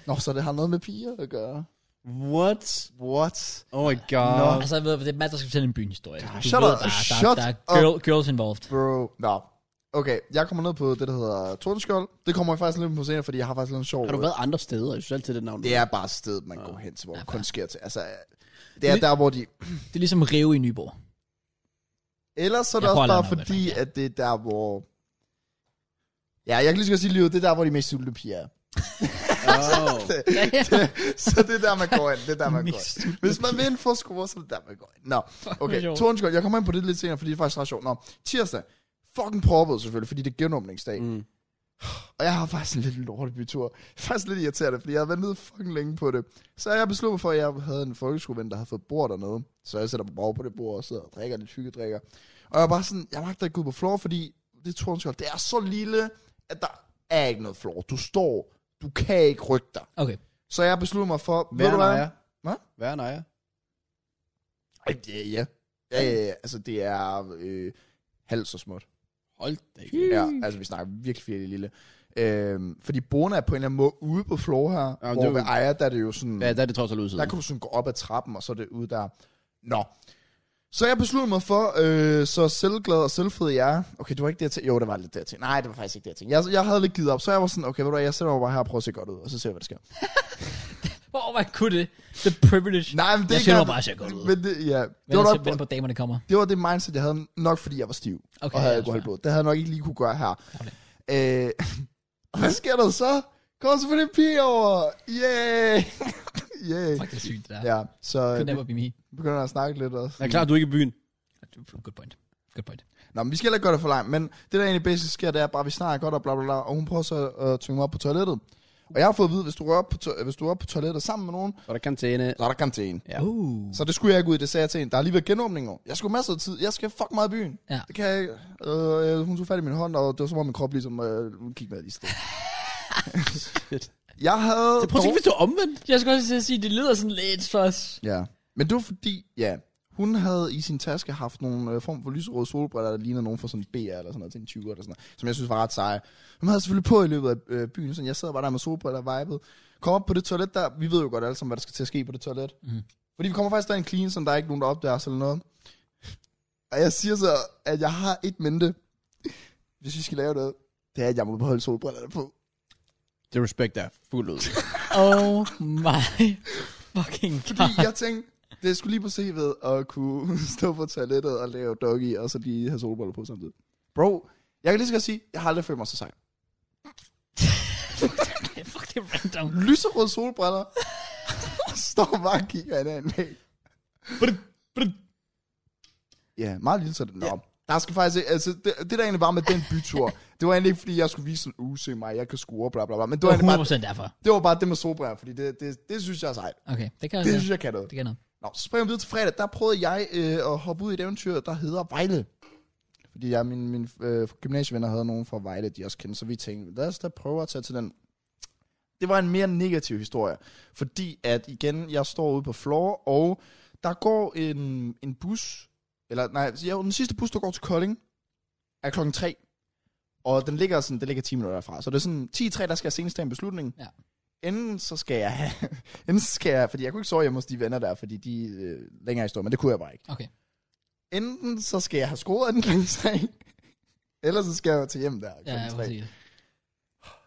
Nå, så det har noget med piger at gøre.
What?
What?
Oh my god.
Nå. Ah,
Altså, jeg ved, det er Matt, der skal fortælle en byhistorie. Du
shut
ved
up.
bare, der,
Shut
der, er girl, girls involved.
Bro. Nå. Okay, jeg kommer ned på det, der hedder Tordenskjold. Det kommer jeg faktisk lidt på senere, fordi jeg har faktisk lidt en sjov...
Har du været andre steder? Jeg synes altid det navn.
Det er bare et sted, man går hen til, hvor
Ja,
ja,
bare.
kun sker til. Altså, det er der, hvor de...
Det er ligesom Rive i Nyborg.
Ellers så er det
Jeg
også
holder
bare
nok med
fordi,
dig, ja.
at det er der, hvor... Ja, jeg kan lige så godt sige livet, det er der, hvor de mest sultne piger er.
Oh.
Ja, ja.
så det er der, man går ind. Det er der, man går
Mest
ind. Hvis man vil en forskue, så er det der, man går ind. Nå, okay.
sjovt.
Tordenskjold, jeg kommer ind på det lidt senere, fordi det er faktisk ret sjovt. Nå, tirsdag. Fucking proppet selvfølgelig, fordi det er genåbningsdag. Mm.
Mm.
Og jeg har faktisk en lidt lortet bytur. Faktisk lidt irriterende, fordi jeg har været nede fucking længe på det. Så jeg besluttede mig for, at jeg havde en folkeskoleven, der havde fået bord dernede. Så jeg sætter mig bare over på det bord og sidder og drikker lidt hyggedrikker. Og jeg var bare sådan, jeg magter ikke gå ud på floor, fordi det Tordenskjold, det er så lille, at der er ikke noget floor. Du står, du kan ikke rykke dig.
Okay.
Så jeg besluttede mig for, ved
Værne
du hvad?
ejer.
Hvad?
Værne ejer.
Ej, ja, ja. Ja, ja, ja. Altså, det er øh, halvt så småt.
Hold da ikke.
Ja, altså, vi snakker virkelig, virkelig lille. Øhm, fordi Bona er på en eller anden måde ude på floor her,
Ja, men
ja, hvor
det er
ved
jo-
Aya, der er det jo sådan...
Ja, der er det trods alt udsiden.
Der kan du sådan gå op ad trappen, og så er det ude der. Nå. Så jeg besluttede mig for, øh, så selvglad og selvfed jeg er. Okay, det var ikke det, jeg tænkte. Jo, det var lidt det, jeg tænkte. Nej, det var faktisk ikke det, jeg tænkte. Jeg, jeg havde lidt givet op, så jeg var sådan, okay, ved du hvad, jeg sætter mig bare her og prøver at se godt ud, og så ser vi, hvad der sker.
Hvor man kunne det? The privilege.
Nej, men det
Jeg
er
sætter
ikke-
mig bare og ser godt ud.
Men det, ja, det
Men det
altså,
var
var
nok,
venter på, at damerne kommer.
det var det mindset, jeg havde, nok fordi jeg var stiv. Okay, og havde
ja,
alkoholblod. Det havde jeg nok ikke lige kunne gøre her. Øh, og hvad sker der så? Kom så for det pige over. Yeah. yeah.
Fuck, det er sygt, det der. Ja.
Ja, så
Could
øh,
never be me.
begynder jeg at snakke lidt også.
Jeg er klar, du er ikke i byen.
Good point. Good point.
Nå, men vi skal heller ikke gøre det for langt, men det der egentlig basisk sker, det er bare, at vi snakker godt og bla bla bla, og hun prøver så at tvinge mig op på toilettet. Og jeg har fået at vide, hvis du er op på, to- hvis du er op på toilettet sammen med nogen,
Så er der karantæne.
så er der karantæne.
Ja.
Uh.
Så det skulle jeg ikke ud i, det sagde jeg til hende. Der er lige været genåbning nu. Jeg skulle have masser af tid. Jeg skal fuck meget i byen.
Ja.
Det kan jeg ikke. Øh, hun tog fat i min hånd, og det var som om min krop ligesom øh, gik med i sted. jeg havde...
Prøv at tænke, hvis du er omvendt.
Jeg skulle også til at sige, det lyder sådan lidt for os.
Ja. Men det var fordi, ja, hun havde i sin taske haft nogle øh, form for lyserøde solbriller, der lignede nogen fra sådan BR eller sådan noget til en 20'er eller sådan noget, som jeg synes var ret seje. Hun havde selvfølgelig på i løbet af øh, byen, så jeg sad bare der med solbriller og vibede. Kom op på det toilet der, vi ved jo godt alle sammen, hvad der skal til at ske på det toilet.
Mhm.
Mm. Fordi vi kommer faktisk der en clean, som der er ikke nogen, der opdager os eller noget. Og jeg siger så, at jeg har et mente, hvis vi skal lave noget, det er, at jeg må beholde solbrillerne på.
Det respekt er fuldt ud.
Oh my fucking god.
Fordi jeg tænkte, det skulle lige på CV'et at kunne stå på toilettet og lave doggy, og så lige have solbriller på samtidig. Bro, jeg kan lige så godt sige, jeg har aldrig følt mig så sej.
Fuck, det er random.
Lyserøde solbriller. står bare og kigger ind af Ja, meget lille så det. Nå, der skal faktisk ikke- altså det, det der egentlig var med den bytur, det var egentlig ikke fordi, jeg skulle vise sådan, uh, se mig, jeg kan score, bla bla bla. Men det
Det
var,
var
egentlig
100%
bare,
derfor.
det var bare det med solbriller, fordi det, det, det synes jeg er sejt.
Okay, det kan jeg
Det
det,
synes jeg kan noget.
det kan noget.
Nå, så springer vi videre til fredag. Der prøvede jeg øh, at hoppe ud i et eventyr, der hedder Vejle. Fordi jeg, mine, mine øh, gymnasievenner havde nogen fra Vejle, de også kendte, så vi tænkte, lad os da prøve at tage til den. Det var en mere negativ historie, fordi at igen, jeg står ude på floor, og der går en, en bus, eller nej, jo, den sidste bus, der går til Kolding, er klokken 3. Og den ligger, sådan, den ligger 10 minutter derfra. Så det er sådan 10-3, der skal jeg senest tage en beslutning.
Ja.
Enten så skal jeg have, enten så skal jeg, fordi jeg kunne ikke sove hjemme hos de venner der, fordi de øh, længere historie, men det kunne jeg bare ikke.
Okay.
Enten så skal jeg have scoret den klokken 3, eller så skal jeg til hjem der
Ja,
klokken 3.
præcis.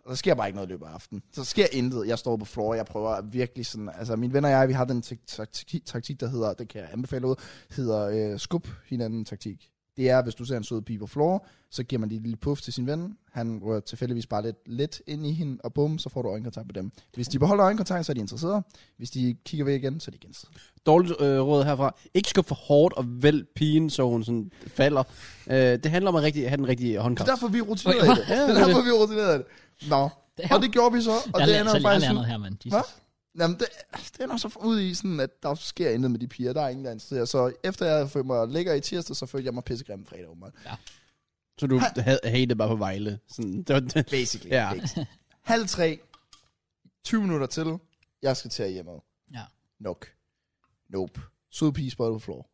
Og der sker bare ikke noget i løbet af aftenen. Så der sker intet. Jeg står på floor, jeg prøver at virkelig sådan... Altså, mine venner og jeg, vi har den tak- tak- taktik, der hedder... Det kan jeg anbefale ud. Hedder øh, skub hinanden taktik. Det er, hvis du ser en sød pige på floor, så giver man lige et lille puff til sin ven. Han rører tilfældigvis bare lidt, lidt ind i hende, og bum, så får du øjenkontakt med dem. Hvis de beholder øjenkontakt, så er de interesserede. Hvis de kigger væk igen, så er de ikke interesserede.
Dårligt øh, råd herfra. Ikke skub for hårdt og væld pigen, så hun sådan falder. Øh, det handler om at rigtig, have den rigtige
Det
håndkraft.
er derfor, vi er rutineret i det.
Ja,
Det
det er
er derfor, vi er rutineret i det. Nå,
Det
og det gjorde vi så, og
jeg,
det
lærer-
ender
så jeg
faktisk
lærer
ud-
noget her, mand. Jesus.
Hva? Jamen, det, det ender så ud i sådan, at der sker intet med de piger. Der er ingen, der er interesseret. Så efter jeg havde følt mig lækker i tirsdag, så følte jeg mig pissegrim fredag, åbenbart.
Så du ha- hate bare på Vejle. Sådan, det var, det.
Basically.
Ja.
basically. Halv tre. 20 minutter til. Jeg skal til at hjemme.
Ja.
Nok. Nope. Sød pige spottet på floor.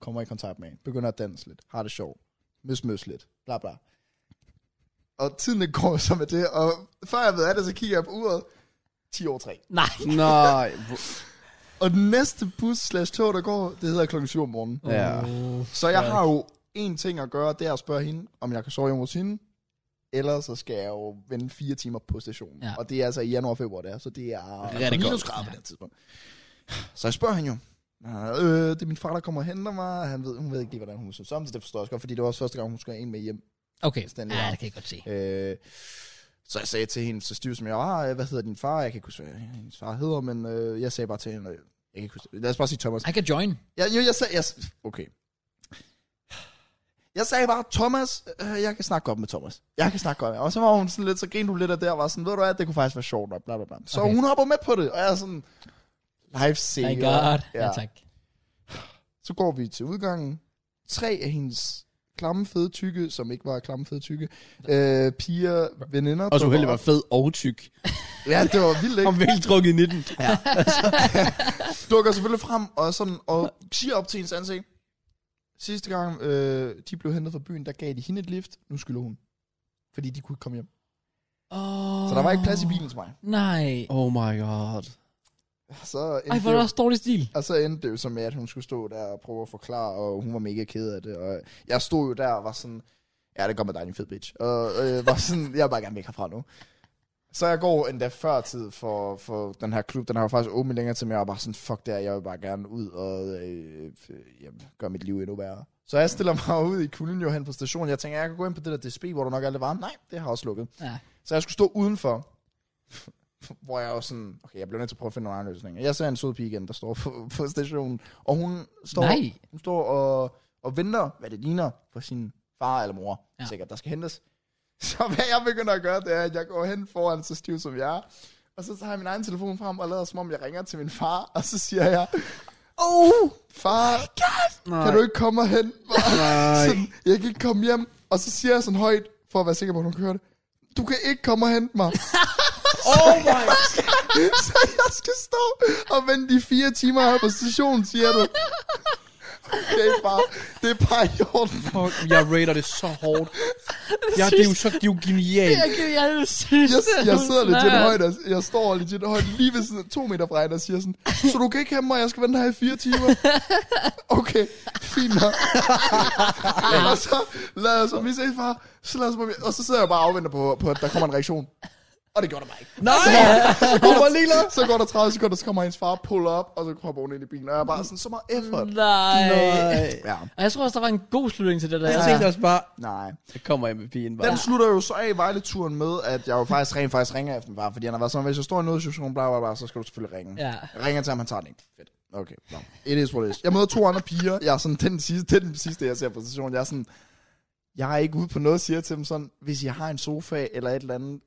Kommer i kontakt med en. Begynder at danse lidt. Har det sjovt. Møs, møs lidt. Bla, bla. Og tiden den går så med det. Og før jeg ved af det, så kigger jeg på uret. 10 over 3.
Nej.
Nej. hvor-
Og den næste bus slash tog, der går, det hedder klokken 7 om morgenen.
Ja.
Oh,
Så jeg har jo en ting at gøre, det er at spørge hende, om jeg kan sove hjemme hos hende. Ellers så skal jeg jo vente fire timer på stationen.
Ja.
Ja. Og det er altså i januar og februar, det er. Så det er
Rigtig koldt.
minusgrader på det her tidspunkt. Så jeg spørger hende jo. "Øh, Øh, det er min far, der kommer og henter mig. Han ved, hun ved ikke lige, hvordan hun skal sove. Det forstår jeg også godt, fordi det var også første gang, hun skulle have en med hjem.
okay.
Stanley
Ja,
Rock.
det kan jeg godt se.
Øh, så jeg sagde til hende, så stiv som jeg var, "Øh, hvad hedder din far? Jeg kan ikke huske, hvad hendes far hedder, men øh, jeg sagde bare til hende, øh, jeg kan ikke huske, lad os bare sige Thomas.
I kan join.
Ja, jo, jeg sagde... Jeg, okay. Jeg sagde bare, Thomas, øh, jeg kan snakke godt med Thomas. Jeg kan snakke godt med Og så var hun sådan lidt, så grinede hun lidt af det, og var sådan, ved du hvad, det kunne faktisk være sjovt, og bla bla bla. Så
Okay.
okay. hun hopper med på det, og jeg er sådan, life saver.
My god. Ja,
Ja.
tak.
Så går vi til udgangen. Tre af hendes klamme fede tykke, som ikke var klamme fede tykke, øh, piger, veninder.
Og så
dukker
uheldig var
op.
fed og tyk.
Ja, det var vildt, ikke?
Om vel drukket i 19.
dukker selvfølgelig frem og, sådan, og siger op til hendes ansigt. Sidste gang, øh, de blev hentet fra byen, der gav de hende et lift. Nu skylder hun. Fordi de kunne ikke komme hjem.
Oh,
Så der var ikke plads i bilen til mig.
Nej.
Oh my god.
Så endte,
Ej, hvor er
det
det
jo,
også dårlig stil.
og så endte det jo så med, at hun skulle stå der og prøve at forklare, og hun var mega ked af det. Og jeg stod jo der og var sådan, ja, det går med dig, din fed bitch. Og øh, var sådan, jeg vil bare gerne væk herfra nu. Så jeg går endda før tid for, for den her klub. Den har jo faktisk åbent længere til mig. Jeg var bare sådan, fuck det her, jeg vil bare gerne ud og øh, øh, jamen, gøre mit liv endnu værre. Så jeg stiller mig ud i kulden jo hen på stationen. Jeg tænker, jeg kan gå ind på det der DSB, hvor der nok er lidt varmt. Nej, det har også lukket.
Ja.
Så jeg skulle stå udenfor, hvor jeg var sådan, okay, jeg blev nødt til at prøve at finde nogle andre løsninger. Jeg ser en sød pige igen, der står på, på stationen, og hun står,
Nej.
hun står og, og venter, hvad det ligner, på sin far eller mor,
Ja.
ja. sikkert, der skal hentes. Så hvad jeg begynder at gøre, det er, at jeg går hen foran så stiv som jeg er, og så tager jeg min egen telefon frem og lader som om, jeg ringer til min far, og så siger jeg, oh, far,
Nej.
kan du ikke komme og hente mig?
Nej.
Sådan, jeg kan ikke komme hjem. Og så siger jeg sådan højt, for at være sikker på, at hun kører det. Du kan ikke komme og hente mig.
Oh my
så jeg skal stå og vente de fire timer her på stationen, siger du. Okay, far. Det er bare i orden.
fuck. Jeg rater det så hårdt. Ja, det er jo så det er jo genialt.
Jeg, jeg, jeg, synes,
Jeg,
det er
jeg sidder lidt til
snart.
højt, og- jeg står lidt til højt, lige ved siden, to meter fra hende, og siger sådan, så du kan ikke have mig, jeg skal vente her i fire timer. Okay, fint nok. og så lader jeg så, vi ses far, så lader jeg så, på min- og så sidder jeg bare og afventer på, på, at der kommer en reaktion. Og det gjorde der bare ikke.
Nej!
Så går, der, så går der 30 sekunder, så kommer hendes far, puller op, og så hopper hun ind i bilen, og jeg er bare sådan, så meget effort.
Nej. Nej.
Nej.
Ja,
Og jeg tror også, der var en god slutning til det der.
Jeg tænkte også bare,
nej.
så kommer MVP'en bare.
Den slutter jo så af Vejle-turen med, at jeg jo faktisk rent faktisk ringer efter ham, fordi han har været sådan, hvis jeg står i nødsituation, bla bla bla, så skal du selvfølgelig ringe.
Ja.
Jeg ringer til ham, han tager den ikke. Fedt. Okay, no. It is what it is. Jeg møder to andre piger, jeg er sådan, den sidste, det er den sidste, jeg ser på stationen, jeg er sådan, jeg er ikke ude på noget, siger jeg til dem sådan, hvis jeg har en sofa eller et eller andet,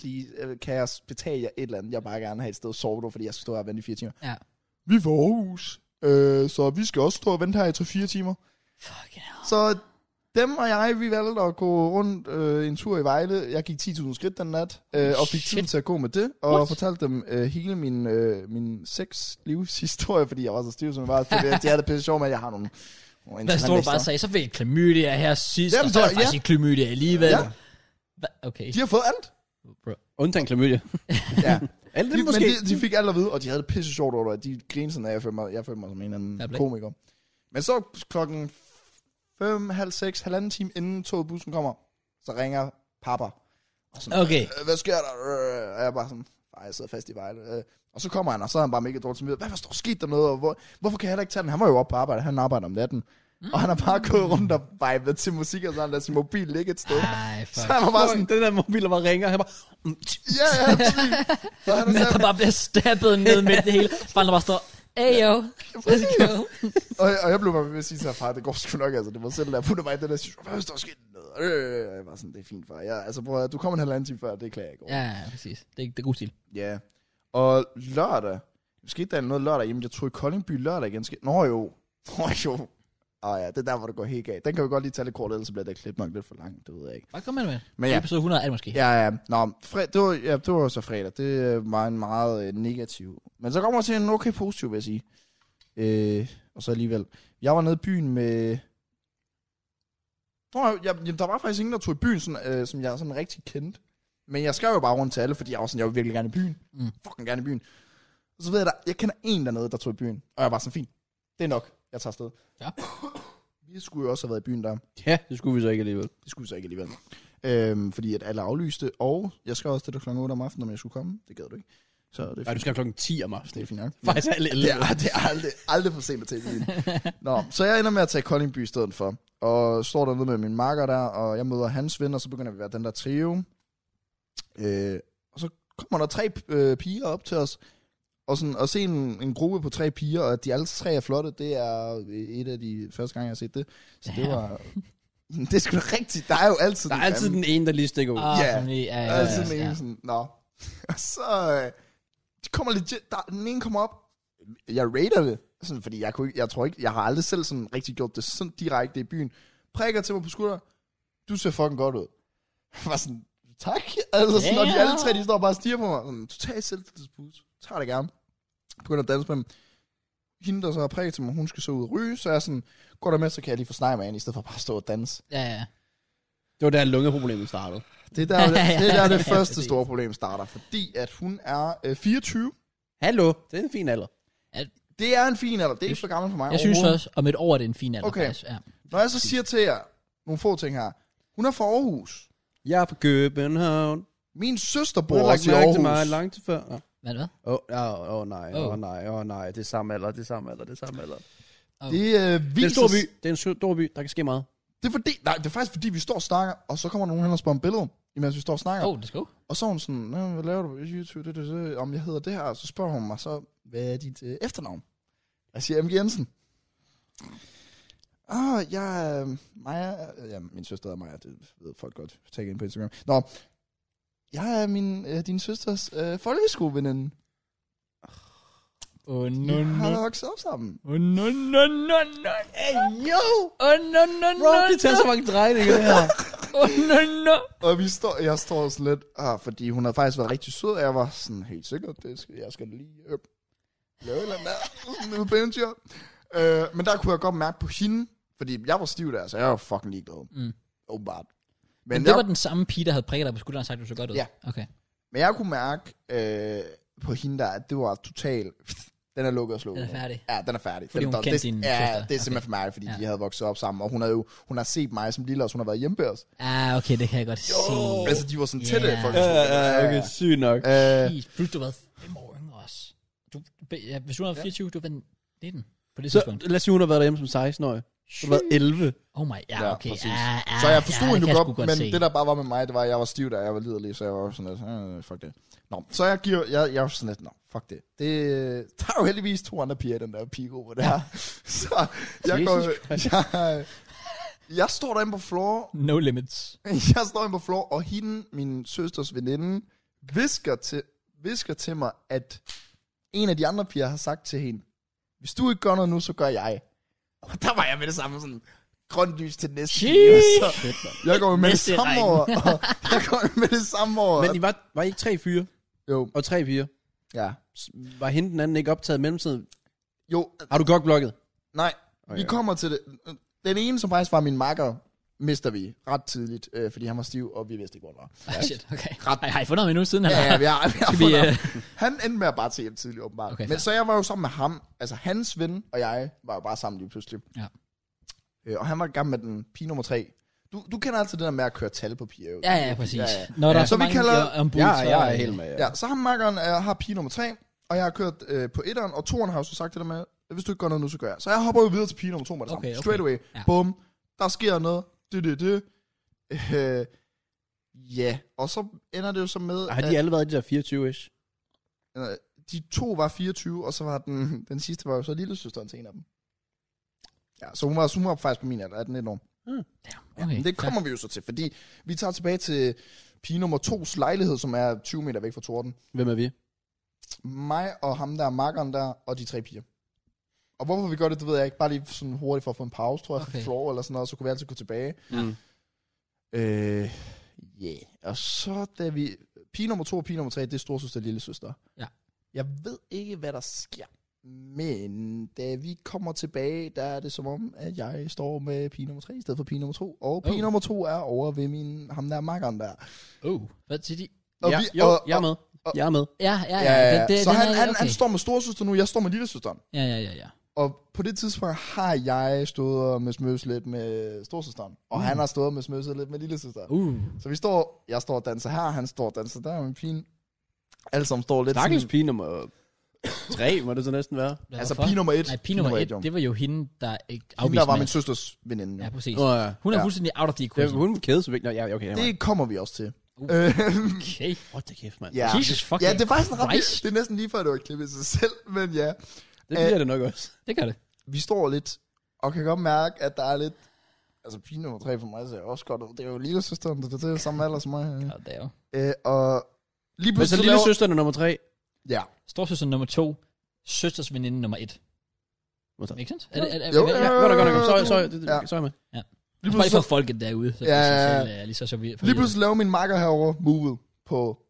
please, øh, kan jeg betale jer et eller andet, jeg vil bare gerne have et sted at sove på, fordi jeg skal stå her og vente i fire timer.
Ja.
Vi er fra Aarhus, øh, så vi skal også stå og vente her i 3-4 timer.
Fuck yeah.
Så dem og jeg, vi valgte at gå rundt øh, en tur i Vejle. Jeg gik 10.000 skridt den nat, øh, og fik
Shit.
tiden til at gå med det. Og
What?
What? fortalte dem øh, hele min, øh, min seks livshistorie, fordi jeg var så stiv, som jeg var. Fordi jeg- de havde det pisse sjovt med, at jeg har nogle, nogle
Hvad står du
internetlister.
bare og sagde? Så fik jeg klamydia her sidst,
Jamen,
og så er
så-
jeg faktisk
ja.
i klamydia alligevel.
Ja.
Hva? Okay.
De har fået alt.
Bro.
Undtagen klamydia.
Ja.
Eller
De,
det
men
måske.
de, de fik alt at vide, og de havde det pisse sjovt over det. De grinede sådan, at jeg følte mig, jeg følte mig som en eller anden
Jeg blev-
komiker. Men så klokken 5, halv 6, halvanden time inden toget og bussen kommer, så ringer papa. Og sådan,
Okay.
"Øh, hvad sker der? Øh, Og jeg er bare sådan, nej, jeg sidder fast i Vejle. Øh, Og så kommer han, og så er han bare mega dårlig som Hvad, hvad står sket dernede? Og hvor, hvorfor kan jeg da ikke tage den? Han var jo oppe på arbejde, han arbejder om natten. Mm. Og han har bare gået rundt og vibet til musik, og så har han lader sin mobil ligge et sted.
Ej,
Så
fuck.
han var bare sådan,
Den der mobil, der bare ringer, han bare... mm, tsk,
ja, ja, præcis. Så han er
Men der
sådan-
bare bliver stabbet ned med det hele. Fanden der bare står, hey yo, let's go.
og, og, jeg blev bare ved med at sige til ham, far, det går sgu nok, altså, det var selv, der puttede mig i den der situation, hvad står der sket dernede? Og øh, jeg var sådan, det er fint, far. Jeg, altså, bror, du kom en halvanden time før, det klager jeg ikke over.
Ja, ja, præcis. Det er, det er god stil.
Ja. Og lørdag. Måske der er noget lørdag. Jamen, jeg tror i Koldingby lørdag igen. Skal... Nå jo. Nå jo. Ah ja, det er der, hvor det går helt galt. Den kan vi godt lige tage lidt kort, ellers så bliver det klip nok lidt for langt. Det ved jeg ikke.
Bare kom med det, mand.
Men
Ja.
ja.
Episode 100 er det måske. Ja.
Ja, ja. Nå, fred, det, var, ja, det var jo så fredag. Det øh, var en meget øh, negativ. Men så kommer jeg til en okay positiv, vil jeg sige. Øh, og så alligevel. Jeg var nede i byen med... Nå, jeg, jamen, der var faktisk ingen, der tog i byen, sådan, øh, som jeg sådan rigtig kendte. Men jeg skrev jo bare rundt til alle, fordi jeg var sådan, jeg vil virkelig gerne i byen.
Mm.
Mm. Fucking gerne i byen. Og så ved jeg, der, jeg kender en dernede, der tog i byen. Og jeg var sådan, fint. Det er nok. Jeg tager afsted.
Ja.
Vi skulle jo også have været i byen der.
Ja, det skulle vi så ikke alligevel.
Det skulle vi så ikke alligevel. Øhm, fordi at alle aflyste, og jeg skrev også til dig klokken 8 om aftenen, om jeg skulle komme. Det gad du ikke. Så det er fint,
Nej, du skal klokken 10 om
det er
aftenen.
fint nok.
Faktisk alle
Det er, det er aldrig, aldrig for sent at tage bilen. Nå, så jeg ender med at tage Koldingby i stedet for. Og står dernede med min marker der, og jeg møder hans ven, og så begynder vi at være den der trio. Øh, og så kommer der tre øh, piger op til os. Og sådan, at se en, en gruppe på tre piger, og at de alle tre er flotte, det er et af de første gange, jeg har set det. Så det
Ja.
var... Det er sgu da rigtigt. Der er jo altid
Der er altid den ene, der lige stikker ud.
Ah,
Ja.
som lige- ja, ja,
Ja,
ja,
altid den
ja.
ene sådan, nå. Og så øh, de kommer legit, der, den ene kommer op, jeg rater det, sådan, fordi jeg, kunne, ikke- jeg tror ikke, jeg har aldrig selv sådan rigtig gjort det sådan direkte i byen. Prikker til mig på skulderen, du ser fucking godt ud. Jeg var sådan, tak. Altså, sådan, yeah. og de
Ja.
alle tre, de står bare og stiger på mig. Sådan, total selvtillidsboost. Tager det gerne. Begynder at danse med dem. Hende, der så har prikket til mig, hun skal så ud og ryge, så jeg er sådan, går der med, så kan jeg lige få snakket med hende, i stedet for bare at stå og danse.
Ja, ja.
Det var der lungeproblemet startede.
Det er der, det, er der det
Ja,
første
præcis.
store problem starter, fordi at hun er øh, 24.
Hallo, det er en fin alder.
Det er en fin alder. Det er ikke for gammel for mig
Jeg synes
overhovedet.
også, om et år er det en fin alder.
Okay.
faktisk. Ja.
Når jeg så siger til jer nogle få ting her. Hun er fra Aarhus.
Jeg er fra København.
Min søster
Du har
bor
lagt
også i
mærke til mig
Aarhus.
langt før. Nå.
Hvad, hvad?
Åh, oh, oh, oh, nej, åh
Åh.
oh, nej, åh oh, nej. Det er samme alder, det er samme alder, det er samme alder.
Det, øh,
Det er en stor
vises,
by, det er en stor by. Der kan ske meget.
Det er, fordi, nej, det er faktisk fordi, vi står og snakker, og så kommer nogen hen og spørger om billede, imens vi står og snakker.
Åh,
Oh.
let's go.
Og så er hun sådan, "Nå, hvad laver du på YouTube, det, det, det, om jeg hedder det her. Og så spørger hun mig så, hvad er dit øh, efternavn? Jeg siger M. Jensen. Ah, jeg er øh, Maja. Ja, min søster er Maja, det ved folk godt. Tag ind på Instagram. Nå, jeg er min, øh, din søsters øh, folkeskoleveninde.
Åh, no,
Vi
no,
har vokset op sammen.
Åh, no, no, no, no.
Yo!
Åh, no, no,
Bro,
no,
det tager
no.
så mange drejninger, det her.
oh, no, no.
Og vi står, jeg står sådan lidt, ah, fordi hun havde faktisk været rigtig sød, og jeg var sådan helt sikker, det skal, jeg skal lige øh, lave et eller andet sådan et eventyr. Øh, men der kunne jeg godt mærke på hende, fordi jeg var stiv der, så jeg var fucking ligeglad.
Mm.
Åbenbart.
Men det var den samme pige, der havde prikket dig på skulderen og sagt, du så godt ud.
Ja.
Okay.
Men jeg kunne mærke øh, på hende der, at det var totalt... Den er lukket og slukket.
Den er færdig.
Ja, den er færdig.
Fordi
den,
hun
der-
kendte
det,
dine
Ja,
søstre.
det er simpelthen
Okay.
for mig, fordi
Ja.
ja. de havde vokset op sammen, og hun har jo hun har set mig som lille, og hun har været hjemme ved os.
Ah, okay, det kan jeg godt se.
Altså, de var sådan tætte.
Ja.
Yeah.
Ja, ja, ja, okay, sygt nok.
Øh,
Jeez, plus du har været fem år yngre også. Du, ja, hvis du var 24, du var 19 på det
Så
tidspunkt.
lad os sige, hun har været derhjemme som 16-årig. Hun har været 11.
Oh my, ja,
Ja,
okay.
præcis.
Ja, ja,
så jeg forstod
ja, det
hende
kan
jo
jeg
godt,
sgu
men
se.
det der bare var med mig, det var, at jeg var stiv der, jeg var liderlig, så jeg var sådan lidt, øh, fuck det. Nå, så jeg giver, jeg, jeg var sådan lidt, nå, fuck det. Det der er jo heldigvis to andre piger, i den der pigegruppe der. Ja. så jeg
Jesus
går, jeg, jeg står derinde på floor,
No limits.
jeg står inde på floor, og hende, min søsters veninde, visker til, visker til mig, at en af de andre piger har sagt til hende, hvis du ikke gør noget nu, så gør jeg. Og der var jeg med det samme sådan, grønt lys til den næste pige, og så,
Shit, mand.
jeg går jo med det
Næste
samme
række.
år, og jeg går jo med det samme år.
Men I var, var I ikke tre fyre?
jo,
Og tre piger.
ja.
S- Var hende den anden ikke optaget i mellemtiden?
Jo,
Har du godt blokket?
nej,
Okay.
vi kommer til det. Den ene, som faktisk var min makker, mister vi ret tidligt, øh, fordi han var stiv, og vi vidste ikke, hvor han var.
Ah, shit, okay. Har, har I fundet ham endnu siden? eller?
Ja, ja, vi har, vi har
Skal vi,
fundet
øh,
ham. Han endte med at bare tage hjem tidligt, åbenbart.
Okay,
Okay,
fair.
Men så jeg var jo sammen med ham. Altså, hans ven og jeg var jo bare sammen lige pludselig.
Ja.
Øh, og han var i gang med den pige nummer tre. Du, du kender altid det der med at køre tal på piger. jo.
ja, ja, præcis.
Ja, ja.
Når der
Ja,
er
så
så
vi
mange
kalder-
øh, ombud,
Ja,
så,
jeg er
øh,
helt med. Ja.
Ja, så ham makkeren er, har pige nummer 3, og jeg har kørt øh, på etteren, og toeren har jo så sagt det der med, hvis du ikke gør noget nu, så gør jeg. Så jeg hopper jo videre til pige nummer 2 med det
Okay,
okay,
okay.
samme. Straight away.
Ja.
Ja. Bum. Der sker noget. Det, det, det. Øh, ja, og så ender det jo så med,
Har de alle været de der 24-ish?
at øh, de to var 24, og så var den, den sidste var jo så lillesøsteren til en af dem. Ja, så hun var, så hun var faktisk på min alder, 18 år.
Okay,
Mm. Men det kommer vi jo så til, fordi vi tager tilbage til pige nummer 2's lejlighed, som er 20 meter væk fra torden.
Hvem er vi?
mig og ham der, makkeren der, og de tre piger. Og hvorfor vi gør det, det ved jeg ikke. Bare lige sådan hurtigt for at få en pause, tror jeg,
Okay.
okay. floor eller sådan noget, så kunne vi altid gå tilbage.
Ja.
Mm.
Øh, yeah. Og så da vi... Pige nummer to og pige nummer tre, det er storsøster og lillesøster.
Ja.
Jeg ved ikke, hvad der sker. Men da vi kommer tilbage, der er det som om, at jeg står med pige nummer tre i stedet for pige nummer to. Og pige
Oh.
oh. nummer to er over ved min, ham der makkeren der.
Oh, hvad siger de?
Og
ja,
vi,
jo,
og,
jeg er med.
og-
Jeg er med.
Ja, ja, ja.
Ja, ja,
Det,
ja.
det,
så
den
han,
er-
han,
okay.
han står med storsøster nu, jeg står med lillesøsteren.
Ja, ja, ja, ja.
Og på det tidspunkt har jeg stået og smøs lidt med storsøsteren. Og mm. han har stået og smøs lidt med lillesøsteren. Uh.
Uh,
Så vi står, jeg står og danser her, han står og danser der med pigen. Alle sammen står lidt
Stakkels pige nummer 3, må det så næsten være.
hvad
Altså
hvorfor?
pige nummer et.
Nej, pige nummer et,
jo.
det var jo hende, der ikke
Hende,
afviste
der var
mig.
min søsters veninde.
Ja,
Ja.
præcis.
Nå, ja.
Hun er
Ja.
fuldstændig out of the
Det,
equation.
hun kædede så vigtigt. Ja, okay. Det...
Det kommer vi også til.
Uh.
Uh. Øh,
Okay.
What the kæft, mand.
ja.
Jesus fucking
ja, det er faktisk en ret,
Christ.
det er næsten lige før, det var et klip i sig selv, men ja.
Det
øh,
bliver det nok også.
Det gør det.
vi står lidt, og kan godt mærke, at der er lidt... Altså, pige nummer tre for mig ser også godt ud. Det er jo lillesøsteren, der det er samme alder som mig.
Ja, det er jo.
Øh, og lige
Men så
pludselig...
lille
laver-
søsteren er nummer 3.
Ja.
Storsøster nummer to, søsters veninde nummer et. Ikke sandt? Er det, er, er,
Jo,
er,
Ja,
er,
godt nok, godt nok. Så, så,
Ja.
så er jeg med.
Lige
bare lige
pludselig,
for folket derude. Så,
Ja,
så,
ja, ja.
så, så, lige så, så vi, for
lige pludselig laver min makker herover movet på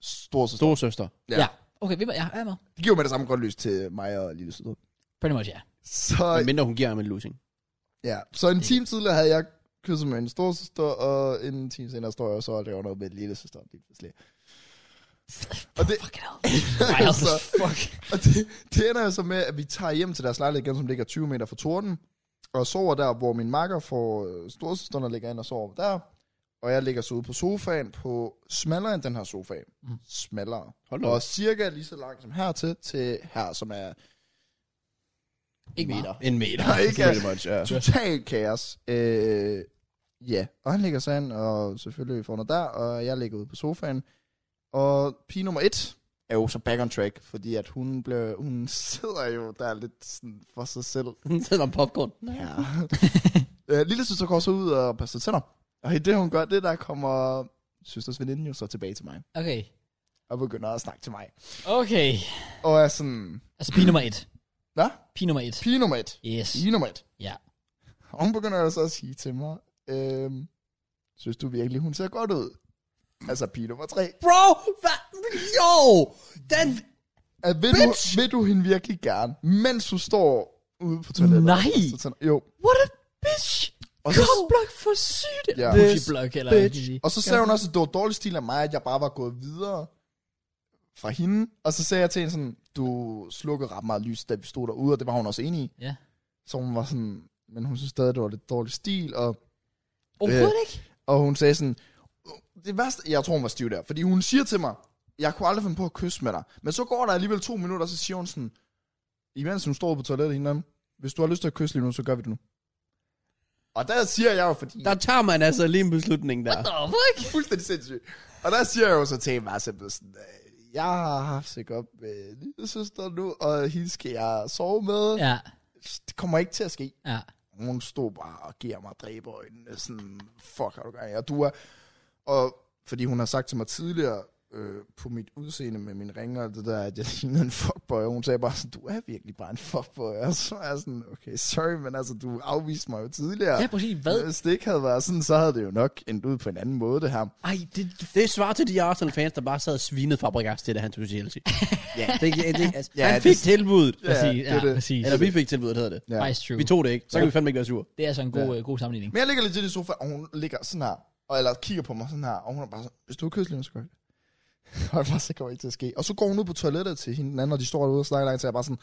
storsøster.
Store søster.
Ja.
Ja.
ja. Okay, vi var, ja, jeg er med.
Det giver jo med det samme godt lys til mig og lillesøster.
Pretty much, ja.
Så,
Mindre hun giver ham en losing.
ja. så en time tidligere havde jeg kysset med en storsøster, og en time senere står jeg så og laver noget med lillesøster. Lige pludselig. Og det,
Fuck it all. Wild as fuck.
Og det, det ender jo så med, at vi tager hjem til deres lejlighed igen, som ligger 20 meter fra torden, og sover der, hvor min makker får øh, storsøsteren og ligger ind og sover der, og jeg ligger så ude på sofaen på smallere end den her sofa. Mm. Smallere.
Hold da op.
og cirka lige så langt som hertil, til her, som er
Ikke meget.
meter.
En meter.
Nej, ikke.
Pretty much, ja.
Total kaos. Øh, ja, og han ligger så ind, og selvfølgelig får noget der, og jeg ligger ude på sofaen. Og pige nummer et er jo så back on track, fordi at hun, blev, hun sidder jo der lidt sådan for sig selv.
Hun sidder om popcorn.
Ja. øh, lille søster går så ud og passer tænder. Og i det, hun gør det, der kommer søsters veninde jo så tilbage til mig.
Okay.
Og begynder at snakke til mig.
Okay.
Og er sådan,
Altså pige nummer et.
hvad?
Pige nummer et.
Pige nummer et.
Yes.
Pige nummer et.
Ja.
Og hun begynder altså at sige til mig, øhm, Synes du virkelig, hun ser godt ud? Altså pige nummer tre.
Bro, hvad? Jo! Den...
At, Øh, vil, du,
Bitch!
vil du hende virkelig gerne, mens du står ude på toilettet?
Nej!
Så tænder- Jo.
What a bitch!
Og så,
Cockblock for sygt!
Ja.
This
This
block, eller
bitch.
hvad kan sige.
Og så sagde hun også, at det var dårlig stil af mig, at jeg bare var gået videre fra hende. Og så sagde jeg til hende sådan, du slukkede ret meget lys, da vi stod derude, og det var hun også enig i.
Ja.
Så hun var sådan, men hun synes stadig, det var lidt dårlig stil, og,
Overhovedet ikke.
og hun sagde sådan, det værste, jeg tror hun var stiv der, fordi hun siger til mig, jeg kunne aldrig finde på at kysse med dig. Men så går der alligevel to minutter, og så siger hun sådan, imens hun står på toilettet hinanden, hvis du har lyst til at kysse lige nu, så gør vi det nu. Og der siger jeg jo, fordi...
der tager man altså lige en beslutning der.
What the fuck?
fuldstændig sindssygt. Og der siger jeg jo så til hende meget simpelt sådan, øh, jeg har haft sig op med lille søster nu, og hende skal jeg sove med. Ja.
Ja,
Det kommer ikke til at ske.
ja.
Hun stod bare og giver mig dræberøjnene, sådan, fuck, har du gang i? Og du er, og fordi hun har sagt til mig tidligere, øh, på mit udseende med min ringer og det der, at jeg lignede en fuckboy, og hun sagde bare sådan, du er virkelig bare en fuckboy, og så er jeg sådan, okay, sorry, men altså, du afviste mig jo tidligere.
Ja, præcis. Hvad?
Hvis det ikke havde været sådan, så havde det jo nok endt ud på en anden måde, det her.
Ej, det...
Det svarer til de Arsenal-fans, der bare sad og svinede Fabregas til, da han tog til Chelsea. ja, det, det, altså,
Ja,
ja, han fik
det-
tilbuddet.
Ja,
Præcis,
det
ja,
er det.
præcis.
Eller vi fik tilbuddet, hedder det.
Ja.
Nice true.
Vi tog det ikke. Så kan vi fandme ikke være sur.
Det er altså en god, øh, god sammenligning.
Men jeg ligger lidt i sofaen, og hun ligger sådan her, og, eller kigger på mig sådan her, og hun er bare sådan, hvis du har kysset lige nu, så gør jeg det. Og jeg bare, så kommer det ikke til at ske. Og så går hun ud på toilettet til hende den anden, og de står derude og snakker langt, så jeg er bare sådan,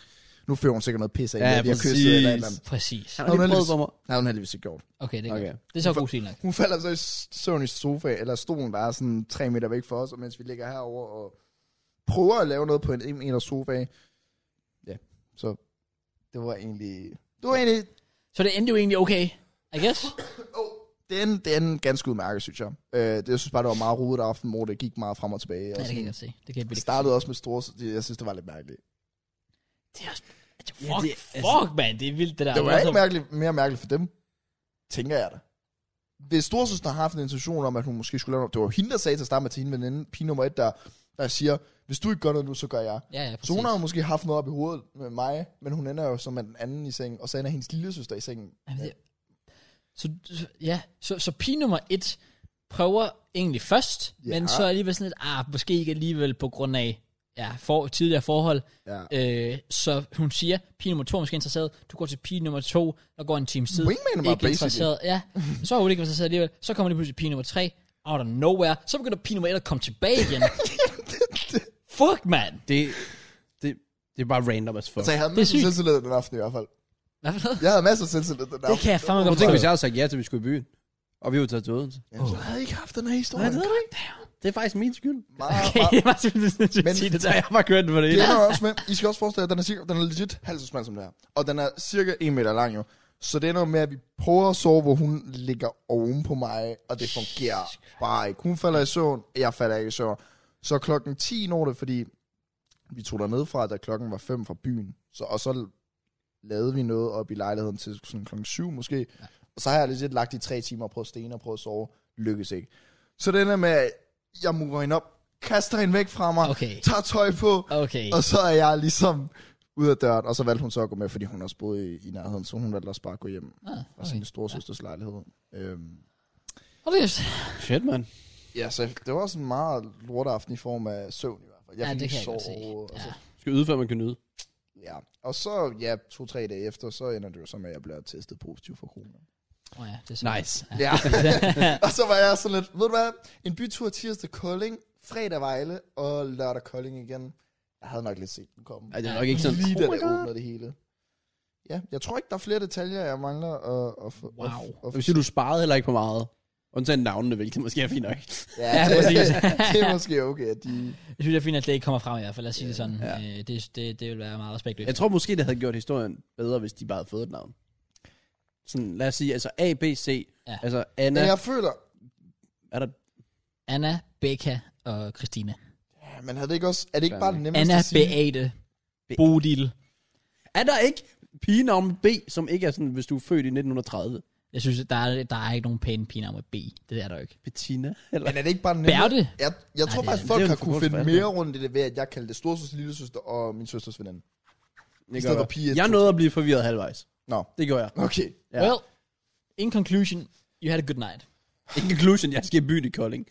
nu fører hun sikkert noget pisse af,
Ja,
ja, vi har
præcis.
kysset eller et eller andet.
Præcis.
Han
Nå,
har lige
men
prøvet på mig.
Nej, hun har heldigvis ikke gjort.
Okay, det er, okay.
Okay.
det er så god stil nok.
Hun falder så i s- søvn i sofa, eller stolen, der er sådan tre meter væk fra os, og mens vi ligger herover og prøver at lave noget på en 1 meter sofa. Ja, så det var egentlig... Det var egentlig...
Så det endte jo egentlig okay, I guess.
Oh, den, den ganske udmærket, synes jeg. Øh, det, jeg synes bare, det var meget rodet aften, hvor det gik meget frem og tilbage.
Ja,
og
det kan jeg
sådan.
godt se. Det kan jeg
Det
virkelig
startede også med store... det- Jeg synes, det var lidt mærkeligt.
Det er også... Altså,
Ja,
fuck,
det
ja,
er-
det,
altså-
fuck, man. Det er vildt, det der.
Det var
så-
ikke mærkeligt, mere mærkeligt for dem, tænker jeg da. Hvis storsøster har haft en intention om, at hun måske skulle lave noget... Det var hende, der sagde til at starte med til hende veninde, pige nummer et, der, der siger, hvis du ikke gør noget nu, så gør jeg.
Ja, ja, præcis.
Så hun har jo måske haft noget op i hovedet med mig, men hun ender jo som den anden i sengen, og så ender hendes lille søster i sengen.
Jamen, det, så, så- ja, så, så pige nummer et prøver egentlig først, ja.
Ja.
men så alligevel sådan lidt, ah, måske ikke alligevel på grund af ja, for, tidligere forhold.
Ja.
Øh, så hun siger, pige nummer to er måske interesseret, du går til pige nummer to, der går en times tid.
Wingman var
ikke
basically.
interesseret. Ja, så er hun ikke interesseret alligevel. Så kommer det pludselig pige nummer tre, out of nowhere. Så begynder pige nummer et at komme tilbage igen. Fuck, mand.
Det, det, det er bare random as fuck.
Så Altså, jeg havde
er
masser af
sygt.
selvtillid den aften i hvert fald.
Hvad for noget?
Jeg havde masser af selvtillid den aften.
Det kan jeg fandme
Prøv
godt
at tænke,
forstå.
hvis jeg havde sagt ja til, at vi skulle i byen. Og vi var taget til Odense.
Jamen, så havde jeg ikke haft den her historie.
du ikke. Det er faktisk min skyld.
Meget,
Okay,
meget-
det var simpelthen
Men-
at sige det der.
Jeg var kørt for det
Det
hele.
ender også med, I skal også forestille jer, at den er, cirka, den er legit halv så smal som det her. Og den er cirka 1 meter lang jo. Så det ender med, at vi prøver at sove, hvor hun ligger oven på mig, og det fungerer bare ikke. Hun falder i søvn, jeg falder ikke i søvn. Så klokken 10 når det, fordi vi tog derned fra, da klokken var 5 fra byen. Så, og så lavede vi noget op i lejligheden til sådan klokken 7 måske. Ja. Og så har jeg lidt lagt i tre timer på stene og prøvet at sove. Lykkes ikke. Så det ender med, at jeg mover hende op, kaster hende væk fra mig,
Okay.
tager tøj på,
Okay.
og så er jeg ligesom ud af døren, og så valgte hun så at gå med, fordi hun også boede i, i nærheden, så hun valgte også bare at gå hjem
Ah,
fra sin storesøsters lejlighed. Øhm,
Hold da kæft.
Shit, man.
ja, så det var også en meget lorteaften i form af søvn i hvert fald. Jeg
Ja,
fik
det
ikke
kan jeg godt se.
sovet, og
Ja.
så,
Skal yde, før man kan nyde.
ja. og så, ja, to-tre dage efter, så ender det jo så med, at jeg bliver testet positiv for corona.
Oh, ja, det er sådan.
Nice.
Ja. og så var jeg sådan lidt, ved du hvad, en bytur tirsdag Kolding, fredag Vejle og lørdag Kolding igen. Jeg havde nok lidt set den komme.
Ej, det er nok ikke sådan.
Lige da
Oh my
det
God.
åbner det hele. Ja, jeg tror ikke, der er flere detaljer, jeg mangler at, at få.
Wow.
At, at,
Det vil sige, du sparede heller ikke på meget. Undtagen navnene, hvilket måske er fint nok.
ja,
Ja,
det,
præcis.
det er måske okay, at de...
Jeg synes, det er fint, at det ikke kommer frem i hvert fald. Lad os sige det sådan. Ja. Øh, det, det, det vil være meget respektløst.
Jeg tror måske, det havde gjort historien bedre, hvis de bare havde fået et navn. Sådan, lad os sige, altså A, B, C.
Ja.
Ja. Altså
Men
Anna,
jeg føler...
er der...
Anna, Becca og Christina.
Ja, men havde det ikke også... Er det ikke bare det nemmeste
Anna,
at sige?
Beate, Bodil.
Er der ikke pigenavn B, som ikke er sådan, hvis du er født i 1930?
Jeg synes, der er, der er ikke nogen pæne piger med B. Det der er der jo ikke.
Bettina? Eller?
Men er det ikke bare nemmere?
Bærte?
Jeg, jeg tror
det-
faktisk,
det
folk
er jo
har
en
kunne finde
forkortelse for
mere rundt i det ved, at jeg kaldte det storsøster, lillesøster og min søsters veninde.
Det
stedet
gør
for pige,
jeg. jeg
to-
nåede at blive forvirret halvvejs.
Nå,
Det gør jeg.
okay.
Ja. Well, in conclusion, you had a good night.
In conclusion, jeg skal i byen i Kolding.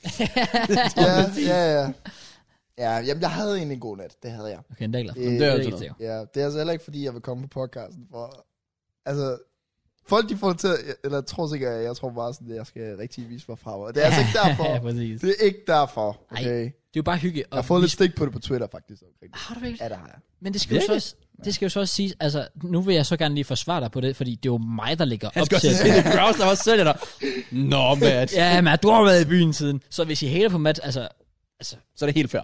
ja, ja, ja. Ja, jamen, jeg havde egentlig en god nat. Det havde jeg.
Okay, den er jeg glad for.
Øh,
Det,
det er
er
altid
ikke sikkert.
Ja, det er altså heller ikke, fordi jeg vil komme på podcasten. For, altså, folk de får det til, at- eller tror sikkert, at jeg tror bare sådan, at jeg skal rigtig vise mig fra mig. Det er altså ikke
ja,
derfor.
præcis.
Det er ikke derfor, okay?
Det er jo bare hygge.
Jeg har fået lidt stik på det på Twitter, faktisk. Omkring. det.
Har du virkelig?
Ja, det har jeg.
Men det skal, jo så
Virkelig?
også, det skal jo så også siges, altså, nu vil jeg så gerne lige forsvare dig på det, fordi det er jo mig, der ligger
Han
op
skal også
til
se det browse, der var sælger dig. Nå, Matt.
Ja, men du har været i byen siden. Så hvis I hater på Matt, altså,
Så er det helt fair.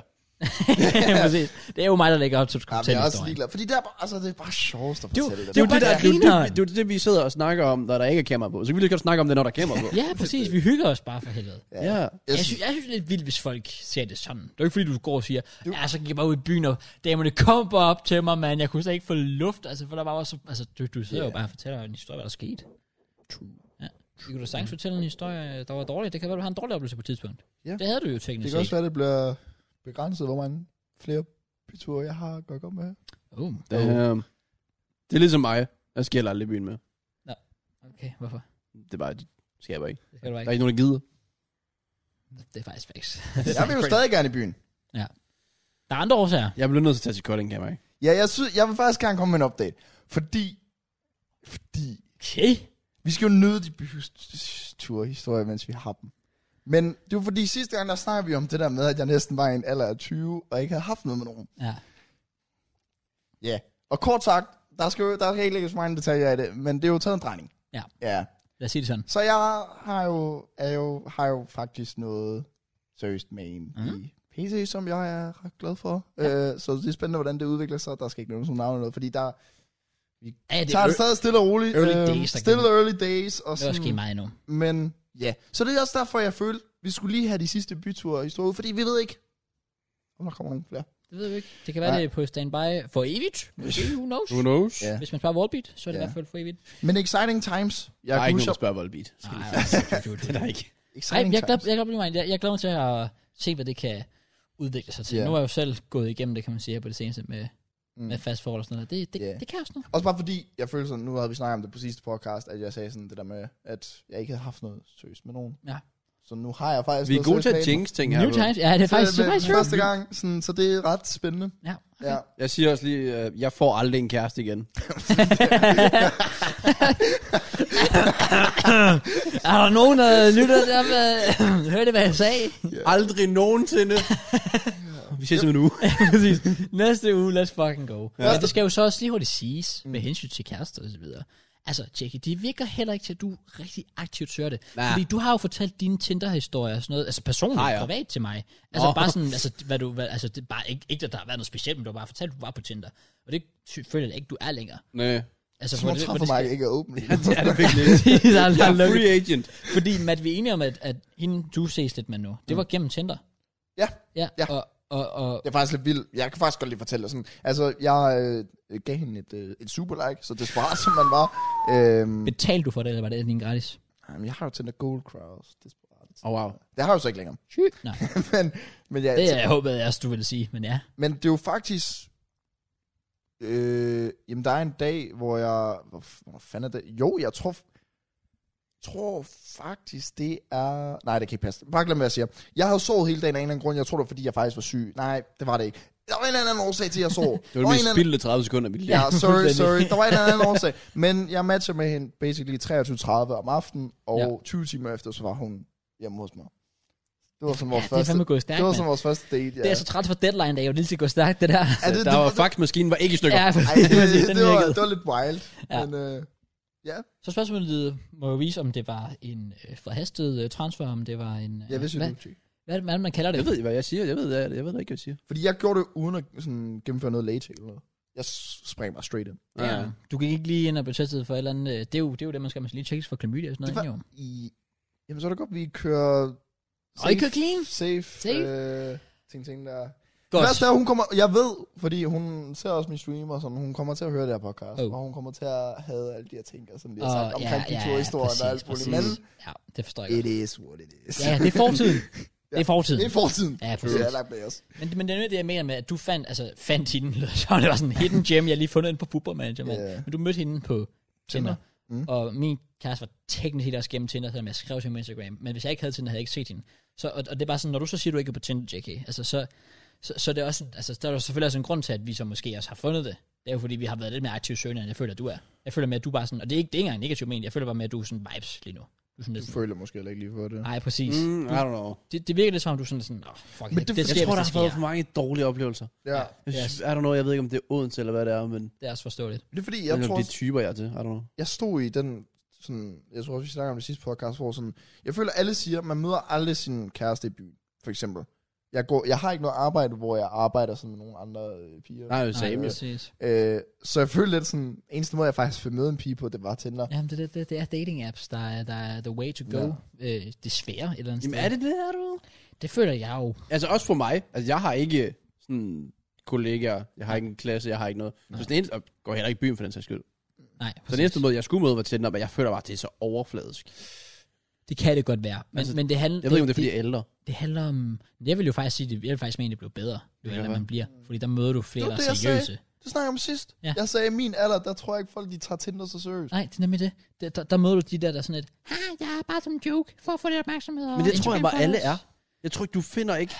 præcis. Det er jo mig, der lægger op til at skulle
Ja, men
fortælle
jeg er også
historien.
ligeglad. Fordi det er bare, altså, det er bare sjovest at
Det er jo-
fortælle det.
det er jo
der.
det, der-
det, er jo
grineren.
det, det, er jo det, vi sidder og snakker om, når der ikke er kamera på. Så kan vi lige godt snakke om det, når der er kamera på.
Ja, præcis. Vi hygger os bare for helvede.
ja.
Jeg synes, jeg synes, det er lidt vildt, hvis folk ser det sådan. Det er jo ikke, fordi du går og siger, ja, så gik jeg bare ud i byen, og damerne kom bare op til mig, mand. Jeg kunne slet ikke få luft, altså, for der var også... Altså, du, du sidder yeah. jo bare og fortæller en historie, hvad der skete.
True.
Ja. Du kunne da sagtens fortælle en historie, der var dårlig. Det kan være, du har en dårlig oplevelse på et tidspunkt.
Ja.
Det havde du jo
Det
teknisk
kan også
set.
være, det bliver begrænset, hvor mange flere byture, jeg har at gøre godt med.
Oh,
Det, er, øhm, det er ligesom mig. Jeg skal heller aldrig i byen med.
okay, hvorfor?
Det er bare, det skal jeg bare ikke.
Det skal du bare
Der er
ikke.
ikke nogen, der gider.
Det er faktisk faktisk.
Jeg vil jo stadig gerne i byen.
Der er andre årsager.
Jeg bliver nødt til at tage til Kolding, kan jeg ikke?
Ja, jeg, synes, jeg vil faktisk gerne komme med en update. Fordi, fordi
Okay.
Vi skal jo nyde de byture-historier, mens vi har dem. Men det var fordi sidste gang, der snakkede vi om det der med, at jeg næsten var i en alder af 20, og ikke havde haft noget med nogen.
Ja.
Ja. Yeah. Og kort sagt, der skal, jo, der skal ikke lægges mange detaljer i det, men det er jo taget en drejning.
Ja.
Ja.
Lad os sige det sådan.
Så jeg har jo, er jo, har jo faktisk noget seriøst med en mm.
Mhm.
i PC, som jeg er ret glad for. Ja. Øh, så det er spændende, hvordan det udvikler sig. Der skal ikke nævnes nogen navn eller noget, fordi der
Ja,
det
det,
tager
er
det stadig stille og roligt. Øh,
early days, der
Stille
gælder.
early days. Og
det er
sådan,
også sket meget endnu.
men ja, så det er også derfor, jeg følte, vi skulle lige have de sidste byture i ud, fordi vi ved ikke, om der kommer nogen flere.
Det ved vi ikke. Det kan være,
Nej.
det er på standby for evigt. Måske, Who knows?
Who knows?
Ja.
Hvis man sparer Wallbeat, så er det
Ja.
i hvert fald for evigt.
Men exciting times.
Jeg
Jeg
der er
kan
ikke nogen,
huske,
der spørger Volbeat.
Nej, altså, du- du- du-
Det er der ikke.
Ej,
exciting
jeg glæder,
times.
jeg, glæder, mig- jeg, jeg glæder mig til at se, hvad det kan udvikle sig til.
Ja.
Nu er jeg jo selv gået igennem det, kan man sige, her på det seneste med,
Mm.
med fast forhold og sådan noget. Det, det,
Ja.
det kan også noget.
Også bare fordi, jeg følte sådan, nu havde vi snakket om det på sidste podcast, at jeg sagde sådan det der med, at jeg ikke havde haft noget seriøst med nogen.
Ja.
Så nu har jeg faktisk
Vi er
noget
gode til
seriøst
at
med en.
jinx ting her.
New
du.
times. Ja, det er faktisk,
Så,
det
men
er faktisk
første gang, sådan, så det er ret spændende.
Ja.
Ja.
Jeg siger også lige, øh, jeg får aldrig en kæreste igen.
Er der nogen, der lytter der med, hørte, hvad jeg sagde?
Aldrig nogensinde. Vi ses om en uge.
Præcis. Næste uge, let's fucking go. Ja. Men
Næste-
det skal jo så også lige hurtigt siges, med hensyn til kærester og så videre. Altså, Jackie, det virker heller ikke til, at du rigtig aktivt søger det.
Nej.
Fordi du har jo fortalt dine Tinder-historier og sådan noget, altså personligt,
Har jeg?
privat til mig. Altså
Nå.
bare sådan, altså, hvad du, hvad, altså det er bare ikke, ikke, at der har været noget specielt, men du har bare fortalt, at du var på Tinder. Og det sy- føler jeg ikke, du er længere.
Nej.
Altså,
Så tror for mig ikke er åben.
Det er det virkelig ikke.
skal... der, er- der
Jeg
er
er
lukket.
free agent.
Fordi, Matt, vi er enige om, at, at hende, du ses lidt med nu, det var gennem Tinder.
Ja.
Ja,
Ja.
Og, og, og,
Det er faktisk lidt vildt. Jeg kan faktisk godt lige fortælle dig sådan. Altså, jeg øh, gav hende et, øh, et super like, så desperat som man var. Øhm,
betalte du for det, eller var det din gratis?
jamen, jeg har jo tændt Gold Crowds. Desperat.
Oh, wow.
Det har jeg jo så ikke længere.
Nej.
men, men, jeg,
Det jeg håbede jeg også, du ville sige, men ja.
men det er jo faktisk... Øh, jamen, der er en dag, hvor jeg... Hvor, f- hvor fanden er det? Jo, jeg tror... tror faktisk, det er... Nej, det kan ikke passe. Bare glem, hvad jeg siger. Jeg havde sovet hele dagen af en eller anden grund. Jeg tror, det var, fordi jeg faktisk var syg. Nej, det var det ikke. Der var en eller anden årsag til, at jeg sov.
Det var det
Der en
mest
eller anden-
spildte 30 sekunder af mit liv.
Ja, sorry,
fuldstændig.
sorry. Der var en eller anden årsag. Men jeg matcher med hende basically 23.30 om aftenen, og
Ja.
ja. 20 timer efter, så var hun hjemme hos mig. Det var som vores
Ja, det er
første...
fandme gået stærkt,
det var
det,
som vores første date, ja.
det er så træt for deadline, da jeg jo lige til gå stærkt, det der.
Ja, det, det,
Der var
det,
faxmaskinen var ikke i stykker.
ja,
ej,
præcis,
det,
præcis,
det,
den
det, var,
virkede.
det var lidt wild.
Ja.
Ja. Men, øh,
Så spørgsmålet må jo vise, om det var en øh, forhastet øh, transfer, om det var en... Øh,
jeg vidste
hvad,
jo ikke.
hvad, er det- hvad er det, man kalder det?
Jeg ved, ikke, hvad jeg siger. Jeg ved, jeg, jeg ved ikke, hvad jeg siger.
Fordi jeg gjorde det uden at sådan, gennemføre noget latex eller noget. Jeg s- sprang bare straight ind.
Ja. Du gik ikke lige ind og blev testet for et eller andet... Øh, det, er jo, det er jo det, man skal man skal lige tjekkes for klamydia og sådan
Det
noget.
var-
ikke jo.
I, jamen, så er det godt, vi kører...
Og I kører clean? Safe?
Safe. safe. Øh, ting, ting, der... Godt.
Godt.
Værste er, hun kommer, jeg ved, fordi hun ser også min stream og sådan, hun kommer til at høre det her podcast,
Oh.
oh. og hun kommer til at have alle de her ting, og sådan lige
Og-
har sagt altså, omkring de to historier, der er alt muligt. Men
Ja, det forstår jeg
it
godt.
is what it is.
Ja, det er fortiden. Det er fortiden.
det er fortiden.
Ja, præcis.
det er langt bag os.
Men, men det er noget, det, jeg mener med, at du fandt, altså fandt hende, lyder det som, det var sådan en hidden gem, jeg lige fundet inde på Football Manager, mand.
Ja.
Men du mødte hende på Tinder,
Tinder.
Mm.
Mm.
Og min kæreste var teknisk helt også gennem Tinder, selvom jeg skrev til hende på Instagram. Men hvis jeg ikke havde Tinder, havde jeg ikke set hende. Så, og, og, det er bare sådan, når du så siger, du ikke er på Tinder, JK, altså så, så, så det er også, altså, der er jo selvfølgelig også en grund til, at vi så måske også har fundet det. Det er jo fordi, vi har været lidt mere aktive søgende, end jeg føler, du er. Jeg føler med, at du bare sådan, og det er ikke, det er ikke engang negativt ment, jeg føler bare med, at du er sådan vibes lige nu. Du er sådan lidt
Du
sådan,
føler måske heller ikke lige for det.
nej, præcis. Mm.
Mm, I don't know.
Det, det, virker lidt som om, du er sådan, sådan oh, fuck,
Men
det, det,
det- jeg
sker,
Jeg tror,
hvis det
der har været
sker.
for mange dårlige oplevelser.
Ja.
Jeg
Ja.
synes, I don't know, jeg ved ikke, om det er Odense eller hvad det er, men
Det er også forståeligt.
Det er fordi,
jeg
jeg tror,
det er typer, jeg er til. I don't know.
jeg stod i den, sådan, jeg tror også, vi snakker om det sidste podcast, hvor sådan, jeg føler, alle siger, man møder aldrig sin kæreste i byen, for eksempel. Jeg, går, jeg har ikke noget arbejde, hvor jeg arbejder sådan med nogle andre øh, piger.
Nej, det er
Nej,
same.
præcis.
Øh, så jeg føler lidt sådan, eneste måde, jeg faktisk fik møde en pige på, det var Tinder.
Jamen, det, det, det er dating apps, der er, der er the way to go. Ja. Øh, desværre et eller andet
Jamen
sted.
er det det, er du?
det føler jeg jo.
Altså også for mig. Altså jeg har ikke sådan kollegaer, jeg har ikke en klasse, jeg har ikke noget. Så den eneste, og går heller ikke i byen for den sags skyld.
Nej,
Så den eneste måde, jeg skulle møde, var Tinder, men jeg føler bare, at det er så overfladisk.
Det kan det godt være. Men, altså,
Altså,
men det, handler,
Jeg ved ikke, om det er, fordi jeg er ældre.
det, det handler om... Jeg vil jo faktisk sige, det, jeg vil faktisk mene, det blev bedre, jo
kan
ældre
være.
man bliver. Fordi der møder du flere,
Det
der
var
er
det, jeg
seriøse.
Det snakker jeg om sidst.
Ja.
Ja. Jeg sagde, i min alder, der tror jeg ikke, folk de tager Tinder så seriøst.
Nej, det er nemlig det. Der, der, der møder du de der, der er sådan et... Ha, jeg er bare som joke for at få lidt opmærksomhed. og
Men det tror jeg
Instagram
bare, alle er.
followers."
Jeg tror ikke, du finder ikke...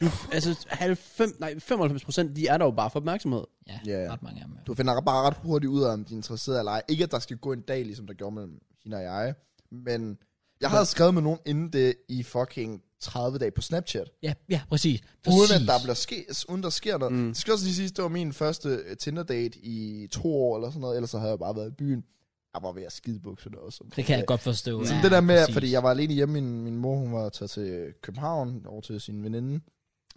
Du, altså 90, nej, 95 procent, de er der jo bare for opmærksomhed.
Ja,
Ja.
ret mange af dem.
Du finder bare ret hurtigt ud af, om de er interesseret eller ej. Ikke, at der skal gå en dag, ligesom der gjorde mellem hende og jeg. Men jeg havde skrevet med nogen inden det i fucking 30 dage på Snapchat.
Ja, ja, præcis. præcis.
Uden at der bliver ske, uden der sker noget. Mm. Det skal også lige sige, det var min første øh, Tinder-date i to år eller sådan noget. Ellers så havde jeg bare været i byen. Jeg var ved at skide bukserne også.
Det kan jeg godt forstå.
Sådan
ja,
ja, det der med,
præcis.
præcis. fordi jeg var alene hjemme, min, min mor hun var taget til København over til sin veninde.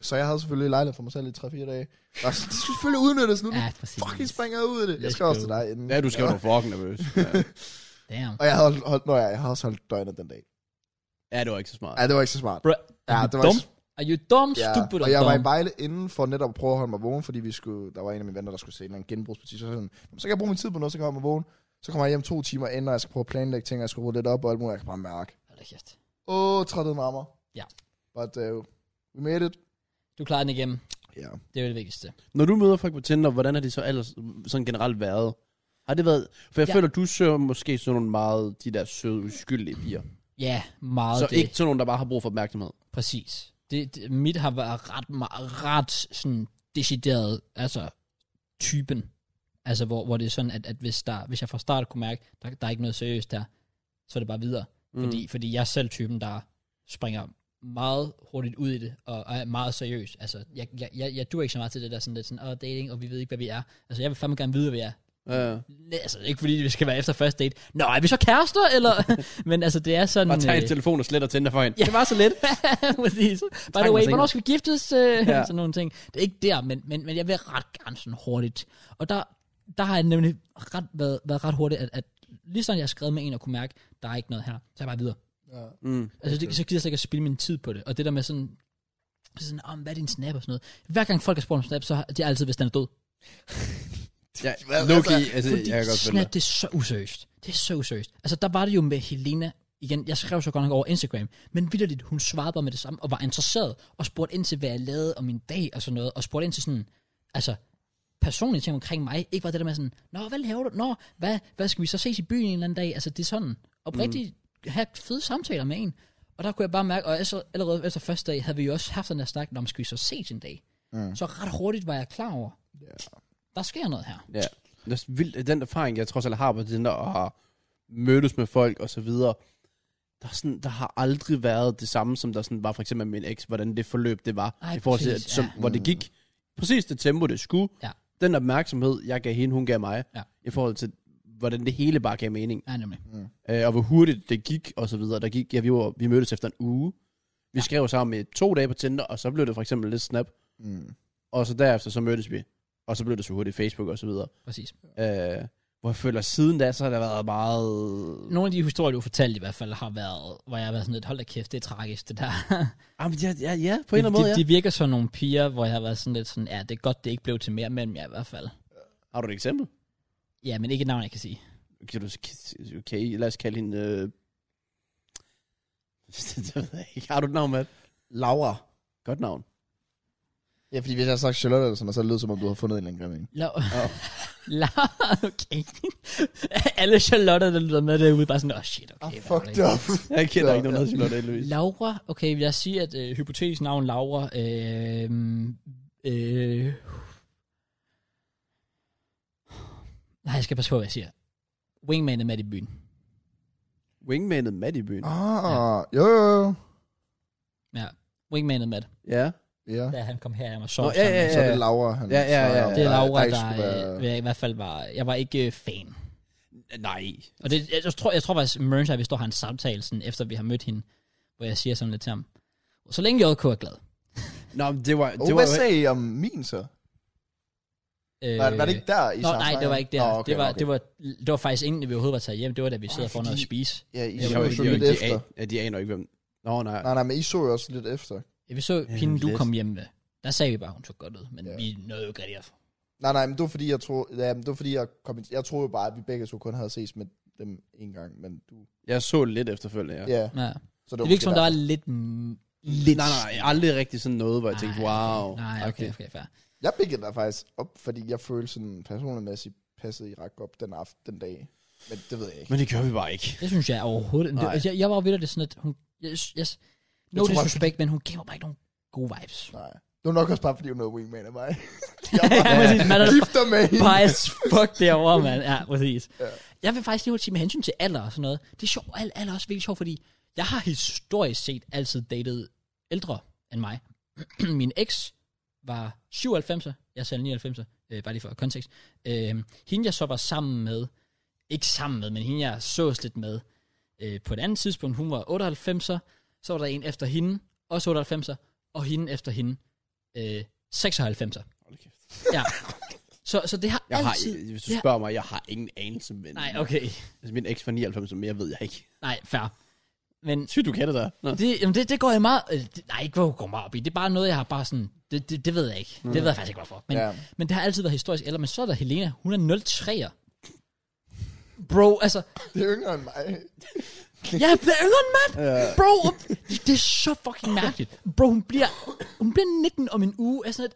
Så jeg havde selvfølgelig lejlighed for mig selv i 3-4 dage. Og det skulle selvfølgelig udnyttes nu.
Ja,
Ja,
præcis.
fucking springer jeg ud af det. Jeg
Let's
skal også
go.
til dig inden.
Ja, du skal jo fucking nervøs. Ja.
Damn.
Og jeg havde holdt, holdt, nå, ja, jeg havde også holdt døgnet den dag.
ja, det var ikke så smart.
Ja, det var ikke så smart.
Bro,
Ja,
er
det
du
var
dum?
ikke-
Er du dum,
Ja,
stupid
og jeg var i
dum?
Vejle inden for netop at prøve at holde mig vågen, fordi vi skulle, der var en af mine venner, der skulle se en eller anden genbrugsbutik. Så, var jeg sådan, "Jamen, så kan jeg bruge min tid på noget, så kan jeg holde mig vågen. Så kommer jeg hjem to timer inden, og jeg skal prøve at planlægge ting, og jeg skal rydde lidt op og alt muligt. Jeg kan bare mærke,
Hold da kæft.
åh, oh, trættede mig af mig.
Ja.
But uh, we made it.
Du klarer den igennem.
Ja.
Det er jo det vigtigste.
Når du møder folk på Tinder, hvordan har de så ellers sådan generelt været? Har det været... For jeg
Ja.
ja. føler, du søger måske sådan nogle meget de der søde, uskyldige piger.
Ja, meget
så
det.
ikke sådan nogle, der bare har brug for opmærksomhed.
Præcis. Det, det, mit har været ret, meget- ret sådan decideret, altså typen. Altså, hvor, hvor det er sådan, at, at hvis, der, hvis jeg fra start kunne mærke, der, der er ikke noget seriøst der, så er det bare videre. Mm. Fordi, fordi jeg er selv typen, der springer meget hurtigt ud i det, og, og er meget seriøs. Altså, jeg, jeg, jeg, jeg dur ikke så meget til det der sådan lidt sådan, åh, dating, og vi ved ikke, hvad vi er. Altså, jeg vil fandme gerne vide, hvad vi er.
Ja.
Næ- Altså, ikke fordi vi skal være efter første date. Nå, er vi så kærester, eller? Men altså, det er sådan...
Bare tage
øh,
en telefon og sletter Tinder for hende.
Ja. Det var så lidt. Præcis. By the
mig
way,
senere.
hvornår skal vi giftes? Øh, ja.
Ja.
Sådan nogle ting. Det er ikke der, men, men, men jeg vil ret gerne sådan hurtigt. Og der, der har jeg nemlig ret, været, været ret hurtigt, at, at lige sådan jeg har skrevet med en og kunne mærke, der er ikke noget her, så er jeg bare videre.
ja.
Mm.
Altså, det, så gider jeg slet ikke at spille min tid på det. Og det der med sådan, sådan om hvad er din snap og sådan noget. Hver gang folk har spurgt om snap, så har de altid, hvis den er død.
Ja,
Hvad,
Loki,
altså,
altså,
Fordi
jeg kan godt følge
snap, det er så useriøst. Det er så useriøst. Altså, der var det jo med Helena, igen, jeg skrev så godt nok over Instagram, men vidderligt, hun svarede bare med det samme, og var interesseret, og spurgte ind til, hvad jeg lavede om min dag, og sådan noget, og spurgte ind til sådan, altså, personlige ting omkring mig, ikke bare det der med sådan, nå, hvad laver du? Nå, hvad, hvad skal vi så ses i byen en eller anden dag? Altså, det er sådan, oprigtigt mm. have fede samtaler med en. Og der kunne jeg bare mærke, og altså, allerede efter første dag, havde vi jo også haft den der snak, om skal vi så ses en dag? Mm. Så ret hurtigt var jeg klar over, der sker noget her.
Ja. Det er vildt, at den erfaring, jeg trods alt har på Tinder, og har mødtes med folk og så videre, der, er sådan, der har aldrig været det samme, som der sådan var for eksempel med min eks, hvordan det forløb det var,
Ej,
i forhold til,
præcis,
at, som,
ja.
hvor det gik. Præcis det tempo, det skulle.
Ja.
Den opmærksomhed, jeg gav hende, hun gav mig,
Ja.
i forhold til, hvordan det hele bare gav mening,
Ja, nemlig.
øh, og hvor hurtigt det gik, og så videre. Der gik, ja, vi, var, vi mødtes efter en uge. Vi ja. skrev sammen i to dage på Tinder, og så blev det for eksempel lidt snap,
Mm.
og så derefter så mødtes vi. Og så blev det så hurtigt Facebook og så videre.
Præcis.
Øh, hvor jeg føler, siden da, så har der været meget...
nogle af de historier, du fortalte i hvert fald, har været, hvor jeg har været sådan lidt, hold da kæft, det er tragisk, det der.
Ah, men ja, ja, ja, på en eller anden måde, ja.
de, de virker som nogle piger, hvor jeg har været sådan lidt sådan, ja, det er godt, det ikke blev til mere mellem jer i hvert fald.
Har du et eksempel?
Ja, men ikke et navn, jeg kan sige.
Kan du, okay, lad os kalde hende... Øh... det ved jeg ikke. Har du et navn, Matt?
Laura.
Godt navn.
Ja, fordi hvis jeg har sagt Charlotte eller sådan noget, så lød det som om, du har fundet en eller anden grim en.
La- La- okay. Alle Charlotte, der lytter med derude, bare sådan, åh oh, shit, okay.
Ah,
hvad var
fucked
det?"
up.
Jeg kender
Ja,
ikke nogen, der
ja.
hedder Charlotte Elvis.
Laura, okay, lad os sige, at øh, hypotetisk navn Laura, øh, øh, nej, jeg skal passe på, hvad jeg siger. Wingman er med i byen.
Wingmanet Matt i byen.
Ah, jo, jo, jo.
Ja, Wingman er med.
Ja.
Ja.
Da han kom her, jeg var så
Nå, ja, ja,
Så er det Laura, han
Ja, ja,
snakker
ja.
om,
Det er
der-
Laura,
ikke
der,
skulle være-
øh, jeg i hvert fald var... Jeg var ikke øh, fan.
Nej.
Og det, jeg, jeg, tror, jeg tror faktisk, Merns og jeg, vi står og har en samtale, sådan, efter vi har mødt hende, hvor jeg siger sådan lidt til ham. Så længe JK er glad.
Nå, men det var...
Oh,
Det var
hvad sagde I om min så?
Øh,
Var, var det ikke der, I
Nå,
snakkede
nej, det
om?
var ikke det.
Nå,
her.
okay,
det, var,
okay.
det, var, det var faktisk inden, vi overhovedet var taget hjem. Det var, da vi sidder
Ej,
foran og
fordi-
spise.
Ja, I
Jeg
så
var
jo
ikke-
så
jeg
lidt
de,
efter.
an, ja, de aner ikke, hvem... Nå, nej.
Nej, nej, men I så jo også lidt efter.
Ja, vi så
Ja,
hende, du
lidt.
kom hjem med. Der sagde vi bare, hun så godt ud, men
Ja.
vi nåede jo ikke rigtig at...
Nej, nej, men det var fordi, jeg troede, ja, men det var fordi, jeg, kom, i- jeg troede jo bare, at vi begge to kun havde ses med dem en gang, men du...
Jeg så lidt efterfølgende, ja.
Ja, ja
Ja.
så det
Det
var
virkede som,
måske
der var lidt... mm, lidt
Nej, nej, nej, aldrig rigtig sådan noget, hvor jeg tænkte,
Nej,
wow.
okay. Nej, okay, okay, fair.
Jeg pikkede dig faktisk op, fordi jeg følte sådan personligmæssigt passede I ret godt den aften, den dag. Men det ved jeg ikke.
Men det gør vi bare ikke.
Det synes jeg overhovedet ikke.
Nej.
Det- Jeg, jeg var jo ved, at det sådan, at hun... Yes, yes, no
tror jeg-
disrespect, men hun gav mig bare ikke nogen gode vibes.
Nej. Det var nok også bare, fordi hun er wingman af mig.
ja, præcis. Man er
Gifter med hende.
bias fuck derovre, mand. Ja, præcis.
Ja.
Ja. Jeg vil faktisk lige hurtigt sige med hensyn til alder og sådan noget. Det er sjovt. Al, alder er også virkelig sjovt, fordi jeg har historisk set altid datet ældre end mig. Min eks var 97, jeg selv 99, øh, bare lige for kontekst. Øh, hende jeg så var sammen med, ikke sammen med, men hende jeg sås lidt med, øh, på et andet tidspunkt, hun var 98, så var der en efter hende, også 98, og hende efter hende, øh, 96.
Hold kæft.
Ja. Så, så det har
Jeg har,
altid...
hvis du
det har-
spørger mig, jeg har ingen anelse om hvem.
Nej, okay.
Altså, min eks var 99, så mere ved jeg ikke.
Nej, fair. Men
Sygt, du kan det der. Nå.
det, jamen det, det går jeg meget... øh, Det, nej, ikke hvor jeg går meget op i. Det er bare noget, jeg har bare sådan... Det, det, det ved jeg ikke.
Mm.
Det ved jeg faktisk ikke, hvorfor. Men,
Ja.
ja. men det har altid været historisk. Eller, men så er der Helena. Hun er 03'er. Bro, altså...
Det er yngre end mig.
Ja, det er yngre end mand! Ja. Bro, um, det, det, er så fucking mærkeligt. Bro, hun bliver, hun bliver 19 om en uge. Altså,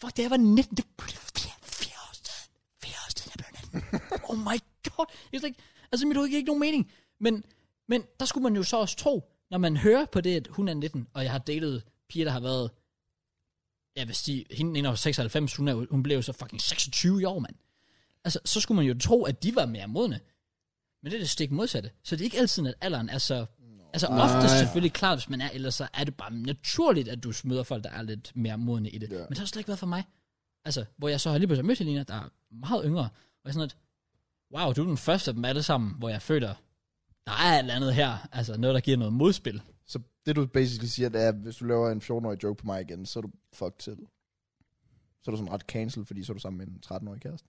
fuck, da jeg var 19, det blev fire, fire år siden. Fire år siden, jeg blev 19. Oh my god. Jeg slet ikke, altså, mit hoved giver ikke nogen mening. Men, men der skulle man jo så også tro, når man hører på det, at hun er 19, og jeg har datet piger, der har været jeg vil sige, hende inde over 96, hun, er, jo- hun blev jo så fucking 26 i år, mand. Altså, så skulle man jo tro, at de var mere modne. Men det er det stik modsatte. Så det er ikke altid, at alderen er så... Altså ofte selvfølgelig klart, hvis man er, ellers så er det bare naturligt, at du møder folk, der er lidt mere modne i det.
Ja.
Men det har slet ikke været for mig. Altså, hvor jeg så har lige pludselig mødt Helena, der er meget yngre, og jeg er sådan at, wow, du er den første af dem alle sammen, hvor jeg føler, der er et eller andet her, altså noget, der giver noget modspil.
Så det du basically siger, det er, at hvis du laver en 14-årig joke på mig igen, så er du fucked til. Så er du sådan ret cancel, fordi så er du sammen med en 13-årig kæreste.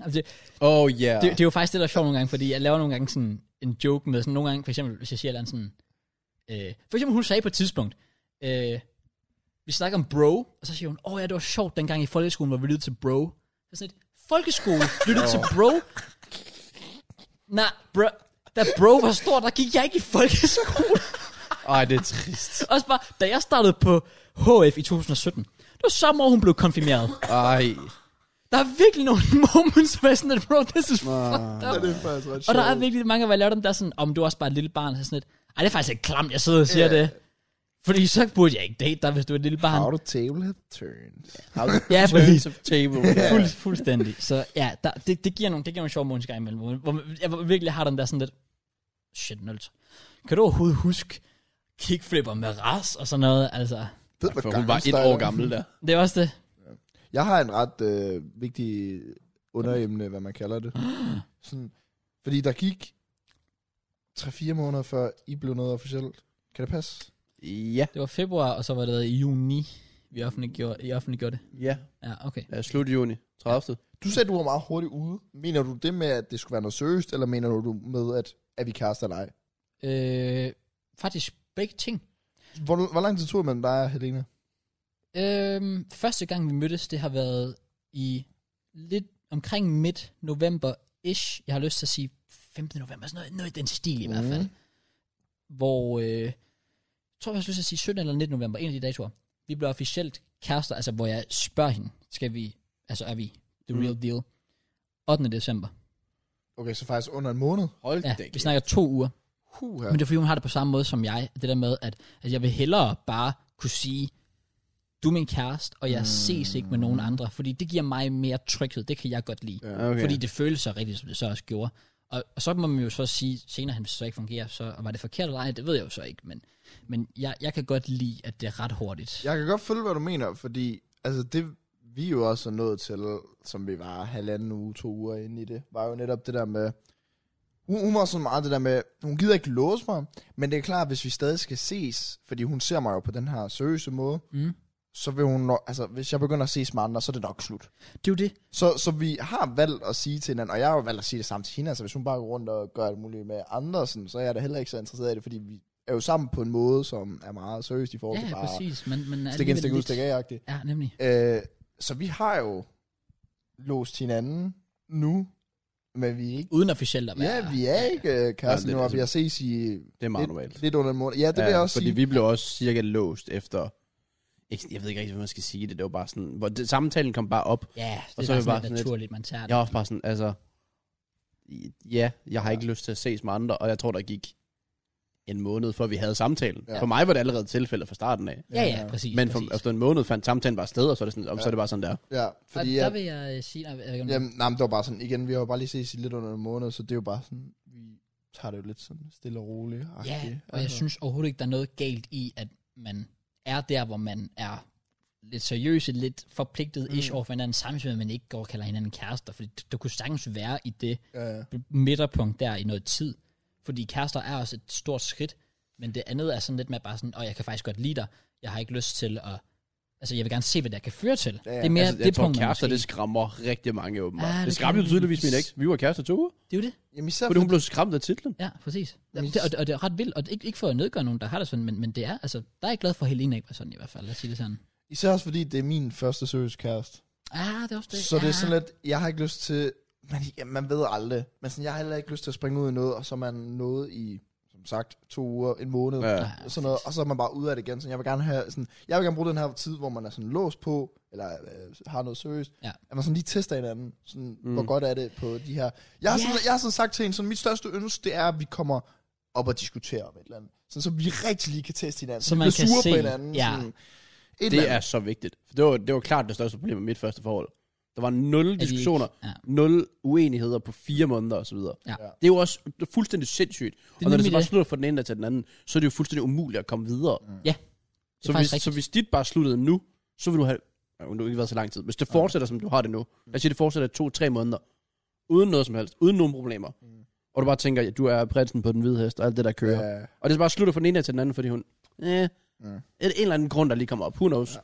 Altså, det,
Oh yeah.
det, det er jo faktisk det, der er sjovt nogle gange, fordi jeg laver nogle gange sådan en joke med sådan nogle gange, for eksempel, hvis jeg siger et eller andet sådan, øh, for eksempel hun sagde på et tidspunkt, øh, vi snakker om bro, og så siger hun, åh oh, ja, det var sjovt dengang i folkeskolen, hvor vi lyttede til bro. Så sådan et, folkeskole, lyttede til bro? Nej, bro, da bro var stor, der gik jeg ikke i folkeskole.
Ej, det er trist.
Også bare, da jeg startede på HF i 2017, det var samme år, hun blev konfirmeret.
Ej.
Der er virkelig nogle moments, hvor jeg er sådan lidt, bro, this is fucked up.
Det er faktisk ret
Og der er virkelig mange, hvor jeg laver dem der er sådan, om du er også bare et lille barn, så sådan lidt, ej, det er faktisk ikke klamt, jeg sidder og siger
Ja.
yeah. det. Fordi så burde jeg ikke date dig, hvis du er et lille barn.
How the table have turned.
Ja,
Turns
præcis.
of table.
Fuld, fuldstændig. Så ja, der, det, det, giver nogle, det giver nogle sjove måneder imellem, hvor, hvor man- jeg virkelig har den der sådan lidt, shit, nødt. Kan du overhovedet huske kickflipper med ras og sådan noget? Altså,
Det var
For hun var et år gammel der.
det er også det.
Jeg har en ret øh, vigtig underemne, hvad man kalder det. Sådan, fordi der gik 3-4 måneder før I blev noget officielt. Kan det passe?
Ja.
Det var februar, og så var det i juni, vi offentliggjorde, I offentliggjorde det.
Ja.
Ja, okay.
Ja, slut juni. 30.
Du sagde, du var meget hurtigt ude. Mener du det med, at det skulle være noget seriøst, eller mener du med, at er vi kærester eller ej?
Øh, faktisk begge ting.
Hvor, hvor lang tid tog det mellem dig og Helena?
Øhm, første gang vi mødtes, det har været i lidt omkring midt november-ish. Jeg har lyst til at sige 15. november, sådan noget, noget i den stil i hvert fald. Hvor, øh, jeg tror jeg har lyst til at sige 17 eller 19 november, en af de datoer. vi blev officielt kærester, altså hvor jeg spørger hende, skal vi, altså er vi the
Mm.
real deal? 8. december.
Okay, så faktisk under en måned.
Hold
Ja,
da
vi
kæft.
snakker to uger.
Huh,
Men det er fordi, hun har det på samme måde som jeg. Det der med, at, at jeg vil hellere bare kunne sige, du er min kæreste, og jeg mm. ses ikke med nogen andre. Fordi det giver mig mere tryghed. Det kan jeg godt lide.
Ja.
Okay.
Fordi det føles så rigtigt, som det så også gjorde. Og, og så må man jo så sige, senere hen, hvis det så ikke fungerer, så og var det forkert eller ej, det ved jeg jo så ikke. Men, men jeg, jeg kan godt lide, at det er ret hurtigt.
Jeg kan godt følge, hvad du mener, fordi altså det, vi jo også er nået til, som vi var halvanden uge, to uger inde i det, var jo netop det der med, hun, hun var sådan meget det der med, hun gider ikke låse mig, men det er klart, hvis vi stadig skal ses, fordi hun ser mig jo på den her seriøse måde,
Mm.
så vil hun nok, altså hvis jeg begynder at ses med andre, så er det nok slut.
Det er jo det.
Så, så vi har valgt at sige til hinanden, og jeg har jo valgt at sige det samme til hende, altså hvis hun bare går rundt og gør alt muligt med andre, sådan, så er jeg da heller ikke så interesseret i det, fordi vi er jo sammen på en måde, som er meget seriøst i forhold
Ja,
til
ja,
bare
præcis. Men, men
stik ind,
alligevel
stik ud,
lidt-
stik af-agtigt.
Ja, nemlig.
Øh, så vi har jo låst hinanden nu, men vi er ikke...
Uden officielt at være.
Ja, vi er ikke øh, kærester
Ja,
nu,
det er
og vi har ses i
det er meget normalt.
lidt, lidt under en måned. Ja, det ja, vil jeg også
fordi
sige. Vi...
vi blev også cirka låst efter... Ikke- Jeg ved ikke rigtig, hvad man skal sige det. Det var bare sådan... Hvor det, samtalen kom bare op.
Ja, det
Og
er
så er
bare sådan
vi bare sådan
lidt
lidt-
naturligt, man tager det.
Jeg var også bare sådan, altså... i- Ja, jeg har ikke lyst til at ses med andre, og jeg tror, der gik en måned, før vi havde samtalen.
Ja.
Ja. For mig var det allerede tilfældet fra starten af.
Ja, ja, præcis.
Men
præcis.
for,
altså,
efter en måned fandt samtalen bare sted, og så er det, sådan, ja. så er det bare sådan der.
Ja, fordi
og der
jeg,
vil jeg øh, sige, nej, jeg ved ikke, om
jamen, nej, men det var bare sådan, igen, vi har jo bare lige ses i lidt under en måned, så det er jo bare sådan, vi tager det jo lidt sådan stille og roligt. altså.
ja, og
altså-
jeg synes overhovedet ikke, der er noget galt i, at man er der, hvor man er lidt seriøse, lidt forpligtet
Mm.
ish over for hinanden, samtidig med, at man ikke går og kalder hinanden kærester, fordi du, du kunne sagtens være i det
Ja, ja.
midterpunkt der i noget tid, fordi kærester er også et stort skridt, men det andet er sådan lidt med bare sådan, og jeg kan faktisk godt lide dig, jeg har ikke lyst til at, altså jeg vil gerne se, hvad der kan føre til.
Ja, ja.
Det er mere
altså, jeg
det
tror,
punkt,
kærester, det skræmmer rigtig mange åbenbart.
Ah,
Ah,
det
det,
kan-
skræmmer jo tydeligvis min eks. Vi var kærester to uger,
det er jo det.
Jamen især
fordi hun blev skræmt af titlen.
Ja, præcis. Ja,
Jamen,
det, og, det- og, det er ret vildt, og det, er ikke, ikke for at nedgøre nogen, der har det sådan, men, men det er, altså, der er jeg glad for, at Helena ikke var sådan i hvert fald, lad os sige det sådan.
Især også fordi, det er min første seriøse kæreste.
Ah, det er også det.
Så
ja.
det er sådan lidt, jeg har ikke lyst til, man, ja, man ved aldrig, men sådan, jeg har heller ikke lyst til at springe ud i noget, og så er man noget i, som sagt, to uger, en måned, ja.
Ja.
sådan noget, og så er man bare ude af det igen. Så jeg vil gerne have sådan, jeg vil gerne bruge den her tid, hvor man er sådan låst på, eller øh, har noget seriøst,
Ja.
at man sådan lige tester hinanden, sådan, mm.
Mm.
hvor godt er det på de her. Jeg har,
Ja.
yeah. sådan, jeg har sådan sagt til hende, sådan, mit største ønske, det er, at vi kommer op og diskuterer om et eller andet. Sådan, så vi rigtig lige kan teste hinanden.
Så
vi
man
bliver
kan
sure
se,
på hinanden.
ja.
Sådan, et eller
Det er
andet.
så vigtigt. For det var, det var klart det største problem med mit første forhold. Der var nul
At vi ikke-
diskussioner,
ja.
nul uenigheder på fire måneder osv.
Ja.
Det er jo også det er fuldstændig sindssygt.
er
og når det
nemlig
så bare
det.
slutter fra den ene dag til den anden, så er det jo fuldstændig umuligt at komme videre.
Ja,
Så
faktisk
hvis,
rigtigt.
så hvis dit bare sluttede nu, så vil du have... Ja, nu har det ikke været så lang tid. Hvis det fortsætter, som du har det nu. Lad os sige, det fortsætter i to-tre måneder. Uden noget som helst. Uden nogen problemer. Og du bare tænker, at du er prinsen på den hvide hest, og alt det, der kører.
Ja.
Og det så bare slutter fra den ene dag til den anden, fordi hun... Eh,
Mm.
mm. en eller anden grund, der lige kommer op. Who knows?
Ja.
Ja.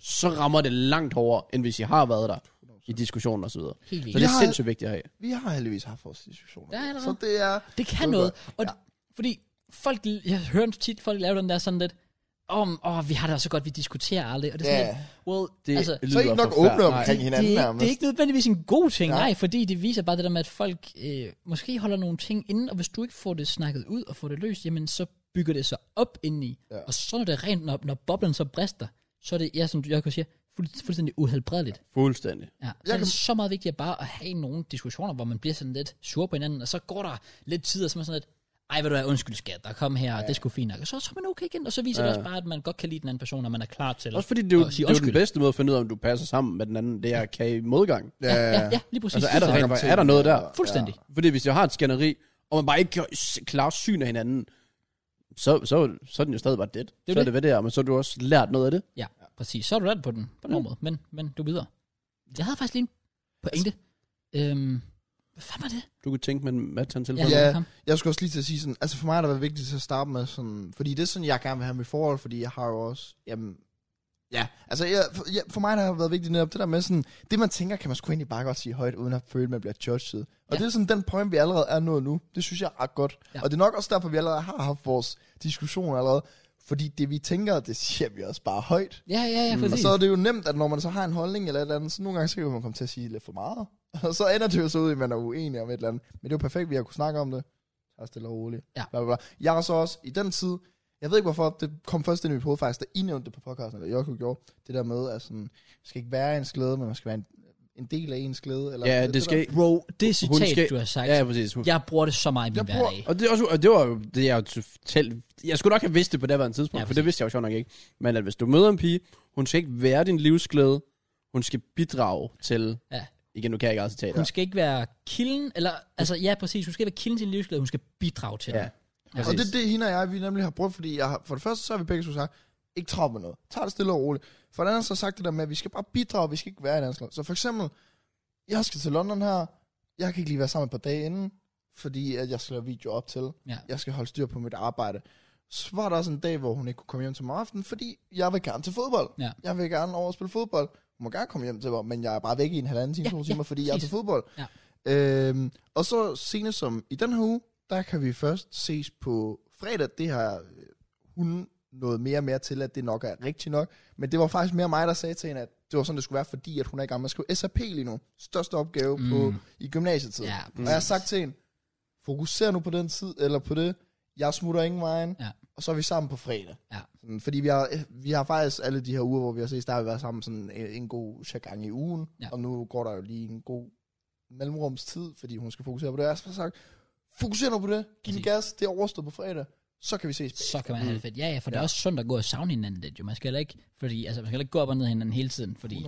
Så rammer det langt hårdere, end hvis I har været der i diskussioner og så videre.
helt
Så
vildt.
det er
har-
sindssygt vigtigt at have.
Vi har heldigvis haft vores diskussioner.
Ja, allerede.
så det er...
Det kan
ved
noget. Og ja. Fordi folk, jeg hører tit folk lave den der sådan lidt, om, åh, vi har det også så godt, vi diskuterer aldrig. Og det er sådan
Ja.
yeah. lidt, well,
Det
altså,
lyder
Så er I ikke nok
forfærdeligt.
åbne omkring
det,
hinanden
det, er ikke,
nærmest.
det er ikke nødvendigvis en god ting,
Nej.
nej, fordi det viser bare det der med, at folk øh, måske holder nogle ting inde, og hvis du ikke får det snakket ud og får det løst, jamen så bygger det sig op indeni.
Ja.
Ja. Og så når det er rent, når, når boblen så brister, så er det, ja, som jeg kan sige, fuld, fuldstændig uhelbredeligt.
Fuldstændig.
Ja, så
Jeg
er det
kan-
så meget vigtigt at bare at have nogle diskussioner, hvor man bliver sådan lidt sur på hinanden, og så går der lidt tid, og så er man sådan lidt, ej, hvad du er, undskyld skat, der kom her, ja. det skulle fint nok. Og så, så er man okay igen, og så viser ja. det også bare, at man godt kan lide den anden person, og man er klar til
Også fordi det er, jo,
at
det
sige
er jo den
undskyld.
bedste måde at finde ud af, om du passer sammen med den anden. Det er at kage modgang.
Ja,
ja, ja, lige præcis.
Altså, er der,
Fuldstændig.
rent, faktisk- er der noget der?
Fuldstændig.
Fordi hvis jeg har et skænderi, og man bare ikke kan s- klare syn af hinanden, så, så, så er den jo stadig bare dead.
jo
Det så er
det.
det ved det her, men så har du også lært noget af det.
Ja, præcis. Så er du der på den, på den mm. måde. Men, men du er videre. Jeg havde faktisk lige en pointe. Øhm, hvad fanden var det?
Du kunne tænke med en mat til
Ja,
telefonen.
ja.
Ja. Jeg skulle også lige til at sige sådan, altså for mig har det været vigtigt til at starte med sådan, fordi det er sådan, jeg gerne vil have mit forhold, fordi jeg har jo også, jamen, ja, altså jeg, for, jeg, for mig der har det været vigtigt netop det der med sådan, det man tænker, kan man sgu egentlig bare godt sige højt, uden at føle, man bliver judged. Og
Ja.
ja. det er sådan den point, vi allerede er nået nu. Det synes jeg er ret godt.
Ja.
Ja. Og det er nok også derfor, vi allerede har haft vores diskussion allerede, fordi det vi tænker, det siger vi også bare højt.
ja, ja, ja,
Mm, Og
præcis.
så er det jo nemt, at når man så har en holdning eller et eller andet, så nogle gange så kan man komme til at sige lidt for meget. Og så ender det jo så ud, i, at man er uenig om et eller andet. Men det er jo perfekt, at vi har kunnet snakke om det. Så stille og roligt.
Ja.
Bla, bla, bla. Jeg har så også i den tid, Jeg ved ikke, hvorfor det kom først ind i mit hoved faktisk, da I nævnte det på podcasten, eller Jokko gjorde, det der med, at sådan, man skal ikke være ens glæde, men man skal være en, en del af ens glæde. Eller
Ja, det skal...
Bro, det citat,
skal-
du har sagt,
Ja, ja, præcis. Hun-
jeg bruger det så meget i min
Jeg bruger-
hverdag.
Og det, er også, og det var jo det, jeg jo totalt... Jeg skulle nok have vidst det på det andet tidspunkt,
Ja,
ja, for
præcis.
det vidste jeg jo sjovt nok ikke. Men at hvis du møder en pige, hun skal ikke være din livsglæde, hun skal bidrage til...
Ja.
Igen, nu kan jeg ikke eget citat.
Hun skal ikke være kilden, eller, altså ja, præcis, hun skal ikke være kilden til en livsglæde, hun skal bidrage til
Ja,
den.
Og det er det, hende og jeg, vi nemlig har brugt, fordi jeg har, for det første, så har vi begge to sagt, ikke travlt med noget. Tag det stille og roligt. For det andet, så har jeg sagt det der med, at vi skal bare bidrage, vi skal ikke være i dansk Så for eksempel, jeg skal til London her, jeg kan ikke lige være sammen et par dage inden, fordi at jeg skal lave video op til.
Ja.
Jeg skal holde styr på mit arbejde. Så var der også en dag, hvor hun ikke kunne komme hjem til mig om aftenen, fordi jeg vil gerne til fodbold.
Ja.
Jeg vil gerne over og spille fodbold. Hun må gerne komme hjem til mig, men jeg er bare væk i en halvanden time,
Ja,
ja, to
ja,
timer, fordi jeg er til
præcis.
fodbold.
Ja.
Øhm, og så senest som i den her uge, der kan vi først ses på fredag. Det har øh, hun noget mere og mere til, at det nok er rigtigt nok. Men det var faktisk mere mig, der sagde til hende, at det var sådan, det skulle være, fordi at hun er i gang med at skrive SAP lige nu. Største opgave mm. på,
Mm.
i gymnasietiden.
Ja,
og jeg har sagt til hende, fokuser nu på den tid, eller på det. Jeg smutter ingen vejen,
Ja.
og så er vi sammen på fredag.
Ja.
Sådan, Fordi vi har, vi har faktisk alle de her uger, hvor vi har ses, der har vi været sammen sådan en, en god sjak gang i ugen.
Ja.
Og nu går der jo lige en god mellemrumstid, fordi hun skal fokusere på det. Jeg har så sagt, fokuser nu på det. Giv den
Præcis.
gas, det er overstået på fredag. Så kan vi ses.
så kan man have det fedt. Ja, ja, for ja. det er
Ja.
også sundt at gå og savne hinanden lidt, jo. Man skal heller ikke, fordi, altså, man skal heller ikke gå op og ned af hinanden hele tiden, fordi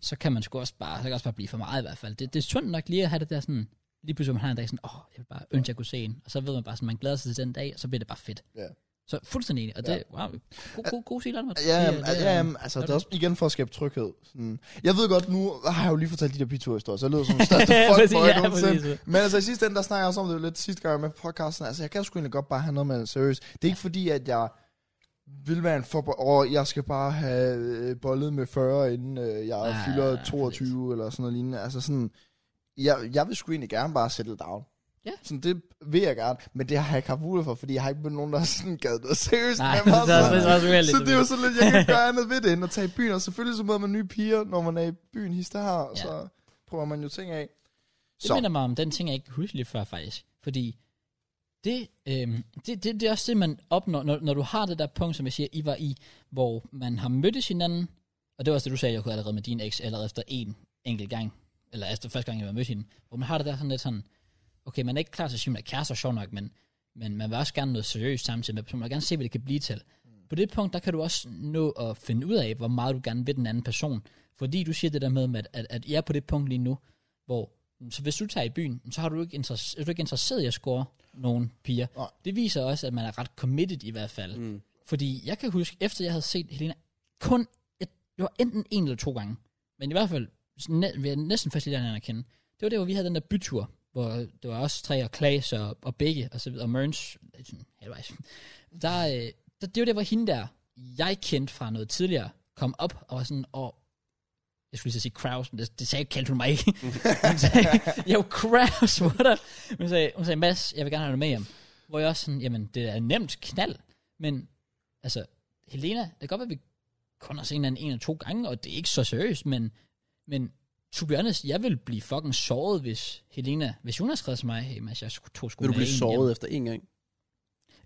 så kan man sgu også bare, så kan det også bare blive for meget i hvert fald. Det, det er sundt nok lige at have det der sådan, lige pludselig man har en dag sådan, åh, oh, jeg vil bare ønske, jeg kunne se en. Og så ved man bare sådan, man glæder sig til den dag, og så bliver det bare fedt.
Ja.
Så fuldstændig enig. Og det, wow, god, god, god stil, Anders.
Ja,
Det
jamen,
er-
altså,
det
ja,
er-
jamen, altså det er også igen for at skabe tryghed. Sådan. Jeg ved godt, nu har jeg jo lige fortalt de der pitur-historier, så jeg lyder som den største
Ja, præcis,
fuckboy
ja,
nogensinde.
præcis.
Men altså i sidste ende, der snakker jeg også om det lidt sidste gang med podcasten. Altså jeg kan sgu egentlig godt bare have noget med det seriøst. Det er ikke fordi, at jeg vil være en forbold, og jeg skal bare have øh, bollet med 40, inden øh, jeg
Nej,
fylder
præcis.
22 eller sådan noget lignende. Altså sådan, jeg, jeg vil sgu egentlig gerne bare settle down.
Ja.
Sådan, det vil jeg gerne, men det har jeg ikke haft mulighed for, fordi jeg har ikke mødt nogen, der har sådan gad noget seriøst.
Nej,
med mig. altså.
det er også, det er også uheldigt.
Så det er jo sådan lidt, jeg kan ikke gøre andet ved det, end at tage i byen. Og selvfølgelig så møder man nye piger, når man er i byen hister her, og
Ja.
så prøver man jo ting af.
Det
Så.
minder mig om den ting, jeg ikke kunne huske lige før, faktisk. Fordi det, øhm, det, det, det er også det, man opnår, når, når du har det der punkt, som jeg siger, I var i, hvor man har mødtes hinanden, og det var også det, du sagde, jeg kunne allerede med din eks, allerede efter en enkelt gang, eller efter første gang, jeg var mødt hende, hvor man har det der sådan lidt sådan, okay, man er ikke klar til at sige, man er kærester, sjov nok, men, men man vil også gerne noget seriøst samtidig med personen, man vil gerne se, hvad det kan blive til. På det punkt, der kan du også nå at finde ud af, hvor meget du gerne vil den anden person, fordi du siger det der med, at, at, at jeg er på det punkt lige nu, hvor så hvis du tager i byen, så har du ikke interesse, er du ikke interesseret i at score nogen piger.
Nej.
Det viser også, at man er ret committed i hvert fald. Mm. Fordi jeg kan huske, efter jeg havde set Helena, kun, jeg, det var enten en eller to gange, men i hvert fald, næ, vi er næsten først lige at kende. Det var der, hvor vi havde den der bytur, hvor det var os tre og Klaas og, og Begge og så videre, og Mørns, sådan halvvejs. Der, øh, der, det var der, hvor hende der, jeg kendte fra noget tidligere, kom op og var sådan, og jeg skulle lige til at sige Kraus, men det, det sagde, kaldte hun mig ikke. hun sagde, jo, Kraus, what up? Hun sagde, hun sagde, Mads, jeg vil gerne have dig med hjem. Hvor jeg også sådan, jamen, det er nemt knald, men altså, Helena, det kan godt være, at vi kun har set hinanden en eller to gange, og det er ikke så seriøst, men, men to be honest, jeg ville blive fucking såret, hvis Helena, hvis hun havde skrevet til mig, hey Mads, jeg skulle to skulle
Vil du
med
blive
en
såret efter en gang?
Hjem.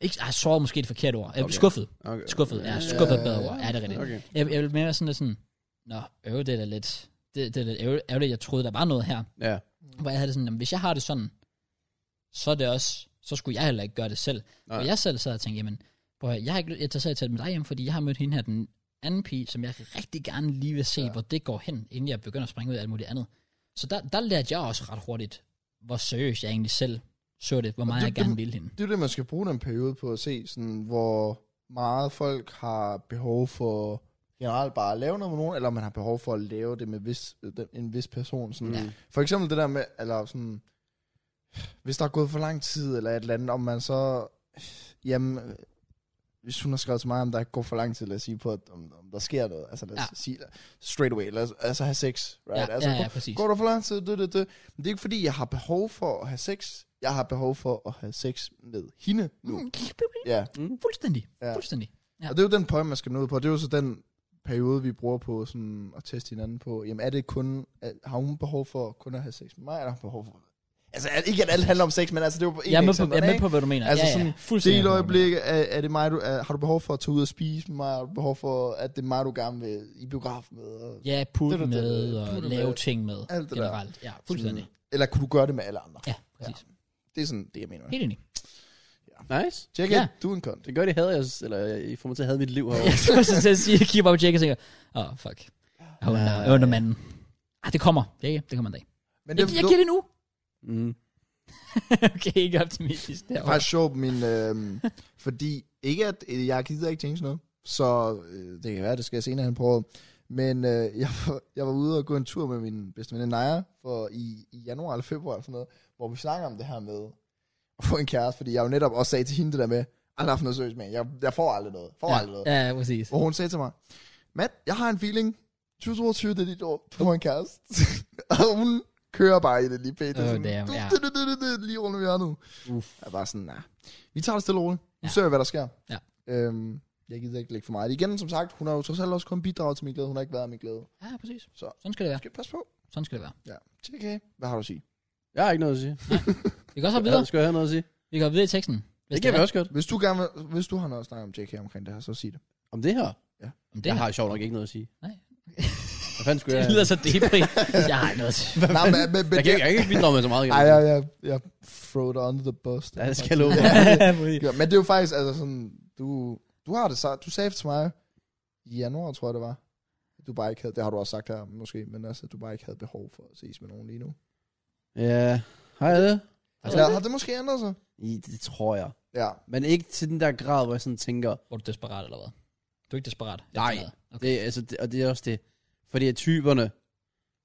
Ikke, ah, såret er måske et forkert ord. Jeg okay.
Okay.
skuffet.
Okay.
Skuffet, ja, skuffet er et bedre ord. Ja, det er rigtigt.
Okay.
Jeg, jeg ville mere være sådan lidt sådan, nå, øv, det er da lidt, det, det er lidt ærger- ærgerligt, jeg troede, der var noget her.
Ja.
Hvor jeg havde det sådan, jamen, hvis jeg har det sådan, så er det også, så skulle jeg heller ikke gøre det selv.
Nej.
Og jeg selv sad og tænkte, jamen, prøv at høre, jeg har ikke lyst- jeg tager selv til med dig hjem, fordi jeg har mødt hende her, den anden pige, som jeg rigtig gerne lige vil se, ja. hvor det går hen, inden jeg begynder at springe ud af alt muligt andet. Så der, der lærte jeg også ret hurtigt, hvor seriøst jeg egentlig selv så det, hvor meget
det-
jeg gerne
det-
ville hende.
Det er jo det, man skal bruge den periode på at se, sådan, hvor meget folk har behov for generelt bare at lave noget med nogen, eller man har behov for at lave det med vis, øh, den- en vis person.
Mm.
Sådan.
Ja.
For eksempel det der med, eller sådan, hvis der er gået for lang tid, eller et eller andet, om man så, jamen, øh, hvis hun har skrevet til mig, om der ikke går for lang tid, lad os sige på, at, om, om der sker noget, altså lad os
Ja.
ja. sige, straight away, lad os, altså have sex, right?
Ja,
altså,
ja, ja,
gå-
præcis.
Går der for lang tid, det, det, det. Men det er ikke fordi, jeg har behov for at have sex, jeg har behov for at have sex med hende nu. Mm. Ja.
Fuldstændig,
Ja.
fuldstændig. Ja.
Og det er jo den point, man skal nå ud på. Det er jo så den periode, vi bruger på sådan, at teste hinanden på, jamen er det kun, er, har hun behov for kun at have sex med mig, eller har hun behov for, altså at- ikke at alt handler om sex, men altså det var på en
Jeg er, med
eksempel,
på, jeg er med
ikke?
på, hvad du mener.
Altså
ja, ja.
sådan,
Fuldstændig
Del
med på, hvad du
øjeblik, er, er det mig, du, er, har du behov for at tage ud og spise med mig? Har du behov for, at det er mig, du gerne vil i biografen med? Og,
mener. Ja, putte
Det, der-
med
det-
og
putte
lave
med.
ting med.
Alt det der.
generelt. Ja, fuldstændig.
Sådan, eller kunne du gøre det med alle andre?
Ja, præcis.
Det er sådan det, jeg mener.
Helt enig.
Nice.
Check
Ja.
it, du er en kont.
Det gør det, havde jeg, eller jeg- I får mig til at have mit liv herovre.
Jeg skulle også til at sige, jeg kigger bare på Jake og tænker, åh, oh, fuck. Jeg under,
Ja.
jeg under manden. Ah, det kommer. Ja, ja, det kommer en dag.
Men
Jeg, jeg giver det nu.
Mm.
okay, ikke optimistisk.
Det er faktisk sjovt, min, øh, fordi ikke at øh, jeg gider ikke change noget, så øh, det kan være, det skal jeg senere hen på året. Men øh, jeg, var- jeg var ude og gå en tur med min bedste veninde Naja for i, i januar eller februar eller sådan noget, hvor vi snakker om det her med at få en kæreste, fordi jeg jo netop også sagde til hende det der med, aldrig haft noget seriøst med, jeg, jeg får aldrig noget, får
ja,
aldrig noget. Oh.
ja, ja, præcis.
Hvor hun sagde til mig, Matt, jeg har en feeling, 2022 det er dit år, du får en kæreste. og hun kører bare i det lige pænt. Det er
Oh,
sådan,
damn,
du-
ja.
du- du- du- du- Lige rundt om hjørnet.
Uff.
Jeg var sådan, nej. Vi tager det stille og roligt. Nu
Ja.
ser vi, hvad der sker.
Ja.
Øhm, jeg gider ikke lægge for meget. i det. Igen, som sagt, hun har jo trods alt også kun bidraget til min glæde. Hun har ikke været min glæde.
Ja, præcis.
Så-
Sådan skal det være.
Skal vi passe på?
Sådan skal det være.
Ja. Okay. Hvad har du at sige?
Jeg har ikke noget at sige.
Vi går så
Jeg
videre.
skal jeg have noget at sige?
Vi går videre i teksten. Hvis
Det kan vi
er-
også godt.
Hvis du, gerne vil, hvis du har noget at snakke om JK omkring det her, så sig det.
Om det her?
Om
Det
det
jeg
her.
har sjovt nok ikke noget at sige.
Nej.
Hvad fanden skulle
Det
jeg...
lyder så depri. jeg har ikke noget til.
Nej, men, men, men
Jeg kan, ikke- jeg kan ikke bidrage med så meget. kan
Ej,
jeg sige.
jeg, jeg, jeg throw dig under the bus.
Ja, det skal jeg love for.
Ja.
præcis.
Ja, men det er jo faktisk, altså sådan, du, du har det sagt, du sagde til mig i januar, tror jeg det var, at du bare ikke havde, det har du også sagt her måske, men altså, du bare ikke havde behov for at ses med nogen lige nu.
Ja, har jeg det?
Altså,
Altså, ja, har det måske ændret sig?
I, det tror jeg.
Ja.
Men ikke til den der grad, hvor jeg sådan tænker,
Var du desperat eller hvad? Du er ikke desperat?
Nej.
Efter noget? Okay.
det, altså, det, og det er også det. Fordi at typerne,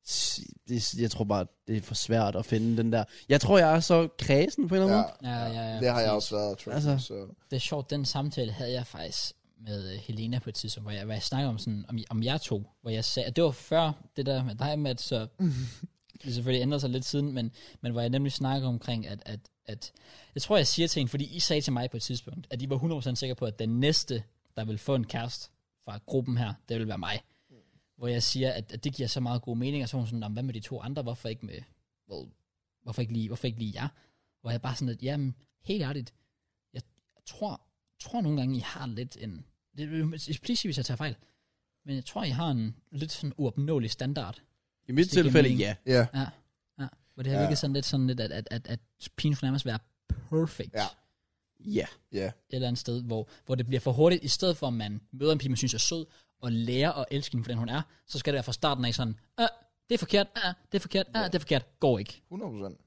s- det, jeg tror bare, det er for svært at finde den der. Jeg tror, jeg er så kredsen på en eller anden
Ja,
måde.
Ja, ja, ja,
det har jeg
præcis.
også været, tror jeg.
Altså.
Altså. Så.
Det er sjovt, den samtale havde jeg faktisk med øh, Helena på et tidspunkt, hvor jeg, hvor jeg snakkede om, sådan, om, om jer to, hvor jeg sagde, at det var før det der med dig, Matt, så det selvfølgelig ændrer sig lidt siden, men, men hvor jeg nemlig snakker omkring, at, at, at jeg tror, jeg siger til hende, fordi I sagde til mig på et tidspunkt, at I var 100% sikre på, at den næste, der vil få en kæreste fra gruppen her, det vil være mig. Hvor jeg siger, at, at det giver så meget god mening, og så er hun sådan, "Nå, men hvad med de to andre, hvorfor ikke med, well, hvorfor ikke lige, hvorfor ikke lige jer? Hvor jeg bare sådan, at jamen, helt ærligt, jeg, jeg tror, tror nogle gange, I har lidt en, det, please sig, hvis jeg tager fejl, men jeg tror, I har en lidt sådan uopnåelig standard
I mit
det giver
tilfælde,
mening.
ja.
Ja.
hvor det har
Ja.
ja. virket sådan lidt sådan lidt, at, at, at, at pigen skulle nærmest være perfect.
Ja.
Ja.
Ja.
Et eller andet sted, hvor, hvor det bliver for hurtigt, i stedet for at man møder en pige, man synes er sød, og lærer at elske hende for den hun er, så skal det være fra starten af sådan, "Ah, det er forkert, ah, det er forkert, ah, det er forkert, går ikke.
100 procent.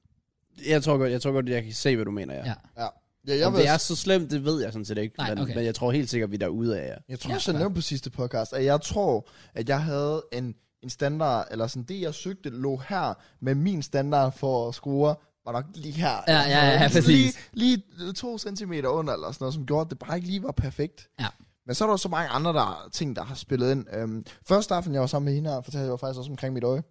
Jeg tror godt, jeg, tror godt, jeg kan se, hvad du mener, ja.
Ja.
Ja. ja jeg,
Om
ved,
det er så slemt, det ved jeg sådan set ikke.
Nej,
men,
okay.
men jeg tror helt sikkert, vi er derude af, ja.
jeg tror
Ja,
også, jeg
ja.
nævnte på sidste podcast, at jeg tror, at jeg havde en, en standard, eller sådan det, jeg søgte, lå her, men min standard for at score var nok lige her.
Ja, ja, ja, ja,
lige,
præcis.
lige øh, to centimeter under, eller sådan noget, som gjorde, at det bare ikke lige var perfekt.
Ja.
Men så er der jo så mange andre der, ting, der har spillet ind. Øhm, første aften, jeg var sammen med hende her, fortalte jeg jo faktisk også omkring mit øje.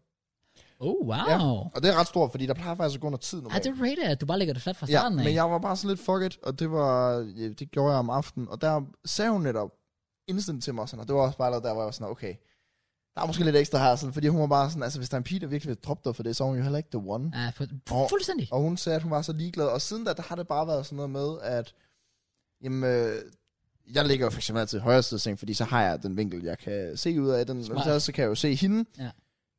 Oh, wow.
Ja.
Ja.
Og det er ret stort, fordi der plejer faktisk at gå under tid
Ej,
normalt.
det rater jeg, at du bare lægger det flat fra
Ja,
starten af.
men jeg var bare sådan lidt fuck it, og det, var, ja, det gjorde jeg om aftenen, og der sagde hun netop instant til mig, sådan, og det var også bare der, hvor jeg var sådan, okay, der er måske lidt ekstra her, sådan, fordi hun var bare sådan, altså hvis der er en pige, der virkelig vil droppe dig for det, så er hun jo heller ikke the one.
Ja, fu- fu-
Og-
fuldstændig.
Og hun sagde, at hun var så ligeglad, og siden da, der har det bare været sådan noget med, at jamen, øh, jeg ligger jo for eksempel altid i højre side af sengen, fordi så har jeg den vinkel, jeg kan se ud af den,
Smart.
og så kan jeg jo se hende.
Ja.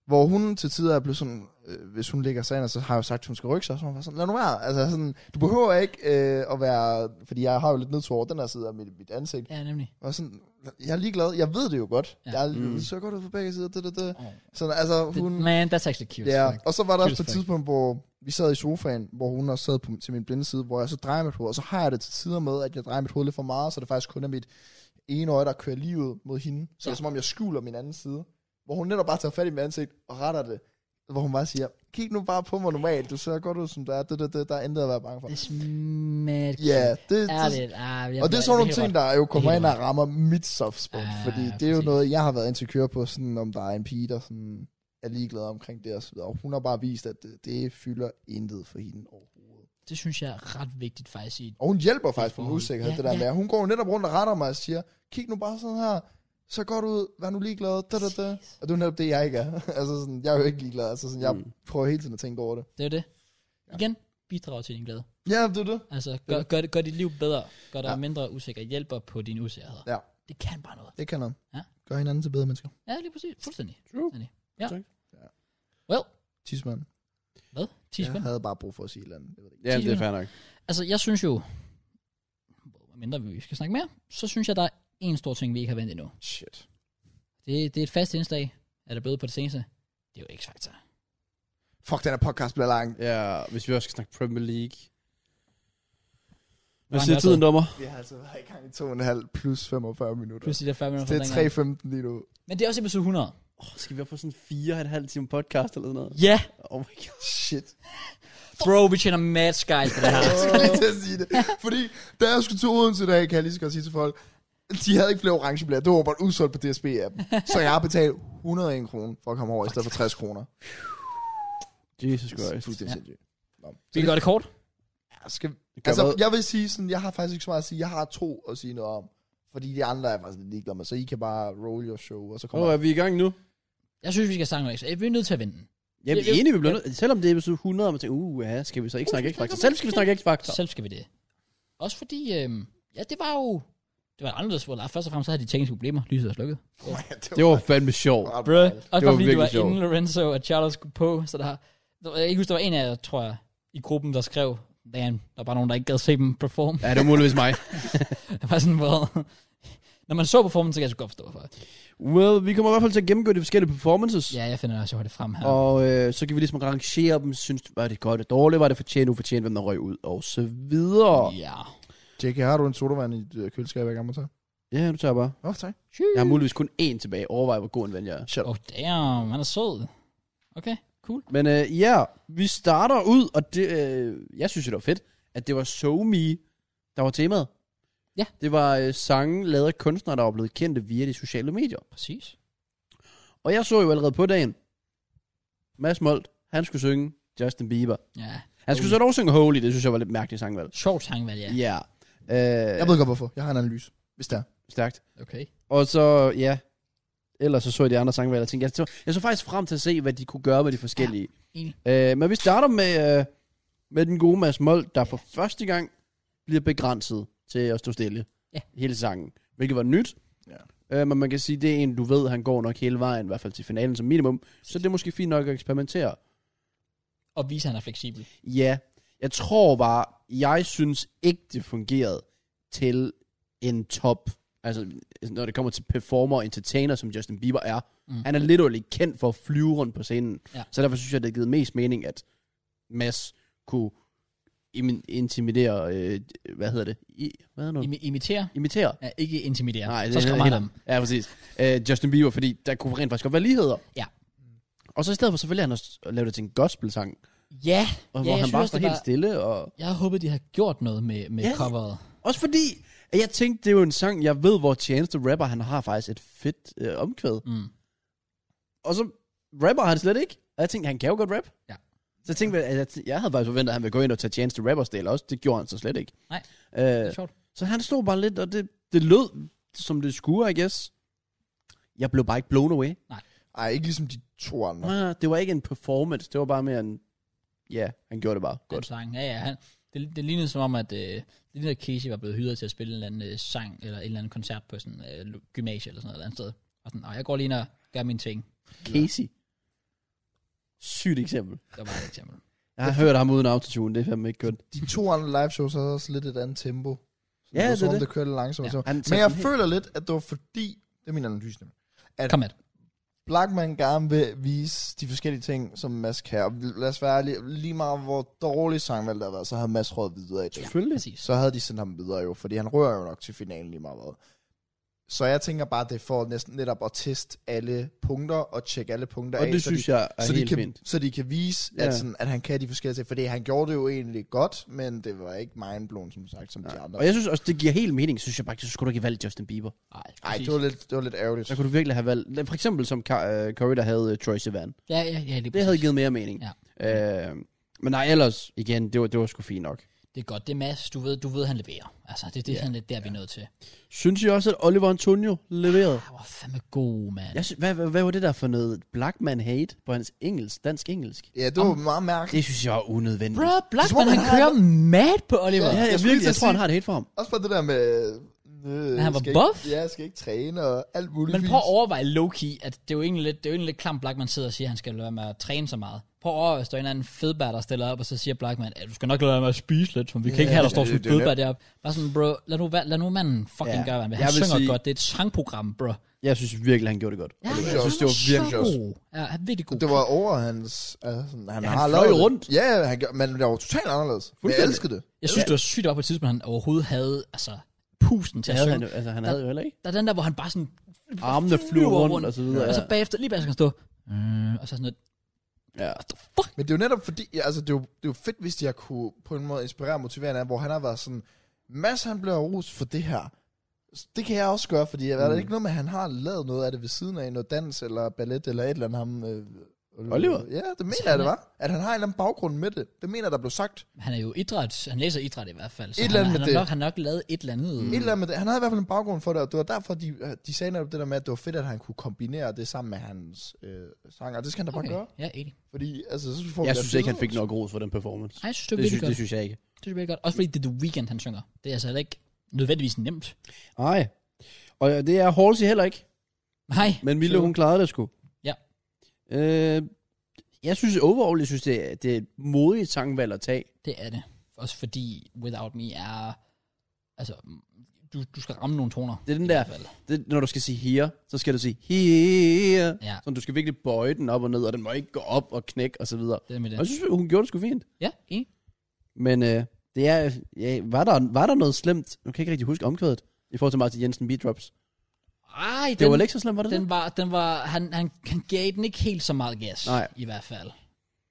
Hvor hun til tider er blevet sådan, øh, hvis hun ligger sig ind, og så har jeg jo sagt, at hun skal rykke sig, så hun var sådan, lad nu være. Altså sådan, du behøver ikke øh, at være, fordi jeg har jo lidt nedtur over den her side af mit, mit ansigt.
Ja, nemlig.
Og sådan, jeg er ligeglad, jeg ved det jo godt.
Ja.
Ja. Jeg
Mm.
mm. så godt ud på begge sider, det, det, det.
Oh,
Sådan, altså,
det,
hun...
man, that's actually cute.
Ja,
Fuck.
og så var der også på et
Tusind tak.
tidspunkt, hvor vi sad i sofaen, hvor hun også sad på, til min blinde side, hvor jeg så drejer mit hoved, og så har jeg det til tider med, at jeg drejer mit hoved lidt for meget, så det faktisk kun er mit ene øje, der kører lige ud mod hende. Så
Ja.
det er som om, jeg skjuler min anden side, hvor hun netop bare tager fat i mit ansigt og retter det, hvor hun bare siger, kig nu bare på mig normalt, du ser godt ud, som der er, det, det, det, der er intet at være bange for.
Det er smadret.
Ja, det, det,
Ærligt. Ah, jeg,
og det er sådan nogle
helt
ting,
ret.
der jo kommer
Helt
ind og rammer mit soft spot,
Ah,
fordi det er jo
præcis.
noget, jeg har været insecure på, sådan om der er en pige, der sådan er ligeglad omkring det og så videre. Og hun har bare vist, at det, det fylder intet for hende overhovedet.
Det synes jeg er ret vigtigt faktisk i
Og hun hjælper faktisk på
forhold.
min usikkerhed,
Ja,
ja, det der
ja.
ja. med. Hun går jo netop rundt og retter mig og siger, kig nu bare sådan her, så godt ud, vær nu ligeglad, da, da, da.
Præcis.
Og det er jo netop det, jeg ikke er. altså sådan, jeg er jo ikke ligeglad, altså sådan, jeg
Mm.
prøver hele tiden at tænke over det.
Det er jo det.
Ja.
Igen, bidrager til din glæde.
Ja, det er det.
Altså, gør, gør, det, gør dit liv bedre. Gør dig
Ja.
ja. mindre usikker. Hjælper på dine usikkerheder.
Ja.
Det kan bare noget.
Det kan noget.
Ja.
Gør hinanden til bedre mennesker.
Ja, lige præcis. Fuldstændig.
True.
Well,
Tidsmand.
hvad? 10 ja.
Jeg havde bare brug for at sige et eller andet. Jeg ved det ikke.
Ja, det er
sekunder.
fair nok.
Altså, jeg synes jo, mindre vi skal snakke mere, så synes jeg, der er en stor ting, vi ikke har vendt endnu.
Shit.
Det, det er et fast indslag, er der blevet på det seneste. Det er jo X-Factor.
Fuck, den her podcast bliver lang.
Ja, hvis vi også skal snakke Premier League. Hvad
Hvor
siger
er
tiden, dommer?
Vi har altså været i gang i to og en halv plus 45 minutter.
Plus de der 5 minutter.
det
fra
er
dengang.
3.15 lige nu.
Men det er også episode 100.
Oh, skal vi op på sådan fire og en halv time podcast eller sådan noget?
Ja, yeah.
Oh my god.
Shit.
bro, vi tjener mad skies på det her.
Jeg skal lige til at sige det. Fordi da jeg skulle til Odense i dag, kan jeg lige så godt sige til folk, de havde ikke flere orange blære. Det var bare udsolgt på DSB-appen. Så jeg har betalt 101 kroner for at komme over, i stedet for 60 kroner.
Jesus
Det er
Christ.
fuldstændig
Ja.
sindssygt. Nå.
vi kan gøre det kort.
Jeg skal
Gør
Altså,
hvad?
jeg vil sige sådan, jeg har faktisk ikke så meget at sige. Jeg har to at sige noget om. Fordi de andre er faktisk lidt ligeglade med, så I kan bare roll your show, og så kommer
Åh, er vi i gang nu?
Jeg synes, vi skal snakke om X-Factor. Vi er nødt til at vinde den.
Jamen,
Ja, ja.
enig, vi bliver nødt. Selvom det er episode 100, og man tænker, uh, ja, skal vi så ikke snakke X-Factor? Selv skal vi snakke X-Factor.
Selv skal vi det. Også fordi, øhm, ja, det var jo... Det var et anderledes World Cup. Først og fremmest så havde de tekniske problemer. Lyset er slukket.
Det var fandme sjovt.
ret
Bruh.
dejligt.
Også bare fordi det
virkelig
var
sjovt.
inden Lorenzo og Charles skulle på, så der har... der var- Jeg kan ikke huske, der var en af jer, tror jeg, i gruppen, der skrev, damn, der var bare nogen, der ikke gad se dem performe.
Ja, det var muligvis mig.
Jeg var sådan, hvor... Når man så performance, så kan jeg sgu godt forstå, for.
Well, vi kommer i hvert fald til at gennemgå de forskellige performances.
Ja, jeg finder også, jeg har det frem her.
Og øh, så kan vi ligesom rangere dem. Synes, var det godt og dårligt? Var det fortjent, ufortjent? Hvem der røg ud? Og så videre.
Ja.
JK, har du en sodavand i dit øh, køleskab, jeg gerne må tage?
Ja, du tager bare.
Åh, oh, tak.
Jeg har muligvis kun én tilbage. Overvej, hvor god en ven jeg er.
Oh, damn, han er sød. Okay, cool.
Men øh, ja, vi starter ud, og det, øh, jeg synes, jo, det var fedt, at det var SoMe, der var temaet.
Ja.
Det var øh, sange lavet af kunstnere, der var blevet kendte via de sociale medier.
Præcis.
Og jeg så jo allerede på dagen, Mads Molt, han skulle synge Justin Bieber.
Ja.
Han skulle så dog synge Holy, det synes jeg var lidt mærkeligt sangvalg.
Sjovt sangvalg, ja.
Ja. Øh,
Jeg ved godt, hvorfor. Jeg har en analyse, hvis det er.
Stærkt.
Okay.
Og så, ja, ellers så så jeg de andre sangvalg, og tænkte, jeg så, jeg så faktisk frem til at se, hvad de kunne gøre med de forskellige.
enig.
Ja, øh, men vi starter med, øh, med den gode Mads Mold, der for første gang bliver begrænset til at stå stille
Ja.
hele sangen, hvilket var nyt. Ja. Øh, men man kan sige, det er en, du ved, han går nok hele vejen, i hvert fald til finalen som minimum, så det er måske fint nok at eksperimentere.
Og vise, at han er fleksibel.
Ja, jeg tror bare, jeg synes ikke, det fungerede til en top, altså når det kommer til performer og entertainer, som Justin Bieber er. Mm.
Mm.
Han er literally kendt for at flyve rundt på scenen.
Ja.
Så derfor synes jeg, det har givet mest mening, at Mads kunne im- intimidere, øh, hvad hedder det? I, hvad hedder det?
Imi- imitere.
Imitere?
Ja, ikke intimidere.
Mm. Nej, det
så
er
skal
helt
man ham.
Ja, præcis. Øh, Justin Bieber, fordi der kunne rent faktisk godt være ligheder.
Ja.
Og så i stedet for, så vælger han at at lave det til en gospel-sang,
Ja,
og
Ja,
hvor
jeg
han
synes
bare
også,
står
det
helt
var-
stille. Og...
jeg havde håbet, de havde gjort noget med, med
Ja.
ja. coveret.
Også fordi, at jeg tænkte, det er jo en sang, jeg ved, hvor Chance the Rapper, han har faktisk et fedt øh, omkvæd.
Mm.
Og så rapper han slet ikke. Og jeg tænkte, han kan jo godt rap.
Ja.
Så jeg tænkte, at jeg, t- jeg havde faktisk forventet, at han ville gå ind og tage Chance the Rappers del også. Det gjorde han så slet ikke.
Nej. Det
Øh,
er sjovt.
så han stod bare lidt, og det, det lød, som det skulle, I guess. Jeg blev bare ikke blown away.
Ej, ikke ligesom de to andre.
Nej, det var ikke en performance. Det var bare mere en... Ja, han gjorde det bare
Den
godt.
sang. Ja, ja, han, det, det lignede som om, at øh, det lignede, at Casey var blevet hyret til at spille en eller anden øh, sang, eller en eller anden koncert på sådan øh, lo- gymnasie eller sådan noget et eller andet sted. Og sådan, "Nå, jeg går lige ind og gør mine ting.
Casey. Sygt eksempel.
Det var bare et eksempel.
Jeg har hørt ham uden autotune. Det er fandme ikke godt.
De to andre live shows havde også lidt et andet tempo. Så
Ja, Altså,
var
det er
som om,
det.
det kørte lidt langsomt.
Ja.
Ja.
Han
Men jeg
den helt-
føler lidt, at det var fordi, det er min analyse nemlig, at
Kom med. det.
Blackman gerne vil vise de forskellige ting, som Mads kan. Og lad os være lige, lige meget, hvor dårlig sangvalg der har været, så havde Mads råd videre i det.
Selvfølgelig.
Præcis.
så havde de sendt ham videre jo, fordi han rører jo nok til finalen lige meget hvad. Så jeg tænker bare, at det får næsten netop at teste alle punkter og tjekke alle punkter
Og
af.
det
så
synes
de,
jeg er
så de,
helt
kan,
fint.
så de kan vise, at,
Ja.
sådan, at han kan de forskellige ting. Fordi han gjorde det jo egentlig godt, men det var ikke mindblown, som sagt, som de andre.
Og jeg synes også, det giver helt mening, synes jeg faktisk, så skulle du ikke have valgt Justin Bieber.
Nej,
Nej, det var lidt, det var lidt ærgerligt.
Så kunne du virkelig have valgt, for eksempel som Ka- øh, Curry, der havde øh, Troye Sivan.
Ja, ja, ja, lige
Det havde givet mere mening.
Ja.
Øh, men nej, ellers, igen, det var, det var sgu fint nok.
Det er godt. Det er Mads. Du ved, du ved han leverer. Altså, det, det er
Ja.
sådan lidt der, vi er nødt til.
Synes I også, at Oliver Antonio leverede?
Han var fandme god, mand.
Jeg synes, hvad, hvad, hvad var det der for noget black man hate på hans engelsk, dansk-engelsk?
Ja, det var meget mærkeligt.
Det synes jeg var unødvendigt.
Bro,
Som om
Blackman, han
han har-
kører mad på Oliver.
Ja,
Ja,
jeg, jeg,
skulle
virkelig,
lige
jeg
til
tror,
at
han har det helt for ham.
Også bare det der med... Øh,
Han var
skal
buff?
Ikke, ja, jeg skal ikke træne og alt muligt.
Men
fis.
prøv at overveje low-key, at det er jo egentlig lidt, det er jo egentlig lidt klamt, Blackman sidder og siger, at han skal lade være med at træne så meget. Prøv at overveje, hvis der er en eller anden fedbær, der stiller op, og så siger Blackman, at du skal nok lade være med at spise lidt, for vi kan
Ja,
ikke have, der
det-
står sådan
det-
en
det er jo
fedbær deroppe. Bare sådan, bro, lad nu, være- lad nu manden fucking
Ja,
gøre, hvad han vil.
jeg
Han
vil
synger
sige-
godt, det er et sangprogram, bro.
Jeg synes virkelig, han gjorde det godt.
Ja,
Oliver.
jeg
jeg synes, det var virkelig
så
godt.
god. Ja, han er virkelig god.
Det var over hans... Altså, han,
Ja, han
har
fløj
lavet
jo
det.
rundt.
Ja, ja, han, gør- men det var totalt anderledes. Men jeg
Fuldstændig.
elskede det.
Jeg synes, det var sygt op på et tidspunkt, han overhovedet havde altså, pusten til
Det
at
havde
synge.
han, jo- altså, han havde jo heller ikke.
Der er den der, hvor han bare sådan...
Armene flyver rundt, Altså, og så videre.
Og så
Ja.
bagefter, lige bagefter skal han stå... Mm, og så sådan noget...
Ja.
What the fuck?
Men det er jo netop fordi, ja, altså det er jo, det er jo fedt, hvis de har kunne på en måde inspirere og motivere hinanden, hvor han har været sådan, Mads han bliver rost for det her. Så Det kan jeg også gøre, fordi mm. er der
Mm.
ikke noget med, at han har lavet noget af det ved siden af, noget dans eller ballet eller et eller andet ham? Øh,
Oliver?
Ja, det mener jeg, det var. At han har en eller anden baggrund med det. Det mener jeg, der blev sagt.
Han er jo idræt. Han læser idræt i hvert fald. Så
Et
han,
eller andet
han, har
med det.
nok, han har nok lavet et eller andet.
Mm. Et eller andet med det. Han havde i hvert fald en baggrund for det, og det var derfor, de, de sagde netop det der med, at det var fedt, at han kunne kombinere det sammen med hans øh, sang, og det skal han da bare gøre.
Okay. Ja, enig.
Fordi, altså, så får vi
Jeg
da
synes ikke, han
fede
fik nok ros for den performance.
Ej, jeg synes, det er
Det
virkelig
synes,
godt.
det
Det
synes jeg ikke.
synes jeg virkelig godt. Også fordi det er The Weeknd, han synger. Det er altså heller ikke nødvendigvis nemt.
Nej. Og det er Halsey heller ikke.
Nej.
Men Mille, hun klarede det sgu.
Ja.
Øh, jeg synes overall, jeg synes, det er, det er et modigt sangvalg at tage.
Det er det. Også fordi Without Me er... Altså, du, du skal ramme nogle toner.
Det er den
i
der,
hvert fald.
det, når du skal sige here, så skal du sige here.
Ja.
Så du skal virkelig bøje den op og ned, og den må ikke gå op og knække og så videre.
Det er med
Ja.
det.
Og jeg synes, hun gjorde det sgu fint.
Ja, enig.
Men øh, det er, ja, var, der, var der noget slemt? Nu kan jeg ikke rigtig huske omkvædet i forhold til Martin Jensen Beat Drops. Det
Ej, den,
var vel ikke så slemt, var det
den
det?
var, den var, han, han, han gav den ikke helt så meget gas,
Nej.
i hvert fald.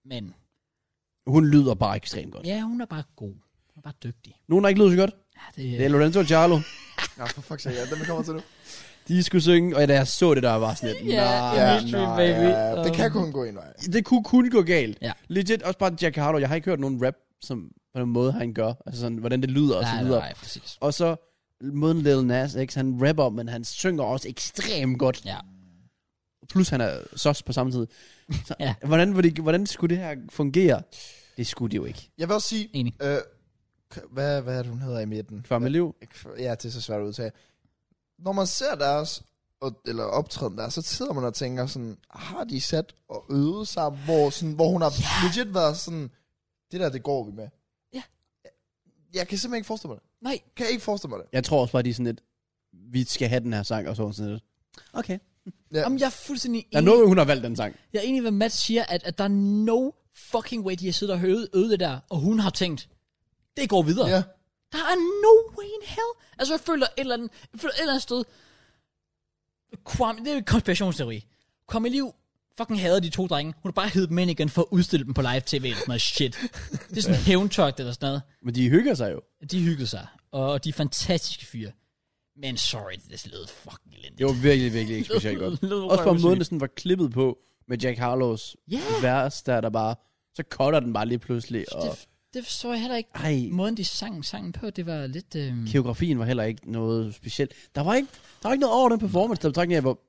Men
Hun lyder bare ekstremt godt.
ja, hun er bare god. Hun er bare dygtig.
Nogen, der ikke lyder så godt,
Ja, det,
det er Lorenzo og Charlo.
øvelser. Ja, for fuck's sake, ja, den vi kommer til nu.
De skulle synge, og da jeg så det, der var sådan lidt,
Ja,
nej.
ja. Ah, Mystery, baby.
Ja, det
Um.
kan kun gå en vej.
Det kunne kun gå galt.
Ja.
Legit, også bare Jack Harlow. Jeg har ikke hørt nogen rap, som på den måde, han gør. Altså sådan, hvordan det lyder og
nej,
så
nej,
videre.
nej, præcis.
Og så måden Lil Nas X, han rapper, men han synger også ekstremt godt.
Ja.
Plus han er sos på samme tid. Så,
Ja.
ja. hvordan, vil det, hvordan skulle det her fungere? Det skulle det jo ikke.
Jeg vil også sige,
Enig.
øh, k- hvad, hvad er det, hun hedder i midten?
Familiev.
Kv- Ja, det er så svært at udtale. Når man ser deres, og, eller optræden der, så sidder man og tænker sådan, har de sat og øvet sig, hvor, sådan, hvor hun har yeah. legit været sådan, det der, det går vi med.
Ja.
Jeg kan simpelthen ikke forestille mig det.
Nej,
Kan jeg ikke forestille mig det.
Jeg tror også bare, de er sådan lidt, vi skal have den her sang, og så er hun sådan lidt. Okay.
Ja.
Jamen, jeg er fuldstændig
Der er
enig.
noget, med, hun har valgt den sang.
Jeg er enig i, hvad Matt siger, at, at der er no fucking way, de har siddet og øvet, øvet det der, og hun har tænkt, det går videre.
Ja.
Der er no way in hell. Altså, jeg føler et eller andet, jeg føler et eller andet sted, Kwame, det er jo en konspirationsteori. Kwame Liv fucking hader de to drenge. Hun har bare heddet dem ind igen for at udstille dem på live tv eller sådan noget shit. Det er sådan en hævntogt eller sådan noget.
Men de hygger sig jo.
De hyggede sig, og de er fantastiske fyre. Men sorry, det lød fucking elendigt.
Det var virkelig, virkelig ikke specielt godt. Også på måden, det sådan var klippet på med Jack Harlows
Ja.
vers, der er der bare, så cutter den bare lige pludselig. Og,
Det, det forstår jeg heller ikke.
ej,
Måden, de sang sangen på, det var lidt... Øh...
koreografien var heller ikke noget specielt. Der var ikke, der var ikke noget over den performance, der betragtning af, hvor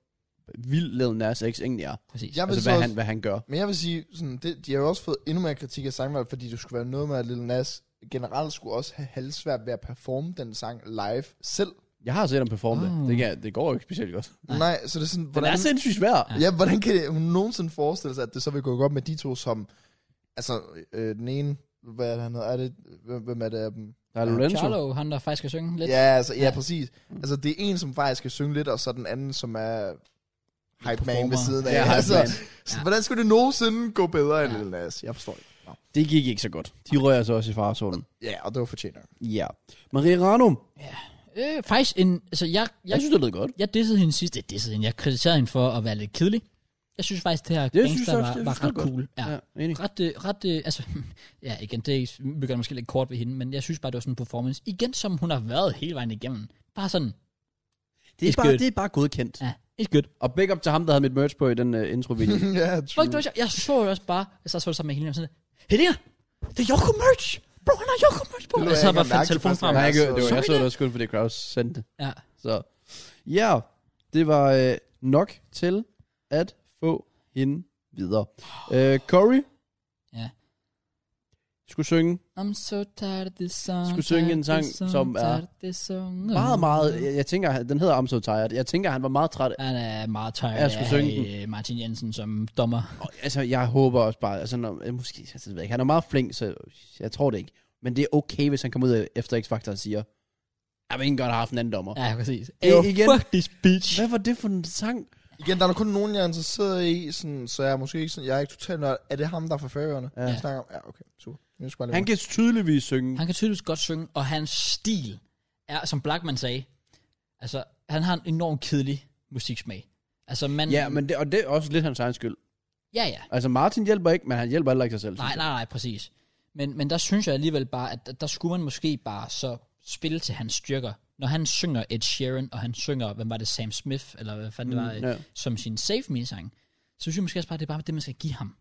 vild Lil Nas X egentlig er.
Præcis.
Jeg vil
Altså,
så
hvad
også,
han, hvad han gør.
Men jeg vil sige, sådan, det, de har jo også fået endnu mere kritik af sangvalg, fordi det skulle være noget med, at Lil Nas generelt skulle også have halvsvært ved at performe den sang live selv.
Jeg har set ham performe oh.
Ah.
det. Det, kan, det går jo ikke specielt godt.
Nej.
Nej, Nej så det er sådan,
Den er
hvordan,
sindssygt svær.
Ja.
Ja, hvordan kan hun nogensinde forestille sig, at det så vil gå godt med de to, som... Altså, øh, den ene... Hvad er det, han hedder? Er det, hvem hvem er det af dem?
Der er Lorenzo.
Charlo, han der faktisk skal synge lidt.
Ja, altså, ja,
Ja.
ja, præcis. Altså, det er en, som faktisk skal synge lidt, og så den anden, som er hype man
Performer.
ved siden af.
Ja, hype
altså,
man.
Så,
Ja.
hvordan skulle det nogensinde gå bedre end
Ja.
ja. Lil Nas? Jeg forstår ikke. Nå.
Det gik ikke så godt. De rører sig også i farezonen.
Ja, og det var fortjent. nok.
Ja. Marie Ranum.
Øh, faktisk en... Altså, jeg, jeg,
Jeg synes, det lød godt.
jeg dissede hende sidst. Jeg dissede hende. Jeg kritiserede hende for at være lidt kedelig. Jeg synes faktisk, det her
synes
gangster
jeg også,
var,
det
var
synes jeg
ret
godt.
cool. Ja.
ja enig.
Ret, øh, ret, øh, altså, ja igen, det begynder måske lidt kort ved hende, men jeg synes bare, det var sådan en performance, igen som hun har været hele vejen igennem. Bare sådan,
Det er,
It's
bare,
good.
det er bare godkendt.
ja, it's good.
Og big up til ham, der havde mit merch på i den uh, intro-video.
ja,
Folk, det var sjovt. Jeg så jo også bare, jeg så, så det sammen med hende, og sådan, Helena, det er Yoko merch! bro, han har Jokermørs på.
Det
Og
lå jeg
så
ikke
bare fandt
mærke til
telefonen
første
frem.
gang.
Nej, jeg,
så-
gjorde- det var,
altså, så
jeg
vi
så
det.
det også kun, fordi Kraus sendte det.
Ja.
Så ja, det var øh, nok til at få hende videre. Øh, Corey
Ja.
skulle synge
I'm so tired of this song.
Skulle synge en
tired of this
sang,
song,
som er
tired of this song.
meget, meget... Jeg, jeg tænker, han- den hedder I'm So Tired. Jeg tænker, han var meget træt.
Han er meget tired
Jeg skulle
af
synge den.
øh, Martin Jensen som dommer.
Og, Altså, jeg håber også bare... Altså, når, eh, måske... Jeg ved jeg ikke. Han er meget flink, så jeg tror det ikke. Men det er okay, hvis han kommer ud efter X-Factor og siger, jeg vil ikke godt have haft en anden dommer. Ja.
Ja, præcis.
Øh,
Oh,
igen.
Fuck this bitch.
Hvad var det for en sang?
Igen, der er da kun nogen, jeg er interesseret i, sådan, så jeg er måske ikke sådan, jeg er ikke totalt nørd. Er det ham, der er fra færøerne?
Ja.
Ja. Jeg snakker om, ja, okay, super. Jeg skal bare
Han
han...
kan tydeligvis synge.
Han kan tydeligvis godt synge, og hans stil er, som Blackman sagde, altså, han har en enorm kedelig musiksmag. Altså, man...
Ja, men det, og det er også lidt hans egen skyld.
Ja, ja.
Altså, Martin hjælper ikke, men han hjælper heller ikke sig selv.
Nej, nej, nej, præcis. Men, men der synes jeg alligevel bare, at der- der skulle man måske bare så spille til hans styrker. Når han synger Ed Sheeran, og han synger, hvem var det, Sam Smith, eller hvad fanden det var,
Mm, ja.
ja. som sin Save Me-sang, så synes jeg måske også bare, at det er bare det, man skal give ham.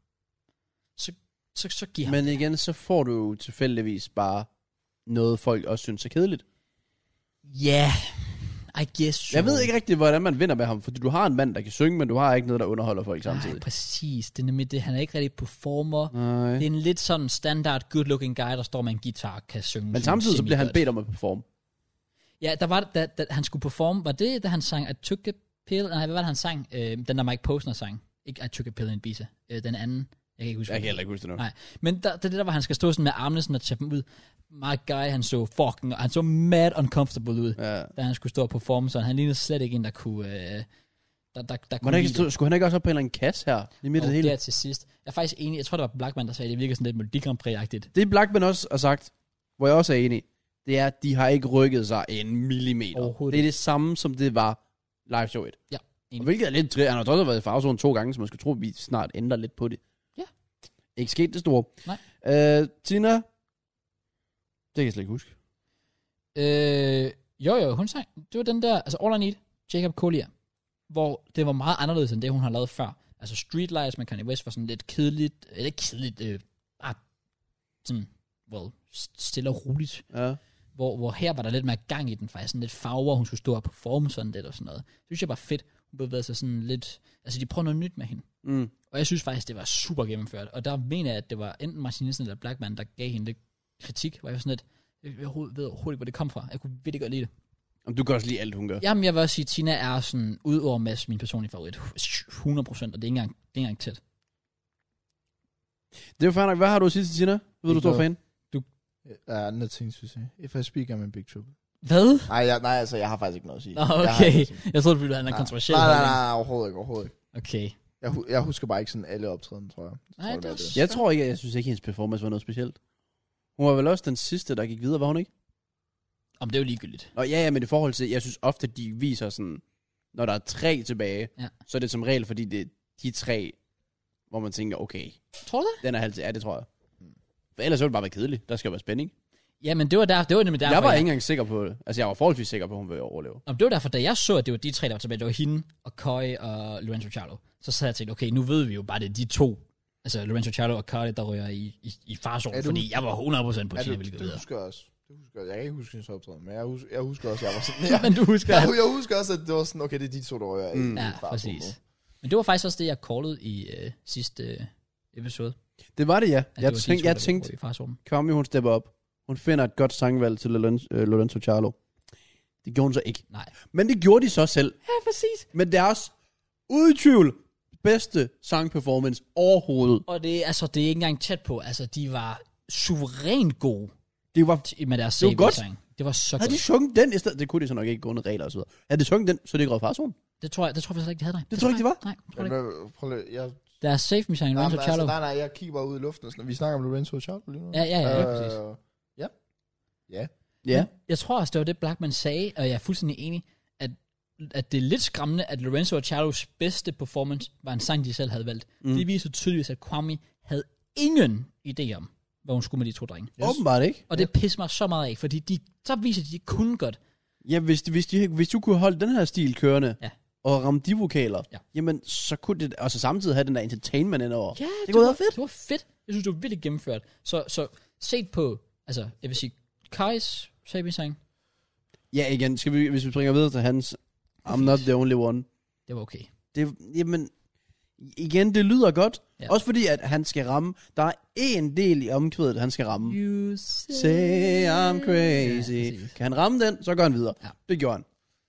Så, så, så giv ham.
Men igen, så får du jo tilfældigvis bare noget, folk også synes er kedeligt.
Ja, yeah, I guess so.
Jeg ved ikke rigtig, hvordan man vinder med ham, fordi du har en mand, der kan synge, men du har ikke noget, der underholder folk samtidig.
Nej, præcis. Det er nemlig det. Han er ikke rigtig performer.
Nej.
Det er en lidt sådan standard good looking guy, der står med en guitar og kan synge.
Men
sådan
samtidig så bliver han
semi-godt.
bedt om at performe.
Ja, der var det, da, da, han skulle performe. Var det, da han sang I took a pill? Nej, hvad var det, han sang? Øh, den der Mike Posner sang. Ikke I took a pill in Ibiza. Øh, den anden. Jeg kan ikke huske. hvad
Jeg kan
den
heller ikke huske det nu.
Nej, men der, det er det der, hvor han skal stå sådan med armene sådan og tage dem ud. Mark Guy, han så fucking, han så mad uncomfortable ud, ja.
Ja.
da han skulle stå og performe, så han lignede slet ikke en, der kunne... Øh, der, der, der
Var
kunne
der
lide
ikke, stå- skulle han ikke også op på en eller anden kasse her? Lige midt i
det,
det
hele.
hele.
det er til sidst. Jeg er faktisk enig, jeg tror, det var Blackman, der sagde, at det virker sådan lidt Melodi Grand Prix-agtigt.
Det Blackman også har sagt, hvor jeg også er enig, det er, at de har ikke rykket sig en millimeter.
Overhovedet
Det er det samme, som det var live show 1.
Ja, enig.
Og hvilket er lidt trist. Han har trods alt været i farzonen to gange, så man skal tro, at vi snart ændrer lidt på det.
Ja.
Ikke sket det store.
Nej.
Øh, Tina, det kan jeg slet ikke huske.
Øh, jo, jo, hun sang. Det var den der, altså All I Need, Jacob Collier, hvor det var meget anderledes end det, hun har lavet før. Altså Streetlights med Kanye West var sådan lidt kedeligt, eller ikke kedeligt, øh, bare sådan, well, s- stille og roligt.
Ja.
Hvor, hvor her var der lidt mere gang i den, faktisk sådan lidt farver, hun skulle stå og performe sådan lidt og sådan noget. Det synes jeg var fedt. Hun bevægede sig sådan lidt, altså de prøver noget nyt med hende.
Mm.
Og jeg synes faktisk, det var super gennemført. Og der mener jeg, at det var enten Martin Nielsen eller Blackman, der gav hende lidt kritik. Hvor jeg var sådan lidt, jeg overhovedet- ved overhovedet ikke, hvor det kom fra. Jeg kunne virkelig godt lide det.
Jamen, du kan også lide alt, hun gør.
Jamen, jeg vil også sige, at Tina er sådan, udover Mads, min personlige favorit, 100%, og det er ikke engang, det er ikke engang tæt.
Det er jo fair nok. Hvad har du at sige til Tina? Jeg Ved du, du er stor
Ikke
fan?
Der er andre ting, synes jeg. If I speak, I'm in big trouble.
Hvad?
Nej, jeg, nej, altså, jeg har faktisk ikke noget at sige.
Nå,
Jeg har
okay.
ikke noget at sige.
Jeg troede, du ville have en
Nej.
kontroversiel
Nej, nej,
holdning.
nej, overhovedet ikke, overhovedet ikke.
Okay.
Jeg, hu- jeg husker bare ikke sådan alle optræden, tror jeg.
Nej,
tror,
det var
Jeg tror ikke, jeg synes ikke, hendes performance var noget specielt. Hun var vel også den sidste, der gik videre, var hun ikke?
Om det er jo ligegyldigt.
Og ja, ja, men i forhold til, jeg synes ofte, de viser sådan, når der er tre tilbage,
Ja.
så er det som regel, fordi det er de tre, hvor man tænker, okay,
Tror du det?
den er halvt ja, det tror jeg. For ellers ville det bare være kedeligt. Der skal være spænding.
Jamen, det var, der, det var nemlig derfor,
jeg var ikke engang sikker på det. Altså, jeg var forholdsvis sikker på, at hun ville overleve.
Om det var derfor, da jeg så, at det var de tre, der var tilbage, det var hende og Køj og Lorenzo Charlo, så sad jeg og tænkte, okay, nu ved vi jo bare, det er de to, altså Lorenzo Charlo og Køj, der rører i, i, i
Er
farzonen,
du-
fordi jeg var 100% på
er
Tina,
det,
hvilket
det
videre.
husker jeg også. Det husker jeg. Jeg kan ikke huske hendes optræden, men jeg husker, jeg husker også, jeg var sådan... Jeg,
Men du husker,
jeg, jeg husker også, at det var sådan, okay, det er de to, der rører. Mm.
Ja, præcis. Men det var faktisk også det, jeg callede i øh, sidste øh, episode.
Det var det, ja.
At det
jeg,
var de
tænkte,
to,
jeg
der
tænkte,
var i farzonen.
Kami, hun stepper op. Hun finder et godt sangvalg til Lorenzo, øh, Lorenzo Charlo. Det gjorde hun så ikke.
Nej.
Men det gjorde de så selv.
Ja, præcis.
Men deres, uden tvivl, bedste sangperformance overhovedet.
Og det, er- altså, det er ikke engang tæt på. Altså, de var suverænt gode
Det var
til- med deres
Det var
save
godt.
sang. Det var så
Havde de
godt.
sunget den i stedet? Det kunne de så nok ikke gå under regler og så videre. Havde de sunget den, så er det ikke røget farzonen.
Det tror jeg, det tror jeg faktisk ikke, de havde dig.
tror jeg ikke, de
Nej, det tror
Jeg,
jeg ikke.
blev- prøv lige, jeg,
Deres save me sang,
nej,
Lorenzo
men altså,
Charlo.
nej, nej, jeg kigger bare ud i luften. og Sådan, vi snakker om Lorenzo Charlo lige nu.
Ja, ja, ja, ja, præcis.
øh, ja. Ja.
Ja.
Jeg tror også, det var det, Blackman sagde, og jeg er fuldstændig enig, at, at det er lidt skræmmende, at Lorenzo og Charlos bedste performance var en sang, de selv havde valgt. Mm. Det viser tydeligvis, at Kwame havde ingen idé om, hvad hun skulle med de to drenge.
Yes. Åbenbart ikke.
Og det pisser mig så meget af, fordi de, så viser de, at de kunne godt.
Ja, hvis, de, hvis, de, hvis du kunne holde den her stil kørende,
Ja.
og ramme de vokaler,
Ja.
jamen, så kunne det, og så samtidig have den der entertainment indover.
Ja,
det kunne være fedt.
Det var fedt. Jeg synes, det var virkelig gennemført. Så, så set på Altså, jeg vil sige, Kais sabelsang,
Ja, igen, skal vi, hvis vi springer videre til hans, I'm not the only one.
det var okay.
Det, jamen, igen, det lyder godt.
Ja.
Ja. Også fordi, at han skal ramme. Der er en del i omkvædet, han skal ramme.
You say,
Say I'm crazy.
Ja,
Ja,
præcis.
kan han ramme den, så går han videre.
Ja.
Ja. Det gjorde han.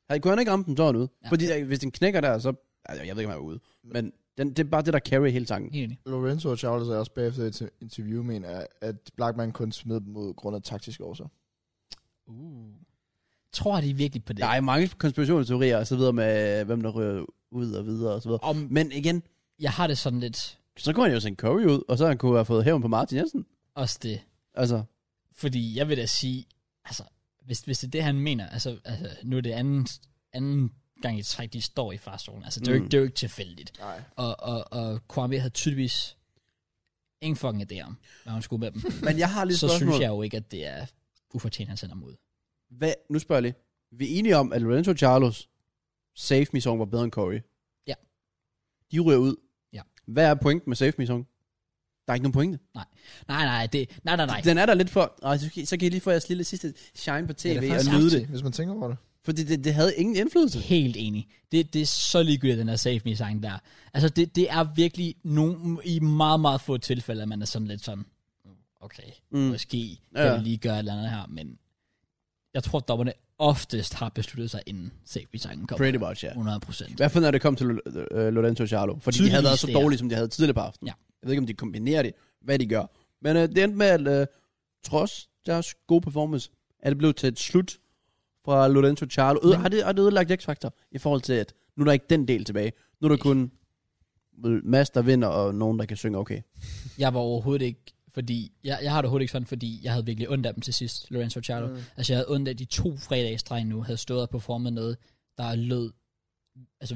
han. Kunne han ikke ramme den, så er han ude.
Ja.
Ja. Fordi der, hvis den knækker der, så... Altså, jeg ved ikke, om han er ude. Men den, det er bare det, der carry hele sangen.
Helt enig.
Lorenzo og Charles er også bagefter et interview, mener, at Blackman kun smed dem ud grund af taktiske årsager.
Uh. Tror de virkelig på det?
Der er mange konspirationsteorier og så videre med, hvem der rører ud og videre og så videre.
Om,
Men igen,
jeg har det sådan lidt
så kunne han jo sende Curry ud, og så han kunne have fået hævn på Martin Jensen.
også det,
Altså,
Fordi jeg vil da sige, altså, hvis, hvis det er det, han mener, altså, altså nu er det anden, anden gang i træk, de står i farzonen. Altså, det er, jo ikke,
Mm.
det er jo ikke tilfældigt.
Nej.
Og, og, og Kwame havde tydeligvis ingen fucking idé om, hvad hun skulle med dem.
men jeg har lige et
Så
spørgsmål.
synes jeg jo ikke, at det er ufortjent, han sender dem ud.
Hvad, nu spørger jeg lige. Vi er enige om, at Lorenzo Charlos Save Me Song var bedre end Corey.
Ja.
De ryger ud.
Ja.
Hvad er pointen med Save Me Song? Der er ikke nogen pointe.
Nej, nej, det, nej, nej, nej.
Den er der lidt for... Ej, så, kan- så kan I lige få jeres lille sidste shine på
det er
tv ja,
faktisk
og nyde det.
Hvis man tænker over det.
Fordi det, det havde ingen indflydelse.
Helt enig. Det, det er så ligegyldigt, den der Save Me-sang der. Altså, det, det er virkelig nogen, i meget, meget få tilfælde, at man er sådan lidt sådan, okay, mm. måske kan
Ja.
vi lige gøre et eller andet her, men jeg tror, dommerne oftest har besluttet sig, inden Save Me-sangen kommer.
Pretty much, ja.
100 procent.
I hvert fald når det kom til Lo- øh, Lorenzo Charlo. Fordi de havde været så
Tydeligvis, det er.
dårlige, som de havde tidligere på aftenen.
Ja.
Jeg ved ikke, om de kombinerer det, hvad de gør. Men øh, det endte med, at øh, trods deres gode performance, at det blev til et slut fra Lorenzo Charlo. Øh,
Men-
har, det, har det ødelagt X-Factor i forhold til, at nu er der ikke den del tilbage. Nu er der kun øh, Mads, der vinder, og nogen, der kan synge okay.
Jeg var overhovedet ikke, fordi, jeg, jeg har det overhovedet ikke sådan, fordi jeg havde virkelig ondt af dem til sidst, Lorenzo Charlo. Mm. Altså, jeg havde ondt af at de to fredage i streg nu, havde stået og performet noget, der lød, altså,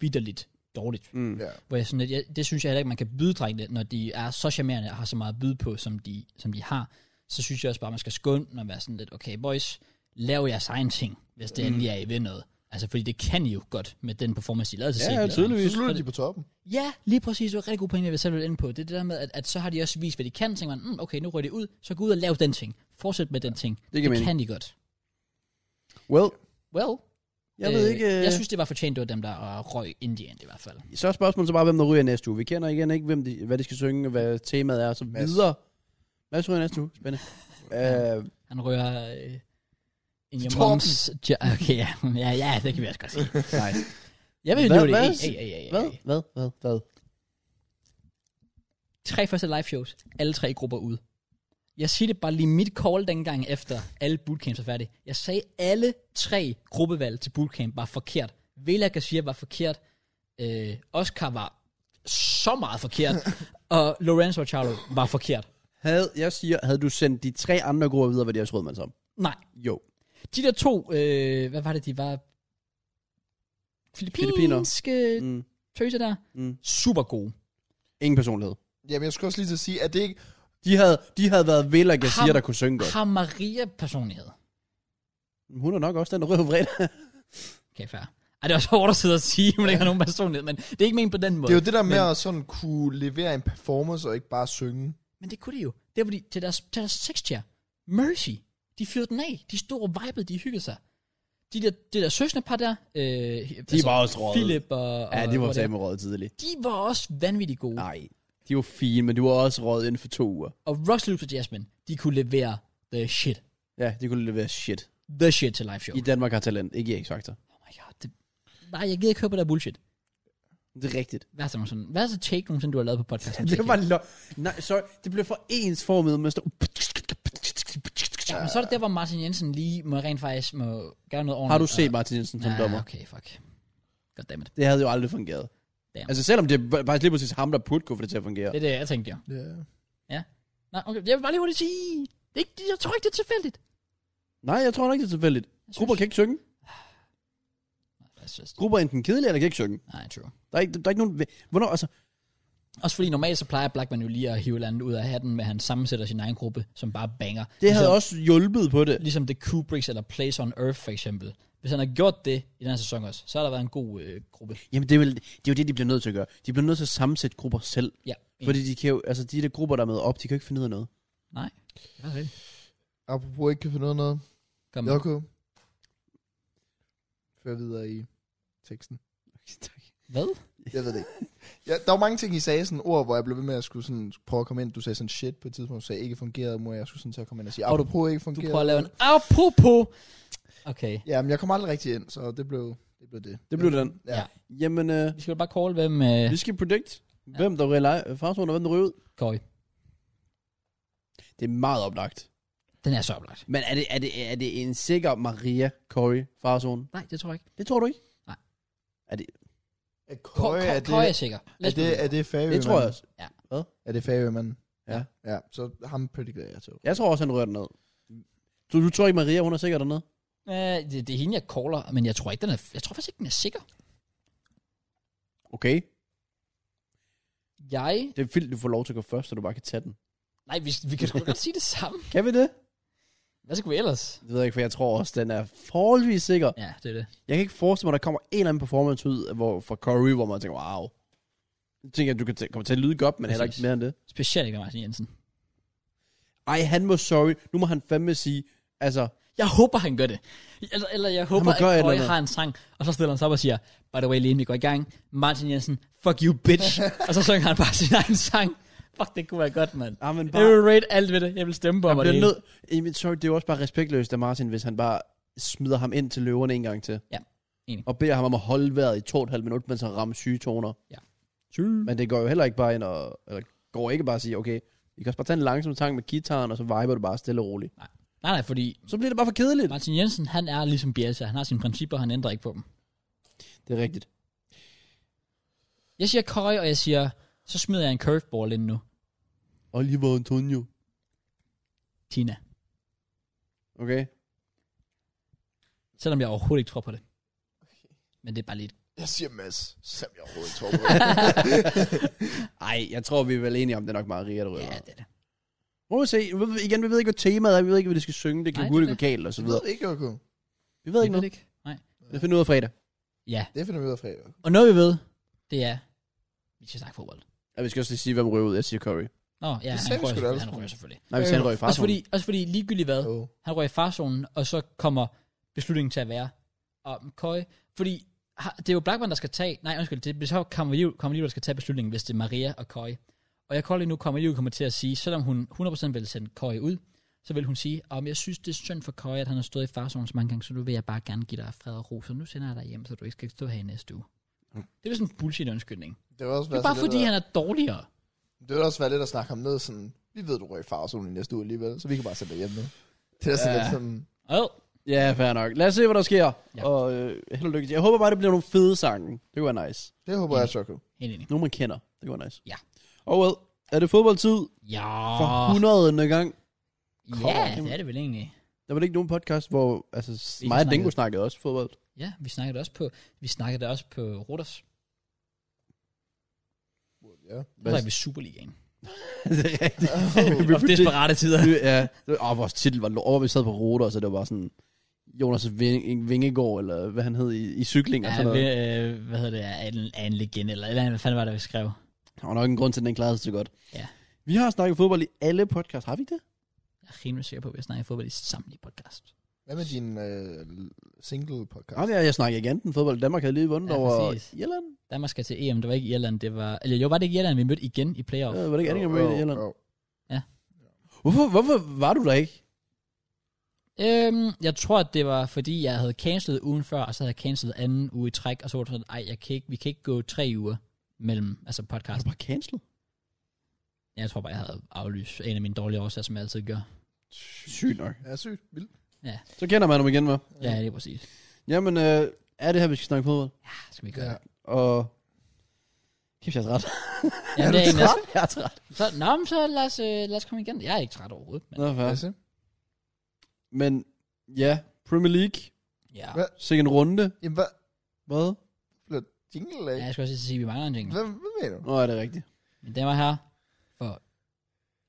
vidderligt dårligt.
Mm.
Ja.
Hvor jeg sådan lidt, jeg, det synes jeg heller ikke, man kan byde drengene, når de er så charmerende og har så meget at byde på, som de, som de har. Så synes jeg også bare, man skal skynde og være sådan lidt, okay boys, lav jeres egen ting, hvis
Mm.
det endelig er, I ved noget. Altså, fordi det kan I jo godt med den performance, de lavede til
Ja,
Safety
ja,
Lab.
tydeligvis.
Så slutter de på toppen.
Ja, lige præcis. Det var et rigtig god pointe, jeg vil selv ville ind på. Det er det der med, at, at, så har de også vist, hvad de kan. Så tænker man, mm, okay, nu rører de ud, så gå ud og lav den ting. Fortsæt med den ting.
Det giver
Det
mening.
kan de godt.
Well,
Well,
jeg ved ikke... Øh,
jeg synes, det var fortjent, det var dem, der øh, røg Indien i hvert fald.
Så er spørgsmålet så bare, hvem der ryger næste uge. Vi kender igen ikke, hvem de, hvad de skal synge, hvad temaet er, og så
Mads.
videre. Mads ryger næste uge. Spændende. Øh,
Han rører øh, en
Torben.
moms... Ja, okay, ja. ja, ja, det kan vi også godt sige.
nice.
Jeg vil
Hvad-
nå det.
hvad?
Hey, hey, hey, hey,
Hvad?
hey.
Hvad? Hvad? Hvad?
Tre første live shows. Alle tre grupper ud. Jeg siger det bare lige mit call dengang efter alle bootcamps er færdige. Jeg sagde alle tre gruppevalg til bootcamp var forkert. Vela Garcia var forkert. Øh, Oscar var så meget forkert. og Lorenzo Charlo var forkert.
Havde, jeg siger, havde du sendt de tre andre grupper videre, hvad de har skruet mig som?
Nej.
Jo.
De der to, øh, hvad var det, de var? Filippinske
Mm.
tøser der.
Mm.
Super gode.
Ingen personlighed.
Jamen, jeg skulle også lige til at sige, at det ikke...
De havde, de havde været vel, at jeg
Ham-
siger, der kunne synge godt.
Har Maria personlighed?
Hun er nok også den, der ryger på fredag.
Okay, fair. Ej, det er også hårdt at sidde og sige, at man ikke har nogen personlighed, men det er ikke ment på den måde.
Det er jo det der med at sådan kunne levere en performance og ikke bare synge.
Men det kunne de jo. Det er fordi, til deres, til deres sextier, Mercy, de fyrede den af. De stod og vibede, de hyggede sig. De der, det der søskendepar der, øh, de
var også røget.
Philip og, og
Ja, de var
og
sammen råd tidligt.
de var også vanvittigt gode.
Nej. De var fine, men de var også råd inden for to uger.
Og Ross Luke og Jasmine, de kunne levere the shit.
Ja, de kunne levere shit.
The shit til live show.
I Danmark har talent, ikke i X-Factor.
Oh my god, det, nej, jeg gider ikke høre på det der bullshit.
Det er rigtigt.
Hvad er, sådan, hvad er så take nogensinde, du har lavet på podcasten?
Det var lo- Nej, sorry. Det blev for ensformet med stå-
Ja, men så er det der, hvor Martin Jensen lige må rent faktisk må gøre noget ordentligt.
Har du set Martin Jensen som
Ah,
dommer?
okay, fuck. Goddammit.
Det havde jo aldrig fungeret.
Damn.
Altså selvom det er faktisk lige præcis ham, der burde kunne få det til at fungere.
Det er det, jeg tænkte jo.
Ja.
Nej, okay, jeg vil bare lige hurtigt sige, det er ikke, jeg tror ikke, det er tilfældigt.
Nej, jeg tror nok ikke, det er tilfældigt.
synes-
Grupper kan ikke synge.
Jeg synes det.
Grupper er enten kedelige, eller kan ikke synge.
Nej, true.
Der er ikke, der er ikke nogen... Hvornår, altså...
Også fordi normalt så plejer Blackman jo lige at hive et eller andet ud af hatten, med at han sammensætter sin egen gruppe, som bare banger.
Det havde
ligesom,
også hjulpet på det.
Ligesom The Kubricks eller Place on Earth for eksempel. Hvis han har gjort det i den her sæson også, så har der været en god øh, gruppe.
Jamen, det er, vel, det er jo det, de bliver nødt til at gøre. De bliver nødt til at sammensætte grupper selv.
Ja.
Fordi de kan jo... Altså, de der grupper, der er med op, de kan jo ikke finde ud af noget.
Nej. Det er faktisk rigtigt.
Apropos ikke kan finde ud af noget.
Kom.
Joko. Før videre i teksten.
Hvad?
Jeg ved det ikke. Ja, der var mange ting, I sagde, sådan ord, hvor jeg blev ved med at skulle sådan, prøve at komme ind. Du sagde sådan shit på et tidspunkt, du sagde ikke fungerede, mor. Jeg skulle sådan til at komme ind og sige,
Og du-
apropos ikke
Du
fungerede.
prøver at lave en apropos. Okay.
Ja, men jeg kom aldrig rigtig ind, så det blev det. Blev det.
Det blev den.
Ja.
Jamen, øh,
Vi skal jo bare call, hvem øh,
vi skal predict, hvem der ryger lege- farzonen, og hvem der ryger ud.
Corey.
Det er meget oplagt.
Den er så oplagt.
Men er det, er det, er det en sikker Maria Corey farzone?
Nej, det tror jeg ikke.
Det tror du ikke?
Er
Corey,
Køje, er det,
Corey er sikker.
er det, er det Færømanden?
Det tror jeg også.
Er det Færømanden?
Ja.
Ja, så ham predicted jeg til.
Jeg tror også, han rører derned. Så du tror ikke, Maria hun er sikker dernede?
Øh, det, det, er hende, jeg caller, men jeg tror ikke, den er... Jeg tror faktisk ikke, den er sikker.
Okay.
Jeg...
Det er vildt, du får lov til at gå først, så du bare kan tage den.
Nej, vi, vi kan sgu godt sige det samme.
Kan vi det?
Hvad skal vi ellers?
Det ved jeg ikke, for jeg tror også, den er forholdsvis sikker.
Ja, det er det.
Jeg kan ikke forestille mig, at der kommer en eller anden performance ud hvor, fra Corey, hvor man tænker, wow. Jeg tænker, at du kan t- komme til at lyde godt, men heller ikke
Præcis.
mere end det.
Specielt ikke af Martin Jensen.
Ej, han må sorry. Nu må han fandme sige, altså,
Jeg håber, han gør det. Eller, eller jeg håber,
må
at
gøre et
Corey
eller andet.
har en sang, og så stiller han sig op og siger, by the way, lige inden vi går i gang, Martin Jensen, fuck you, bitch. og så synger han bare sin egen sang. Fuck, det kunne være godt, mand.
ah, men
Jeg vil rate alt ved det. Jeg vil stemme på ham.
Han
og
bliver
det hele.
nød... Jamen, sorry, det er jo også bare respektløst af Martin, hvis han bare smider ham ind til løverne en gang til.
Ja, enig.
Og beder ham om at holde vejret i to og et halvt minut, mens han rammer syge toner.
Ja.
Men det går jo heller ikke bare ind og... Eller går ikke bare at sige, okay, I kan også bare tage en langsom sang med gitaren, og så viber du bare stille og roligt.
Nej, nej, fordi
Så bliver det bare for kedeligt.
Martin Jensen, han er ligesom Bielsa. Han har sine principper, han ændrer ikke på dem.
Det er rigtigt.
Jeg siger Køj, og jeg siger, så smider jeg en curveball ind nu.
Oliver Antonio.
Tina.
Okay?
Selvom jeg overhovedet ikke tror på det. Men det er bare lidt...
Jeg siger Mads, selvom jeg overhovedet tror på det.
Ej, jeg tror, vi er vel enige om, det er nok Maria, der ryger.
Ja,
Ja.
det er det.
Må vi se. Vi ved- Igen, vi ved ikke, hvad temaet er. Vi ved ikke, hvad de skal synge. Det kan
Nej,
Nej, hurtigt
det er
gå galt, og så
Du
videre.
ved ikke, Joko.
Vi ved ikke noget.
ikke. Nej.
Det finder vi ud af fredag.
Ja.
Det finder vi ud af fredag.
Og noget vi ved, det er, vi skal snakke fodbold.
Ja, vi skal også lige sige, hvem ryger ud. Jeg siger Curry.
Nå, ja,
Det
han
sagde vi
rører,
sgu da
selvfølgelig,
alle
han
sammen.
rører selvfølgelig.
Nej, hvis han røg i
Også
farzonen.
fordi, også fordi ligegyldigt hvad,
Oh.
han rører i farzonen, og så kommer beslutningen til at være om Køj. Fordi har- det er jo Blackman, der skal tage... Nej, undskyld, det er så kommer Liv, kommer Liv, der skal tage beslutningen, hvis det er Maria og Køj. Og jeg kolder lige nu, kommer Liv kommer til at sige, selvom hun 100% vil sende Køj ud, så vil hun sige, om jeg synes, det er synd for Køj, at han har stået i farzonen så mange gange, så nu vil jeg bare gerne give dig fred og ro, så nu sender jeg dig hjem, så du ikke skal stå her i næste uge. Det er sådan en bullshit undskyldning.
Det var også
Det er
være
bare
sådan lidt
fordi,
at-
han er dårligere.
Det vil også være lidt at snakke ham ned, sådan, vi ved, du røg i farzonen i næste uge alligevel, så vi kan bare sende dig hjem nu. Det er sådan
Ja.
lidt sådan,
Åh, oh,
Ja, fair nok. Lad os se, hvad der sker.
Ja.
Ja. Og øh, held og lykke til. Jeg håber bare, det bliver nogle fede sange. Det kunne være nice.
det håber jeg, Joko.
helt enig.
Nogle, man kender. Det kunne være nice.
Ja. Ah.
Oh well. Er det fodboldtid
Ja,
for 100. gang?
ja det er det vel egentlig.
Der var ikke nogen podcast, hvor altså,
ikke
mig og Dingo
snakket.
snakkede også fodbold.
Ja, vi snakkede det også på, vi snakkede det også på Rotters.
Ja.
Det var vi Superligaen.
det er rigtigt.
Vi var desperate tider.
Vi- ja. Det- Åh, vores titel var lort. Og vi sad på ruter, så det var bare sådan... Jonas Ving- Vingegaard, eller hvad han hed i, i cykling og
Ja,
sådan
vi,
noget.
øh, hvad hedder det, er en, er en legende, eller, eller hvad fanden var det, vi skrev?
Der var nok en grund til, at den klarede sig så godt.
Ja.
Vi har snakket fodbold i alle podcasts. Har vi ikke det?
Jeg er rimelig sikker på, at vi har snakket fodbold i samtlige podcast.
Hvad med din øh, single podcast?
Ja, jeg, jeg snakker ikke andet fodbold. Danmark havde lige vundet
Ja,
ja, over
præcis.
Irland.
Danmark skal til EM, det var ikke Irland, det var... Eller jo, var det ikke Irland, vi mødte igen i playoff?
Ja, Øh, var det ikke Annika Møde i Irland?
Jo, jo.
Hvorfor, hvorfor var du der ikke?
Øhm, jeg tror, at det var, fordi jeg havde cancelet ugen før, og så havde jeg cancelet anden uge i træk, og så var det sådan, ej, jeg kan ikke, vi kan ikke gå tre uger mellem, altså
Har
podcast.
du bare cancel?
Jeg tror bare, jeg havde aflyst en af mine dårlige årsager, som jeg altid gør.
Sygt nok.
Ja, sygt. Vildt.
Så kender man ham igen, hva'?
Ja, det er præcis.
Jamen, øh, er det her, vi skal snakke fodbold?
Ja, skal vi gøre ja. det.
Og... Kæft, jeg er træt.
Ja, det er
du
egentlig også-
jeg er træt.
Så, nå, men så lad os, øh, lad os komme igen. Jeg er ikke træt overhovedet. Men,
Nå, fair.
Lad os se.
Men ja, Premier League.
ja.
Hvad?
Sikken runde.
Jamen, hvad
Hvad?
bliver jingle af?
ja, jeg skal også lige sige, at vi mangler en ting.
Hvad, hvad mener du?
Nå, er det rigtigt.
Men den var her for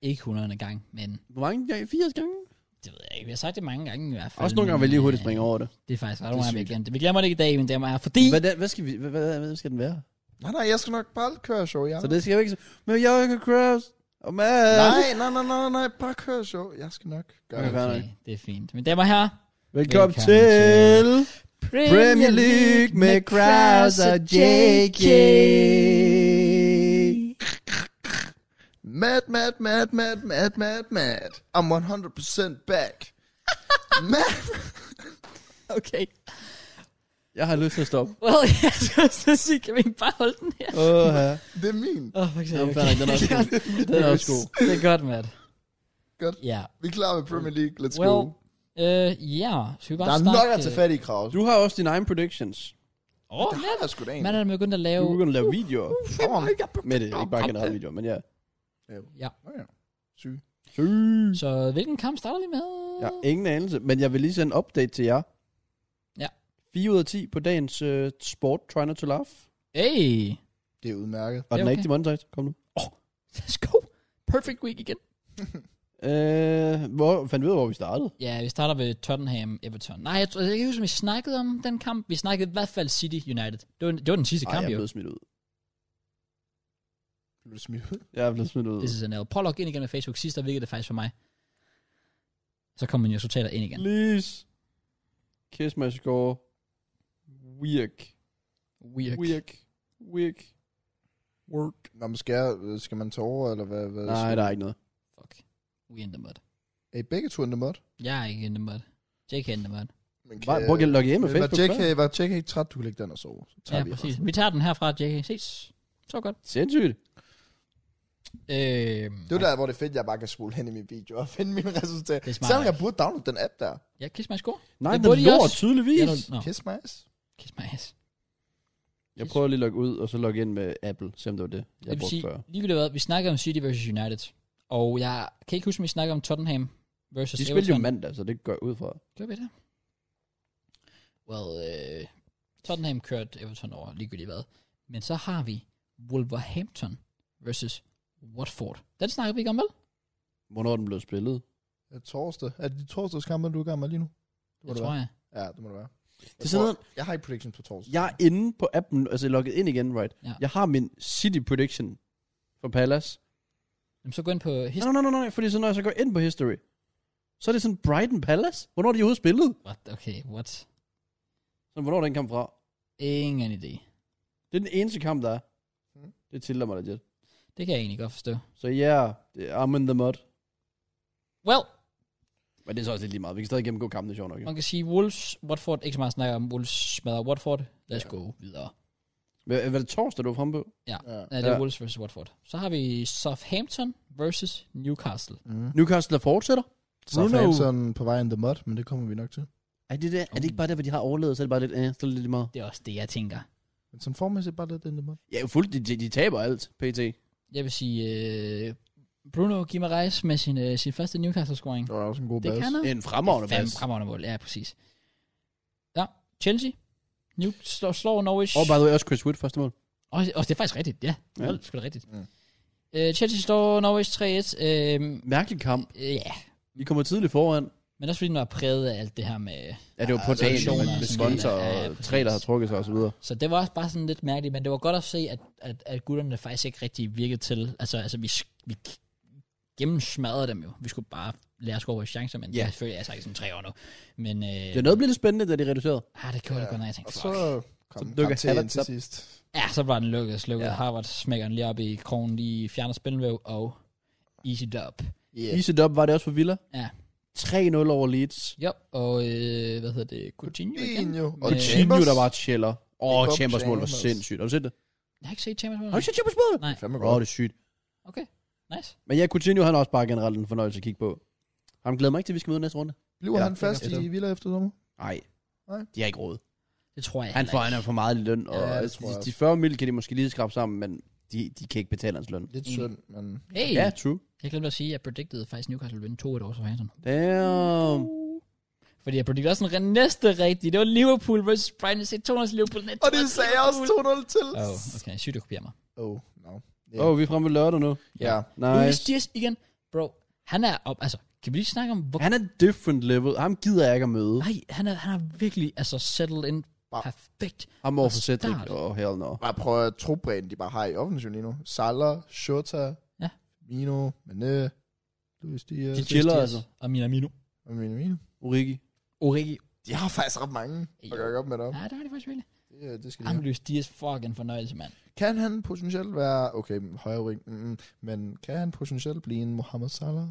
ikke 100. gang, men
Hvor mange gange? 80 gange?
det ved jeg ikke. Vi har sagt det mange gange i hvert fald.
Også nogle gange
men,
vil jeg lige hurtigt
øh,
springe over det.
Det er faktisk ret
Det er
nogle gange, vi
sygt.
glemte det. Vi glemmer det ikke i dag, men det var her, fordi...
Hvad, hvad, skal vi, hvad, hvad, hvad skal den være?
Nej, nej, jeg skal nok bare køre show, jeg.
Så det skal jeg ikke... Men jeg kan crash. Oh, man.
Nej, nej, nej, nej, nej, bare kør show. Jeg skal nok gøre
Okay.
det.
Okay, det er fint. Men damer og herrer,
Velkommen,
Velkommen
til...
Premier
League med Kraus og JK.
Mad, mad, mad, mad, mad, mad, mad. I'm 100% back. mad.
Okay.
Jeg har lyst til at stoppe.
Well, jeg skal også sige, kan vi ikke bare holde den her?
Åh, ja.
Det er min.
Åh, oh, for eksempel.
Jamen, fair nok, den er også god. Den er også god.
Det er godt, Matt.
Godt.
Ja.
Vi er klar med Premier League. Let's
Well,
go.
øh, ja. Skal vi bare
Der er
starte?
nok at tage fat i, Kraus.
Du har også dine egne predictions.
Åh, oh,
Det har jeg sgu da
man
egentlig.
er da begyndt at lave...
Du er begyndt at lave videoer
Kom on.
med det. Ikke bare generelt videoer, men ja.
Ja.
Nå ja. Syg.
Så hvilken kamp starter vi med?
Jeg har ingen anelse, men jeg vil lige sende en update til jer.
Ja.
4 ud af 10 på dagens uh, sport, try not to laugh.
Hey,
Det er udmærket.
Det er
Og den er
okay.
ikke til Mondays. Kom nu.
let's go. Perfect week igen.
Øh, hvor fandt vi ud af, hvor vi startede?
Ja, vi starter ved Tottenham Everton. Nej, jeg, tror, jeg kan ikke huske, om vi snakkede om den kamp. Vi snakkede i hvert fald City United. Det var, det var den sidste
Ej,
kamp,
jeg
jo.
er blevet smidt ud.
Vil du smide ud?
Jeg er blevet smidt ud.
This is an L. Prøv at logge ind igen med Facebook. Sidst der virkede det faktisk for mig. Så kommer mine resultater ind igen.
Please. Kiss my score. Weirk.
Weird.
Weirk. Weirk.
Work.
Nå, men skal, jeg, øh, skal man tage over, eller hvad? hvad
Nej, der er ikke noget.
Fuck. We in the mud.
Er I begge to in the mud?
Jeg er ikke in the mud. Jake er in the mud.
Men
Bare, prøv at logge ind med
Men var
Facebook
JK,
før.
var JK ikke træt, du kunne lægge den og sove? Så tager
Ja,
vi
præcis.
resten.
Vi tager den herfra, Jake. Ses. Så godt.
Sindssygt.
Øhm,
Det er jo der, hvor det er fedt, jeg bare kan spole hen i min video og finde mine resultater.
Det er smart.
Selvom jeg burde downloade den app der.
Ja, kiss my score.
Nej,
Det
den
burde I
lort
også. Ja,
tydeligvis.
no, no.
Kiss my ass.
Kiss my ass.
Jeg prøver lige at logge ud, og så logge ind med Apple, selvom det var det, jeg
det vil
brugte
sige,
før.
ligegyldigt hvad, vi snakker om City versus United. Og jeg kan ikke huske, om vi snakker om Tottenham versus
De
Everton.
spiller jo mandag, så det går jeg ud fra.
Gør vi det? Well, øh, Tottenham kørte Everton over, ligegyldigt hvad. Men så har vi Wolverhampton versus Watford. Den snakker vi ikke om, vel?
Hvornår den blev spillet?
Er det torsdag? Er det de torsdagskampe, du er i gang med lige nu? Det må
Det
det
tror
være.
jeg.
Ja, det må det være. Jeg,
Det er sådan
tror-
noget,
jeg har ikke prediction på torsdag.
jeg er inde på appen, altså jeg er logget ind igen, right?
Ja.
Jeg har min City prediction for Palace.
Jamen, så gå ind på his...
Nej, nej, nej, nej, fordi så når jeg så går ind på history, så er det sådan Brighton Palace. Hvornår er de overhovedet spillet?
What? Okay, what?
Så hvornår er den kamp fra?
Ingen idé.
Det er den eneste kamp, der er.
Mhm.
Det tiller mig legit.
Det kan jeg egentlig godt forstå.
Så ja, yeah, I'm in the mud.
Well,
Men det er så også lidt lige meget. Vi kan stadig gennemgå kampen, det er sjovt nok.
man kan sige Wolves, Watford, ikke så meget snakker om Wolves smadrer Watford. Lad os
Ja.
ja. gå videre.
Okay. Var det torsdag, du var fremme på?
Ja.
Nej, det er
Ja.
Wolves versus Watford. Så har vi Southampton versus Newcastle.
Mm.
Newcastle, der fortsætter?
Southampton på vej in the mud, men det kommer vi nok til.
Er det, der, er det ikke bare der, hvor de har overlevet, så er det bare lidt, eh, så er det lidt lige meget?
Det er også det, jeg tænker.
Men som formæssigt bare lidt in the mud.
Ja, fuldt, de, de, de taber alt, pt.
Jeg vil sige, øh, Bruno Guimaraes med sin, øh, sin første Newcastle-scoring.
Det var også en god
Det
base.
kan han.
En fremragende
Fem
pas.
fremragende mål, ja, præcis. Ja, Chelsea. New slår, slår Norwich.
Og by the way, også Chris Wood første mål.
og, og det er faktisk rigtigt, ja.
Ja.
ja. Hold, sgu da rigtigt.
Mm.
Mm. Øh, Chelsea slår Norwich 3-1. Øh,
Mærkelig kamp.
øh, ja,
Vi kommer tidligt foran.
men også fordi den var præget af alt det her med...
Ja, det var på
altså,
dagen
relationer
med,
og
med
sådan
sponsor
noget. altså. Ja,
og
ja,
tre, der har
præcis.
trukket sig og så videre.
Så det var også bare sådan lidt mærkeligt, men det var godt at se, at, at, at gutterne faktisk ikke rigtig virkede til. Altså, altså vi, sk- vi k- gennemsmadrede dem jo. Vi skulle bare lære at score vores chancer, men
Ja.
yeah. selvfølgelig er jeg sagt sådan tre år nu. Men øh,
Det er noget blevet lidt spændende, da de reducerede.
ah, det gjorde
Ja.
det godt, når jeg tænkte,
Og
fuck.
så kom
Så
så
dukker
til
Havertz
til
op.
sidst.
Ja, så var den lukket, slukket.
Ja.
Ja. Harvard smækker den lige op i krogen, lige fjerner spilvæv og easy dub.
Yeah.
Yeah. Easy up var det også for Villa.
Ja.
3-0 over Leeds.
Ja, og øh, hvad hedder det? Coutinho igen.
Coutinho og
Med-
Coutinho,
Chambers.
Øh, der bare chiller. Åh,
Det
oh,
er godt
Chambers mål var
Chambers.
sindssygt. Har du set det?
Jeg har ikke set Champions
Har du
League.
set Chambers mål?
Nej,
Fandme
Åh,
godt.
det er sygt.
nice.
Men ja, Coutinho, han er også bare generelt en fornøjelse at kigge på. Han glæder mig ikke til, at vi skal møde næste runde.
Bliver
Ja,
han fast
det er
i Villa efter sommer?
Nej.
Nej.
De har ikke råd.
Det tror jeg
Han
heller
får, han
ikke.
er for meget i løn, og
Ja,
ja,
det tror jeg
de, de 40 mil kan de måske lige skrabe sammen, men de, de kan ikke betale hans løn.
Lidt
Mm.
synd, men...
Hey,
Ja, true.
jeg glemte at sige, at jeg predicted faktisk Newcastle ville vinde 2-1 over Southampton.
Damn.
Fordi jeg predicted også en re- næste rigtig. Det var Liverpool versus Brighton. Jeg sagde 200 til Liverpool. Net
Og det sagde jeg også 2-0 til.
Oh, okay, sygt, du kopierer mig.
Oh, no.
Åh, oh, vi er fremme ved lørdag nu.
Ja.
Nice.
Nice.
Luis Diaz igen. Bro, han er op, altså, kan vi lige snakke om, hvor...
Han er different level. Ham gider jeg ikke at møde.
Nej, han er, han er virkelig, altså, settled in
Bare-
perfekt.
Ham over for Cedric.
Start.
Åh, oh, hell no.
Bare prøv at trobredden, de bare har i offensiven lige nu. Salah, Shota,
Ja.
Mino, Mané, Luis Diaz,
De chiller altså.
Og min Amino.
og Mino Mino.
Origi.
Origi.
De har faktisk ret mange at
Jo.
gøre op med deroppe.
Ja, det har de faktisk virkelig.
Ja, det skal de have.
Jamen, Luis Diaz, fuck en fornøjelse, mand.
Kan han potentielt være, okay, men højre wing, mm, mm, men kan han potentielt blive en Mohamed Salah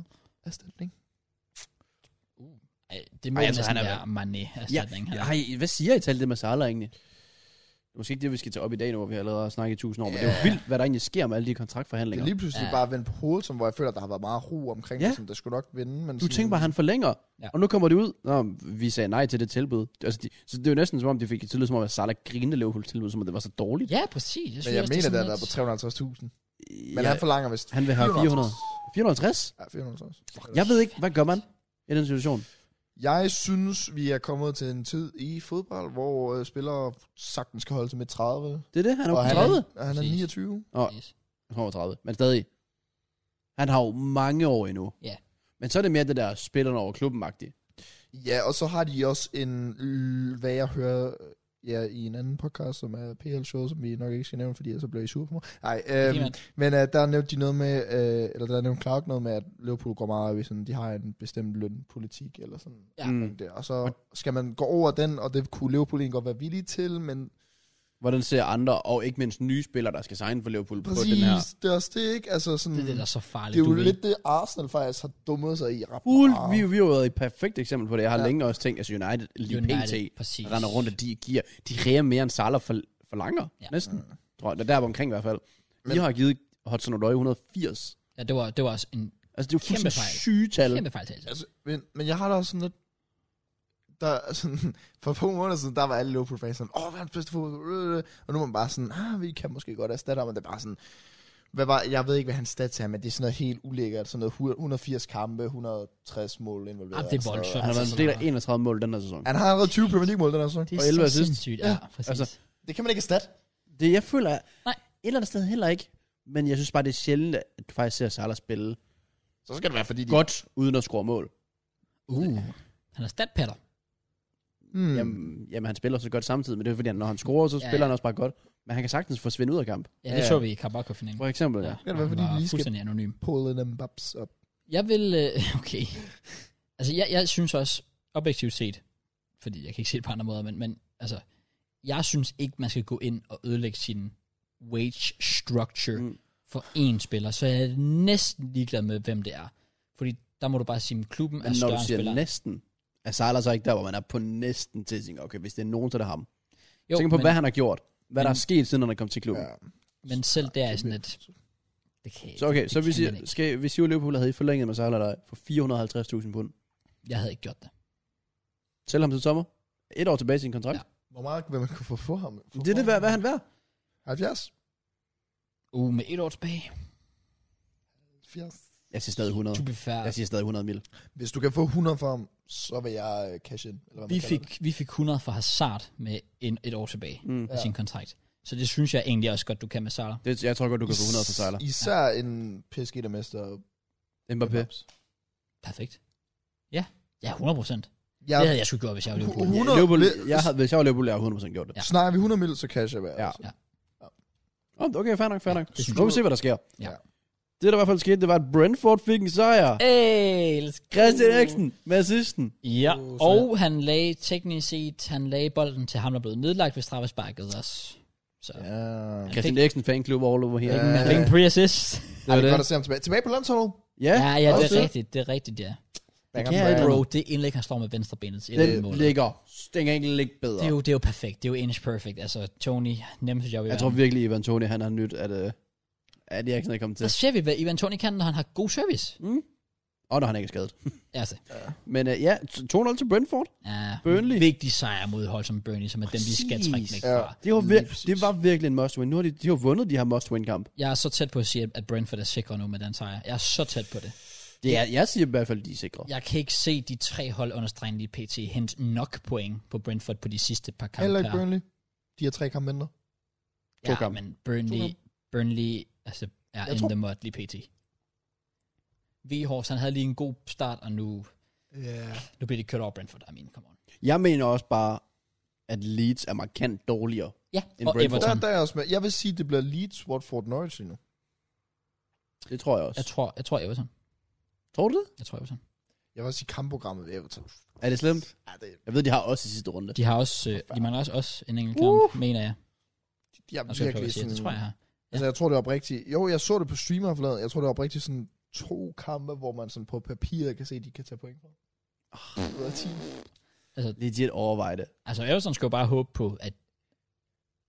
erstatning?
Ej, det må
Ej,
Ej,
jeg
altså,
tror, han
næsten
er
være Mané erstatning her.
Ej, hvad siger I til alt det med Salah egentlig? Det er måske ikke det, vi skal tage op i dag, nu, hvor vi allerede har snakket i tusind år, men det er jo vildt, hvad der egentlig sker med alle de
Det er
kontraktforhandlinger.
lige pludselig
Ja.
ja. bare vendt på hovedet, som, hvor jeg føler, at der har været meget ro omkring
Ja.
ja. det, som der skulle nok vinde. Men
Du tænker bare, at han forlænger,
Ja.
ja. og nu kommer det ud. Nå, vi sagde nej til det tilbud. Altså, de, så det er jo næsten som om, de fik et tilbud, som om, at Salah grinede Liverpool tilbud, som om det var så dårligt.
Ja, præcis.
Men jeg mener, det er der på 350.000. Men ja. han forlanger vist
han vil have 400. 450?
Ja, 450. Fuck.
Jeg ved ikke, hvad gør man i den situation?
Jeg synes, vi er kommet til en tid i fodbold, hvor øh, spillere sagtens kan holde til midt 30.
Det er det, han er
og
jo
han
30.
er, han er
Præcis.
29.
Han er over 30, men stadig. Han har jo mange år endnu.
Ja.
Men så er det mere det der spillerne over klubben -agtige.
Ja, og så har de også en, øh, hvad jeg hører øh, ja, i en anden podcast, som er PL Show, som vi nok ikke skal nævne, fordi ellers så bliver I sure på mig. Nej, øhm, men øh, der nævnte de noget med, øh, eller der nævnte Clark noget med, at Liverpool går meget op i sådan, de har en bestemt lønpolitik eller sådan.
Ja.
Mm.
Mm. Der. Og så skal man gå over den, og det kunne Liverpool egentlig godt være villig til, men
Hvordan ser andre, og ikke mindst nye spillere, der skal signe for Liverpool på den her?
præcis, det er også det, ikke? Altså sådan,
Det er det, der er så farligt,
det er jo
du ved.
lidt det, Arsenal faktisk har dummet sig i ret
Fuld,
meget.
vi, vi har jo været et perfekt eksempel på det. Jeg har ja.
Ja.
længe også tænkt, at altså United lige
United,
United, pt.
præcis.
render rundt, og de giver, de reger mere end Salah for, forlanger,
Ja. Mm.
ja. næsten. Tror jeg, det er der omkring i hvert fald. Men, I har givet Hudson Odoi 180.
Ja, det var, det var også en
Altså, det er jo
Kæmpe
fuldstændig
fejl.
syge tal.
kæmpe fejltagelse.
Altså, men, men jeg har da også sådan lidt... Der, er sådan, for få måneder siden, der var alle Liverpool-fans sådan, åh, hvad er hans bedste fodbold? Øh, Og nu er man bare sådan, ah, vi kan måske godt erstatte ham, men det er bare sådan, hvad var, jeg ved ikke, hvad hans stats er, men det er sådan noget helt ulækkert, sådan noget hu- 180 kampe, 180 mål involveret.
Ah, det er
og sådan noget.
voldsomt.
Han har været en
Altså,
del af 31 mål den her sæson.
Han har allerede 20 Premier League-mål den her sæson.
Det er
og 11
så
assist.
sindssygt. Ja,
Ja,
præcis.
altså,
Det kan man ikke erstatte.
Det, jeg føler, Nej.
Nej.
et eller andet sted heller ikke. Men jeg synes bare, det er sjældent, at du faktisk ser Salah spille
Så skal det være, fordi de...
godt, uden at score mål.
uh. Han er statpatter.
Hmm.
Mm. Jamen, jamen, han spiller så godt samtidig, men det er fordi, han, når han scorer, så
Ja,
spiller
ja.
han også bare godt. Men han kan sagtens forsvinde ud af kamp.
Ja, det
Ja,
så
ja.
vi i Kabakov-finalen.
For eksempel, ja.
det være, fordi
han
de
var
lige skal-
fuldstændig anonym.
Pulling them babs op.
Jeg vil... Øh, okay. Altså, jeg, jeg synes også, objektivt set, fordi jeg kan ikke se det på andre måder, men, men altså, jeg synes ikke, man skal gå ind og ødelægge sin wage structure mm.
Mm.
for én spiller, så jeg er næsten ligeglad med, hvem det er. Fordi der må du bare sige, at klubben er
Men når
større
du
end
siger
spilleren.
næsten, er Salah så ikke der, hvor man er på næsten til at tænke, okay, hvis det er nogen, så er det ham.
Jo,
Tænk på,
men, Mm.
hvad han har gjort. Hvad der
men-
er sket, siden han er kommet til klubben. Ja.
Ja.
men selv der er sådan lidt... Det kan,
Så okay,
det
så
kan
vi
man ikke.
siger, skal, hvis I Liverpool havde I forlænget med Salah der for 450.000 pund,
Jeg havde ikke gjort det.
sælg ham til sommer. Et år tilbage i sin kontrakt.
Hvor meget vil man kunne få for ham?
Ja. Det er det, hvad, hvad er han værd?
70?
Uh, med et år tilbage.
80?
Jeg siger stadig 100.
To be fair.
Jeg siger stadig 100 mil.
Hvis du kan få 100 for ham, så vil jeg øh, cash in. Eller hvad man
Vi
kalder det.
fik, vi fik 100 fra Hazard med en, et år tilbage
Mm.
ja. af sin kontrakt. Så det synes jeg egentlig også godt, du kan med Salah.
Det, jeg tror godt, du kan få 100 for Salah.
Især en PSG, der mester.
Mbappé.
Perfekt. Ja, ja 100 procent.
Ja,
Det havde jeg sgu gjort, hvis jeg var Liverpool.
Uh, uh.
Ja.
100
Liverpool,
mil-
jeg, havde- hvis jeg var Liverpool, jeg havde 100% gjort det.
Ja.
Ja.
snakker vi 100 mil, så cash jeg være.
Ja.
altså.
Oh, okay, fair nok, fair nok.
det synes
Nu må vi se, hvad der sker.
Ja.
Det, der i hvert fald skete, det var, at Brentford fik en sejr.
Hey, let's go.
Christian Eriksen med assisten.
Ja,
Uh, så-
og han lagde teknisk set, han lagde bolden til ham, der blev nedlagt ved straffesparket også. Så ja.
Ja.
Christian Eriksen fanklub all over her.
ingen, ingen pre-assist.
Det
Ej,
var
det er
det.
godt at se ham tilbage. Tilbage på landsholdet.
Ja,
Ja, ja, det
også
er rigtigt, det er rigtigt, ja.
Back
kan
on
jeg ikke,
brand.
Bro, det indlæg, han står med venstre benet til
Den
målet.
ligger. Den kan ikke ligge bedre.
Det er, jo, det er jo perfekt, det er jo inch perfect. Altså, Tony, nemmeste job i
Jeg
verden.
tror virkelig, Ivan Toni, han har nyt, at, øh, at Eriksen er kommet til.
Der ser vi, hvad Ivan Toni kan, når han har god service.
Og når han ikke er skadet.
Altså,
Men øh, ja, 2-0 til Brentford.
ja,
Burnley.
vigtig sejr mod hold som Burnley, som er dem, vi skal
Præcis.
trække væk
Ja.
fra.
Det var,
Lige
vir-
præcis.
det var virkelig en must-win. Nu har de, de har vundet de her must-win-kamp.
Jeg er så tæt på at sige, at Brentford er sikre nu med den sejr. Jeg er så tæt på det.
Det er, jeg siger i hvert fald, de er sikre.
Jeg kan ikke se de tre hold under stregen lige pt. hente nok point på Brentford på de sidste par kampe.
Heller ikke
her.
Burnley. De har tre kampe mindre.
To
Ja,
kampe.
men Burnley, Burnley altså, er
Jeg
in
tror-
the mud lige pt. Vihors, han havde lige en god start, og nu,
Ja.
nu bliver det kørt over Brentford. I mean, come on.
Jeg mener også bare, at Leeds er markant dårligere.
Ja,
En
og
Brentford.
Everton.
Der, der er jeg også med. Jeg vil sige, det bliver Leeds, Watford, Norwich lige nu.
Det tror jeg også.
Jeg tror, jeg tror Everton.
tror du det?
Jeg tror Everton.
Jeg var også i kampprogrammet ved Everton.
Er det slemt?
Ja, det,
Jeg ved, de har også i sidste runde.
De har også, øh, de mangler også, også en enkelt kamp, uh. mener jeg.
jeg
Og
er
så jeg prøve
virkelig
at sige,
sådan...
det tror jeg jeg har.
Altså, jeg tror, det er oprigtigt. Jo, jeg så det på streamer forladet. Jeg tror, det er oprigtigt sådan to kampe, hvor man sådan på papiret kan se, at de kan tage point for.
Ah.
Ud af 10.
Legit overveje det.
Altså Everton skal jo bare håbe på, at,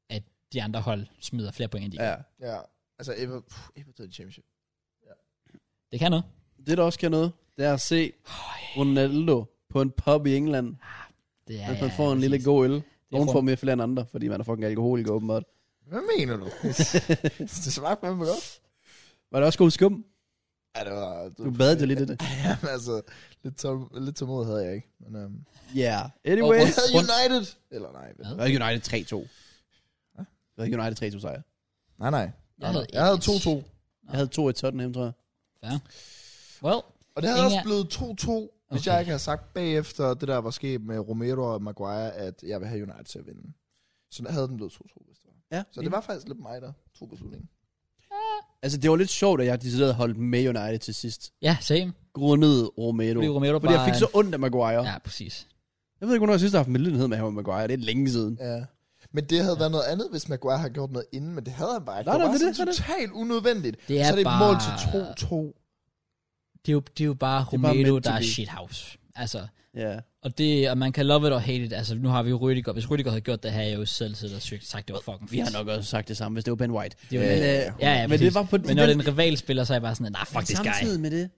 at de andre hold smider flere point end de. Ja.
Ja.
Ja, altså Ever, pff, Everton Championship.
Det kan noget.
Det, der også kan noget, det er at se Ronaldo på en pub i England,
Det er,
ja, man får en lille
præcis.
god øl. Nogen
får-
får mere flere end andre, fordi man er fucking alkoholiker åbenbart.
Hvad mener du? det smagte fandme godt.
Var det også god skum?
Ja, det var... Det
Du badede jo lidt i det.
Jamen, altså, lidt, tål, lidt tålmodighed havde jeg ikke. Men, øhm,
Ja. Yeah.
Og
Anyway.
rundt-
havde United! Eller nej. Men,
Hvad?
Var ikke United 3-2? Var ikke United 3-2 sejr?
nej, nej.
Jeg havde,
Jeg havde 2-2.
Jeg havde 2 i Tottenham, tror jeg.
Well,
Og det havde
Ingen
også blevet 2-2, hvis
Okay.
jeg ikke havde sagt bagefter, det der var sket med Romero og Maguire, at jeg vil have United til at vinde. Så der havde den blevet 2-2, hvis det var.
Ja.
Så det var faktisk lidt mig, der tog beslutningen.
Altså, det var lidt sjovt, at jeg decideret holdt med United til sidst.
ja, same.
Grundet Romero.
Fordi Romero
Fordi jeg
bare
fik
er
så ondt af Maguire.
Ja, præcis.
Jeg ved ikke, hvornår jeg sidst har haft medlidenhed med ham og Maguire. Det er længe siden.
Ja. Men det havde ja. været noget andet, hvis Maguire havde gjort noget inden, men det havde han bare ikke.
Nej,
det
nej,
var
det er
sådan
det, det
totalt unødvendigt.
Det
så
er
er det et
bare-
mål til 2-2.
Det er jo, det er jo bare
bare
Romero,
meant to
der er
be.
shithouse. Altså,
Ja.
og, det, og man kan love it og hate it. Altså, nu har vi jo Rüdiger. Hvis Rüdiger havde gjort det, havde jeg jo selv siddet og sygt, sagt, det var fucking
Vi
fedt.
har nok også sagt det samme, hvis det var Ben White.
Det var
Men,
det.
øh,
Ja, ja,
men det
præcis.
var på
Men når det er en rivalspiller, så er jeg bare sådan, nej, fuck this guy.
Samtidig med det,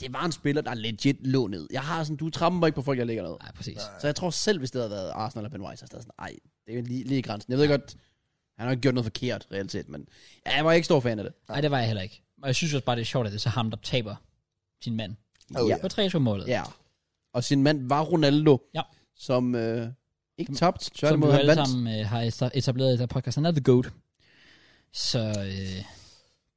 det var en spiller, der legit lå ned. Jeg har sådan, du tramper ikke på folk, jeg ligger ned.
Nej, præcis.
Så jeg tror selv, hvis det havde været Arsenal og Ben White, så havde jeg sådan, ej, det er jo lige, lige i grænsen. Jeg ved godt, han har ikke gjort noget forkert, reelt set, men ja, jeg var ikke stor fan af det.
Nej, det var jeg heller ikke. Og jeg synes også bare, det er sjovt, at det er så ham, der taber sin mand.
Oh,
ja.
På 3 målet
ja. Og sin mand var Ronaldo,
Ja.
som øh, ikke tabte,
Som vi
tværtimod
jo
han
alle
vandt.
sammen øh, har esta- etableret i der podcast. Han er The Goat. Så øh,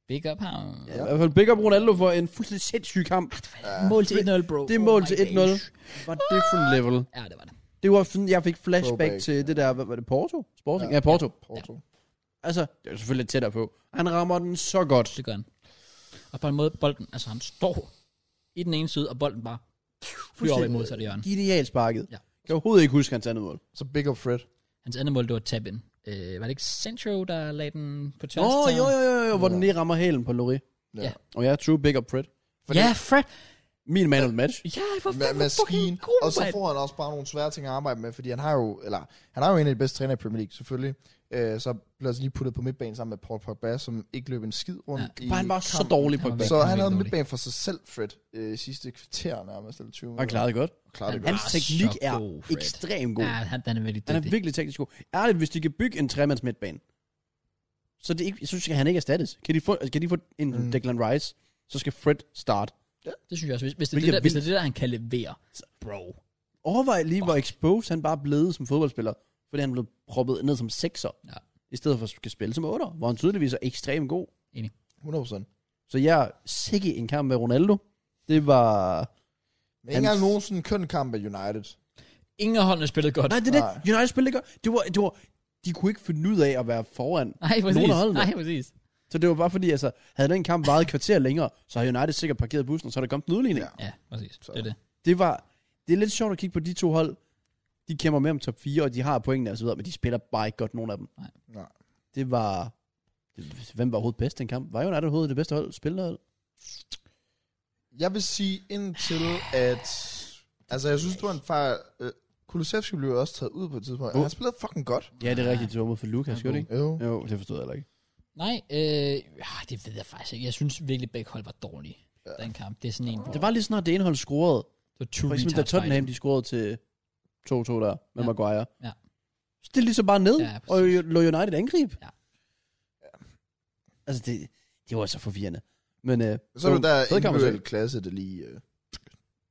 big up ham.
Ja, I hvert fald big up Ronaldo for en fuldstændig sindssyg kamp.
Mål til 1-0, bro.
Det
Oh
mål
my
til
days.
1-0 var different level.
Ja, det var det.
Det var sådan, jeg fik flashback
Throwback,
til det der, hvad var det, Porto? Sporting?
Ja.
Ja, Porto.
Porto. Ja.
Altså, det er jo selvfølgelig lidt tættere på. Han rammer den så godt.
Det gør han. Og på en måde, bolden, altså han står i den ene side, og bolden bare flyver op i modsatte hjørne.
Genialt sparket.
Ja.
Ja. Jeg kan overhovedet ikke huske hans andet mål.
Så big up Fred.
Hans andet mål, det var tab ind. Øh, var det ikke Sancho, der lagde den på tværs?
Åh,
til
jo,
ham?
jo, jo, jo, hvor den lige rammer hælen på Lori.
Ja.
Og jeg er true big up Fred.
Ja, Fred.
Min man of the match.
Ja, hvor
Ma-
fanden fucking
maskine.
god,
Og så
mand.
får han også bare nogle svære ting at arbejde med, fordi han har jo, eller, han har jo en af de bedste træner i Premier League, selvfølgelig. Øh, så blev han så lige puttet på midtbanen sammen med Paul Pogba, som ikke løb en skid rundt ja, i
Bare han var så
kampen.
dårlig på
Han var
det.
væk.
Så han havde
dårlig.
midtbanen for sig selv, Fred, øh, sidste kvarter nærmest, eller 20
Han klarede det godt.
klarede det
Han-
godt.
Hans
var
teknik
så
er
god, Fred.
ekstremt god.
Ja, han, han er virkelig
Han er
dygtig.
virkelig teknisk god. Ærligt, hvis de kan bygge en tremands midtbane, så, det ikke, så skal han ikke erstattes. Kan de få, altså, kan de få en
Mm.
mm. Declan Rice, så skal Fred start.
Det synes jeg også. Hvis, hvis, det, er
Hvilket
det
er
der, hvis det
vildt.
er det der, han kan levere, så, bro.
Overvej lige, hvor exposed han bare blev som fodboldspiller, fordi han blev proppet ned som sekser,
Ja.
i stedet for at skal spille som otter, hvor han tydeligvis er ekstremt god.
100%.
Så jeg er sikke en kamp med Ronaldo. Det var...
Men ikke engang nogen sådan køn kamp af United.
Ingen af holdene spillede godt.
Nej, det er
Nej.
det. United spillede ikke. Det var, det var... De kunne ikke finde ud af at være foran.
Nej, præcis.
Nogen af holdene.
Nej, præcis.
Så det var bare fordi, altså, havde den kamp varet et kvarter længere, så havde United sikkert parkeret bussen, og så er der kommet en udligning. Ja.
Ja.
Ja, præcis. Det er det.
Det var... Det er lidt sjovt at kigge på de to hold. De kæmper med om top 4, og de har pointene og så videre, men de spiller bare ikke godt nogen af dem.
Nej.
Det var... det- Hvem var overhovedet bedst i den kamp? Var United overhovedet det bedste hold? Spillerhold?
Jeg vil sige indtil, at... Altså, jeg synes, det var en fejl. Øh, Kulusevski blev jo også taget ud på et tidspunkt.
Uh.
Han spillede fucking godt.
Ja, det er
Ah.
rigtigt. Det var mod for Lucas, gjorde det ikke?
Jo.
Ah. Jo, det forstod jeg heller ikke.
Nej, øh, ah, det ved jeg faktisk ikke. Jeg synes virkelig, begge hold var dårlige. Ja. Den kamp. Det er sådan en, hvor
Det var lige snart det ene hold scorede,
det var two
For eksempel, da
retards
Tottenham, de scorede til 2-2 der med
Ja.
ja. Maguire.
Ja.
Så det er ligesom bare ned,
Ja,
ja,
præcis.
og lå United angreb.
Ja.
Altså, det, det var så forvirrende. Men øh,
Så er det der
fed kamp at se.
individuel klasse, der lige øh,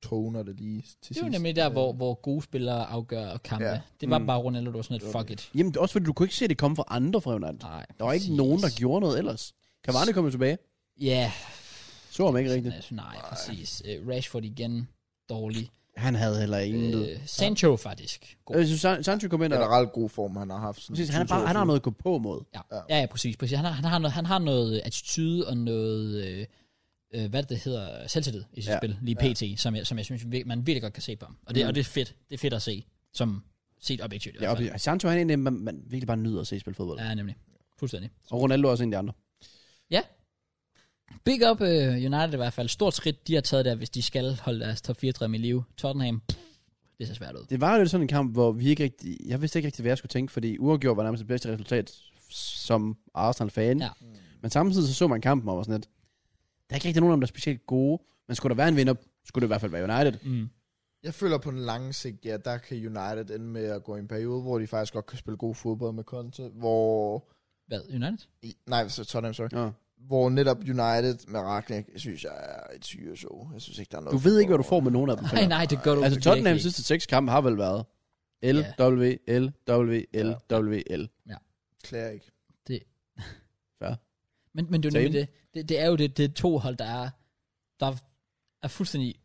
toner det lige til
fighting.
sidst.
Det var nemlig der, hvor, hvor gode spillere afgør kampe. Ja.
Ja.
Det var
Mm.
bare Ronaldo, der var sådan et fuck it.
Jamen, det er også fordi, du kunne ikke se, at det kom fra andre fra United.
Nej,
Der var ikke
præcis.
nogen, der gjorde noget ellers. Cavani kom jo tilbage.
Ja,
Så ham ikke rigtigt.
altså, nej, præcis. Øh, Rashford igen dårlig.
Han havde heller ingen øh,
Øh, Sancho ja. faktisk. God.
Jeg synes, San- Sancho kom ind og...
Generelt god form, han har haft. Sådan
Præcis, han, er
20
bare,
år
han har
siden.
noget at gå på mod.
Ja,
Ja.
ja, ja præcis. præcis. Han, har, han, har noget, han har noget attitude og noget, øh, øh, hvad det hedder, selvtillid i sit
Ja.
ja. spil, lige pt, ja. som, jeg, som jeg synes, vir- man virkelig godt kan se på ham. Og det,
Mm.
mm. og det er fedt. Det er fedt at se, som set objektivt. i
Ja,
hvert
og
fald.
Sancho han er en af dem, man, man virkelig bare nyder at se spille fodbold. Ja.
ja, nemlig. Fuldstændig.
Og Ronaldo er også en af de andre.
Big up uh, United i hvert fald. Stort skridt, de har taget der, hvis de skal holde deres top 4 drøm i live. Tottenham, pff, det ser svært ud.
Det var jo lidt sådan en kamp, hvor vi ikke rigtig... Jeg vidste ikke rigtig, hvad jeg skulle tænke, fordi uafgjort var nærmest det bedste resultat som Arsenal-fan.
Ja.
Men samtidig så så man kampen og var sådan lidt... Der er ikke rigtig nogen af dem, der er specielt gode. Men skulle der være en vinder, skulle det i hvert fald være United.
Mm.
Jeg føler på den lange sigt, ja, der kan United ende med at gå i en periode, hvor de faktisk godt kan spille god fodbold med Conte, hvor...
Hvad, United?
i- Nej, så Tottenham, sorry.
Ja.
Hvor netop United med Ragnik, synes jeg er et syreshow. Jeg synes ikke, der er noget...
Du ved ikke, hvad du får med nogen af dem.
Nej, nej, det gør du
Altså
virkelig
Tottenhams
ikke.
sidste seks kampe har vel været L,
Ja.
W, L, W, L, W, L.
Klager ikke.
Men, men det er jo
Same.
nemlig det. det. Det er jo det, det er to hold, der er, der er fuldstændig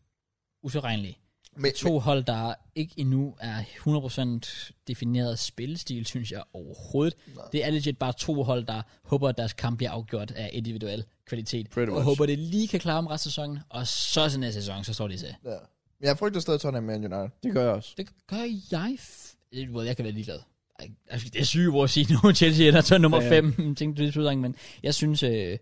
utilregnelige.
Men, men,
To hold, der ikke endnu er 100% defineret spillestil, synes jeg overhovedet.
Nej.
Det er legit bare to hold, der håber, at deres kamp bliver afgjort af individuel kvalitet.
Pretty
Og
much.
håber, det lige kan klare om resten af sæsonen, og så til næste sæson, så står de til.
ja. Men jeg frygter stadig Tottenham mere end United.
Det gør jeg også.
Det gør jeg... F- det, well, jeg kan være ligeglad. Ej, altså, Det er sygt hvor at sige nu, Chelsea er så nummer
Ja, ja.
5, ja, ja. tænkte du det men jeg synes, øh,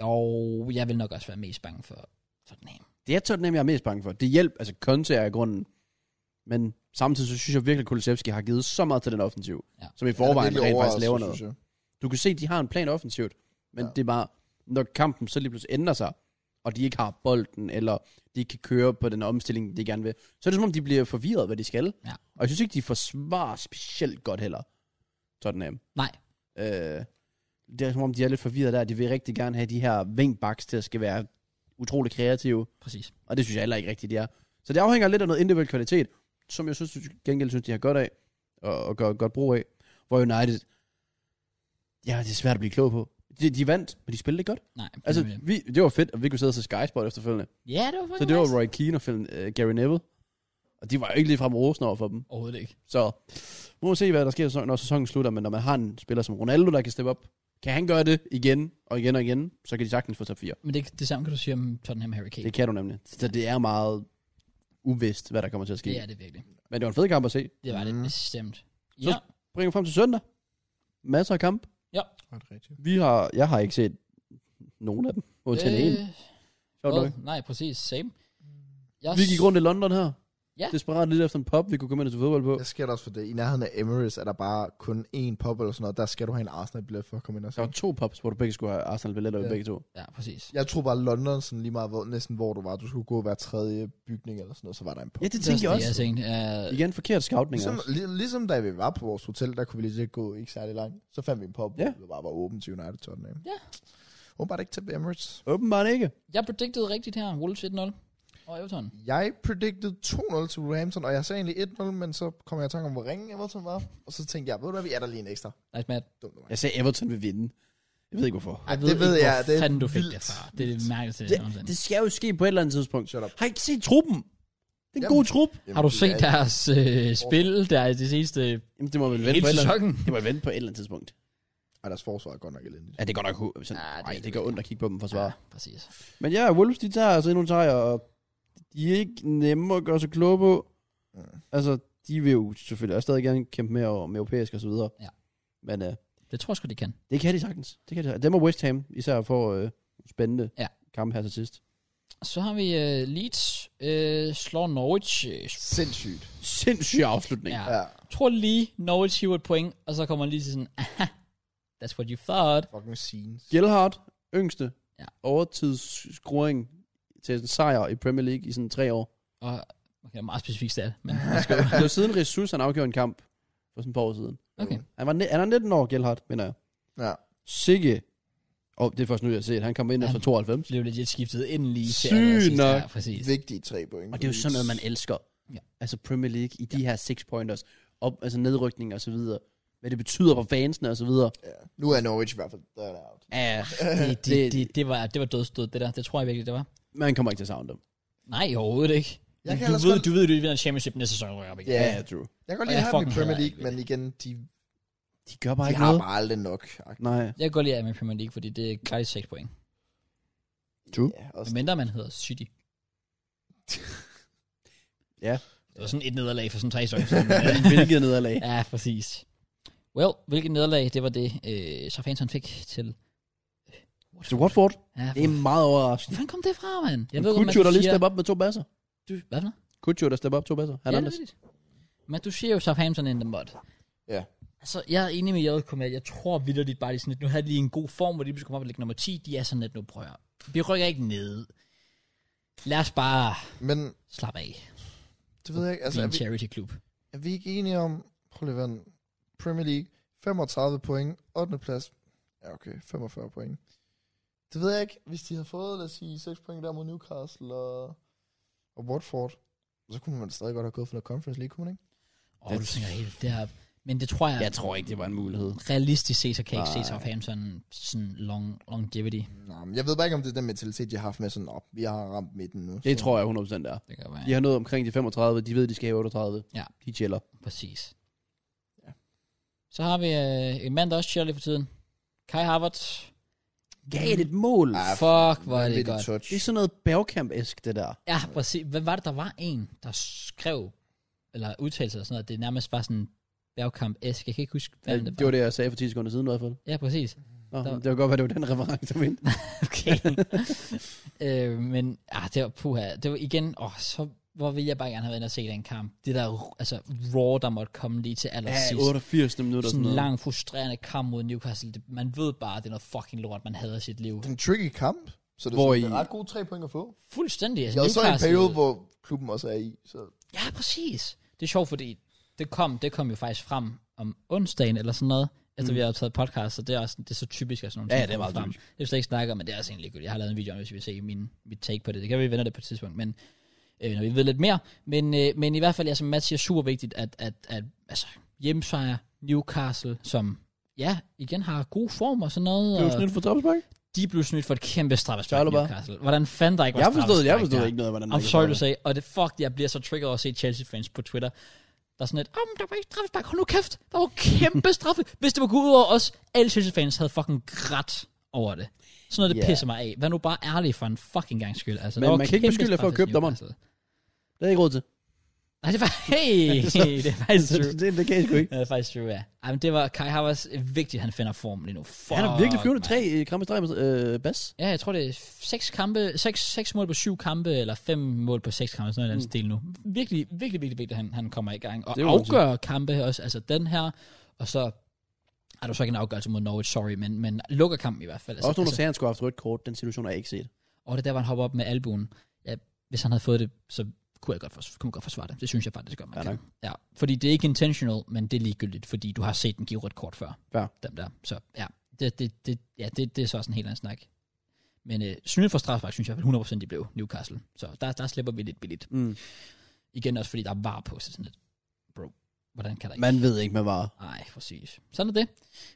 jo, jeg vil nok også være mest bange for, for den her.
Det er Tottenham, jeg er mest bange for. Det hjælp, altså Conte er i grunden. Men samtidig så synes jeg virkelig, at Kulusevski har givet så meget til den offensiv,
Ja.
ja. som i
Han er
forvejen
virkelig
rent faktisk
overrasket,
laver
synes
noget.
jeg.
Du kan se, at de har en plan offensivt, men
Ja.
ja. det er bare, når kampen så lige pludselig ændrer sig, og de ikke har bolden, eller de ikke kan køre på den omstilling, de gerne vil, så er det som om, de bliver forvirret, hvad de skal.
Ja.
Og jeg synes ikke, de forsvarer specielt godt heller, Tottenham.
Nej,
Øh, det er som om, de er lidt forvirret der. De vil rigtig gerne have de her vingbacks til at skal være utrolig kreative.
præcis.
Og det synes jeg heller ikke rigtigt, de er. Så det afhænger lidt af noget individuel kvalitet, som jeg synes, til gengæld synes, de har godt af, og, og gør godt brug af. Hvor United, ja, det er svært at blive klog på. De, de vandt, men de spillede ikke godt.
Nej.
Altså,
det-
vi, det var fedt, og vi kunne sidde og se Sky Sport efterfølgende.
ja, det var
Så
faktisk
det var Roy Keane og Phil, uh, Gary Neville. Og de var jo ikke ligefrem rosen over for dem.
Overhovedet ikke.
Så må man se, hvad der sker, når sæsonen slutter. Men når man har en spiller som Ronaldo, der kan steppe op, kan han gøre det igen og igen og igen, så kan de sagtens få top 4.
Men det, det samme kan du sige om Tottenham og Harry Kane.
Det kan du nemlig. Så det er meget uvist, hvad der kommer til at ske.
det er det virkelig.
Men det var en fed kamp at se.
Det var det
Mm.
bestemt.
Så-
Ja,
Bringer frem til søndag. Masser af kamp.
Var det rigtigt?
Vi har, jeg har ikke set nogen af dem. Undtagen øh, en. Sjovt nok.
well, nej, præcis. Same. Jeg,
Vi gik rundt i London her.
Ja.
Desperat lidt efter en pop, vi kunne komme ind og se fodbold på.
Jeg sker der også for det. I nærheden af Emirates er der bare kun én pop eller sådan noget. Der skal du have en Arsenal-billet for at komme ind og
Der
se.
var to pops, hvor du begge skulle have Arsenal billetter ja.
Ja.
begge to.
Ja, præcis.
Jeg tror bare, London sådan lige meget, hvor, næsten hvor du var. Du skulle gå hver tredje bygning eller sådan noget, så var der en pop.
Ja, det tænkte jeg
var
også.
Det, jeg tænkte. Uh,
Igen, forkert scoutning altså.
Ligesom,
også.
li- ligesom da vi var på vores hotel, der kunne vi lige gå ikke særlig langt. Så fandt vi en pop,
Ja.
ja. der bare var åben til United Tottenham.
Ja.
Åbenbart ikke til Emirates.
Åbenbart ikke.
jeg predicted rigtigt her. Wolves 1-0. Og Everton.
Jeg predicted 2-0 til Wolverhampton, og jeg sagde egentlig 1-0, men så kom jeg i tanke om, hvor ringen Everton var. Og så tænkte jeg, ved du hvad, vi er der lige en ekstra.
Nice, Matt.
Dumt af mig.
Jeg sagde, Everton vil vinde. Jeg ved ikke, hvorfor.
Ej, det ved
ikke,
jeg.
hvor
Det er
fanden du fik det
vildt.
fra. Det er det mærkeligste.
Det,
jeg nogensinde.
det skal jo ske på et eller andet tidspunkt.
Shut up.
Har I ikke set truppen? Det er en
Jamen.
god trup.
Jamen,
Har du
det
set
er-
deres øh, spil, der er det seneste
Jamen, det må vel vente
hele
på et eller andet.
sæsonen?
Det må vente på et eller andet tidspunkt.
Ej, deres forsvar er godt nok elendigt.
Ja, det er godt nok... hu- Sådan,
Ja,
ja,
det
det,
er
ej,
det
det gør
virkelig.
ondt at kigge på dem forsvare.
præcis.
Men ja, Wolves, de tager altså endnu en sejr, og de er ikke nemme at gøre sig kloge på.
Mm.
Altså, de vil jo selvfølgelig også stadig gerne kæmpe mere om europæisk og så videre.
Ja.
Men øh,
Det tror jeg sgu, de kan.
det kan de sagtens. Det kan de sagtens. Dem og West Ham især får øh, spændende
Ja.
kampe her til sidst.
Så har vi uh, Leeds uh, slår Norwich. Øh,
Sindssygt.
Sindssyg afslutning.
Ja.
Ja.
Ja,
tror lige, Norwich hiver et point, og så kommer han lige til sådan, aha, that's what you thought.
fucking scenes.
Gellhardt, yngste,
Ja.
ja. overtidsscoring til en sejr i Premier League i sådan tre år.
Og okay, det er meget specifikt stat, men
Det var siden Ressus, han afgjorde en kamp for sådan et par år siden.
okay.
Han, var ne- han er 19 år, Gellhardt, mener jeg.
Ja.
Sikke. Og oh, det er først nu, jeg har set. Han kom ind efter
Han-
92.
Blev legit skiftet ind lige til
Sygt
allersidst.
nok.
Ja, præcis.
Vigtige tre point.
Og det er jo sådan noget, man elsker.
Ja.
Ja. Altså Premier League i de her six pointers, op, altså nedrykning og så videre. Hvad det betyder for fansene og så videre.
Ja. Nu er Norwich i hvert fald døren out.
Ja,
Det, det,
Det-
det, det, var, det var dødstød, det der. Det tror jeg virkelig, det var.
man kommer ikke til at savne dem.
Nej, overhovedet ikke.
Jeg kan
du,
ellers
ved,
godt-
du ved, du vinder championship næste sæson, rykker op igen.
Ja.
Ja, ja, true.
Jeg kan godt
Og
lide
jeg
at have dem i
fucking
Premier
hader
League,
ikke
men igen, de,
De gør bare
de
ikke
har
noget.
bare aldrig nok.
Nej.
Jeg går lige af med Premier League, fordi det er gratis 6 point.
True.
Ja, også,
Men mindre man hedder City.
Ja.
Det var sådan et nederlag for sådan tre sæsoner. siden.
Hvilket nederlag.
ja, præcis. Well, hvilket nederlag, det var det, øh, Southampton fik til... øh,
Så Watford,
Ja,
det er meget overraskende.
Hvor fanden kom det fra, mand? Jeg
Men
ved godt,
Kutjo, der
man
lige
siger...
stepper op med to basser.
Du, hvad for noget?
Kutjo, der stepper op to basser. Han
Ja, det er
Anders.
rigtigt. Men du siger jo Southampton in the mud.
Ja.
Altså, jeg er enig med JK med, at jeg tror vidderligt bare, de er sådan lidt, nu havde de lige en god form, hvor de pludselig kom op og ligge nummer 10, de er sådan lidt, nu prøver jeg. Vi rykker ikke ned. Lad os bare
men
slappe af.
det ved jeg ikke. Altså,
Altså,
er
en
vi,
charity klub.
er vi ikke enige om, prøv lige at vende, Premier League, 35 point, 8. plads. Ja, okay, 45 point. Det ved jeg ikke, hvis de havde fået, lad os sige, 6 point der mod Newcastle og, og Watford, så kunne man stadig godt have gået for noget Conference League, kunne man ikke?
Åh, oh, du tænker helt derop. Men det tror jeg,
Jeg tror ikke, det var en mulighed.
realistisk set, så kan jeg ikke se
Nej.
Southampton sådan long, longevity.
Nej, men jeg ved bare ikke, om det er den mentalitet, de har haft med sådan, op, vi har ramt midten nu.
Det
så-
tror jeg 100% det er.
Det kan være.
De har nået omkring de 35, de ved, de skal have 38.
Ja.
De chiller.
Præcis.
Ja.
Så har vi øh, en mand, der også chiller lige for tiden. Kai Harvard.
Gav det
Mm.
et mål.
Ja,
Fuck, hvor er det
vanvittigt
godt.
Touch.
Det er sådan noget bagkamp-esk, det der.
Ja, præcis. Hvem var det, der var en, der skrev, eller udtalte eller sådan noget, det er nærmest bare sådan bergkamp æsk Jeg kan ikke huske, hvad
Ja,
det,
det var det, jeg sagde for 10 sekunder siden i hvert fald.
Ja, præcis.
Nå,
Der-
det var godt, at det var den reference, du mente.
Okay. øh, men ah, det var puha. Det var igen, åh, så hvor vil jeg bare gerne have været inde og se den kamp. Det der altså, raw, der måtte komme lige til allersidst.
Ja, 88 minutter.
sådan
Sådan
en
noget.
lang, frustrerende kamp mod Newcastle. Det, man ved bare, det er noget fucking lort, man havde i sit liv.
Det er en tricky kamp, så det er,
Hvor
sådan, det
I- Altså,
er ret gode tre point at få.
Fuldstændig. altså
Jeg er også en periode, hvor klubben også er i, så
Ja, præcis. Det er sjovt, fordi det kom, det kom jo faktisk frem om onsdagen eller sådan noget, efter mm. vi havde optaget podcast, så det er, også, det er så typisk, at sådan nogle
Ja,
ting
det er
kommer
meget
frem.
typisk.
Det vil jeg slet ikke snakke om, men det er også egentlig ligegyldigt. Jeg har lavet en video om, det, hvis vi vil se min, mit take på det. Det kan vi vende det på et tidspunkt, men øh, når vi ved lidt mere. Men, øh, men i hvert fald, ja, som Mads siger, super vigtigt, at, at, at altså, hjemmesejr, Newcastle, som ja, igen har god form og sådan noget.
Det var
og-
snydt for topspark.
de blev snydt for et kæmpe straffespark i
Charlotte bare.
Newcastle. Hvordan fanden der ikke var
Jeg forstod, jeg
straffespark
forstod
der?
ikke noget, hvordan
I'm sorry to say. Og det, fuck, jeg bliver så triggered over at se Chelsea-fans på Twitter. Der er sådan et, om der var ikke straffespark, hold nu kæft, der var kæmpe straffe. Hvis det var gået ud over os, alle Chelsea-fans havde fucking grædt over det. Sådan noget, det
Ja.
yeah. pisser mig af. Vær nu bare ærlig for en fucking gang skyld. Altså,
Men
der var
man kan ikke
kæmpe
beskylde jer for at
straffe til
købe dommeren.
Newcastle.
Det er ikke råd til.
Nej, det var, hey, det er faktisk true.
det, det kan jeg sgu ikke.
Ja, Det er faktisk true, ja. Ej, men det var Kai Havertz øh, vigtigt, han finder form lige nu. Fuck,
Han har virkelig flyvende
mand.
tre øh, kampe i streg med øh, bas.
Ja, jeg tror, det er seks, kampe, seks, seks mål på syv kampe, eller fem mål på seks kampe, sådan noget mm. den stil nu. Virkelig, virkelig, virkelig vigtigt, at han, han kommer i gang. Og
Det må man sige.
afgør kampe også, altså den her, og så... Ej, det var så ikke en afgørelse mod Norwich, sorry, men, men lukker kampen i hvert fald.
Altså, også nogen, der
altså,
sagde, han skulle have haft rødt kort. Den situation har jeg ikke set.
og det er der, hvor han hopper op med albuen. Ja, hvis han havde fået det, så kunne jeg godt, for, kunne man godt forsvare det. Det synes jeg faktisk godt, man
Ja,
kan.
nok.
Ja, fordi det er ikke intentional, men det er ligegyldigt, fordi du har set den give rødt kort før.
Ja.
Dem der. Så ja, det, det, det, ja, det, det er så også en helt anden snak. Men øh, snydt for strafspark, synes jeg i hvert fald 100% de blev Newcastle. Så der, der slipper vi lidt billigt.
Mm.
Igen også, fordi der er var på, så sådan lidt. Bro, hvordan kan der ikke?
Man ved ikke, hvad var.
Nej, præcis. Sådan er det.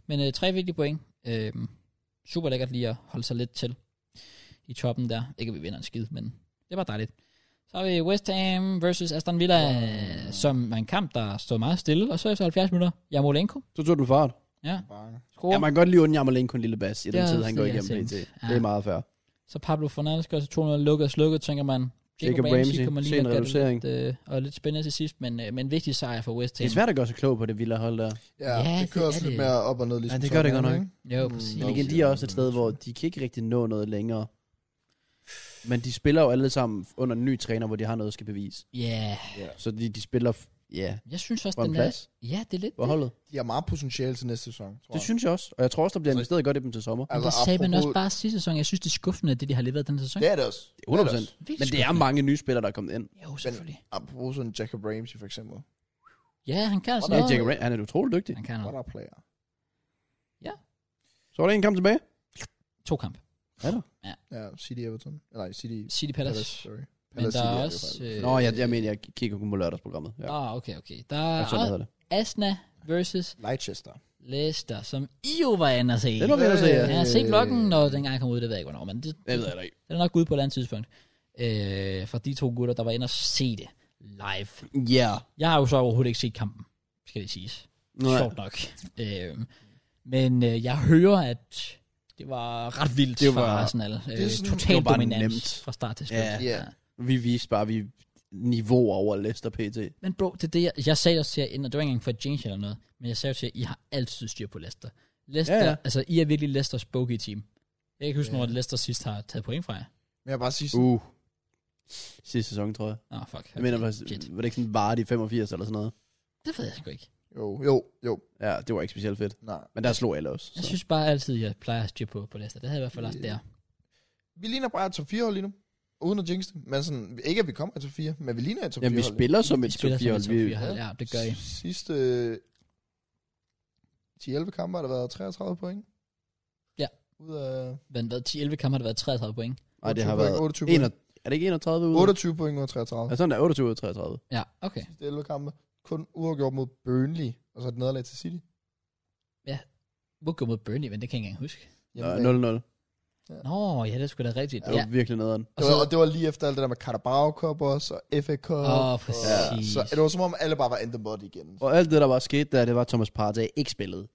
Men øh, tre vigtige point. Øh, super lækkert lige at holde sig lidt til i toppen der. Ikke at vi vinder en skid, men det var dejligt. Så har vi West Ham versus Aston Villa, øh, som er en kamp, der stod meget stille. Og så efter 70 minutter, Jamolenko
Så tog den fart.
bare...
scorer.
Ja, man kan godt lige undre Jammerlin kun lille bas i
Det
den
er
tid,
også
han
det,
går
jeg
igennem pt.
tænkte.
Det
Ja.
er meget fair.
Så Pablo Fernandes gør til 200 lukket og slukket, tænker man.
Jacob Ramsey,
lige
sen
og gør det
reducering.
Lidt, øh, og lidt spændende til sidst, men, øh, men vigtig sejr for West
Det
Ham.
er svært at gøre sig klog på det vilde hold der.
Ja,
Ja,
ja, det
det
kører
er
også lidt
det.
mere op og ned, ligesom
Ja, det gør det godt
Tottenham,
nok.
ikke?
Jo,
Mm,
præcis.
Men igen, de er også et sted, hvor de kan ikke rigtig nå noget længere. Men de spiller jo alle sammen under en ny træner, hvor de har noget at skal bevise.
Ja, yeah.
Så de, de spiller, f- ja,
jeg synes også,
på en
den er...
plads
Ja, det er lidt
på holdet.
De har meget potentiale til næste sæson, tror
Det
jeg.
synes jeg også. Og jeg tror også, der bliver
Så-
investeret godt i dem til sommer.
Men
Altså,
det sagde man
apropos-
også bare sidste sæson. Jeg synes, det er skuffende, det de har leveret den sæson.
Det er det også. Det er det
100%.
også.
Vildt
Men det er
skuffende.
mange nye spillere, der er kommet ind.
Jo, selvfølgelig.
Apropos sådan Jacob Ramsey, for eksempel.
Ja, han kan sådan
Ja,
noget.
Jack Rand, han er utrolig dygtig.
Han kan
What
noget.
a player.
Så er der en kamp tilbage.
To kamp.
Ja, City Everton. Nej, City
City Palace.
Palace, sorry.
Men der
City
er
det
også...
faktisk.
Øh,
Nå, jeg, jeg mener, jeg kigger kun på lørdagsprogrammet. Ja.
Ah, okay, okay. Der er
Jeg tror, det hedder det.
Asna versus
Leicester.
Leicester, som I jo var inde og se.
Det var vi ellers se, ja.
Ja, se bloggen, når den gang kom ud, det ved jeg ikke, hvornår, men det,
Det ved jeg da ikke.
den er nok ude på et eller andet tidspunkt. øh, fra de to gutter, der var inde og se det live.
Ja.
Jeg har jo så overhovedet ikke set kampen, skal det siges. Nej. Sjovt nok. Øh, men øh, jeg hører, at det var ret vildt
Det
det
var-
var, fra Arsenal.
det er
Øh,
sådan-
total
det var bare
dominans
nemt.
fra start til slut.
Ja.
Ja.
Vi viste bare, vi er niveauer over Leicester PT.
Men bro, det er det, jeg, jeg sagde også til jer inden, og det var ikke engang for at change eller noget, men jeg sagde også til jer, I har altid styr på Leicester. Leicester,
Ja,
ja,
ja.
ja. altså I er virkelig Leicesters bogey team. Jeg kan ikke huske,
Ja.
ja. når Leicester sidst har taget point fra jer.
Men jeg vil bare sige sådan,
Uh. Sidste sæson, tror jeg.
Nå, fuck.
Jeg mener,
Shit.
var, var det ikke sådan Vardy 85 eller sådan noget?
Det ved jeg sgu ikke.
jo, jo, jo,
Ja, det var ikke specielt fedt.
nej.
Men der slog alle os.
Jeg
så.
synes bare altid, jeg plejer at styr på, på Leicester. Det havde jeg i hvert fald også
Øh.
der.
Vi ligner bare et top 4 hold lige nu. Uden at jinx det. Men sådan, ikke at vi kommer i top 4, men vi ligner et top 4
Jamen, vi spiller som et
I spiller som et top 4
top
hold. Ja, det gør I.
Sidste 10-11 kampe har der været 33 point.
Ja.
Ud af
Men hvad, 10-11 kampe har det været 33 point.
Nej, det har
28
været...
point, 28
en og- Er det ikke 31 ud?
28 point ud af 33.
Ja, sådan der. 28 ud af 33.
Ja, okay.
Sidste 11 kampe. Kun uafgjort mod Burnley, og så et nederlag til City.
Hvor gå mod Burnley, men det kan jeg ikke engang huske.
Nå,
Hjemmebane.
0-0.
Nå, ja, det er sgu da rigtigt.
Det
Ja,
var virkelig nederen.
og
Det
så...
var, og det var lige efter alt det der med Carabao Cup også, og FA Cup.
Åh,
og-
præcis.
Så det var som om, alle bare var in the mud igen.
Og alt det, der var sket der, det var at Thomas Partey ikke spillede.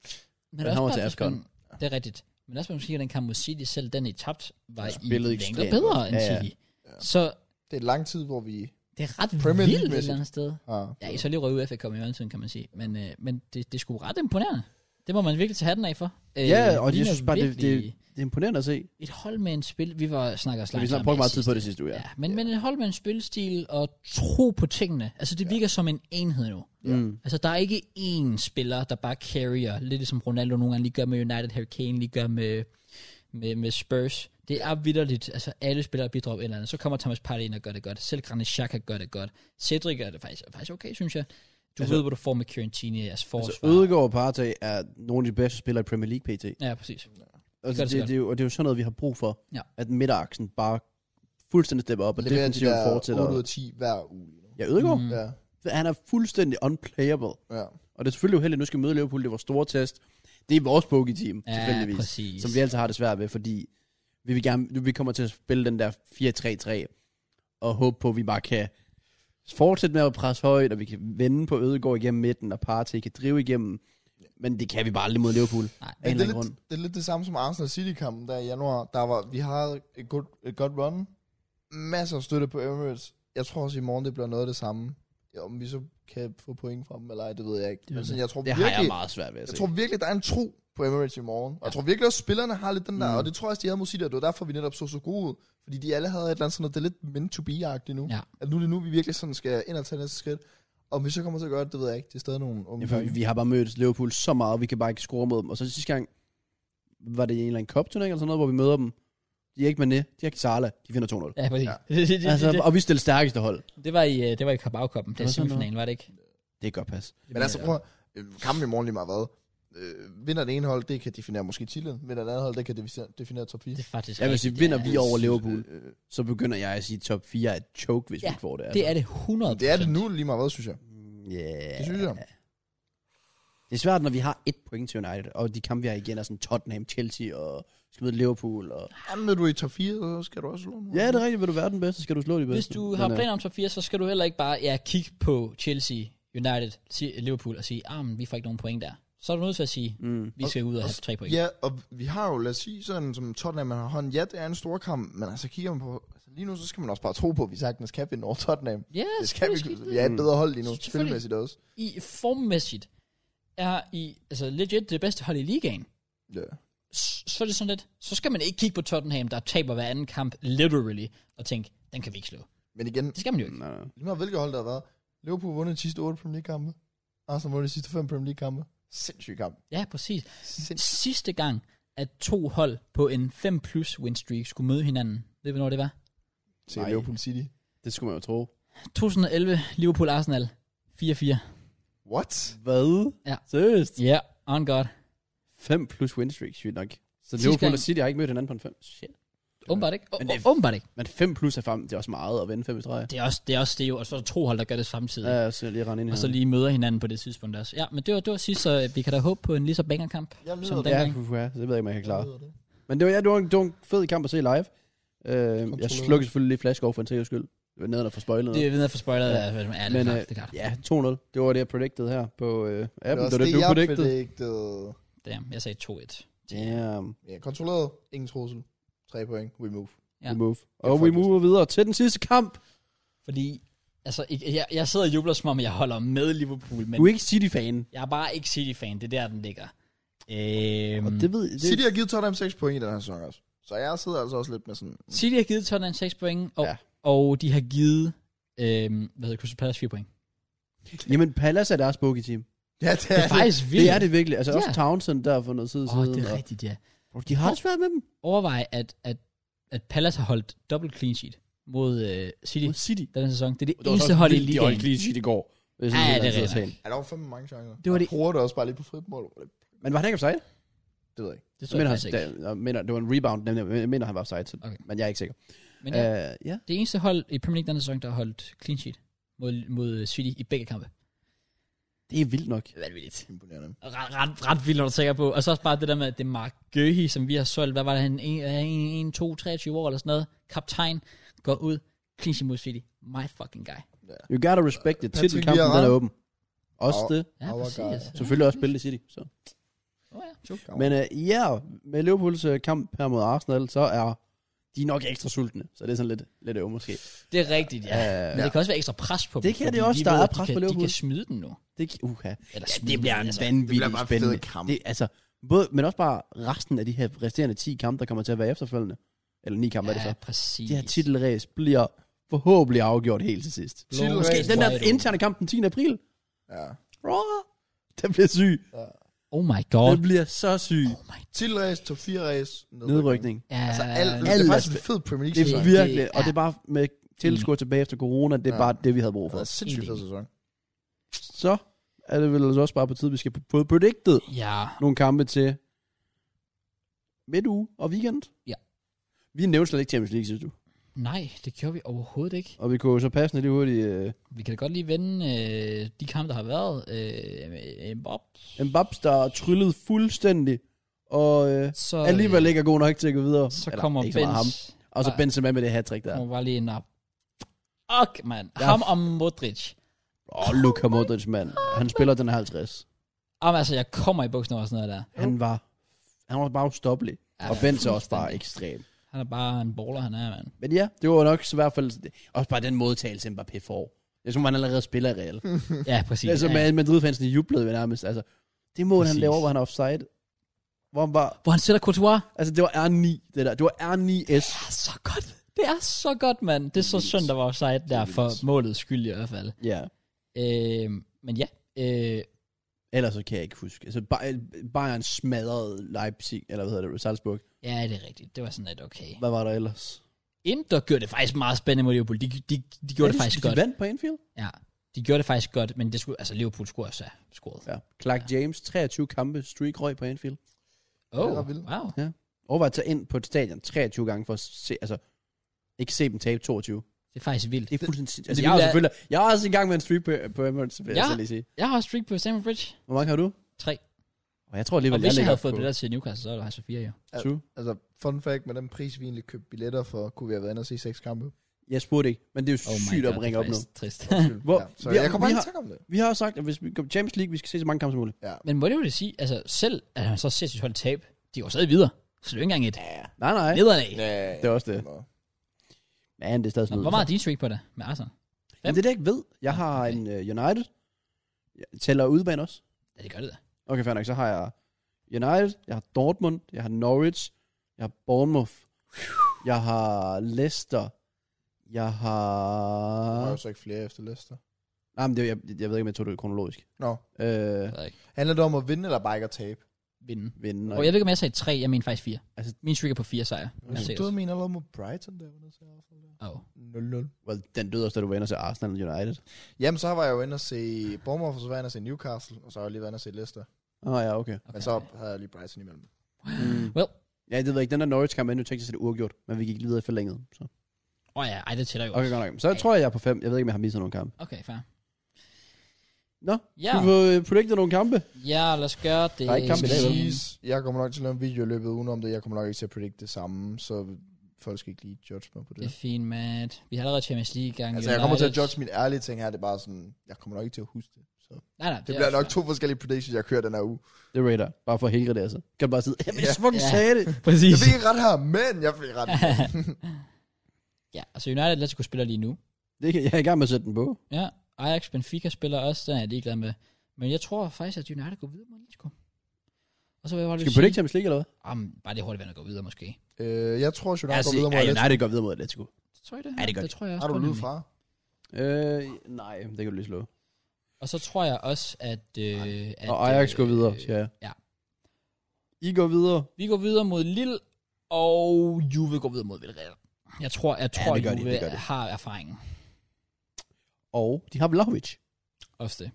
Men det
Han
er
var
også
til
bare, hvis
Ascon.
man, det er rigtigt. Men også, hvis man siger, at den kamp mod City, selv den I tabt, var
Ja,
i
spillede
længder
ekstremt godt.
bedre end
Ja, ja.
City.
Ja.
Så
Det er lang tid, hvor vi
det er ret
Premier
vildt et
League-mæssigt.
eller andet sted.
har...
Ja, I så lige røget ud, FA kom i mellemtiden, kan man sige. Men, øh, men det, det er sgu ret imponerende. Det må man virkelig tage hatten af for. Øh,
Ja, og
det
jeg
ligner
synes bare, det, det,
virkelig
det er imponerende at se.
Et hold med en spil... Vi var snakker
Så vi
slags
snakker brugt meget tid på det sidste uge,
Ja,
ja.
ja men, men et hold med en spilstil og tro på tingene. Altså, det virker som en enhed nu.
Mm.
Altså, der er ikke én spiller, der bare carrier, lidt ligesom Ronaldo nogle gange lige gør med United, Harry Kane lige gør med, med, med Spurs. Det er vidderligt. Altså, alle spillere bidrager på et eller andet. Så kommer Thomas Partey ind og gør det godt. Selv Granit Xhaka gør det godt. Cedric gør det faktisk, faktisk okay, synes jeg. Du
Altså-
altså, ved, hvad du får med Kieran jeres
Altså,
forsvar. Altså,
Ødegaard og Partey er nogle af de bedste spillere i Premier League PT.
ja, præcis.
Altså,
Gør
det,
det så
det,
godt.
det, er jo, og det er jo sådan noget, vi har brug for.
Ja.
At midteraksen bare fuldstændig stepper op, og
leverer de
defensiven
der
fortsætter.
8 ud af 10 hver uge. lige nu.
Ja, Ødegaard,
Mm.
Ja,
mm. han er fuldstændig unplayable.
ja.
Og det er selvfølgelig uheldigt, at nu skal vi møde Liverpool, det er vores store test. Det er vores bogey-team, ja,
Ja,
selvfølgelig.
præcis.
Som vi altid har det svært ved, fordi vi, vil gerne, vi kommer til at spille den der 4-3-3, og håbe på, at vi bare kan fortsætte med at presse højt, og vi kan vende på Ødegaard igennem midten, og Partey kan drive igennem. Men det kan vi bare aldrig mod Liverpool.
Nej,
af en
Men
eller
det,
anden
er
grund.
lidt, det er lidt det samme som Arsenal City-kampen der i januar. Der var, vi havde et godt, et godt run. Masser af støtte på Emirates. Jeg tror også i morgen, det bliver noget af det samme. Ja, Om vi så kan få point fra dem eller ej, det ved jeg ikke. Men sådan, jeg tror
Det har jeg
virkelig,
meget svært ved at
jeg
se.
tror virkelig, der er en tro på Emirates i morgen. Og jeg tror virkelig også, spillerne har lidt den der.
Mm.
Mm. Og det tror jeg også, de havde musik, og det var derfor, vi netop så så gode ud. Fordi de alle havde et eller andet sådan noget, det er lidt meant to be-agtigt nu.
Ja.
At nu er det nu, vi virkelig sådan skal ind og tage næste skridt. Og hvis jeg kommer til at gøre det, det ved jeg ikke. Det er stadig nogle unge
Ja, for vi,
drenge.
vi har bare mødt Liverpool så meget, og vi kan bare ikke score mod dem. Og så sidste gang, var det en eller anden cup-turnering eller sådan noget, hvor vi møder dem. De er ikke Mané, de er ikke Sala, de vinder 2-0.
Ja, præcis.
Ja.
Det, det, det,
Altså,
det,
og vi stiller stærkeste hold.
det, var i, øh, det var i Carabao-koppen.
Det
Det var
var sådan noget.
semifinalen, var det ikke?
Det er godt pas.
Men altså, prøv at- øh, kampen i morgen lige meget hvad. Øh, vinder det ene hold, det kan definere måske titlen. Vinder det andet hold, det kan definere, definere top 4.
Det er altså, faktisk
Jeg vil sige,
rigtigt,
vinder
ja.
vi over Liverpool,
Øh, øh,
så begynder jeg at sige, top 4 er et choke, hvis ja,
Ja,
vi ikke får det.
Det er det 100
det er det nu lige meget hvad, synes jeg.
Yeah.
Det synes jeg.
Det er svært, når vi har et point til United, og de kampe, vi har igen, er sådan Tottenham, Chelsea og skal møde Liverpool. Og...
Jamen, er du i top 4, så skal du også slå nogen.
Ja, det er rigtigt. Vil du være den bedste, skal du slå de bedste.
Hvis du har
Men, øh,
planer om top 4, så skal du heller ikke bare ja, kigge på Chelsea, United, Si- Liverpool og sige, ah, men vi får ikke nogen point der. Så er du nødt til at sige,
Mm.
vi skal ud og have
også-
tre point.
Ja, og vi har jo, lad os sige, sådan som Tottenham man har hånd. Ja, det er en stor kamp, men altså kigger man på... Altså, lige nu, så skal man også bare tro på, at vi sagtens kan vinde over Tottenham.
Ja,
Det skal vi.
selvfølgelig
Vi er et bedre hold lige nu,
Selvfølgelig.
spilmæssigt også.
I formmæssigt er I altså legit det bedste hold i ligaen.
Ja.
S- Så er det sådan lidt, så skal man ikke kigge på Tottenham, der taber hver anden kamp, literally, og tænke, den kan vi ikke slå.
Men igen,
Det skal man jo ikke.
Nej, nej.
lige meget hvilket hold der har været. Liverpool har vundet de sidste 8 Premier League-kampe. Arsenal har vundet de sidste 5 Premier League-kampe. Sindssyg kamp.
Ja, præcis.
Sindssyg.
Sidste gang, at to hold på en 5 plus win streak skulle møde hinanden, ved du, hvornår det var?
til
Nej.
Nej. Liverpool City.
Det skulle man jo tro.
2011, Liverpool-Arsenal, 4-4.
What?
Hvad?
Ja.
Seriøst?
Ja, yeah, on God.
5 plus win streak, sygt nok. Så
Sidste
Liverpool
gang-
og City har ikke mødt hinanden på en 5. Shit.
Åbenbart ikke.
Men det er-
Åh, Åbenbart ikke.
Men 5 plus er frem, det er også meget at vinde 5 i streg.
Det er også det, er også det jo. Og så er der to hold, der gør det samtidig. Ja,
Ja, så lige rende ind i
og så lige møder hinanden på det tidspunkt også. Ja, men det var, det var sidst, så øh, vi kan da håbe på en lige så banger kamp.
Jeg
Som
lyder det.
den-
Ja,
dengang.
puha, så det ved jeg ikke, om jeg kan klare.
Jeg lyder det.
Men det var, ja, det var, en, det var en fed kamp at se live. Øh, jeg
Kontrolleret.
slukkede selvfølgelig lige flash over for en sikkerheds skyld. Det var nede, der for spoilet.
Det er ved at få spoilet,
Ja.
ja. er, er det,
Men,
klart,
øh,
det er klart.
Ja, 2-0. Det var det, jeg predicted her på øh,
det
appen.
var
Det var
også
det,
det,
du
jeg
predicted.
predicted.
Damn, jeg sagde 2-1.
Damn.
Ja, kontrolleret. Ingen trussel. Tre point. We move.
Ja.
Ja. We move.
er
Og we
faktisk-
move videre til den sidste kamp.
Fordi, altså, ikke- jeg, jeg sidder og jubler, som om jeg holder med Liverpool, men
Du er ikke City-fan.
jeg er bare ikke City-fan. Det er der, den ligger. Øhm,
Og det ved
City
det,
har givet Tottenham 6 point i den her sæson også. Så jeg sidder altså også lidt med sådan...
City har givet Tottenham 6 point, og,
Ja.
ja. og de har givet, øhm, hvad hedder Crystal Palace 4 point.
Jamen, Palace er deres bogey-team.
Ja, det
Det er faktisk vildt.
Det er det virkelig. Altså,
Ja.
også Townsend der for noget tid
Åh,
siden.
oh, det er
og-
rigtigt, ja.
Og de har det svært med dem.
Overvej, at, at, at Palace har holdt dobbelt clean sheet mod øh, City
Mod City.
den her sæson. Det er det,
Det var
eneste
så
hold i
vildt, De
ligaen.
holdt lige shit i går. Ja,
Ja, det er rigtigt.
Ja, der var fandme mange chancer.
Det var
Jeg
det-
bruger det også bare lige på fritmål.
Men var han ikke offside?
Det ved jeg ikke.
Det tror
Jeg
jeg
mener, han,
faktisk ikke.
der, jeg mener, det var en rebound, nemlig. Jeg mener, han var offside, så,
Okay.
men jeg er ikke sikker.
Men ja,
Ja. Uh, ja.
det eneste hold i Premier League den her sæson, der har holdt clean sheet mod, mod City i begge kampe.
Det er vildt nok.
Det er vanvittigt.
Imponerende.
Ret, ret, ret vildt, når du tænker på. Og så også bare det der med, at det er Mark Gøhi, som vi har solgt. Hvad var det, han? 1, 2, 23 år eller sådan noget. Kaptajn går ud. Clean sheet mod City. My fucking guy.
You gotta respect it.
Patrick
Titelkampen, den
Vieira.
er åben. Også
Og-
det.
Ja,
Our
præcis.
guy.
Selvfølgelig også spillet i City. Så.
Oh, ja. True.
Kom.
Men øh, ja, uh, yeah, med Liverpools øh, kamp her mod Arsenal, så er de nok ekstra sultne. Så det er sådan lidt, lidt øv måske.
Det er rigtigt, ja.
Ja.
Men det kan også være ekstra pres på dem.
Det kan
fordi
det også.
de
Der
ved,
er
at de
pres
kan-
på
De
Liverpool.
kan snyde dem nu.
Det, uha.
Eller
Ja,
smide
det bliver
dem,
en
altså.
vanvittig
Det bliver bare
spændende
fed kamp.
Det, altså, både, men også bare resten af de her resterende 10 kampe, der kommer til at være efterfølgende. Eller 9 kampe ja, er det
Ja,
så.
præcis.
Det her titelræs bliver forhåbentlig afgjort helt til sidst.
Blown
Titelræs.
Måske
wide
den der
open.
interne kamp den 10. april.
Ja.
Roar. Den bliver syg.
Oh my god.
Den bliver så syg.
Oh my
Titelræs, top 4 race,
Nedrykning.
Ja,
Altså, alt, det
alt
er
er
faktisk en fed Premier
Det
League sæson.
er
Det-
virkelig,
det
og
er-
det er bare med tilskuer tilbage efter corona, det er
Ja.
bare det, vi havde brug
Det
for.
er Altså, sindssygt fed sæson.
Så er det vel altså også bare på tide, vi skal på- få predicted
Ja,
nogle kampe til midtuge og weekend.
Ja.
Vi nævnte slet ikke Champions League, synes du.
nej, det gjorde vi overhovedet ikke.
Og vi kunne jo så passende lige hurtigt øh,
Vi kan da godt lige vende øh, de kampe, der har været. Øh, øh, Bob.
Mbappé, der er tryllet fuldstændig, og øh,
Så,
alligevel ikke er god nok til at gå videre.
så
Eller,
kommer
ikke så meget
Benz.
ham. Og så
Nej.
Benzema med det hat trick der.
Kommer bare lige en op. Fuck, mand.
Ja.
Ham og Modric.
Åh, oh, Luka Modric, mand. Han spiller den her 50.
Om altså, jeg kommer i bukserne over sådan noget der.
Han var, han var bare ustoppelig.
Ja,
og Benzema også bare
fuldstændig.
ekstrem.
Han er bare en baller, han er, mand.
Men ja, det var nok i hvert fald også bare den modtagelse, Mbappé får. Jeg tror, han allerede spiller i Real.
Ja, præcis.
altså,
ja.
man, Madrid-fansene jublede jo nærmest. Altså, det mål, han
Præcis.
laver, hvor han er offside. Hvor han bare,
Hvor han sætter Courtois.
altså, det var R9, det der. Det var R9S.
Det er så godt. Det er så godt, mand. Det er så synd, der var offside der for målets skyld i hvert fald.
Ja.
Øh, men ja, øh,
Ellers så kan jeg ikke huske. Altså, Bay- Bayern smadrede Leipzig, eller hvad hedder det, Salzburg.
ja, det er rigtigt. Det var sådan lidt okay.
Hvad var der ellers?
Inter gjorde det faktisk meget spændende mod Liverpool. De, de, de gjorde det, det
Ja,
faktisk
de,
godt.
de vandt på Anfield.
Ja, de gjorde det faktisk godt, men det skulle, altså Liverpool skulle også have scoret.
Ja. Clark ja. James, 23 kampe, streak røg på Anfield.
Oh,
Det var vildt.
wow.
Overvej at tage ind på et stadion 23 gange for at se, altså, ikke se dem tabe 22.
Det er faktisk vildt.
Det er fuldstændig sindssygt. Altså,
det
jeg, er
vilde
jo
er-
selvfølgelig, jeg er også i gang med en street på, på Emirates, vil ja. jeg
Ja.
så lige sige.
Jeg har også streak på Stamford Bridge.
Hvor mange har du?
3.
Og jeg tror
Og
alligevel,
hvis jeg
ligger
havde fået
på
billetter til Newcastle, så var det altså 4, jo.
True.
Altså, fun fact, med den pris, vi egentlig købte billetter for, kunne vi have været inde og se seks kampe.
Jeg spurgte ikke, men det er jo
Oh
oh
my
sygt
God,
at bringe
det er
op nu.
faktisk Trist.
Hvor-
ja, så
vi har-
jeg kommer
vi
ikke
har-
til at om det.
Vi har også sagt, at hvis vi kommer Champions League, vi skal se så mange kampe som muligt.
men må det jo det sige, altså selv, at han så ser sit hold tab, de går stadig videre. Så det er jo ikke engang et
Nej, nej.
nederlag.
Det er også det.
Nå.
Men det er stadig
Nå,
smidt.
Hvor meget er din streak på det med Arsenal?
Men det er det, jeg ikke ved. Jeg har
Okay.
en uh, United. Jeg tæller udebane også.
Ja, det gør det da.
Okay, fair nok. Så har jeg United, jeg har Dortmund, jeg har Norwich, jeg har Bournemouth, jeg har Leicester, jeg
Der var
har...
jo så ikke flere efter Leicester.
Nej, men det, jeg, jeg ved ikke, om jeg tog det kronologisk.
Nå.
Øh,
Jeg ved ikke.
Handler det om at vinde, eller bare ikke at tabe?
Vinde.
vinde.
Og jeg ved ikke, om jeg sagde 3, jeg mener faktisk 4. Altså,
Altså-
min streak er på 4 sejre.
Jeg synes, du mener allerede mod Brighton, der var nødt til at 0-0.
Well, den døde også, da du var inde og se Arsenal og United.
Jamen, så var jeg jo inde og se Bournemouth, og så var jeg inde og se Newcastle, og så har jeg lige været inde og se Leicester.
Åh oh, ja, okay.
Men så havde jeg lige Brighton imellem.
Mm.
Well.
Ja, det ved jeg ikke. Den der Norwich-kamp endnu tænkte sig, det uafgjort, men vi gik videre i forlænget. Så.
Åh oh, ja, ej, det tæller jo
Okay,
også.
godt nok. Så tror jeg, jeg er på fem. Jeg ved ikke, om jeg har misset nogle kampe.
Okay, fair.
Nå,
Ja.
du får øh, predicted nogle kampe.
Ja, lad os gøre det.
Der er ikke kamp i dag, vel?
Jeez, jeg kommer nok til at lave en video i løbet udenom det. Jeg kommer nok ikke til at predict det samme, så folk skal ikke lige judge mig på det.
Det er fint, Matt. Vi har allerede Champions League i gang.
Altså, jeg kommer til at
United.
judge min ærlige ting her, det er bare sådan, jeg kommer nok ikke til at huske det. Så det,
Nej, nej.
det
er
bliver
også
nok to forskellige predictions, jeg kører den her uge.
Det er radar. Bare for at helge det, altså. Kan du bare sidde, jamen, jeg
Ja.
fucking
Ja.
sagde det.
fair. Præcis.
Jeg fik ikke ret her, men jeg fik ret.
ja, altså United og Atletico spiller lige nu.
det kan, jeg er i gang med at sætte den på.
Ja, Ajax Benfica spiller også, den er jeg ligeglad med. Men jeg tror faktisk, at United går videre mod Atletico. Og så vil jeg bare
Skal vi
lige
på det
sige,
Champions League, eller hvad?
jamen, bare det hurtigt vand at gå videre måske.
øh, jeg tror, United
Altså,
Altså,
går videre mod
ja,
Atletico.
United går videre mod Atletico.
Det tror jeg det.
Ja, det gør
det tror jeg også.
Har du
på,
lyd
nemlig.
fra?
Øh, nej, det kan du lige slå.
Og så tror jeg også, at... Øh, at
Og Ajax går videre,
øh,
siger jeg.
ja.
I går videre.
øh, Vi går videre mod Lille, og Juve går videre mod Villarreal. Jeg tror, jeg tror,
det gør de,
Juve
det gør de.
har erfaringen.
Og de har Vlahovic.
Også det.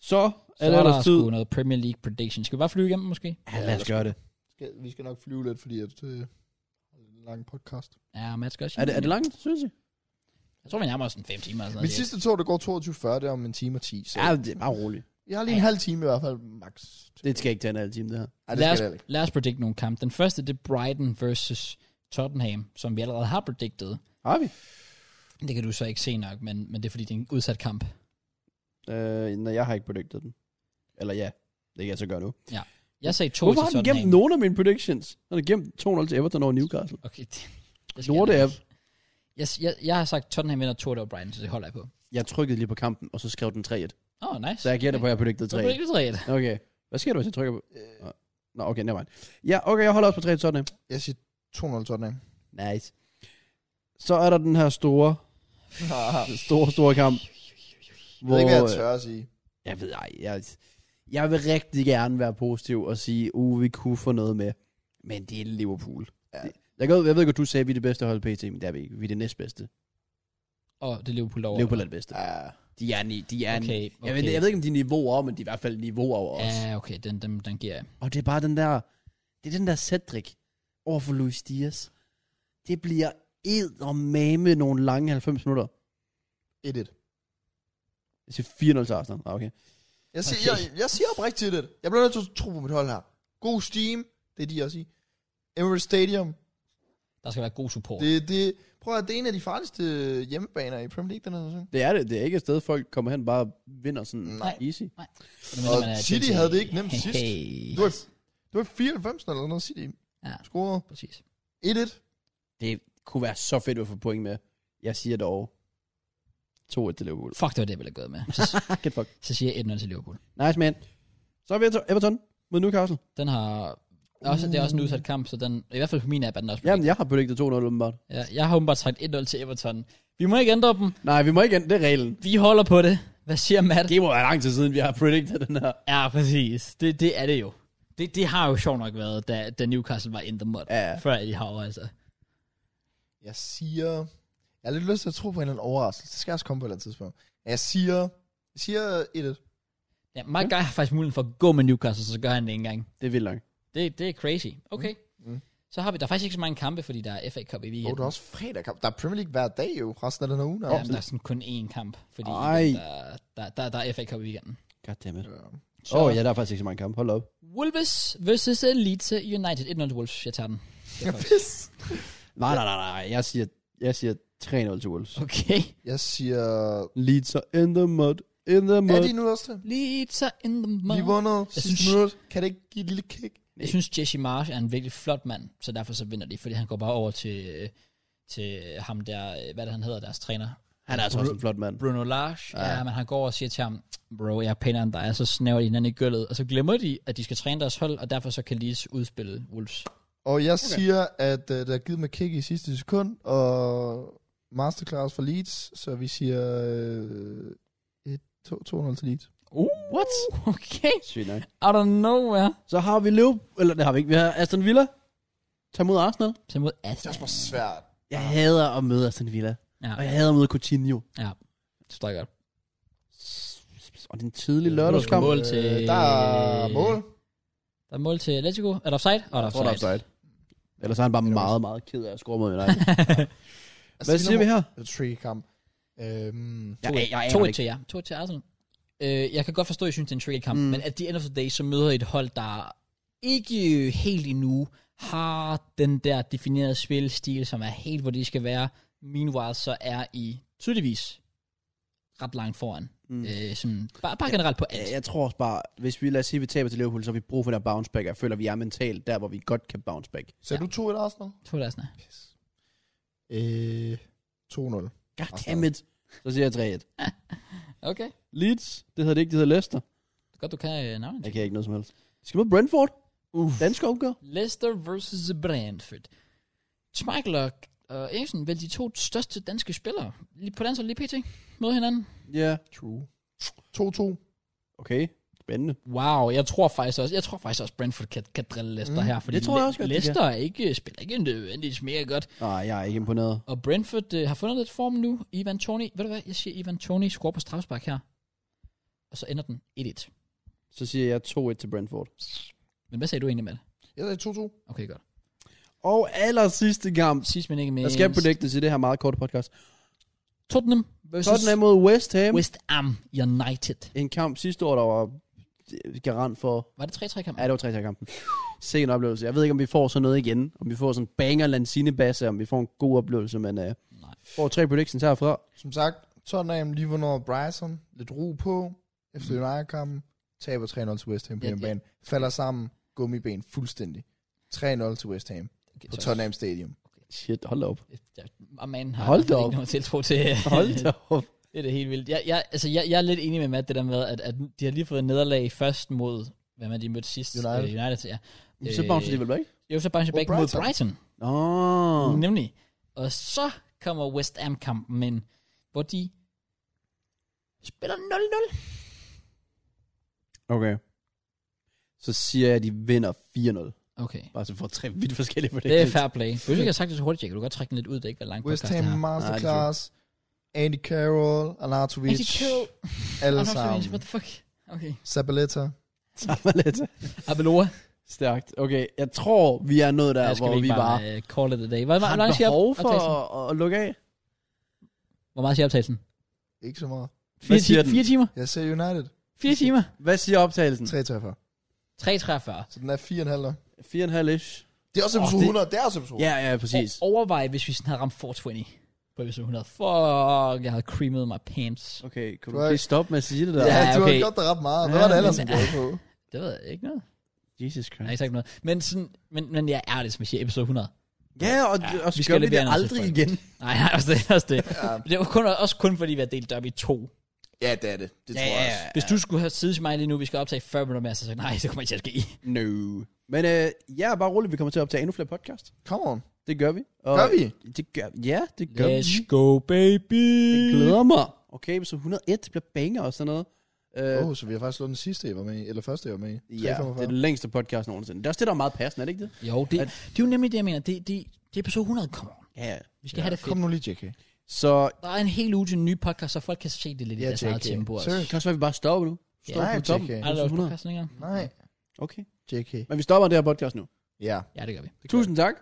Så
Så
er
er
det
der
ellers tid.
sgu noget Premier League prediction. Skal vi bare flyve igennem måske?
Ja, lad os gøre det.
Skal, vi skal nok flyve lidt, fordi at, øh, det er en lang podcast.
Ja, Mads skal også.
Er det, er det langt, synes jeg?
Jeg tror, vi nærmer os en fem timer. eller Sådan
Min
noget.
sidste tog, det går 22.40, det er om en time og 10. Så
Ja, det er bare roligt.
jeg har lige en halv time i hvert fald, max.
Det skal ikke tage en halv time, det her.
Ej, det
lad,
skal jeg
os,
ikke.
lad os predict nogle kampe. Den første, det er Brighton versus Tottenham, som vi allerede har predicted.
Har vi?
Det kan du så ikke se nok, men, men det er fordi, det er en udsat kamp.
Øh, nej, jeg har ikke predicted den. Eller ja, det kan jeg så gøre nu.
Jeg sagde 2
Hvorfor
til
har han
Tottenham.
gemt nogen af mine predictions? Han har gemt 2-0 til Everton over Newcastle.
Okay, det, det skal
Lorte
jeg,
app.
nok. jeg, jeg, jeg har sagt, Tottenham vinder 2 over Brighton, så det holder jeg på.
Jeg trykkede lige på kampen, og så skrev den 3-1.
Åh, oh, nice.
Så jeg gætter på, at jeg Øh. predicted
Så er det ikke 3
3-1. Okay. Hvad sker der, hvis jeg trykker på? Nå, okay, nevermind. Ja, okay, jeg holder også på 3-1 Tottenham.
Jeg siger 2-0 Tottenham.
Nice. Så er der den her store, store, store kamp.
Jeg ved ikke, hvad jeg
øh,
tør at sige.
Jeg ved ej, jeg, jeg vil rigtig gerne være positiv og sige, uh, vi kunne få noget med. Men det er Liverpool. Ja. Jeg, ved, jeg ved godt, du sagde, at vi er det bedste hold PT, men det er vi ikke. Vi er det næstbedste.
Og det er Liverpool over.
Liverpool er det bedste.
Ja,
De er ni, de er
Okay,
okay, okay.
okay.
Jeg, ved, jeg ved ikke, om de er niveauer, men de er i hvert fald niveauer over os.
Ja, okay, den, den, den giver jeg.
Og det er bare den der, det er den der Cedric over for Luis Diaz. Det bliver ed og mame nogle lange 90 minutter.
1-1.
Jeg siger 4-0 til Arsenal. Ah, okay.
Jeg siger, okay. jeg, jeg siger oprigtigt det. Jeg bliver nødt til at tro på mit hold her. God steam, det er de også i. Emirates Stadium,
Der skal være god support. Det,
det, det, prøv at høre, det er en af de farligste øh, hjemmebaner i Premier League dernede. Sådan.
Det er det. Det er ikke et sted, folk kommer hen og bare vinder sådan
Nej.
easy.
Og City havde det ikke nemt sidst.
Hey.
Det var, det var 94 eller noget, City
Ja.
ja. scorede
Præcis.
1-1.
Det kunne være så fedt at få point med. Jeg siger dog 2-1 til Liverpool.
Fuck, det var det, jeg ville have gået med. Så,
Fuck it, fuck.
så siger jeg 1-0 til Liverpool.
Nice, man. Så er vi til Everton mod Newcastle.
Den har... Også, det er også en udsat kamp, så den, i hvert fald på min app er den også
Jamen, jeg har predicted 2-0 åbenbart.
Ja, jeg har åbenbart sagt 1-0 til Everton. Vi må ikke ændre dem.
Nej, vi må ikke ændre. Det er reglen.
Vi holder på det. Hvad siger Matt?
Det må være lang tid siden, vi har predicted den her.
Ja, præcis. Det, det er det jo. Det, det har jo sjovt nok været, da, da Newcastle var in the mud.
Ja.
Før de har over, altså.
Jeg siger... Jeg har lidt lyst til at tro på en eller anden overraskelse. Det skal også komme på et eller andet tidspunkt. Jeg siger... Jeg siger 1-1.
Ja, Mark Guy har faktisk muligheden for at gå med Newcastle, så gør han det ikke engang.
Det er vildt langt.
Det, det er crazy. Okay. Mm.
Mm.
Så har vi, der er faktisk ikke så mange kampe, fordi der er FA Cup i
Og
weekenden.
der er også fredag kamp. Der er Premier League hver dag jo, resten af den her uge.
ja, men der er sådan kun én kamp, fordi
Ej.
Der, der, der, der er FA Cup i weekenden.
Goddammit. Åh,
Ja.
Så
oh, ja, der er faktisk ikke så mange kampe. Hold op.
Wolves vs. Elite United. 1-0 til Wolves. Jeg tager den.
Pis.
Nej, nej, nej, nej. Jeg siger, jeg siger 3-0 til Wolves.
Okay.
Jeg siger...
Leeds are in the mud. In the
Er
mud.
de nu også det?
Leeds are in the
Vi
mud.
vundet
Jeg
sidste
synes-
minut. Kan det ikke give et lille kick?
Jeg synes, Jesse Marsh er en virkelig flot mand, så derfor så vinder de, fordi han går bare over til, øh, til ham der, øh, hvad er det, han hedder, deres træner.
Han er altså også en flot mand.
Bruno Lage, ja. ja, men han går over og siger til ham, bro, jeg er pænere end dig, og så snæver de hinanden i gulvet, og så glemmer de, at de skal træne deres hold, og derfor så kan Leeds udspille Wolves.
Og jeg okay. siger, at uh, der er givet mig kick i sidste sekund, og masterclass for Leeds, så vi siger øh, et- to- 2-0 til Leeds.
Uh, what? Okay.
Sygt nok.
Out of nowhere.
Så har vi Liverpool, eller det har vi ikke, vi har Aston Villa. Tag mod Arsenal.
Så mod Aston.
svært.
Jeg hader at møde Aston Villa.
Ja,
Og jeg hader at møde Coutinho.
ja. Det står godt.
Og det er en tidlig
lørdagskamp.
lørdagskamp. Øh,
Mål til-
Øh, Der er mål.
Der er mål til Atletico. Er der offside? Og der er
Jeg tror, der er
offside.
offside. Ellers er han bare meget, meget ked af at score mod United.
Altså,
Hvad
det er
siger vi her?
nummer- Tricky kamp. Øhm,
To- to til jer. To til Arsenal. Øh, jeg kan godt forstå, at I synes, det er en tricky kamp, mm. men at the end of the day, så møder I et hold, der ikke helt endnu har den der definerede spilstil, som er helt, hvor de skal være. Meanwhile, så er I tydeligvis ret langt foran. Mm. Øh, sådan, bare, bare generelt på alt.
Ja, Jeg tror også bare, hvis vi lader sige, at vi taber til Liverpool, så har vi brug for der bounce back. og Jeg føler, at vi er mentalt der, hvor vi godt kan bounce back.
Så ja. du 2-1 Arsenal?
Tror du, det er sådan her?
Yes. Øh, 2-0.
God damn it. Så siger jeg 3-1.
Okay.
Leeds, det hedder det ikke, det hedder Leicester.
Godt, du kan øh, navnet.
Jeg kan ikke noget som helst. Skal vi mod Brentford?
Uff.
Dansk opgør?
Leicester versus Brentford. Schmeichel og og Eriksen, vel de to største danske spillere, lige på dansk og lige pt. mod hinanden.
Ja. Yeah.
True. 2-2.
Okay, spændende.
Wow, jeg tror faktisk også, jeg tror faktisk også Brentford kan, kan drille Leicester mm, her, fordi
det tror jeg også godt, de
Leicester er ikke, spiller ikke nødvendigvis mere godt.
Nej, jeg er ikke imponeret.
Og Brentford øh, har fundet lidt form nu. Ivan Toni, ved du hvad, jeg siger Ivan Toni scorer på strafspark her. Og så ender den 1-1.
Så siger jeg 2-1 til Brentford.
Men hvad sagde du egentlig med det?
Jeg sagde 2-2.
Okay, godt.
Og aller sidste kamp.
Sidst men ikke
Der
mindst.
skal predictes i det her meget korte podcast.
Tottenham versus
Tottenham mod West Ham.
West Ham United.
En kamp sidste år, der var øh, garant for...
Var det 3-3 kamp?
Ja, det var 3 kampen. Se en oplevelse. Jeg ved ikke, om vi får sådan noget igen. Om vi får sådan en banger lanzini basse om vi får en god oplevelse, men uh,
Nej.
får tre predictions herfra.
Som sagt, Tottenham lige vundet Bryson. Lidt ro på. Efter United-kampen. Taber 3-0 til West Ham på
Ja,
hjemmebane. Falder sammen. Gummiben fuldstændig. 3-0 til West Ham.
Okay,
På
så-
Tottenham Stadium.
Shit, hold da op.
Ja, og man har
Hold
Hold
da
ikke
op.
noget tiltro til.
Hold da op.
det er det helt vildt. Jeg, jeg, altså, jeg, jeg er lidt enig med Matt, det der med, at, at de har lige fået nederlag først mod, hvad man de mødte sidst.
United.
Øh, United ja.
Øh, så bouncer de vel Ah. væk?
Jo, så bounce
Mod
back mod
Brighton.
Brighton.
Nå.
Mm. Nemlig. Og så kommer West Ham-kampen, men hvor de spiller 0-0.
Okay. Så siger jeg, at de vinder 4-0.
Okay.
Bare så får tre vidt forskellige
Det er
predictions.
fair play. Hvis ikke har sagt det så hurtigt, jeg kan du godt trække den lidt ud, det er ikke var langt
West
podcast,
Ham
det her.
Masterclass. Andy Carroll. Arnautovic.
Andy Carroll.
Alle
What
sammen.
the fuck? Okay.
Zabaleta.
Samme lidt.
Abeloa.
Stærkt. Okay, jeg tror, vi er nået der,
Der skal
hvor
vi,
vi
ikke bare,
bare
bare uh, call it a day. Hvor, hvor,
har
langt
et
siger
behov for
optagelsen?
at, at lukke af.
Hvor meget siger optagelsen?
Ikke så meget.
Fire,
siger
ti-
den?
fire timer?
Jeg ser United.
Fire timer?
Hvad siger
Mm.
optagelsen?
3-4.
3,43.
Så den er 4,5.
4,5-ish.
Det er også
Åh,
episode
det-
100. Det er også episode 100.
Ja, ja, præcis.
O- overvej, hvis vi sådan havde ramt 420 på episode 100. Fuck, jeg havde creamed my pants.
Okay, kan du
Right.
lige stoppe med at sige det der?
Ja,
Ja,
du har
okay.
gjort det ret meget. Hvad
Ja,
var det ellers,
men-
som du havde på?
Det ved jeg ikke noget.
Jesus
Jeg har
Christ.
ikke sagt noget. Men, sådan, men, men jeg er det, som jeg siger, episode 100.
Ja, og,
Ja,
og
vi
så
skal
gør vi
levere
det
noget til
aldrig
folk.
igen.
Nej, nej, også det. Også det.
Ja.
det var kun, også kun fordi, vi har delt det op i to.
ja, det er det. Det tror jeg også.
Hvis du skulle have siddet til mig lige nu, vi skal optage 40 minutter mere, så sagde jeg, nej, det kommer ikke til at ske.
No. Men øh, ja, bare roligt, vi kommer til at optage endnu flere podcast.
Come on.
Det gør vi. Og
Gør vi?
Det gør Ja, det gør
Let's
vi.
go, baby.
Jeg glæder mig. Okay, så 101 det bliver banger og sådan noget. Øh,
Åh, oh, så vi har faktisk slået den sidste, jeg var med i. Eller første, jeg var med i.
ja, det
3,45.
er den længste podcast nogensinde. Det er også det, der er meget passende, er det ikke det?
Jo, det, det er jo nemlig det, jeg mener. Det, det, det er episode 100, come on.
Ja, ja.
Vi skal ja, have det fedt.
Kom nu lige, JK.
Så
Der er en hel uge til en ny podcast, så folk kan se det lidt i
Ja,
deres eget
JK.
tempo også.
Seriøst?
det kan også være, at vi bare stopper nu. Stopper
Nej,
på toppen.
JK.
Er der også
100.
podcast længere?
Nej,
Okay.
JK.
Men vi stopper det her podcast nu.
Ja.
Ja, det gør vi.
Tusind tak,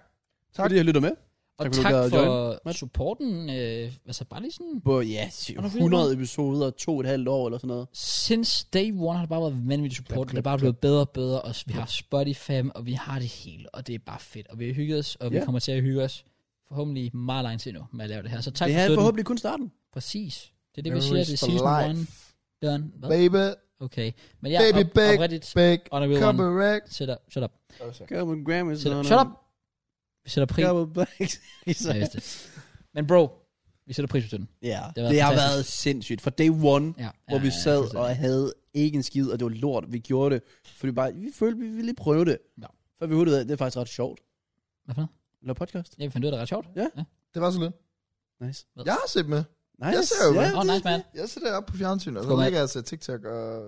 tak. fordi I har lyttet med.
Og
Tak,
tak,
fordi
tak
du gad at
for
join, Matt.
supporten. Øh, altså bare lige sådan...
På ja, 100 episoder, to og et halvt år eller sådan noget.
Since day one har det bare været vanvittig support. det er bare blevet bedre og bedre. Og vi har Spotify, og vi har det hele. Og det er bare fedt. Og vi har hygget os, og vi
Ja.
kommer til at hygge os forhåbentlig meget lang tid nu med at lave det her. Så tak
Det
for
er
støtten.
forhåbentlig kun starten.
Præcis. Det er det, vi siger. Det er
for
season
life.
one. Done. Hvad?
Baby,
Okay. Men jeg
Baby
er op,
back.
oprigtigt.
big,
On a real
come
one.
back.
Shut up. Shut up.
Come on, Grammys.
Shut up. Shut up. Vi sætter pris.
Come on, Blacks.
Ja, jeg vidste det. Men bro, vi sætter pris på støtten.
Ja,
Det har
det har
været
været sindssygt. For day one,
Ja,
hvor
ja,
vi
ja,
sad
fuldstændig.
og havde ikke en skid, og det var lort, vi gjorde det. Fordi bare, vi følte, vi ville lige prøve det.
Ja.
For vi hørte ud af, det er faktisk ret sjovt.
Hvad for noget?
Eller podcast.
Jeg fandt ud af, det er ret sjovt.
Det var så lidt.
Nice.
Jeg har set med.
Nice.
Jeg ser jo,
ja,
hvad?
Åh, oh,
det-
nice man.
Jeg sidder op på fjernsynet, og så
Skål, mand.
ligger jeg og ser TikTok og...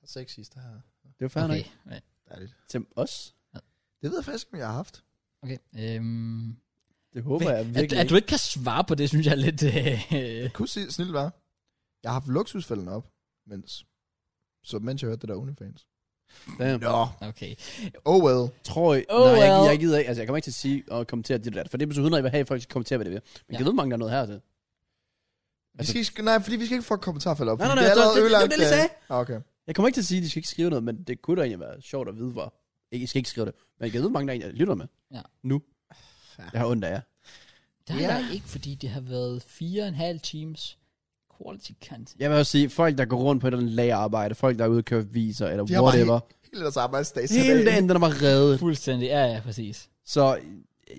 har sex sidst her.
Det var fair
Okay.
nok.
Ja,
Dejligt.
Til os.
Det ved jeg faktisk ikke, om jeg har haft.
Okay. Øhm,
Det håber jeg
at,
virkelig
at, du ikke kan svare på det, synes jeg er lidt... Øh,
Jeg kunne sige snilt være. Jeg har haft luksusfælden op, mens... Så mens jeg hørte det der OnlyFans.
Damn.
Nå,
okay.
oh well.
Tror I?
Oh
Oh, nej, jeg,
well.
jeg gider ikke. Altså, jeg kommer ikke til at sige og kommentere det der. For det betyder 100, jeg vil have, at folk skal kommentere, hvad det vil. Men
Ja.
ja. jeg ved, mange der er noget her til.
Vi
Altså-
skal ikke, nej, fordi vi skal ikke få kommentarfælder op.
Nej, nej,
fordi
nej,
det er
jeg tror-
allerede
det- det var det,
ødelagt øh.
jeg lige
af-
sagde.
Ah, okay.
Jeg kommer ikke til at sige, at de skal ikke skrive noget, men det kunne da egentlig være sjovt at vide, hvor Ikke, I skal ikke skrive det. Men jeg ved, hvor mange der egentlig lytter med.
Ja.
Nu.
Ja.
Jeg har ondt af jer.
Det har
Ja.
yeah. der ikke, fordi det har været fire og en halv times quality content.
Jeg vil også sige, folk der går rundt på et eller andet lagerarbejde, folk der er ude og køre viser, eller
De har bare
whatever.
Hele deres arbejdsdag. sat
Hele
af.
dagen, den er bare reddet.
Fuldstændig, ja, ja, præcis.
Så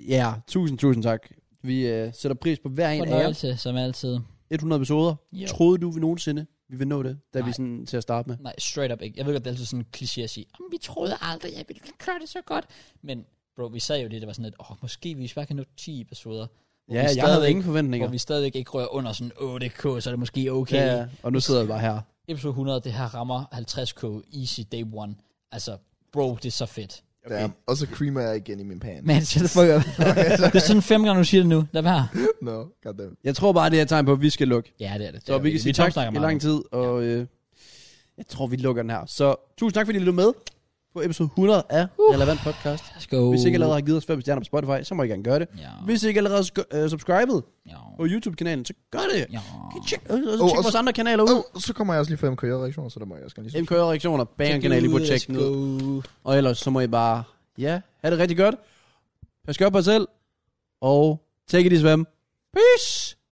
ja, tusind, tusind tak. Vi øh, sætter pris på hver en af jer.
Fornøjelse, som altid.
100 episoder.
Jo.
Troede du vi nogensinde, vi ville nå det, da
Nej.
vi sådan til at starte med?
Nej, straight up ikke. Jeg ved godt, det er altid sådan en kliché at sige, "Jamen, vi troede aldrig, jeg ville køre det så godt. Men bro, vi sagde jo det, der var sådan lidt, åh, måske vi bare kan nå 10 episoder. Hvor vi
Ja, jeg havde
stadigvæk-
ingen forventninger.
Hvor vi stadigvæk ikke rører under sådan 8K, så er det måske okay.
Ja, ja, og nu sidder jeg bare her.
Episode 100, det her rammer 50K easy day one. Altså, bro, det er så fedt.
Ja, og så creamer jeg igen i min pan.
Man, shut the fuck up. det er sådan fem gange, du siger det nu. Lad være.
Nå, no, goddamn.
Jeg tror bare, det er et tegn på, at vi skal lukke.
Ja, det er det.
Så vi kan sige tak i lang
tid.
tid, og øh, jeg tror, vi lukker den her. Så tusind tak, fordi I lyttede med på episode 100 af
Uh.
Relevant Podcast.
Let's go.
Hvis I ikke allerede har givet os 5 stjerner på Spotify, så må I gerne gøre det.
Ja,
Hvis I ikke allerede er sk- øh, subscribet
ja,
på YouTube-kanalen, så gør det.
ja.
Tjek, øh, øh,
og
tjek
så-
vores andre kanaler ud.
Oh, så kommer jeg også lige fra MKJ-reaktioner, så der må jeg også gerne lige
MKR-reaktioner, banger-kanal, I burde tjekke den
Let's
ud.
go.
Og ellers så må I bare, ja, have det rigtig godt. Pas godt på jer selv. Og take it easy, fam. Peace!